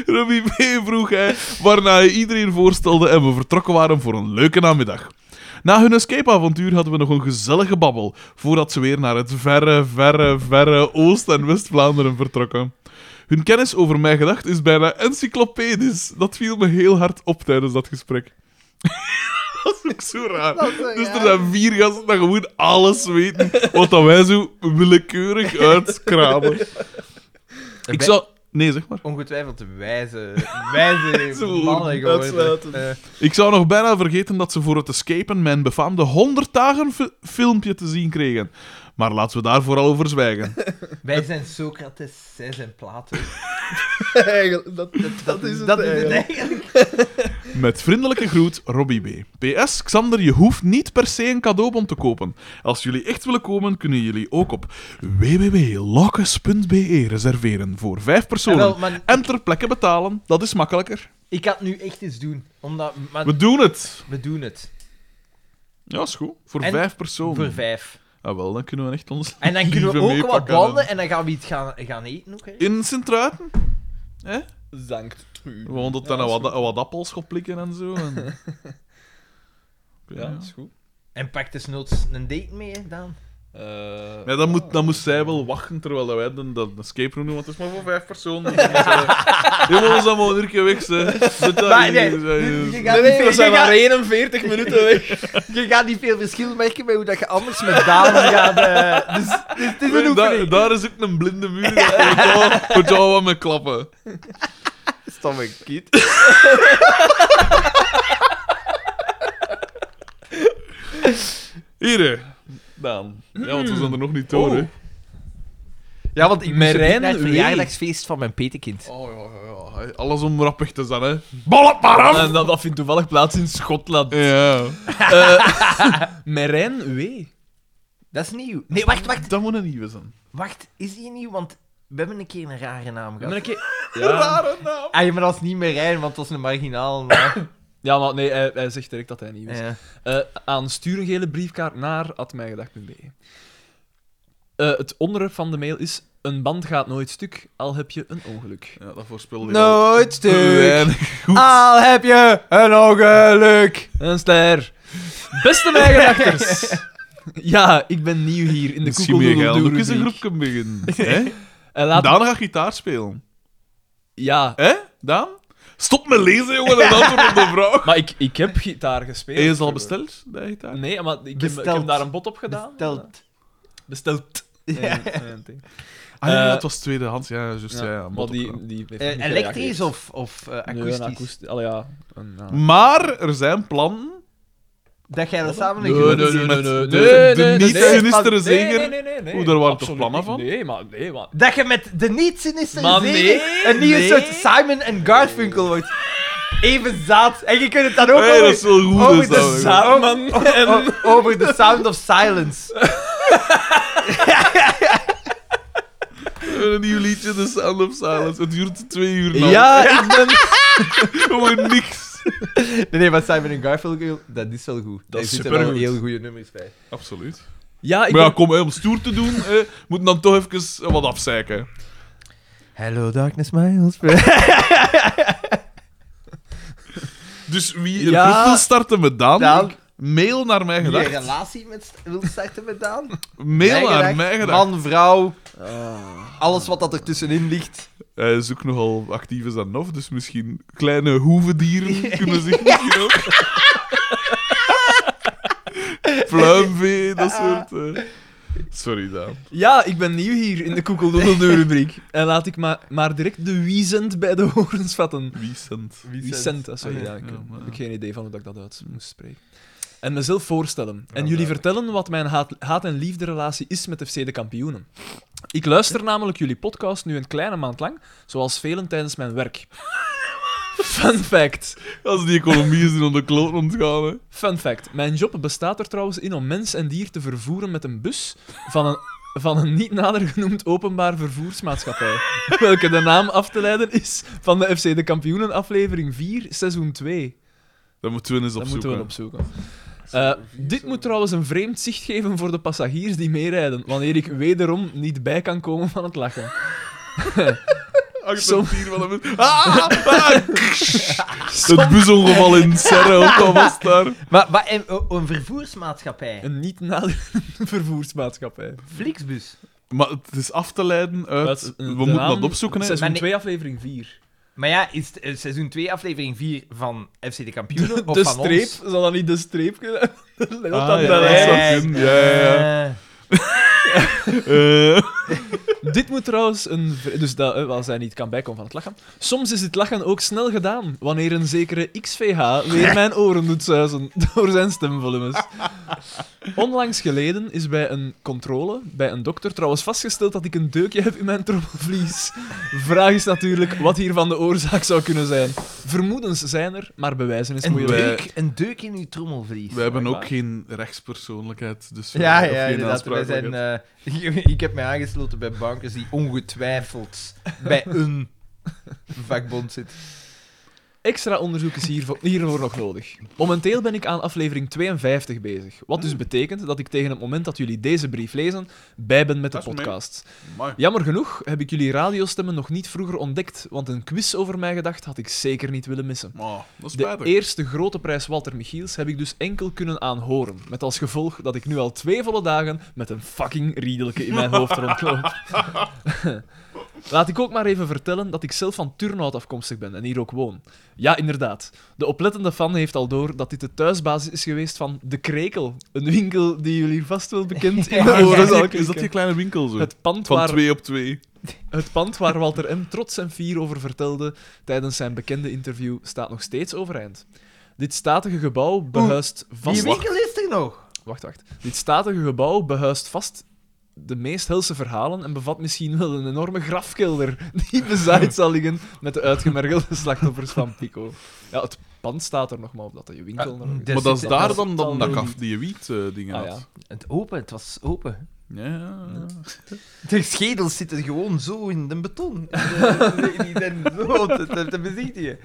S1: Robbie B. vroeg hij, waarna hij iedereen voorstelde en we vertrokken waren voor een leuke namiddag. Na hun escape-avontuur hadden we nog een gezellige babbel, voordat ze weer naar het verre, verre, verre Oost- en West-Vlaanderen vertrokken. Hun kennis over mij gedacht is bijna encyclopedisch. Dat viel me heel hard op tijdens dat gesprek. dat is ook zo raar.
S2: Dat is zo
S1: dus er
S2: raar.
S1: zijn vier gasten dat gewoon alles weten, wat dat wij zo willekeurig uitkramen. Ik zou... Nee, zeg maar.
S2: Ongetwijfeld wijze, wijze
S3: Zo,
S2: mannen geworden.
S3: uitsluitend.
S2: Eh,
S1: Ik zou nog bijna vergeten dat ze voor het escapen mijn befaamde 100 dagen fi- filmpje te zien kregen. Maar laten we daar vooral over zwijgen.
S2: wij zijn Socrates, zij zijn Plato.
S3: Eigenlijk, dat,
S2: Dat, dat,
S3: is het
S2: dat is het
S3: eigenlijk.
S2: eigenlijk.
S1: Met vriendelijke groet, Robbie B. PS, Xander, je hoeft niet per se een cadeaubon te kopen. Als jullie echt willen komen, kunnen jullie ook op www.locus.be reserveren voor vijf
S2: Ah,
S1: personen.
S2: wel, maar
S1: En ter plekke betalen, dat is makkelijker.
S2: ik had nu echt iets doen. Omdat, maar
S1: We doen het!
S2: we doen het.
S1: Ja, is goed. Voor
S2: En
S1: vijf personen.
S2: Voor vijf.
S1: Ah, wel, dan kunnen we echt ons.
S2: En dan kunnen we
S1: Liever
S2: ook wat
S1: meepakken,
S2: wandelen
S1: hè.
S2: en dan gaan we iets gaan, gaan eten ook. Hè?
S1: In Sint-Truiden?
S3: Zankt truur.
S1: We dat dan
S3: Ja,
S1: wat,
S3: dat is
S1: wat appels gaan plikken en zo. En... Ik weet
S3: Ja,
S1: niet,
S3: is goed.
S2: En pak desnoods een dus date mee, hè, Daan.
S3: Eh,
S1: Ja, dan, moet, dan moest zij wel wachten terwijl wij de, de escape room doen, want het is maar voor vijf personen. Dus, eh, Je moet ons allemaal een keer weg, ze. Zit daar
S2: Maar
S1: hier,
S2: nee,
S1: zit daar hier.
S2: nu- je gaat-
S3: Nee, nee, we
S2: je
S3: zijn
S2: gaat-
S3: maar 41 minuten weg.
S2: Je gaat niet veel verschil merken bij hoe dat je anders met dames gaat. eh, dus het is- het is een
S1: Nee, daar-
S2: oefening.
S1: daar is ook een blinde muur. Daar wordt jou wat mee klappen.
S2: Stomme kid.
S1: Hier, hè. Daan. Ja, want we zijn er nog niet door, hè.
S2: Ja, want ik moest
S3: Merijn
S2: naar het
S3: Wee.
S2: verjaardagsfeest van mijn petekind.
S1: Oh, ja, ja, ja. Alles om rappig te zijn, hè. Bal op maar af!
S3: En dat, dat vindt toevallig plaats in Schotland.
S1: Ja.
S3: Merijn W.
S2: Dat is nieuw. Nee, wacht, wacht.
S1: Dat moet een nieuwe zijn.
S2: Wacht, is die nieuw? Want we hebben een keer een rare naam
S3: Ben
S2: gehad.
S3: ik... ja.
S1: Rare naam.
S2: Ah, ja, maar dat is niet Merijn, want dat is een marginaal. naam.
S3: ja, maar nee, hij, hij zegt direct dat hij niet is.
S2: Ja.
S3: Eh, aan stuur een gele briefkaart naar atmijgedag.be. Eh het onderwerp van de mail is: Een band gaat nooit stuk, al heb je een ongeluk.
S1: Ja, dat voorspelde ik al.
S2: Nooit stuk.
S1: Weinig goed.
S2: Al heb je een ongeluk.
S3: Een ster. Beste mijgedachters. ja, ik ben nieuw hier in de
S1: Misschien meer gaan ook eens een
S3: koekeldoedeldoe-rubriek.
S1: groepje beginnen. hè?
S3: En Eh, laat...
S1: Daan gaat gitaar spelen.
S3: Ja,
S1: Hè, Daan? Stop met lezen, jongen, en antwoord op de vraag.
S3: maar ik, ik heb gitaar gespeeld.
S1: Heb je ze al besteld, de gitaar?
S3: Nee, maar ik heb, ik
S2: Besteld.
S3: heb daar een bod op gedaan.
S2: Besteld.
S3: Besteld.
S2: Ja.
S3: Nee, nee, nee.
S1: Ah, ja,
S3: Eh,
S1: het was tweedehands, ja, juist, ja.
S3: Ja,
S1: ja,
S3: maar
S1: bot opgedaan.
S3: die, die heeft
S2: Eh,
S3: niet
S2: elektrisch
S3: gereageerd.
S2: of, of eh,
S3: Nee,
S2: akoestisch?
S3: een akoesti- Allee, ja. Een, ja.
S1: Maar er zijn plannen.
S2: Dat jij dat samen
S1: Nee, nee,
S2: een groepje
S1: nee,
S2: zit.
S1: nee. de- de niet-sinistere zeger.
S3: Nee, nee, nee, nee.
S1: Oeh, daar waren toch
S3: Absoluut
S1: plannen
S3: niet.
S1: van?
S3: Nee, maar... Nee, maar
S2: Dat je met de niet-sinistere
S3: Maar
S2: zegen
S3: nee,
S2: een nieuwe
S3: nee.
S2: soort Simon en Garfunkel wordt. Even zaad. En je kunt het
S3: Oh,
S2: dan ook
S1: Hey, dat
S2: over,
S1: is wel goed, dus
S2: over
S1: dat is
S2: de
S1: wel goed.
S2: zaal.
S3: Samen en...
S2: o- over The Sound of Silence.
S1: Een nieuw liedje, The Sound of Silence. Het duurt twee uur lang.
S3: Ja, ik ben...
S1: Gewoon niks.
S2: Nee, nee, maar Simon en Garfunkel, dat is wel goed. Daar
S1: is
S2: zitten wel
S1: supergoed.
S2: heel goede nummers bij.
S1: Absoluut.
S3: Ja, ik
S1: Maar ja,
S3: ben...
S1: kom, hè, om stoer te doen, hè, moet dan toch even eh, wat afzeiken.
S2: Hello darkness, my old friend.
S1: Dus wie een
S3: Ja.
S1: groep wil starten met Daan,
S2: Daan.
S1: mail naar mij
S2: Die
S1: gedacht.
S2: een relatie met, wil starten met Daan?
S1: Mail naar
S2: Mijgedacht.
S1: mij gedacht.
S2: Man, vrouw, Ah. alles wat dat ertussenin ligt.
S1: Hij is ook nogal actief is dan of, dus misschien kleine hoevendieren kunnen zich misschien ook. Pluimvee, dat soort. eh. Sorry, Daan.
S3: Ja, ik ben nieuw hier in de koekeldoedeldoe-rubriek. En laat ik maar, maar direct de wiezend bij de horens vatten.
S1: Wie cent?
S3: Wiesent, dat sorry.
S1: Ah, ja,
S3: ja, ik eh,
S1: ja,
S3: heb
S1: maar-
S3: ook geen idee van hoe dat ik dat uit moest spreken. En mezelf voorstellen. en jullie
S1: duidelijk.
S3: vertellen wat mijn haat, haat- en liefderelatie is met FC De Kampioenen. Ik luister namelijk jullie podcast nu een kleine maand lang, zoals velen tijdens mijn werk. Fun fact.
S1: Als die economie is onder de kloot ontgaan, hè.
S3: Fun fact. Mijn job bestaat er trouwens in om mens en dier te vervoeren met een bus van een, van een niet nader genoemd openbaar vervoersmaatschappij. welke de naam af te leiden is van de FC De Kampioenen aflevering 4, seizoen 2.
S1: Dat moeten we eens
S3: Dat
S1: opzoeken.
S3: moeten we opzoeken. Eh, dit moet trouwens een vreemd zicht geven voor de passagiers die meerijden, wanneer ik wederom niet bij kan komen van het lachen.
S1: Achter het dier van de mens. Ah, ah, ah. Het busongeval in Serre ook al was daar.
S2: Maar, maar een, een vervoersmaatschappij. Een
S3: Een niet nader vervoersmaatschappij.
S2: Flixbus.
S1: Maar het is af te leiden uit...
S3: Dat is, eh,
S1: we
S3: de
S1: moeten
S3: naam-
S1: dat opzoeken, hè.
S3: Seizoen
S2: Maar nee-
S3: 2, aflevering 4.
S2: Maar ja, is het, eh, seizoen 2, aflevering 4 van FC de Kampioenen?
S3: De,
S2: of
S3: de
S2: van ons?
S3: streep, zal dat niet de streep kunnen? Dat
S1: Ah,
S3: dan
S1: ja,
S3: de
S1: dat
S3: lijn.
S1: zou kunnen. Ja, ja, ja.
S2: Eh,
S1: Eh,
S3: Dit moet trouwens een. vre- Dus dat, eh, als hij niet kan bijkomen van het lachen. Soms is het lachen ook snel gedaan. wanneer een zekere XVH weer mijn oren doet zuizen. door zijn stemvolumes. Onlangs geleden is bij een controle. bij een dokter trouwens vastgesteld dat ik een deukje heb in mijn trommelvlies. Vraag is natuurlijk wat hiervan de oorzaak zou kunnen zijn. Vermoedens zijn er, maar bewijzen is
S2: een,
S1: Moeilijk.
S3: moeilijk.
S2: deuk, een deuk in uw trommelvlies.
S1: we hebben ook
S3: waar.
S1: geen rechtspersoonlijkheid, dus... we-
S2: Ja,
S1: of
S2: ja,
S1: geen
S2: inderdaad. Wij zijn,
S1: aansprakelijkheid.
S2: eh, ik heb mij aangesloten bij bankers die ongetwijfeld bij een vakbond zit.
S3: Extra onderzoek is hiervoor, hiervoor nog nodig. Momenteel ben ik aan aflevering 52 bezig. Wat
S1: Hmm.
S3: dus betekent dat ik tegen het moment dat jullie deze brief lezen, bij ben met de
S1: Dat is mee.
S3: podcast.
S1: Amai.
S3: Jammer genoeg heb ik jullie radiostemmen nog niet vroeger ontdekt, want een quiz over mij gedacht had ik zeker niet willen missen.
S1: Maar, dat is
S3: De
S1: spijtig.
S3: eerste grote prijs Walter Michiels heb ik dus enkel kunnen aanhoren. Met als gevolg dat ik nu al twee volle dagen met een fucking riedelke in mijn hoofd rondloop. Laat ik ook maar even vertellen dat ik zelf van Turnhout afkomstig ben en hier ook woon. Ja, inderdaad. De oplettende fan heeft al door dat dit de thuisbasis is geweest van De Krekel. Een winkel die jullie vast wel bekend in de
S1: Oh,
S3: oren
S1: dat
S3: zal
S1: is, die, is dat
S3: klinken.
S1: die kleine winkel zo?
S3: Het pand
S1: Van
S3: waar
S1: twee op twee.
S3: het pand waar Walter M. trots en fier over vertelde tijdens zijn bekende interview staat nog steeds overeind. Dit statige gebouw behuist vast...
S2: Die winkel is er nog.
S3: Wacht, wacht. Dit statige gebouw behuist vast de meest helse verhalen en bevat misschien wel een enorme grafkelder die bezaaid zal liggen met de uitgemergelde slachtoffers van Pico. Ja, het pand staat er nog maar op dat je winkel
S2: Ah,
S3: er nog is.
S2: dus-
S1: maar dat is
S2: zit-
S1: daar
S2: dat
S1: dan,
S3: zit
S1: dan
S3: al
S1: dat
S3: in.
S1: kaf die wiet-dingen
S3: Ah,
S1: had.
S2: Het open, het was open.
S1: Ja, ja, ja.
S2: De schedels zitten gewoon zo in de beton. De- die zijn zo te, te, te bezichtigen.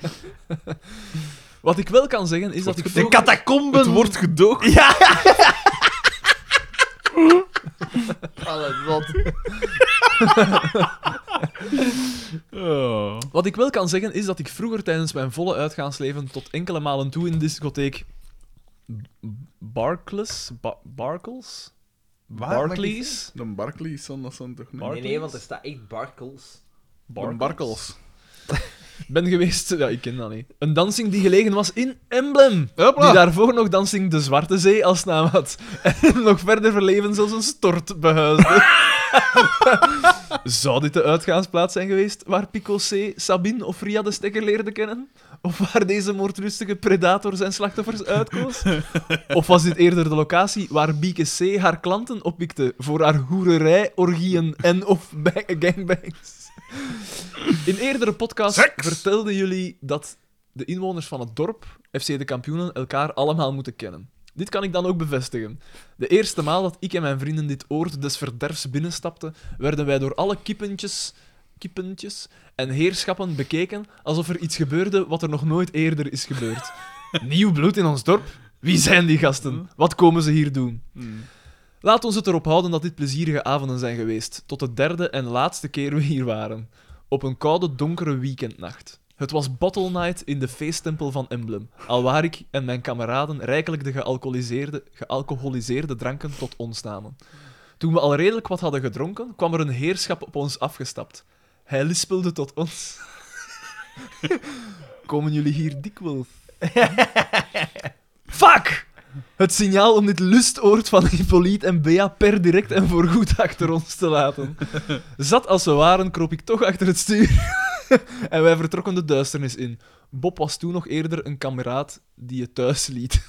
S3: Wat ik wel kan zeggen is dat ik...
S2: De
S3: vroeger-
S2: catacomben.
S1: Het wordt gedoogd.
S2: Ja! Alles wat.
S1: Ja.
S3: Wat ik wel kan zeggen is dat ik vroeger tijdens mijn volle uitgaansleven tot enkele malen toe in de discotheek B- Barclays, Ba- Barkles, Barclays,
S1: De Barclays, dan, dat zijn toch niet?
S3: Bar-
S2: Nee, nee, want er staat echt barkels.
S1: De
S3: Barkles.
S1: Barkels.
S3: ben geweest. Ja, ik ken dat niet. Een dansing die gelegen was in Emblem. Die
S1: Hopla.
S3: daarvoor nog dansing de Zwarte Zee als naam had. En nog verder verleven zelfs een stort behuisde. Zou dit de uitgaansplaats zijn geweest waar Pico C, Sabine of Ria de Stekker leerde kennen? Of waar deze moordlustige predator zijn slachtoffers uitkoos? Of was dit eerder de locatie waar Bieke C haar klanten oppikte voor haar hoererij, orgieën en of ba- gangbangs? In eerdere podcasts
S1: Seks!
S3: vertelden jullie dat de inwoners van het dorp, FC de kampioenen, elkaar allemaal moeten kennen. Dit kan ik dan ook bevestigen. De eerste maal dat ik en mijn vrienden dit oord des verderfs binnenstapten, werden wij door alle kippentjes, kippentjes en heerschappen bekeken alsof er iets gebeurde wat er nog nooit eerder is gebeurd. Nieuw bloed in ons dorp? Wie zijn die gasten? Wat komen ze hier doen?
S1: Hmm.
S3: Laat ons het erop houden dat dit plezierige avonden zijn geweest, tot de derde en laatste keer we hier waren. Op een koude, donkere weekendnacht. Het was Bottle Night in de feesttempel van Emblem, alwaar ik en mijn kameraden rijkelijk de gealcoholiseerde, gealcoholiseerde dranken tot ons namen. Toen we al redelijk wat hadden gedronken, kwam er een heerschap op ons afgestapt. Hij lispelde tot ons. Komen jullie hier dikwijls? Fuck! Het signaal om dit lustoord van Hippolyte en Bea per direct en voorgoed achter ons te laten. Zat als we waren, kroop ik toch achter het stuur. en wij vertrokken de duisternis in. Bob was toen nog eerder een kameraad die je thuis liet.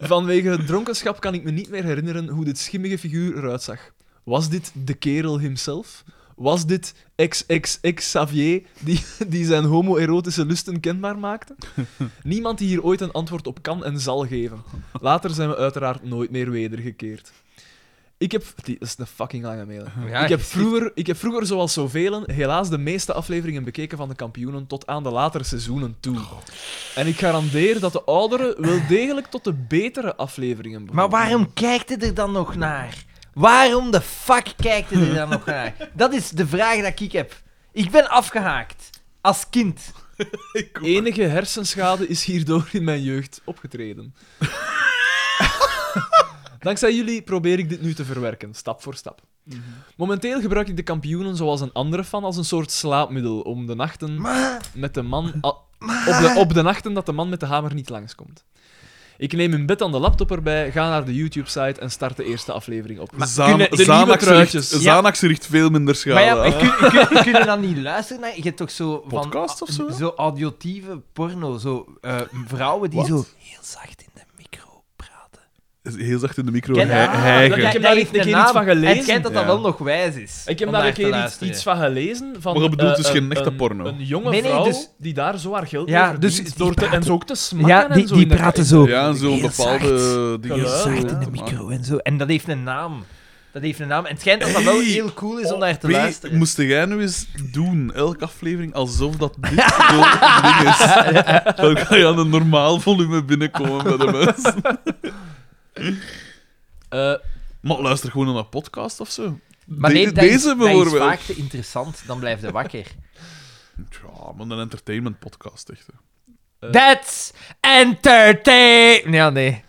S3: Vanwege het dronkenschap kan ik me niet meer herinneren hoe dit schimmige figuur eruit zag. Was dit de kerel himself? Was dit XXX Xavier die, die zijn homoerotische lusten kenbaar maakte? Niemand die hier ooit een antwoord op kan en zal geven. Later zijn we uiteraard nooit meer wedergekeerd. Ik heb... Die is een fucking lange mail. hè.
S2: Ja,
S3: ik, heb vroeger, ik heb vroeger, zoals zoveel, helaas de meeste afleveringen bekeken van de kampioenen tot aan de latere seizoenen toe. En ik garandeer dat de ouderen wel degelijk tot de betere afleveringen behoren.
S2: Maar waarom kijkt hij er dan nog naar? Waarom de fuck kijkt hij er dan nog naar? Dat is de vraag dat ik heb. Ik ben afgehaakt. Als kind.
S1: Ik ook.
S3: Enige hersenschade is hierdoor in mijn jeugd opgetreden. Dankzij jullie probeer ik dit nu te verwerken, stap voor stap. Momenteel gebruik ik de kampioenen zoals een andere fan als een soort slaapmiddel om de nachten
S2: Maar...
S3: met de man al- op, de, op de nachten dat de man met de hamer niet langskomt. Ik neem in bed aan de laptop erbij, ga naar de YouTube-site en start de eerste aflevering op.
S1: Zaan-
S3: kunnen de nieuwe
S1: Zanax
S3: truitjes-
S1: richt-
S3: Ja.
S1: Zanax richt veel minder schade
S2: Maar ja,
S1: aan.
S2: maar kun, kun, kun je dan niet luisteren naar... Je hebt toch zo van...
S1: Podcast of zo?
S2: Zo audiotieve porno. Zo eh, vrouwen die
S1: Wat?
S2: zo heel zacht in de micro praten.
S1: Is Heel zacht in de micro.
S2: Ken-
S1: hij-
S2: Ah,
S1: hijgen.
S3: dat- Ik heb daar
S2: heeft
S3: een keer
S2: een
S3: iets
S2: naam.
S3: van
S2: En het
S3: gelezen.
S2: schijnt dat dat
S1: Ja.
S2: wel nog wijs is.
S3: Ik heb
S2: om
S3: daar een
S2: naar te
S3: keer iets,
S2: luisteren.
S3: iets van gelezen. Van,
S1: Maar je bedoelt dus
S3: eh,
S1: geen
S3: een-
S1: echte
S3: een-
S1: porno?
S3: Een jonge
S2: Nee, nee,
S3: vrouw
S2: dus-
S3: die daar zo haar geld
S2: Ja,
S3: mee
S2: dus
S3: verdient
S2: die
S3: door te, en
S2: praten-
S3: zo ook te smakken
S2: Ja, die,
S3: en zo
S2: die
S3: in de-
S2: praten zo.
S1: Ja, en zo'n
S2: Heel
S1: bepaalde
S2: zacht.
S1: dingen.
S3: Geluid.
S2: Zacht
S1: Ja,
S2: in de micro en zo. En dat heeft een naam. Dat heeft een naam. En het schijnt dat dat wel
S1: Hey, Oh,
S2: heel cool is om naar te
S1: Wie
S2: luisteren.
S1: Moest jij nu eens doen, elke aflevering, alsof dat dit zo'n ding is? Dan kan je aan een normaal volume binnenkomen bij de mensen.
S3: Eh,
S1: Maar luister gewoon naar een podcast of zo.
S2: Maar nee,
S1: De-
S2: dat,
S1: deze
S2: is, dat is
S1: bijvoorbeeld.
S2: vaak te interessant, dan blijf je wakker.
S1: Ja, maar een entertainment podcast echt. hè.
S3: Eh.
S2: That's entertain... Ja, nee.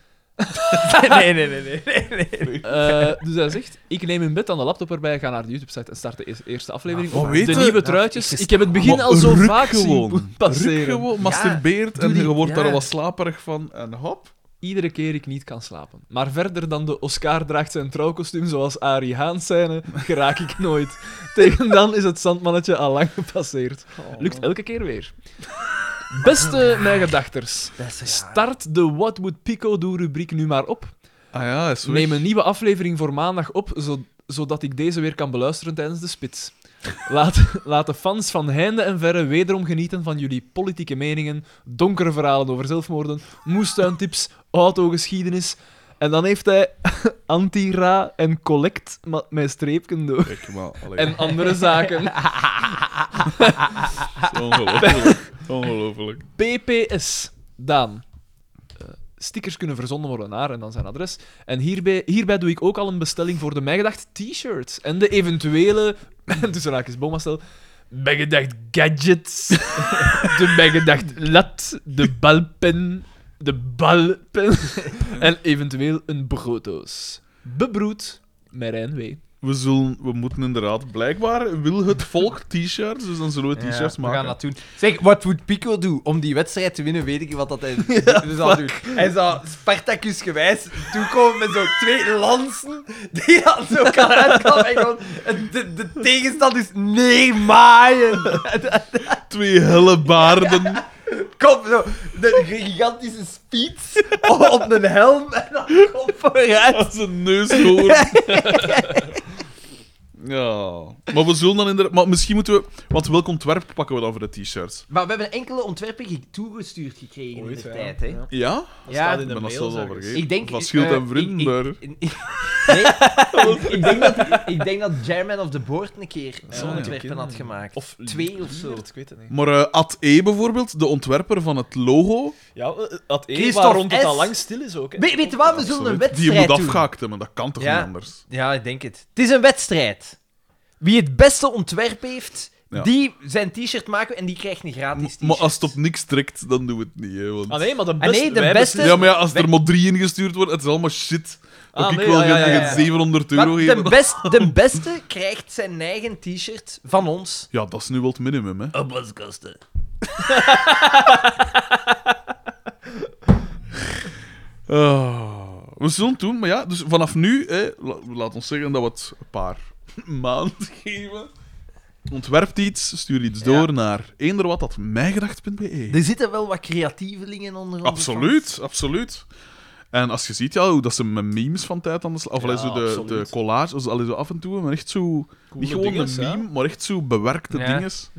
S2: nee, nee, nee, nee. nee, nee.
S3: eh, dus hij zegt, ik neem een bed aan de laptop erbij, ga naar de YouTube-site en start de eers- eerste aflevering.
S1: Maar
S3: op
S1: weet
S3: de
S1: je-
S3: nieuwe
S1: Nou,
S2: ik
S3: truitjes.
S2: is-
S3: Ik heb het begin
S1: Maar
S3: al zo
S1: ruk
S3: vaak
S1: gewoon.
S3: zien passeren.
S1: Ruk gewoon, masturbeert en
S2: die-
S1: je wordt
S2: ja.
S1: daar wat slaperig van en hop.
S3: Iedere keer ik niet kan slapen. Maar verder dan de Oscar draagt zijn trouwkostuum zoals Arie Haans zijne, geraak ik nooit. Tegen dan is het zandmannetje al lang gepasseerd. Lukt elke keer weer. Beste mijn gedachters.
S2: Dat is raar.
S3: Start de What Would Pico Do rubriek nu maar op.
S1: Ah ja, is
S3: Neem een nieuwe aflevering voor maandag op, zo- zodat ik deze weer kan beluisteren tijdens de spits. Laat, laat de fans van heinde en verre wederom genieten van jullie politieke meningen, donkere verhalen over zelfmoorden, moestuintips, autogeschiedenis. En dan heeft hij anti-ra en collect ma- met streepken door.
S1: Kijk, maar, allee,
S3: En andere zaken.
S1: het is ongelooflijk. ongelooflijk.
S3: PPS, Daan. Eh, Stickers kunnen verzonden worden naar en dan zijn adres. En hierbij, hierbij doe ik ook al een bestelling voor de Mijgedacht t-shirts. En de eventuele, tussen haakjes bomastel, Mijgedacht gadgets. de Mijgedacht lat. De balpen. De balpen. en eventueel een brooddoos. Bebroed, Merijn W.
S1: We, zullen, we moeten inderdaad, blijkbaar wil het volk t-shirts, dus dan zullen we
S2: Ja,
S1: t-shirts
S2: We
S1: maken.
S2: gaan dat doen. Zeg, wat moet Pico doen? Om die wedstrijd te winnen, weet ik wat dat hij zou doen. Hij zou Spartacus gewijs toekomen met zo'n twee lansen die dan zo kan uitkomen en gewoon de, de tegenstanders neermaaien.
S1: Twee helle baarden.
S2: Kom zo, de gigantische speed op een helm en dan kom vooruit.
S1: Als een neushoorn. ja. Maar we zullen dan inderdaad... Maar misschien moeten we... Want welk ontwerp pakken we dan voor de t-shirts?
S2: Maar we hebben enkele ontwerpen ge- toegestuurd gekregen
S3: Ooit,
S2: in de
S3: ja.
S2: tijd, hè.
S3: Ja.
S1: Ja?
S2: Ja,
S3: staat in de
S1: ben dat
S3: mail,
S1: zelfs al
S3: zag ik.
S1: vergeten.
S2: Ik denk...
S1: Van Schild en
S2: eh,
S1: Vrienden
S2: ik- ik-
S1: daar.
S2: ik- nee, ik- ik, denk dat, ik denk dat Jerman of the Board een keer
S3: Ja,
S2: zo'n
S1: ja.
S2: ontwerpen had gemaakt. Of twee of zo.
S3: Ik weet het niet.
S1: Maar eh, Ad E bijvoorbeeld, de ontwerper van het logo,
S3: Ja, eh, dat één
S2: Christophe
S3: waar rond het
S2: S.
S3: al lang stil is ook. hè.
S2: We- weet je wat? We zullen een
S1: Absoluut. die
S2: wedstrijd
S1: moet
S2: doen.
S1: afgehaakt hebben. Dat kan toch
S2: Ja.
S1: niet anders?
S2: Ja, ik denk het. Het is een wedstrijd. Wie het beste ontwerp heeft,
S1: Ja.
S2: die zijn t-shirt maken en die krijgt een gratis t-shirt.
S1: Maar als het op niks trekt, dan doen we het niet. Hè, want...
S3: Ah nee, maar de
S2: Ah,
S3: beste...
S2: nee, de
S3: wij
S2: beste-
S1: Ja, maar ja, als er maar drie ingestuurd worden, het is allemaal shit. Dat
S3: Ah,
S1: ik
S3: nee,
S1: wel
S3: ah, ja,
S1: geen-
S3: ja,
S1: geen
S3: ja.
S1: 700 euro
S2: Maar de,
S1: geven.
S2: best, de beste krijgt zijn eigen t-shirt van ons.
S1: Ja, dat is nu wel het minimum, hè.
S3: Oh,
S2: Op ons kosten.
S1: Ah, we zullen het doen, maar ja, dus vanaf nu, hè, la- laat ons zeggen dat we het een paar maanden geven. Ontwerpt iets, stuur iets door naar eenderwat.mijgedacht.be.
S2: Er zitten wel wat creatievelingen onder ons.
S1: Absoluut, absoluut. En als je ziet, ja, hoe dat ze met memes van tijd aan de slag... Of allee,
S3: Ja,
S1: zo de, de
S3: absoluut.
S1: collages, allee, zo af en toe, maar echt zo...
S3: Coole
S1: niet gewoon
S3: dinges,
S1: een
S3: hè?
S1: meme, maar echt zo bewerkte
S2: Ja.
S1: dinges.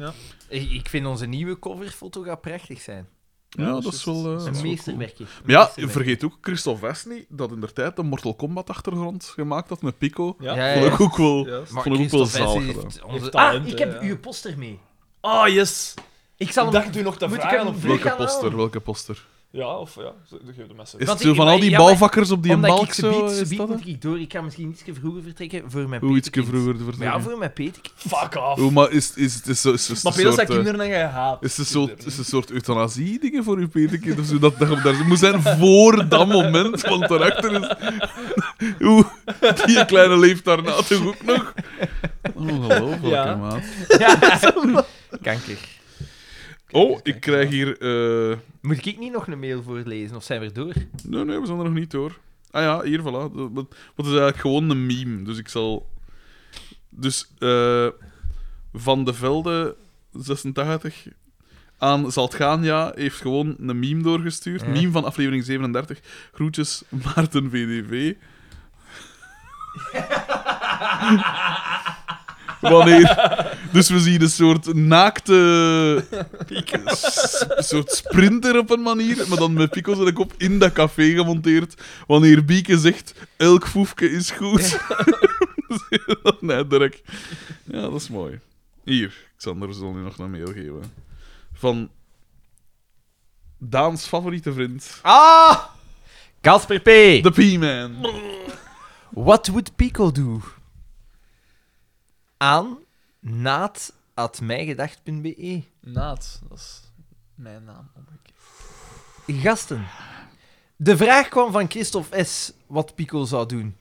S2: Ik ik vind onze nieuwe coverfoto gaat prachtig zijn.
S1: Ja, dat, is wel... eh, dat is wel
S2: Een
S1: cool.
S2: meesterwerkje.
S1: Maar ja,
S2: Meesterwerk.
S1: vergeet ook Christophe Westny, dat in der tijd een Mortal Kombat achtergrond gemaakt had met Pico.
S3: Ja.
S2: Ja, ja,
S1: Vond
S2: ja.
S1: ik ook wel...
S3: Ja.
S2: Maar
S1: Vond ik ook wel
S2: Christophe
S1: zalig
S2: Hesse
S1: gedaan.
S2: heeft onze-
S3: Heeft talent,
S2: ah, ik
S3: hè,
S2: heb
S3: ja.
S2: uw poster mee.
S3: Ah, yes.
S2: Ik zal
S3: Ik
S2: hem...
S3: dacht u nog te
S2: Moet ik
S3: vragen
S2: hem
S3: of...
S2: vliegen?
S1: Welke
S2: gaan
S1: poster?
S2: halen.
S1: Welke poster?
S3: Ja, of ja. Geef de mensen.
S1: Is
S2: Want
S1: het zo
S2: ik-
S1: van al die
S2: ja, maar-
S1: bouwvakkers op die
S2: Omdat
S1: balk
S2: ik subiet,
S1: zo? Is
S2: subiet
S1: dat
S2: moet
S1: het?
S2: ik door. Ik ga misschien iets vroeger vertrekken voor mijn
S1: Hoe iets
S2: petekind.
S1: vroeger te vertellen.
S2: Ja, voor mijn petekind.
S3: Fuck off.
S1: Hoe, maar is, is, is, is, is, is
S3: maar
S1: een
S3: veel zijn
S1: soort... eh,
S3: kinderen en jij haat.
S1: Is het een soort, is een soort euthanasie-dingen voor uw petekind of zo? Dat, dat, dat moet zijn voor dat moment, want daarachter is... Oeh, die kleine leeft daarna toch ook nog? Ongelooflijk,
S3: Ja.
S1: hè, maat.
S2: Kanker.
S1: Oh, ik krijg hier... eh,
S2: Moet ik niet nog een mail voorlezen of zijn we er door?
S1: Nee, nee, we zijn er nog niet door. Ah ja, hier, voilà. Dat- dat- Want het is eigenlijk gewoon een meme, dus ik zal... Dus, eh, Van de Velde, 86, aan Zal het gaan, ja, heeft gewoon een meme doorgestuurd.
S2: Ja.
S1: Meme van aflevering 37. Groetjes, Maarten VDV. Wanneer... Dus we zien een soort naakte... s- soort sprinter op een manier, maar dan met pico's en ik op in dat café gemonteerd. Wanneer Bieke zegt, elk foefke is goed. nee, Dirk. Ja, dat is mooi. Hier, Xander zal nu nog een mail geven. Van Daans favoriete vriend,
S2: Ah! Casper P.
S1: de P-Man.
S2: What would Pico do? Aan naad.mijgedacht.be
S3: Naad, dat is mijn naam. omgekeerd.
S2: Gasten. De vraag kwam van Christophe S. wat Pico zou doen.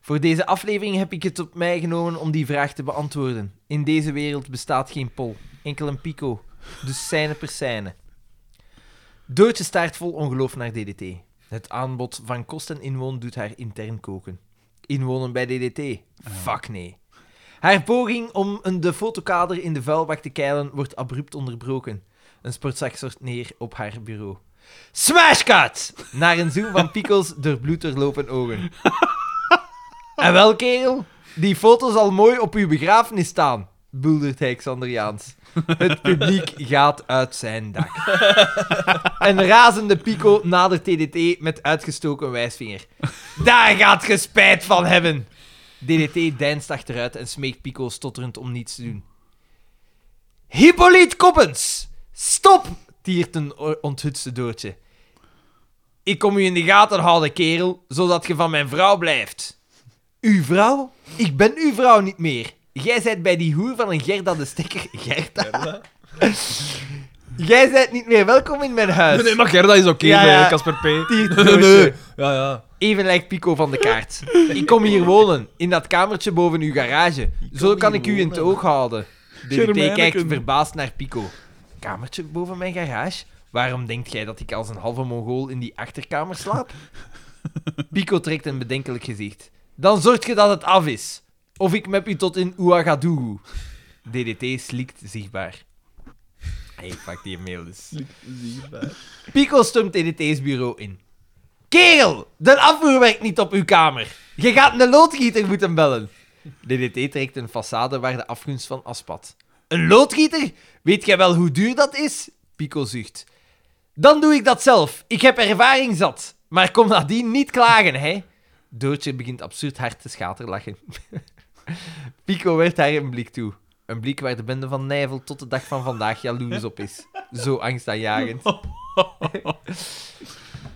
S2: Voor deze aflevering heb ik het op mij genomen om die vraag te beantwoorden. In deze wereld bestaat geen Pol, enkel een Pico. Dus scène per scène. Doortje staart vol ongeloof naar DDT. Het aanbod van kost en inwoon doet haar intern koken. Inwonen bij DDT? Fuck nee. Haar poging om een de fotokader in de vuilbak te keilen wordt abrupt onderbroken. Een sportzak stort neer op haar bureau. Smashcut! Naar een zoen van pikkels door bloederlopen ogen. en wel, kerel, die foto zal mooi op uw begrafenis staan, buldert hij Xandriaans. Het publiek gaat uit zijn dak. Een razende Pico nadert DDT met uitgestoken wijsvinger. Daar gaat ge spijt van hebben! DDT deinst achteruit en smeekt Pico stotterend om niets te doen. Hippolyte Koppens! Stop! tiert een o- onthutste doortje. Ik kom u in de gaten houden, kerel, zodat je van mijn vrouw blijft. Uw vrouw? Ik ben uw vrouw niet meer. Jij zijt bij die hoer van een Gerda de Stekker. Gerda?
S3: Gerda?
S2: Jij zijt niet meer welkom in mijn huis.
S3: Nee, nee, maar Gerda is oké,
S2: Ja,
S3: bij
S2: ja.
S3: Casper P.
S2: Tiert
S3: Nee,
S2: doortje.
S3: nee. Ja, ja.
S2: Even lijkt Pico van de kaart. Ik kom hier wonen, in dat kamertje boven uw garage. Zo kan ik u in het oog houden. DDT kijkt
S1: Germijneken.
S2: verbaasd naar Pico. Kamertje boven mijn garage? Waarom denkt jij dat ik als een halve mongool in die achterkamer slaap? Pico trekt een bedenkelijk gezicht. Dan zorg je dat het af is. Of ik mep u tot in Ouagadougou. DDT slikt zichtbaar. Hey, pak die mail dus. Pico stumt DDT's bureau in. Kerel, de afvoer werkt niet op uw kamer. Je gaat een loodgieter moeten bellen. DDT trekt een façade waar de afgunst van afspat. Een loodgieter? Weet jij wel hoe duur dat is? Pico zucht. Dan doe ik dat zelf. Ik heb ervaring zat. Maar kom nadien niet klagen, hè? Doortje begint absurd hard te schaterlachen. Pico werpt haar een blik toe. Een blik waar de bende van Nijvel tot de dag van vandaag jaloers op is. Zo angstaanjagend.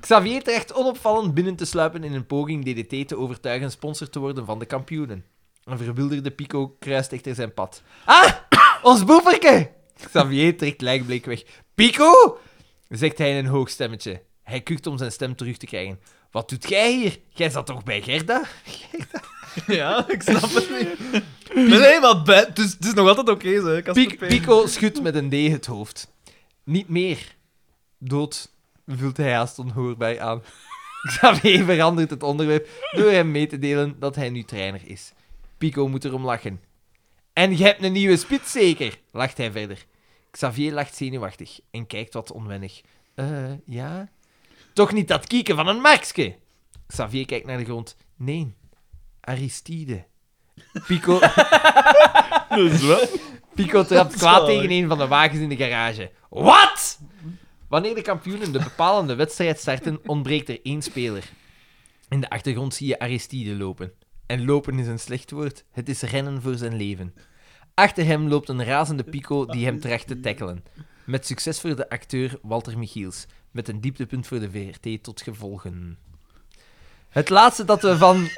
S2: Xavier terecht onopvallend binnen te sluipen in een poging DDT te overtuigen sponsor te worden van de kampioenen. Een verwilderde Pico kruist echter zijn pad. Ah, ons boeverke! Xavier trekt lijkbleek weg. Pico! zegt hij in een hoog stemmetje. Hij kucht om zijn stem terug te krijgen. Wat doet jij hier? Jij zat toch bij Gerda?
S3: Ja, ik snap het niet. Nee, nee, maar bij- het is, het is nog altijd oké, zeg. Casper
S2: Piek-
S3: P.
S2: Pico schudt met een D het hoofd. Niet meer. Dood, vult hij haast onhoorbaar aan. Xavier verandert het onderwerp door hem mee te delen dat hij nu trainer is. Pico moet erom lachen. En je hebt een nieuwe spits zeker, lacht hij verder. Xavier lacht zenuwachtig en kijkt wat onwennig. Eh, ja? Toch niet dat kieken van een Maxke? Xavier kijkt naar de grond. Nee, Aristide. Pico...
S1: Dus wat?
S2: Pico trapt
S3: is
S2: kwaad
S3: wel
S2: tegen een van de wagens in de garage. Wat? Wanneer de kampioenen de bepalende wedstrijd starten, ontbreekt er één speler. In de achtergrond zie je Aristide lopen. En lopen is een slecht woord. Het is rennen voor zijn leven. Achter hem loopt een razende Pico die hem tracht te tackelen. Met succes voor de acteur Walter Michiels. Met een dieptepunt voor de VRT tot gevolgen. Het laatste dat we van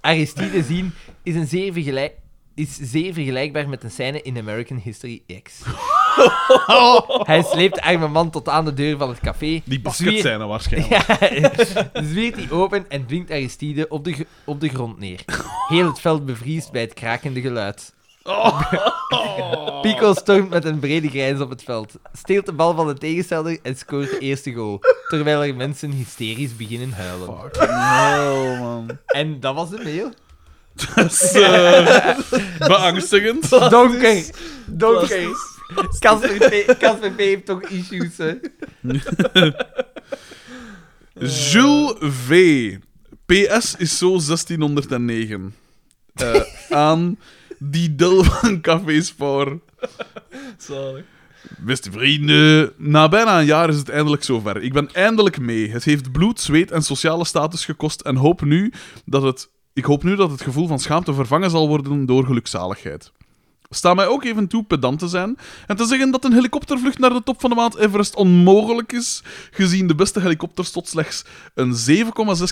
S2: Aristide zien is, een zeer, vergelijk- is zeer vergelijkbaar met een scène in American History X. Hij sleept de arme man tot aan de deur van het café.
S1: Die
S2: Zwier-
S1: basket zijn er waarschijnlijk.
S2: ja, zwiert hij open en dwingt Aristide op de, gr- op de grond neer. Heel het veld bevriest bij het krakende geluid. Oh.
S1: Oh,
S2: Pico stormt met een brede grijns op het veld, steelt de bal van de tegenstander en scoort de eerste goal, terwijl er mensen hysterisch beginnen huilen.
S1: No, man.
S2: En dat was de mail.
S1: Dat is eh, beangstigend.
S2: Donker! Donker! Casper P- Casper P heeft toch issues, hè?
S1: Jules V. PS is zo 1609. Eh, aan die del van Café Spoor.
S3: Zalig.
S1: Beste vrienden, na bijna een jaar is het eindelijk zover. Ik ben eindelijk mee. Het heeft bloed, zweet en sociale status gekost en hoop nu dat het Ik hoop nu dat het gevoel van schaamte vervangen zal worden door gelukzaligheid. Sta mij ook even toe pedant te zijn en te zeggen dat een helikoptervlucht naar de top van de Mount Everest onmogelijk is, gezien de beste helikopters tot slechts een 7,6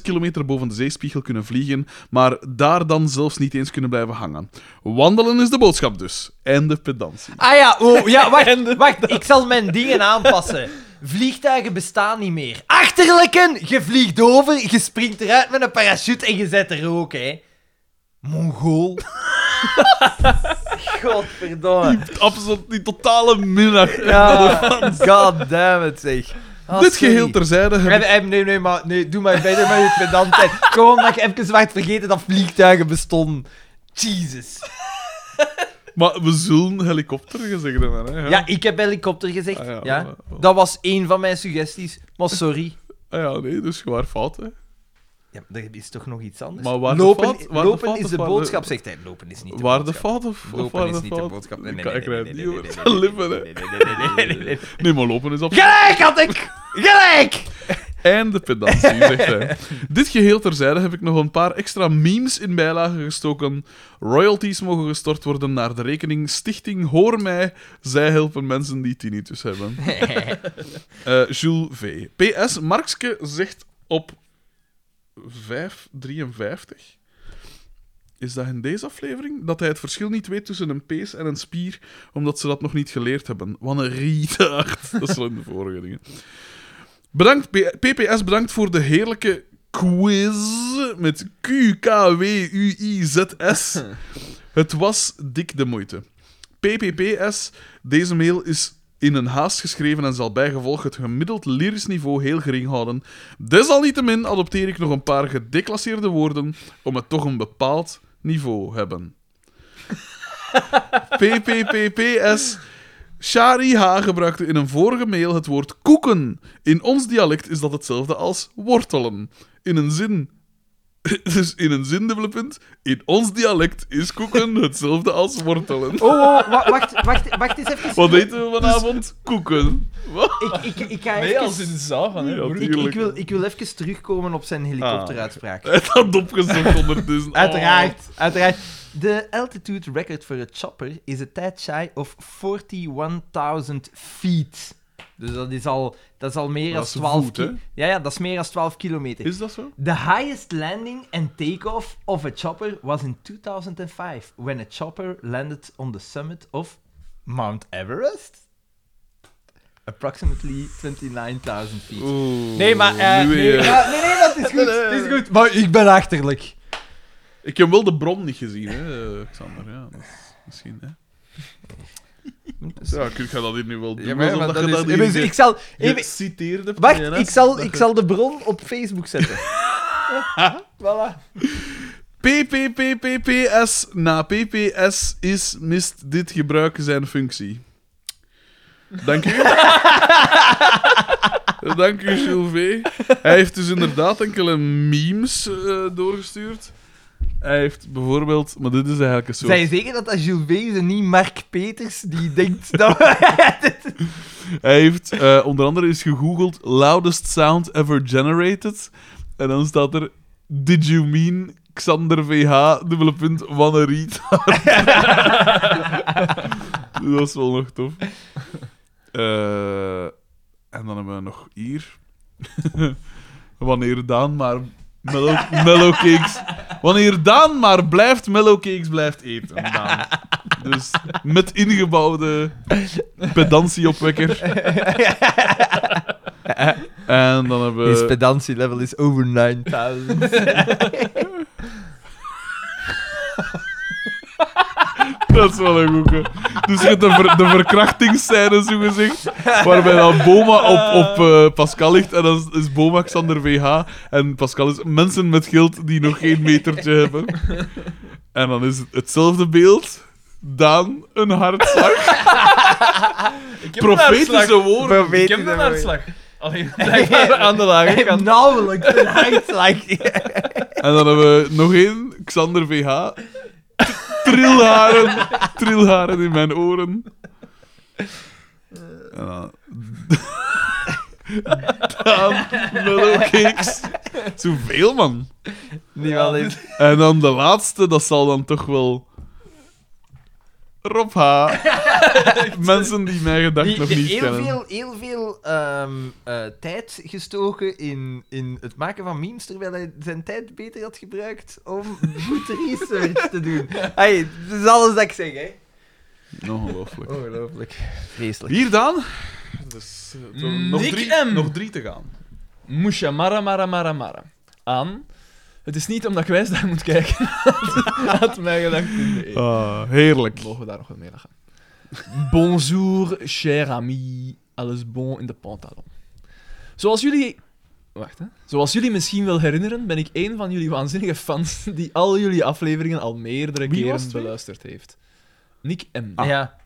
S1: kilometer boven de zeespiegel kunnen vliegen, maar daar dan zelfs niet eens kunnen blijven hangen. Wandelen is de boodschap dus. En de pedantie.
S2: Ah ja, oh, ja wacht, wacht. Ik zal mijn dingen aanpassen. Vliegtuigen bestaan niet meer. Achterlijken, je vliegt over, je springt eruit met een parachute en je zet er ook, hè. Mongool. Godverdomme.
S1: Absoluut die totale minnaar.
S2: Ja, god damn it, zeg. Ah,
S1: Dit
S2: sorry.
S1: geheel terzijde. heb-
S2: Nee, nee, eh, nee, nee, maar nee, doe maar beter met je pedantheid. Gewoon omdat je even werd vergeten dat vliegtuigen bestonden. Jesus.
S1: Maar we zullen helikopter gezegd hebben. Hè?
S2: Ja, ik heb helikopter gezegd.
S1: Ah, ja,
S2: ja,
S1: voilà, voilà.
S2: Dat was één van mijn suggesties. Maar sorry.
S1: Ah ja, nee, dus gewoon fout. Hè.
S2: Ja, maar er is toch nog iets anders?
S1: Maar waar de
S2: lopen
S1: fout- waar de
S2: lopen
S1: fout
S2: is
S1: of
S2: de
S1: waar de-
S2: boodschap, zegt hij. Lopen is niet de
S1: Waar de
S2: boodschap.
S1: fout of, of
S2: Lopen
S1: waar
S2: is
S1: de
S2: niet de
S1: fout?
S2: boodschap. Nee, nee,
S1: Ik kan-
S2: nee,
S1: ik
S2: nee,
S1: rijd
S2: nee,
S1: niet
S2: nee,
S1: over
S2: nee,
S1: de
S2: nee,
S1: lippen, hè.
S2: nee, nee, nee, nee, nee, nee, nee.
S1: Nee, maar lopen is absoluut.
S2: Gelijk had ik! Gelijk!
S1: En de pedantie, zegt hij. Dit geheel terzijde heb ik nog een paar extra memes in bijlagen gestoken. Royalties mogen gestort worden naar de rekening Stichting Hoor Mij. Zij helpen mensen die tinnitus hebben. Eh, Jules V. PS, Markske zegt op 553. Is dat in deze aflevering? Dat hij het verschil niet weet tussen een pees en een spier, omdat ze dat nog niet geleerd hebben. Wat een retard. Dat zijn de vorige dingen. Bedankt, P- PPS, bedankt voor de heerlijke quiz met Q-K-W-U-I-Z-S. Het was dik de moeite. PPPS, deze mail is in een haast geschreven en zal bijgevolg het gemiddeld lyrisch niveau heel gering houden. Desalniettemin adopteer ik nog een paar gedeclasseerde woorden om het toch een bepaald niveau hebben. PPPPS. Shari H. gebruikte in een vorige mail het woord koeken. In ons dialect is dat hetzelfde als wortelen. In een zin... Dus in een zin, dubbele punt. In ons dialect is koeken hetzelfde als wortelen.
S2: Oh, oh, wa- wacht, wacht, wacht eens even.
S1: Wat eten we vanavond? Koeken. Wat?
S2: Ik, ik, ik ga
S3: Nee,
S2: even...
S3: als in zagen, hè.
S1: Ja,
S3: broer.
S2: ik, ik,
S1: tuurlijk.
S2: wil, ik wil even terugkomen op zijn helikopteruitspraak.
S1: Hij had opgezocht ondertussen. Ah. Oh.
S2: Uiteraard, uiteraard. De altitude record voor het chopper is een tijd shy of 41.000 feet. Dus dat is al, dat is al meer
S1: Dat
S2: dan
S1: is
S2: 12
S1: voet,
S2: ki-
S1: hè?
S2: Ja, ja, dat is meer dan 12 kilometer.
S1: Is dat zo?
S2: The highest landing and takeoff of a chopper was in 2005 when a chopper landed on the summit of Mount Everest. Approximately 29.000 feet.
S1: Oeh.
S2: Nee, maar... eh,
S1: nu
S2: nee,
S1: weer.
S2: ja, nee, nee, dat is goed. dat is goed. Maar ik ben achterlijk.
S1: Ik heb wel de bron niet gezien, hè, eh, Xander. Ja, dat is misschien, hè. Ja, ik ik ga dat hier nu wel doen.
S2: Ja, maar ja,
S1: alsof
S2: maar
S1: dat je
S2: dat is-
S1: dat
S2: ik
S1: hier
S2: ben- ik zal... Even,
S1: geciteerd hebt.
S2: wacht,
S1: Nee, hè?
S2: ik zal,
S1: Dat
S2: ik
S1: je-
S2: zal de bron op Facebook zetten. Ja, voilà.
S1: PPPPPS na PPS is mist dit gebruik zijn functie. Dank u. Dank u, Jules V. Hij heeft dus inderdaad enkele memes eh, doorgestuurd. Hij heeft bijvoorbeeld... Maar dit is eigenlijk een soort...
S2: Zijn je zeker dat dat Jules B is en niet Mark Peters die denkt dat... Eh.
S1: Hij heeft eh, onder andere is gegoogeld loudest sound ever generated. En dan staat er Did you mean Xander VH, dubbele punt, wanneer read. Dus Dat is wel nog tof. Eh, en dan hebben we nog hier. Wanneer Daan maar mellow, mellow cakes... Wanneer Daan maar blijft mellow cakes blijft eten, Daan. Dus met ingebouwde pedantieopwekker. en dan hebben we...
S2: His pedantie level is over 9000.
S1: Dat is wel een goeie. Dus je hebt de, ver, de verkrachtingsscène, zo gezegd, waarbij dan Boma op, op eh, Pascal ligt en dan is Boma Xander VH en Pascal is mensen met geld die nog geen metertje hebben. En dan is het hetzelfde beeld, Daan een hartslag,
S3: Ik heb een
S1: profetische
S3: uitslag.
S1: woorden.
S3: Ik heb een uitslag. Alleen blijkbaar aan de lage kant.
S2: Nauwelijks een uitslag.
S1: En dan hebben we nog één, Xander VH. T- Trilharen, trilharen in mijn oren. En dan... Daan, Mellow Cakes. Zoveel, man.
S2: Niemand heeft...
S1: En dan de laatste, dat zal dan toch wel... Rob H. Mensen die mijn gedachten
S2: Die,
S1: nog
S2: die
S1: niet
S2: heel
S1: kennen.
S2: veel, heel veel ehm, eh, tijd gestoken in, in het maken van memes, terwijl hij zijn tijd beter had gebruikt om goed research te doen. Hey, dat is alles dat ik zeg, hè.
S1: Ongelooflijk.
S2: Ongelooflijk. Vreselijk.
S1: Hier dan? Dus, eh, toch nog,
S3: Nick
S1: drie,
S3: M.
S1: nog drie te gaan.
S3: Moesha, mara, mara, mara, mara. Aan. Het is niet omdat ik wijs daar moet kijken. Had mij gedacht.
S1: Ah, heerlijk.
S3: Mogen we daar nog wat mee lachen? Bonjour, cher ami. Alles bon in de pantalon. Zoals jullie... Wacht, hè. Zoals jullie misschien wel herinneren, ben ik een van jullie waanzinnige fans die al jullie afleveringen al meerdere
S1: Wie was
S3: keren
S1: het weer?
S3: beluisterd heeft. Nick M.
S2: Ja.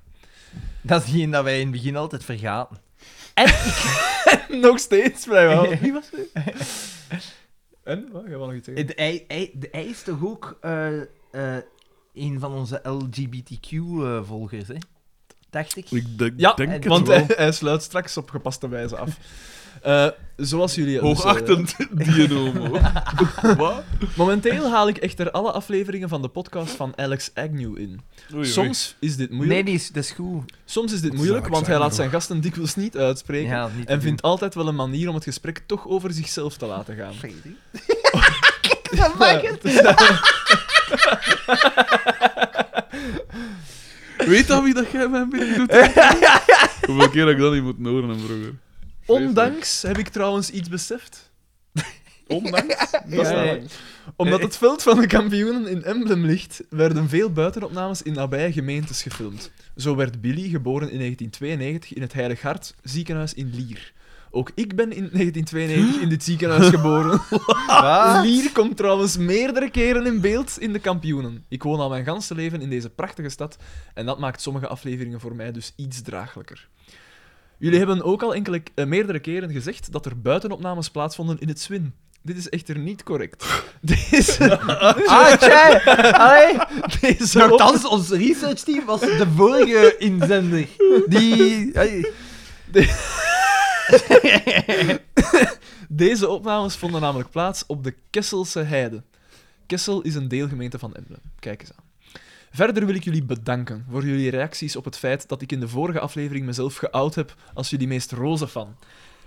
S2: Dat is geen dat wij in het begin altijd vergaten.
S3: Nog steeds, vrijwel. Wie was het? en? Wat? Jij wou nog iets zeggen?
S2: De, hij, hij, de- hij is toch ook eh, eh, een van onze LGBTQ-volgers, eh, hè? Dacht ik.
S1: Ik denk,
S3: Ja,
S1: denk het
S3: want
S1: wel.
S3: hij, hij sluit straks op gepaste wijze af. Eh, zoals jullie... dus, eh,
S1: Hoogachtend dionomo. Wat?
S3: momenteel haal ik echter alle afleveringen van de podcast van Alex Agnew in.
S1: Oei, oei.
S3: Soms is dit moeilijk,
S2: Nee, die is, dat is goed.
S3: soms is dit
S1: is
S3: moeilijk
S1: Alex
S3: want hij laat
S1: Agnew.
S3: zijn gasten dikwijls niet uitspreken.
S2: Ja, niet te
S3: En vindt altijd wel een manier om het gesprek toch over zichzelf te laten gaan.
S2: doen. Freddy. Kijk, dat maakt het.
S1: Weet dat wie dat jij mij binnen doet? Hoeveel keer heb ik dat niet moeten horen en vroeger?
S3: Eh, Ondanks heb ik trouwens iets beseft.
S1: Ondanks? Dat is
S3: Ja,
S1: wel
S3: ja.
S1: lang.
S3: Omdat het veld van de kampioenen in Emblem ligt, werden veel buitenopnames in nabije gemeentes gefilmd. Zo werd Billy geboren in 1992 in het Heilig Hart ziekenhuis in Lier. Ook ik ben in 1992 in dit ziekenhuis geboren.
S2: Ah,
S3: Lier komt trouwens meerdere keren in beeld in de kampioenen. Ik woon al mijn ganse leven in deze prachtige stad en dat maakt sommige afleveringen voor mij dus iets draaglijker. Jullie hebben ook al enkele, eh, meerdere keren gezegd dat er buitenopnames plaatsvonden in het Swin. Dit is echter niet correct. Deze,
S2: Ah, tjai. Allee.
S3: deze,
S1: Nou,
S3: op-
S2: Nogthans, Nou, ons researchteam was de vorige inzender. Die... Allee.
S3: deze opnames vonden namelijk plaats op de Kesselse Heide. Kessel is een deelgemeente van Emblem. Kijk eens aan. Verder wil ik jullie bedanken voor jullie reacties op het feit dat ik in de vorige aflevering mezelf geout heb als jullie meest roze fan.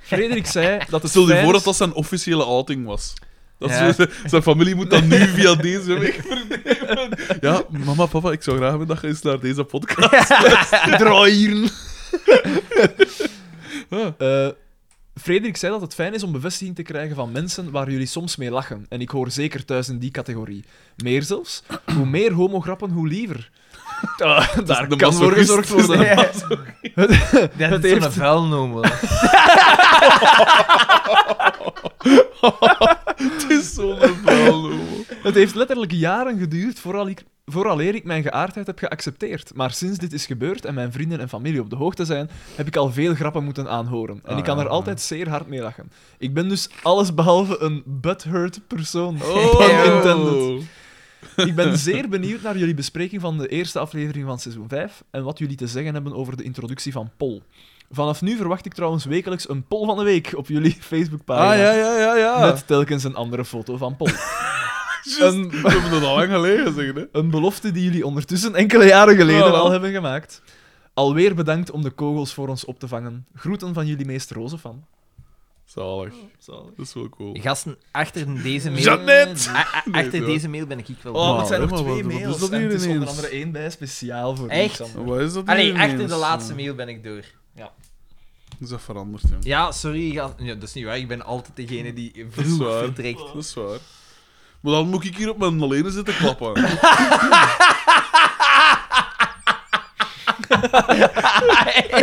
S3: Frederik zei dat het
S1: Stel je
S3: fijn
S1: voor
S3: is-
S1: dat dat zijn officiële outing was. Dat is
S2: Ja.
S1: zo- zijn familie moet dat nu via deze weg vernemen. Ja, mama, papa, ik zou graag hebben dat je eens naar deze podcast
S3: draaien. Eh Frederik zei dat het fijn is om bevestiging te krijgen van mensen waar jullie soms mee lachen. En ik hoor zeker thuis in die categorie. Meer zelfs, hoe meer homograppen, hoe liever. Ah, daar
S1: de
S3: kan voor
S1: masochist.
S3: gezorgd
S1: Het is de
S3: worden. Het-
S2: Dat
S3: het
S2: is zo'n
S3: heeft-
S2: vuilnomer.
S1: Het is zo'n vuil, homo.
S3: Het heeft letterlijk jaren geduurd vooral ik, vooraleer ik mijn geaardheid heb geaccepteerd. Maar sinds dit is gebeurd en mijn vrienden en familie op de hoogte zijn, heb ik al veel grappen moeten aanhoren. En
S1: Ah,
S3: ik kan
S1: ja,
S3: er
S1: ja.
S3: altijd zeer hard mee lachen. Ik ben dus allesbehalve een butthurt persoon.
S1: Oh,
S3: Pun intended. Ik ben zeer benieuwd naar jullie bespreking van de eerste aflevering van seizoen 5 en wat jullie te zeggen hebben over de introductie van Pol. Vanaf nu verwacht ik trouwens wekelijks een Pol van de Week op jullie Facebookpagina.
S1: Ah, ja, ja, ja, ja.
S3: Met telkens een andere foto van Pol.
S1: Just,
S3: een-
S1: We hebben dat al lang geleden zeggen, hè.
S3: Een belofte die jullie ondertussen enkele jaren geleden
S1: Oh.
S3: al hebben gemaakt. Alweer bedankt om de kogels voor ons op te vangen. Groeten van jullie meest roze fan.
S1: Zalig.
S3: Oh,
S1: Dat is wel cool.
S2: Gasten, achter deze mail...
S1: Jeannette!
S2: A- a-
S1: Nee,
S2: achter
S1: zo.
S2: deze mail ben ik ik wel...
S1: Oh,
S2: bang.
S1: het zijn er maar twee wat- wat mails is dat en hier het is onder ineens?
S3: onder andere
S1: andere
S3: één bij speciaal voor
S2: Echt?
S3: Alexander.
S1: Wat is dat
S2: Allee,
S1: hier
S2: achter
S1: ineens?
S2: de laatste mail ben ik door.
S1: Is dat veranderd, jong?
S2: Ja, sorry, gast. Ja, dat is niet waar. Ik ben altijd degene die
S1: Dat is
S2: vroeg
S1: waar.
S2: vertrekt.
S1: Dat is waar. Maar dan moet ik hier op mijn lenen zitten klappen.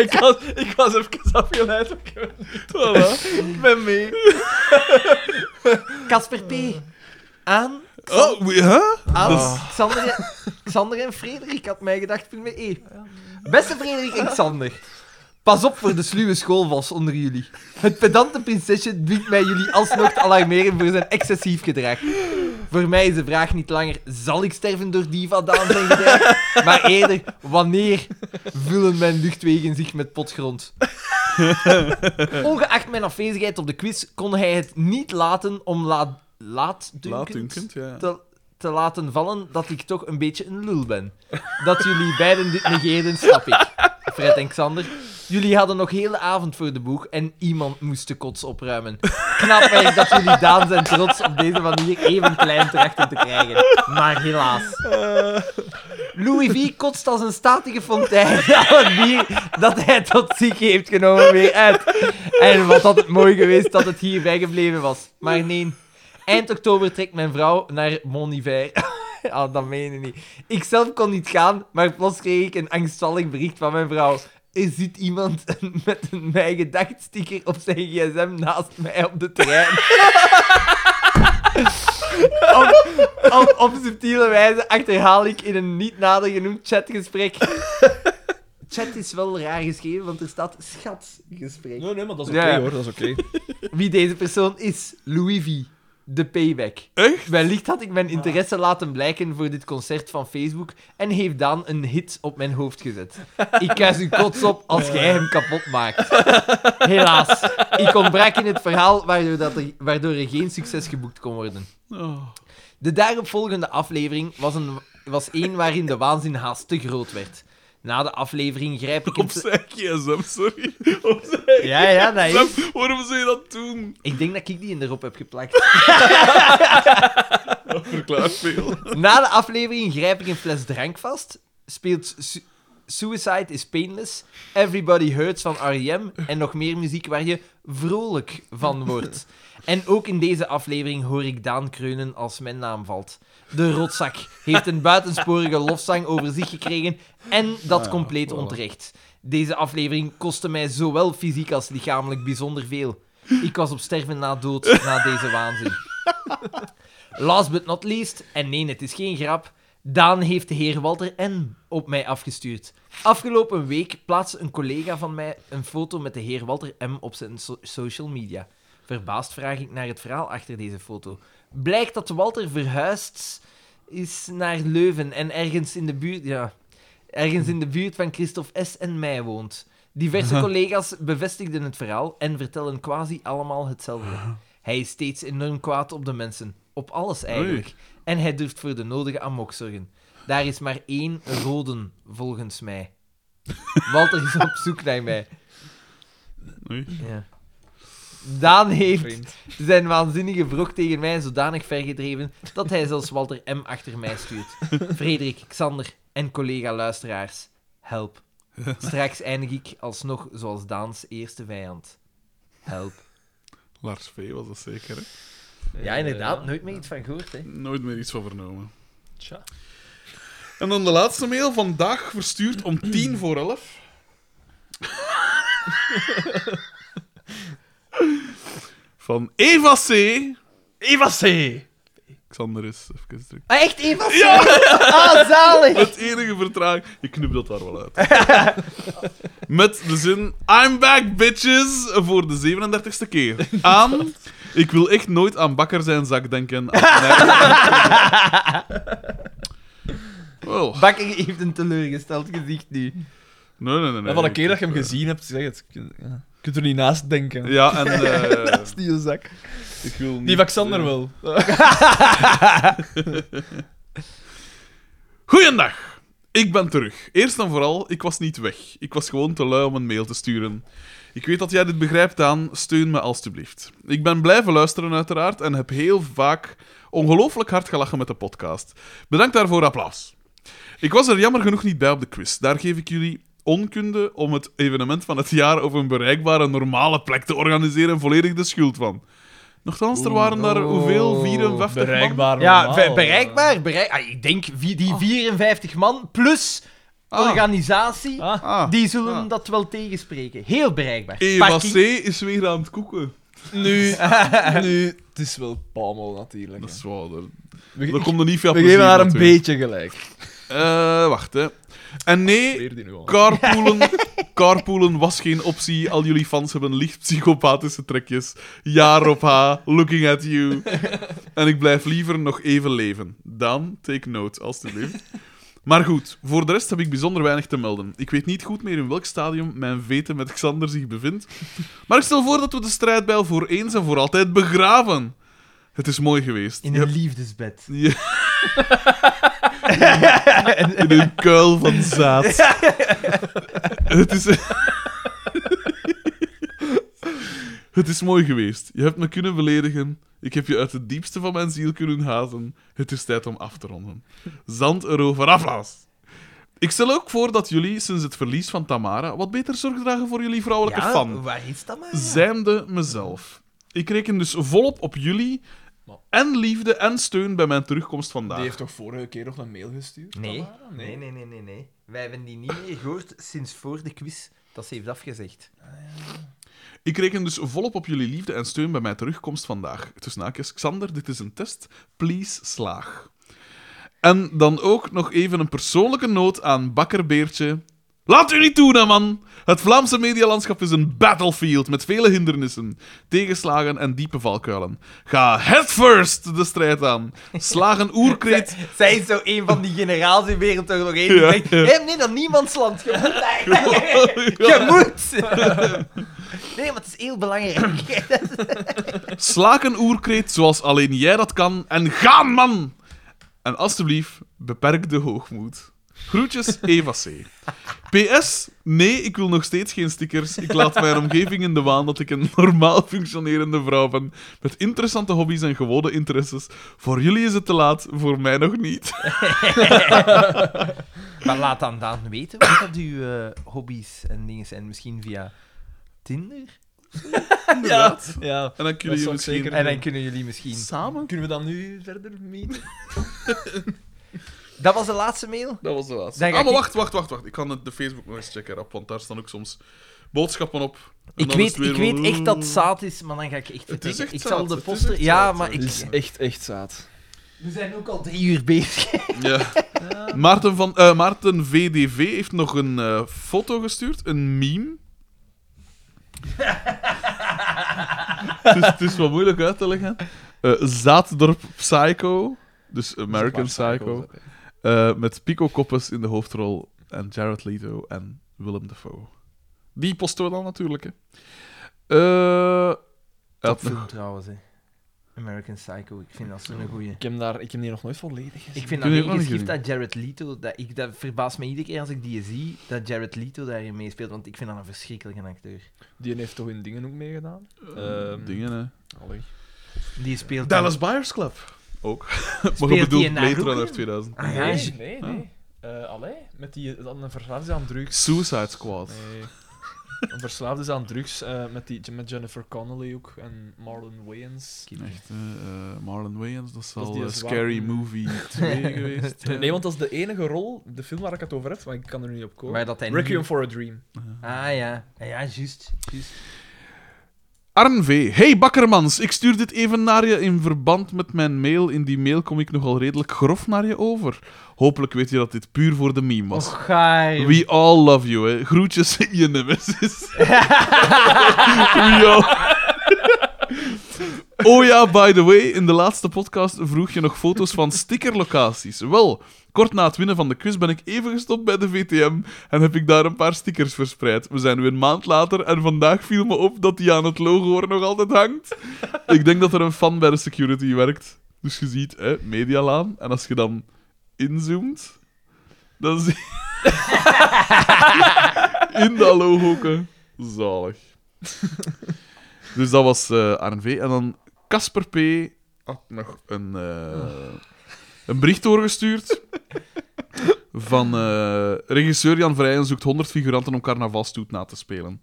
S3: ik, was, ik was even afgeleid. ik weet niet. Voilà. Ik ben mee.
S2: Casper P. Aan,
S1: Oh, we- hè?
S2: aan
S1: Dat
S2: Ah, dus Xander, en- Xander en Frederik had mij gedacht. punt met E. Beste Frederik en Xander. Pas op voor de sluwe schoolvals onder jullie. Het pedante prinsesje dwingt mij jullie alsnog te alarmeren voor zijn excessief gedrag. Voor mij is de vraag niet langer, zal ik sterven door die vandaan zijn gedrag? Maar eerder, wanneer vullen mijn luchtwegen zich met potgrond? Ongeacht mijn afwezigheid op de quiz kon hij het niet laten om laat laatdunkend
S1: Laatdunkend, ja.
S2: te, te laten vallen dat ik toch een beetje een lul ben. Dat jullie beiden dit negeren, snap ik. Fred en Xander, jullie hadden nog hele avond voor de boeg en iemand moest de kots opruimen. Knap werk dat jullie Daan zijn trots op deze manier even klein erachter te krijgen. Maar helaas. Louis V. kotst als een statige fontein al het bier dat hij tot ziek heeft genomen weer uit. En wat had het mooi geweest dat het hierbij gebleven was. Maar nee, Eind oktober trekt mijn vrouw naar Mon Iver. Ah, dat meen je niet. Ik zelf kon niet gaan, maar plots kreeg ik een angstvallig bericht van mijn vrouw. Er zit iemand met een mij gedacht sticker op zijn gsm naast mij op de trein. op, op, op subtiele wijze achterhaal ik in een niet nader genoemd chatgesprek. Chat is wel raar geschreven, want er staat
S1: Oh.
S2: schatgesprek.
S3: Nee, nee, maar dat is
S2: Ja,
S3: oké
S2: ja.
S3: hoor, dat is oké.
S2: Wie deze persoon is, Louis V. De payback.
S1: Echt?
S2: Wellicht had ik mijn interesse laten blijken voor dit concert van Facebook en heeft Daan een hit op mijn hoofd gezet. Ik kuis u kots op als jij hem kapot maakt. Helaas, ik ontbrak in het verhaal waardoor, dat er, waardoor er geen succes geboekt kon worden.
S1: Oh.
S2: De daaropvolgende aflevering was een, was één waarin de waanzin haast te groot werd. Na de aflevering grijp ik
S1: Op
S2: een...
S1: zijn gsm, sorry. Op zijn
S2: Ja, ja, dat is...
S1: gsm. Waarom zou je dat doen?
S2: Ik denk dat ik die in erop heb geplakt.
S1: Dat verklaart veel.
S2: Na de aflevering grijp ik een fles drank vast, speelt Su- Suicide is Painless, Everybody Hurts van R.E.M. en nog meer muziek waar je vrolijk van wordt. En ook in deze aflevering hoor ik Daan kreunen als mijn naam valt. De rotzak heeft een buitensporige lofzang over zich gekregen en dat compleet onterecht. Deze aflevering kostte mij zowel fysiek als lichamelijk bijzonder veel. Ik was op sterven na dood na deze waanzin. Last but not least, en nee, het is geen grap, Daan heeft de heer Walter N. op mij afgestuurd. Afgelopen week plaatste een collega van mij een foto met de heer Walter M. op zijn so- social media. Verbaasd vraag ik naar het verhaal achter deze foto. Blijkt dat Walter verhuisd is naar Leuven en ergens in de buurt... Ja, ergens in de buurt van Christophe S. en mij woont. Diverse collega's bevestigden het verhaal en vertellen quasi allemaal hetzelfde. Hij is steeds enorm kwaad op de mensen. Op alles eigenlijk. En hij durft voor de nodige amok zorgen. Daar is maar één rode, volgens mij. Walter is op zoek naar mij.
S1: Oei.
S2: Ja. Daan heeft
S3: Vreemd.
S2: zijn waanzinnige wrok tegen mij zodanig vergedreven dat hij zelfs Walter M. achter mij stuurt. Frederik, Xander en collega-luisteraars, help. Straks eindig ik alsnog zoals Daans eerste vijand. Help.
S1: Lars V was dat zeker, hè?
S2: Ja, inderdaad.
S3: Ja.
S2: Nooit meer iets van gehoord, hè.
S1: Nooit meer iets van vernomen.
S3: Tja.
S1: En dan de laatste mail, vandaag verstuurd om tien voor elf. Van Eva C.
S3: Eva C.
S1: Xander is even druk.
S2: Ah, echt Eva Smeets? Ah, zalig!
S1: Het enige vertraag. Je knipt dat daar wel uit. Met de zin: I'm back, bitches! Voor de 37ste keer. Aan. Ik wil echt nooit aan bakker zijn zak denken. Wel.
S2: Bakker heeft een teleurgesteld gezicht nu.
S1: Nee, nee, nee. nee.
S3: En van een keer dat je hem gezien hebt, zeg het. Je ja. Je kunt er niet naast denken.
S1: Eh, Ja, en. eh,
S3: Dat is niet een zak.
S1: ik wil niet,
S3: Die van Xander
S1: eh,
S3: wel.
S1: Goeiedag! Ik ben terug. Eerst en vooral, ik was niet weg. Ik was gewoon te lui om een mail te sturen. Ik weet dat jij dit begrijpt, Daan. Steun me alstublieft. Ik ben blijven luisteren, uiteraard, en heb heel vaak ongelooflijk hard gelachen met de podcast. Bedankt daarvoor, applaus. Ik was er jammer genoeg niet bij op de quiz. Daar geef ik jullie onkunde om het evenement van het jaar op een bereikbare normale plek te organiseren volledig de schuld van. Nochtans, er waren daar
S2: Oeh,
S1: hoeveel?
S2: oeh,
S1: 54 man?
S3: Oh, Bereikbaar.
S2: Ja,
S3: normaal.
S1: eh.
S2: ver- bereikbaar. Bereik, ah, ik denk wie- die 54 man plus
S1: Ah.
S2: organisatie,
S3: Ah.
S1: Ah.
S2: die zullen
S1: Ah.
S2: dat wel tegenspreken. Heel bereikbaar.
S1: Eva C.
S2: Parking-
S1: E is weer aan het koeken.
S3: Nu, nu, het is wel palmol natuurlijk.
S1: Ah. Dat
S3: hè.
S1: is waar. Dat,
S3: We,
S1: dat komt er niet veel
S3: we
S1: plezier
S3: geven haar een
S1: natuurlijk.
S3: beetje gelijk.
S1: Eh, wacht, hè. En nee,
S3: Weer die nu al.
S1: carpoolen, carpoolen was geen optie. Al jullie fans hebben licht psychopathische trekjes. Jaar op H, looking at you. En ik blijf liever nog even leven. Dan, take note, alstublieft. Maar goed, voor de rest heb ik bijzonder weinig te melden. Ik weet niet goed meer in welk stadium mijn veten met Xander zich bevindt. Maar ik stel voor dat we de strijdbijl voor eens en voor altijd begraven. Het is mooi geweest.
S2: In
S1: Je
S2: een
S1: hebt-
S2: liefdesbed.
S1: Ja. In een kuil van zaad. Het is... Het is mooi geweest. Je hebt me kunnen beledigen. Ik heb je uit het diepste van mijn ziel kunnen haten. Het is tijd om af te ronden. Zand erover afblaas. Ik stel ook voor dat jullie sinds het verlies van Tamara wat beter zorg dragen voor jullie vrouwelijke
S2: ja,
S1: fan
S2: waar is dat maar?
S1: zijnde mezelf. Ik reken dus volop op jullie en liefde en steun bij mijn terugkomst vandaag.
S3: Die heeft toch vorige keer nog een mail gestuurd?
S2: Nee.
S3: Tamara?
S2: Nee, nee, nee, nee, nee. Wij hebben die niet meer gehoord sinds voor de quiz dat ze heeft afgezegd.
S1: Ik reken dus volop op jullie liefde en steun bij mijn terugkomst vandaag. Tussen haakjes, Xander, dit is een test. Please, slaag. En dan ook nog even een persoonlijke noot aan Bakkerbeertje. Laat u niet toe, hè, man! Het Vlaamse medialandschap is een battlefield met vele hindernissen, tegenslagen en diepe valkuilen. Ga headfirst de strijd aan. Slaag een oerkreet
S2: Zij is zo een van die generaals in Wereldoorlog 1 die
S1: Ja,
S2: zegt...
S1: ja.
S2: "Hé, nee, dan niemands land. Je moet eigenlijk- Je moet! Nee, maar het is heel belangrijk.
S1: Slaak een oerkreet zoals alleen jij dat kan en gaan, man! En alstublieft, beperk de hoogmoed. Groetjes, Eva C. PS, nee, ik wil nog steeds geen stickers. Ik laat mijn omgeving in de waan dat ik een normaal functionerende vrouw ben. Met interessante hobby's en gewone interesses. Voor jullie is het te laat, voor mij nog niet.
S2: Maar laat dan Daan weten wat dat uw eh, hobby's en dingen zijn. Misschien via Tinder?
S3: Ja. ja.
S1: En dan kunnen
S3: zou
S1: jullie
S3: ik
S1: misschien
S3: zeker
S2: En dan kunnen jullie misschien...
S1: samen...
S3: Kunnen we dan nu verder meten?
S2: Dat was de laatste mail?
S1: Dat was de laatste.
S2: Dan
S1: Ah,
S2: ga
S1: maar
S2: ik-
S1: wacht, wacht, wacht, wacht. Ik kan het- de Facebook nog eens checken, rap, want daar staan ook soms boodschappen op. En dan
S2: Ik
S1: is
S2: weet,
S1: het weer
S2: ik weet
S1: van-
S2: echt dat het zaad is, maar dan ga ik echt
S1: Het is
S2: vertrekken.
S1: echt
S2: Ik
S1: zaad,
S2: zal de
S1: het is
S2: poster...
S1: echt
S2: Ja,
S1: zaad,
S2: maar
S1: hè.
S2: ik...
S1: Het is
S3: echt, echt zaad.
S2: We zijn ook al drie uur bezig.
S1: Ja. Maarten, van, eh, Maarten VDV heeft nog een eh, foto gestuurd, een meme. het, is, het is wat moeilijk uit te leggen. Eh, Zaaddorp Psycho, dus American Psycho, eh, met Pico Koppes in de hoofdrol en Jared Leto en Willem Dafoe. Die posten we dan natuurlijk. Hè. Eh, hij had nog-
S2: film trouwens, hè. American Psycho, ik vind dat zo'n goeie.
S3: Ik heb, daar, ik heb die nog nooit volledig gezien.
S2: Ik vind
S1: Ik
S2: dat
S1: weet ook
S2: mega
S1: niet
S2: geschikt
S1: jullie.
S2: dat Jared Leto... Dat, ik, dat verbaast me iedere keer als ik die zie, dat Jared Leto daarin meespeelt, want ik vind dat een verschrikkelijke acteur.
S3: Die heeft toch in dingen ook meegedaan? Ehm,
S1: dingen, hè.
S3: Allee.
S2: Die speelt...
S1: Dallas Buyers Club. Ook. maar
S2: die
S1: je bedoelt
S2: in
S1: Blade
S2: Naruto?
S1: Runner 2000.
S2: Ah, ja.
S3: Nee, nee,
S1: Ah.
S3: nee. Eh, allee, met die dan een verslaafde aan drugs.
S1: Suicide Squad.
S3: Nee. Een verslaafde is aan drugs eh, met, die, met Jennifer Connelly ook en Marlon Wayans.
S1: Echt, hè, eh, Marlon Wayans, dat is
S3: Dat is
S1: al
S3: die
S1: eh,
S3: zwarte-
S1: Scary Movie 2 geweest.
S3: Nee, want dat is de enige rol, de film waar ik het over heb, maar ik kan er nu niet op komen.
S2: Waar dat hij nu-
S3: Requiem for a Dream.
S2: Ah ja, ja, ja juist. juist.
S1: Arn V. Hey Bakkermans, ik stuur dit even naar je in verband met mijn mail. In die mail kom ik nogal redelijk grof naar je over. Hopelijk weet je dat dit puur voor de meme was.
S2: Och, gaai.
S1: We all love you, hè. Groetjes, je nemesis. We all... Oh ja, by the way, in de laatste podcast vroeg je nog foto's van stickerlocaties. Wel, kort na het winnen van de quiz ben ik even gestopt bij de VTM en heb ik daar een paar stickers verspreid. We zijn nu een maand later en vandaag viel me op dat die aan het logo er nog altijd hangt. Ik denk dat er een fan bij de security werkt. Dus je ziet, hè, medialaan. En als je dan inzoomt, dan zie in de alohoeken. Zalig. dus dat was eh RNV. En dan Casper P. had nog een, eh, een bericht doorgestuurd. Van eh, regisseur Jan Vrijen zoekt 100 figuranten om carnavalstoet na te spelen.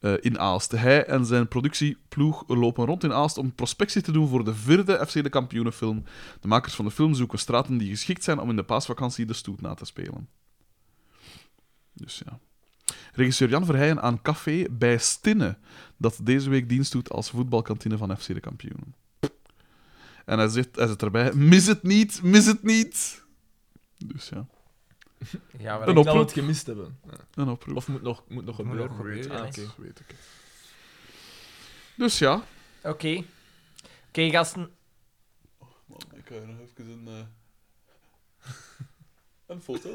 S1: eh, in Aalst. Hij en zijn productieploeg lopen rond in Aalst om prospectie te doen voor de vierde FC de Kampioenenfilm. De makers van de film zoeken straten die geschikt zijn om in de paasvakantie de stoet na te spelen. Dus ja. Regisseur Jan Verheyen aan Café bij Stinne, dat deze week dienst doet als voetbalkantine van FC de Kampioenen. En hij zit, hij zit erbij, mis het niet, mis het niet. Dus ja,
S2: Ja,
S1: Een
S2: maar
S3: Ik
S2: ik-
S1: op-
S3: zal
S1: oproep.
S3: het gemist hebben.
S1: een oproep.
S3: Of moet nog, moet nog gebeuren.
S2: nog gebeuren,
S3: Ah,
S2: ja.
S3: oké.
S1: Dat weet ik het. Dus ja.
S2: Oké. Oké, gasten.
S1: Ik kan nog even een... eh, Een foto.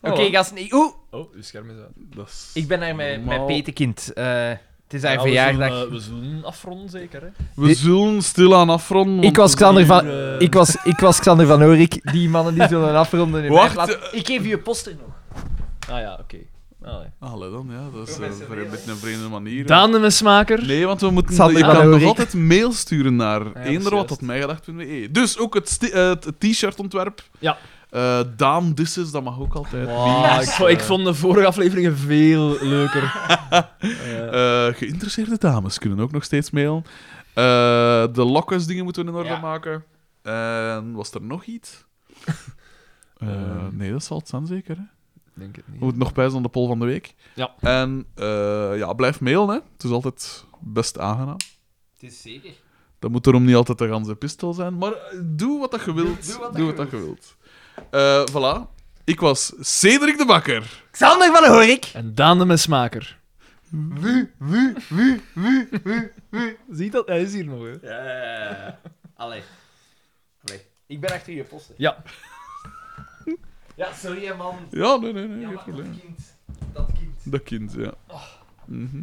S2: Oké, gasten. Ik- Oeh,
S3: Oh, uw scherm is uit.
S1: Dat is...
S2: ik ben naar mijn, mijn
S1: Normaal.
S2: petekind. Eh, Het is haar
S3: Ja, we
S2: verjaardag.
S3: zullen, eh, we zullen afronden, zeker. Hè?
S1: We
S2: Dit-
S1: zullen stilaan afronden. want
S2: ik, was
S1: we
S2: Xander
S1: hebben
S2: van,
S1: hier, eh,
S2: ik, was, ik was Xander van Oorik. Die mannen die zullen afronden. in
S1: Wacht,
S2: mijn plaats.
S1: eh.
S2: Ik geef je poster nog.
S3: Ah ja, oké. Allee.
S1: Allee dan, ja. Dat is eh,
S2: Professor
S1: voor een
S2: Leeuwen.
S1: beetje een vreemde manier.
S3: Daan de Mesmaker.
S1: Nee, want we moeten.
S2: Xander
S1: je
S2: van
S1: kan nog
S2: Ulrik.
S1: altijd mail sturen naar ja,
S3: dat is juist.
S1: eenderwat.mijgedacht.be. Dus ook het, sti- eh, het t-shirt ontwerp.
S3: Ja.
S1: Eh, Daan Disses, dat mag ook altijd.
S3: Wow, ik, vond, ik vond de vorige afleveringen veel leuker. Eh,
S1: Eh, geïnteresseerde dames kunnen ook nog steeds mailen. Eh, de lockers dingen moeten we in orde
S2: Ja.
S1: maken. En was er nog iets? Eh,
S3: Ehm.
S1: nee, dat zal het zijn zeker. Hè?
S3: denk het
S1: We
S3: niet.
S1: moeten nog pijzen aan de poll van de week.
S3: Ja.
S1: En eh, ja, blijf mailen. Hè. Het is altijd best aangenaam.
S2: Het is zeker.
S1: Dat moet erom niet altijd de ganse pistool zijn. Maar eh, doe wat dat je wilt.
S2: doe wat dat je
S1: je wilt. Eh, voilà. Ik was Cedric de Bakker.
S2: Xander van Oorik.
S3: En Daan de Mesmaker.
S2: Wu, wu, wu, wu, wu.
S3: Zie je dat? Hij is hier nog, hè?
S2: Ja. Allee. Allee. Ik ben achter je poster.
S3: Ja.
S2: Ja, sorry hè, man.
S1: Ja, nee, nee, nee.
S2: Ja,
S1: geen
S2: maar
S1: probleem.
S2: dat kind. Dat kind.
S1: Dat kind, ja. Mhm.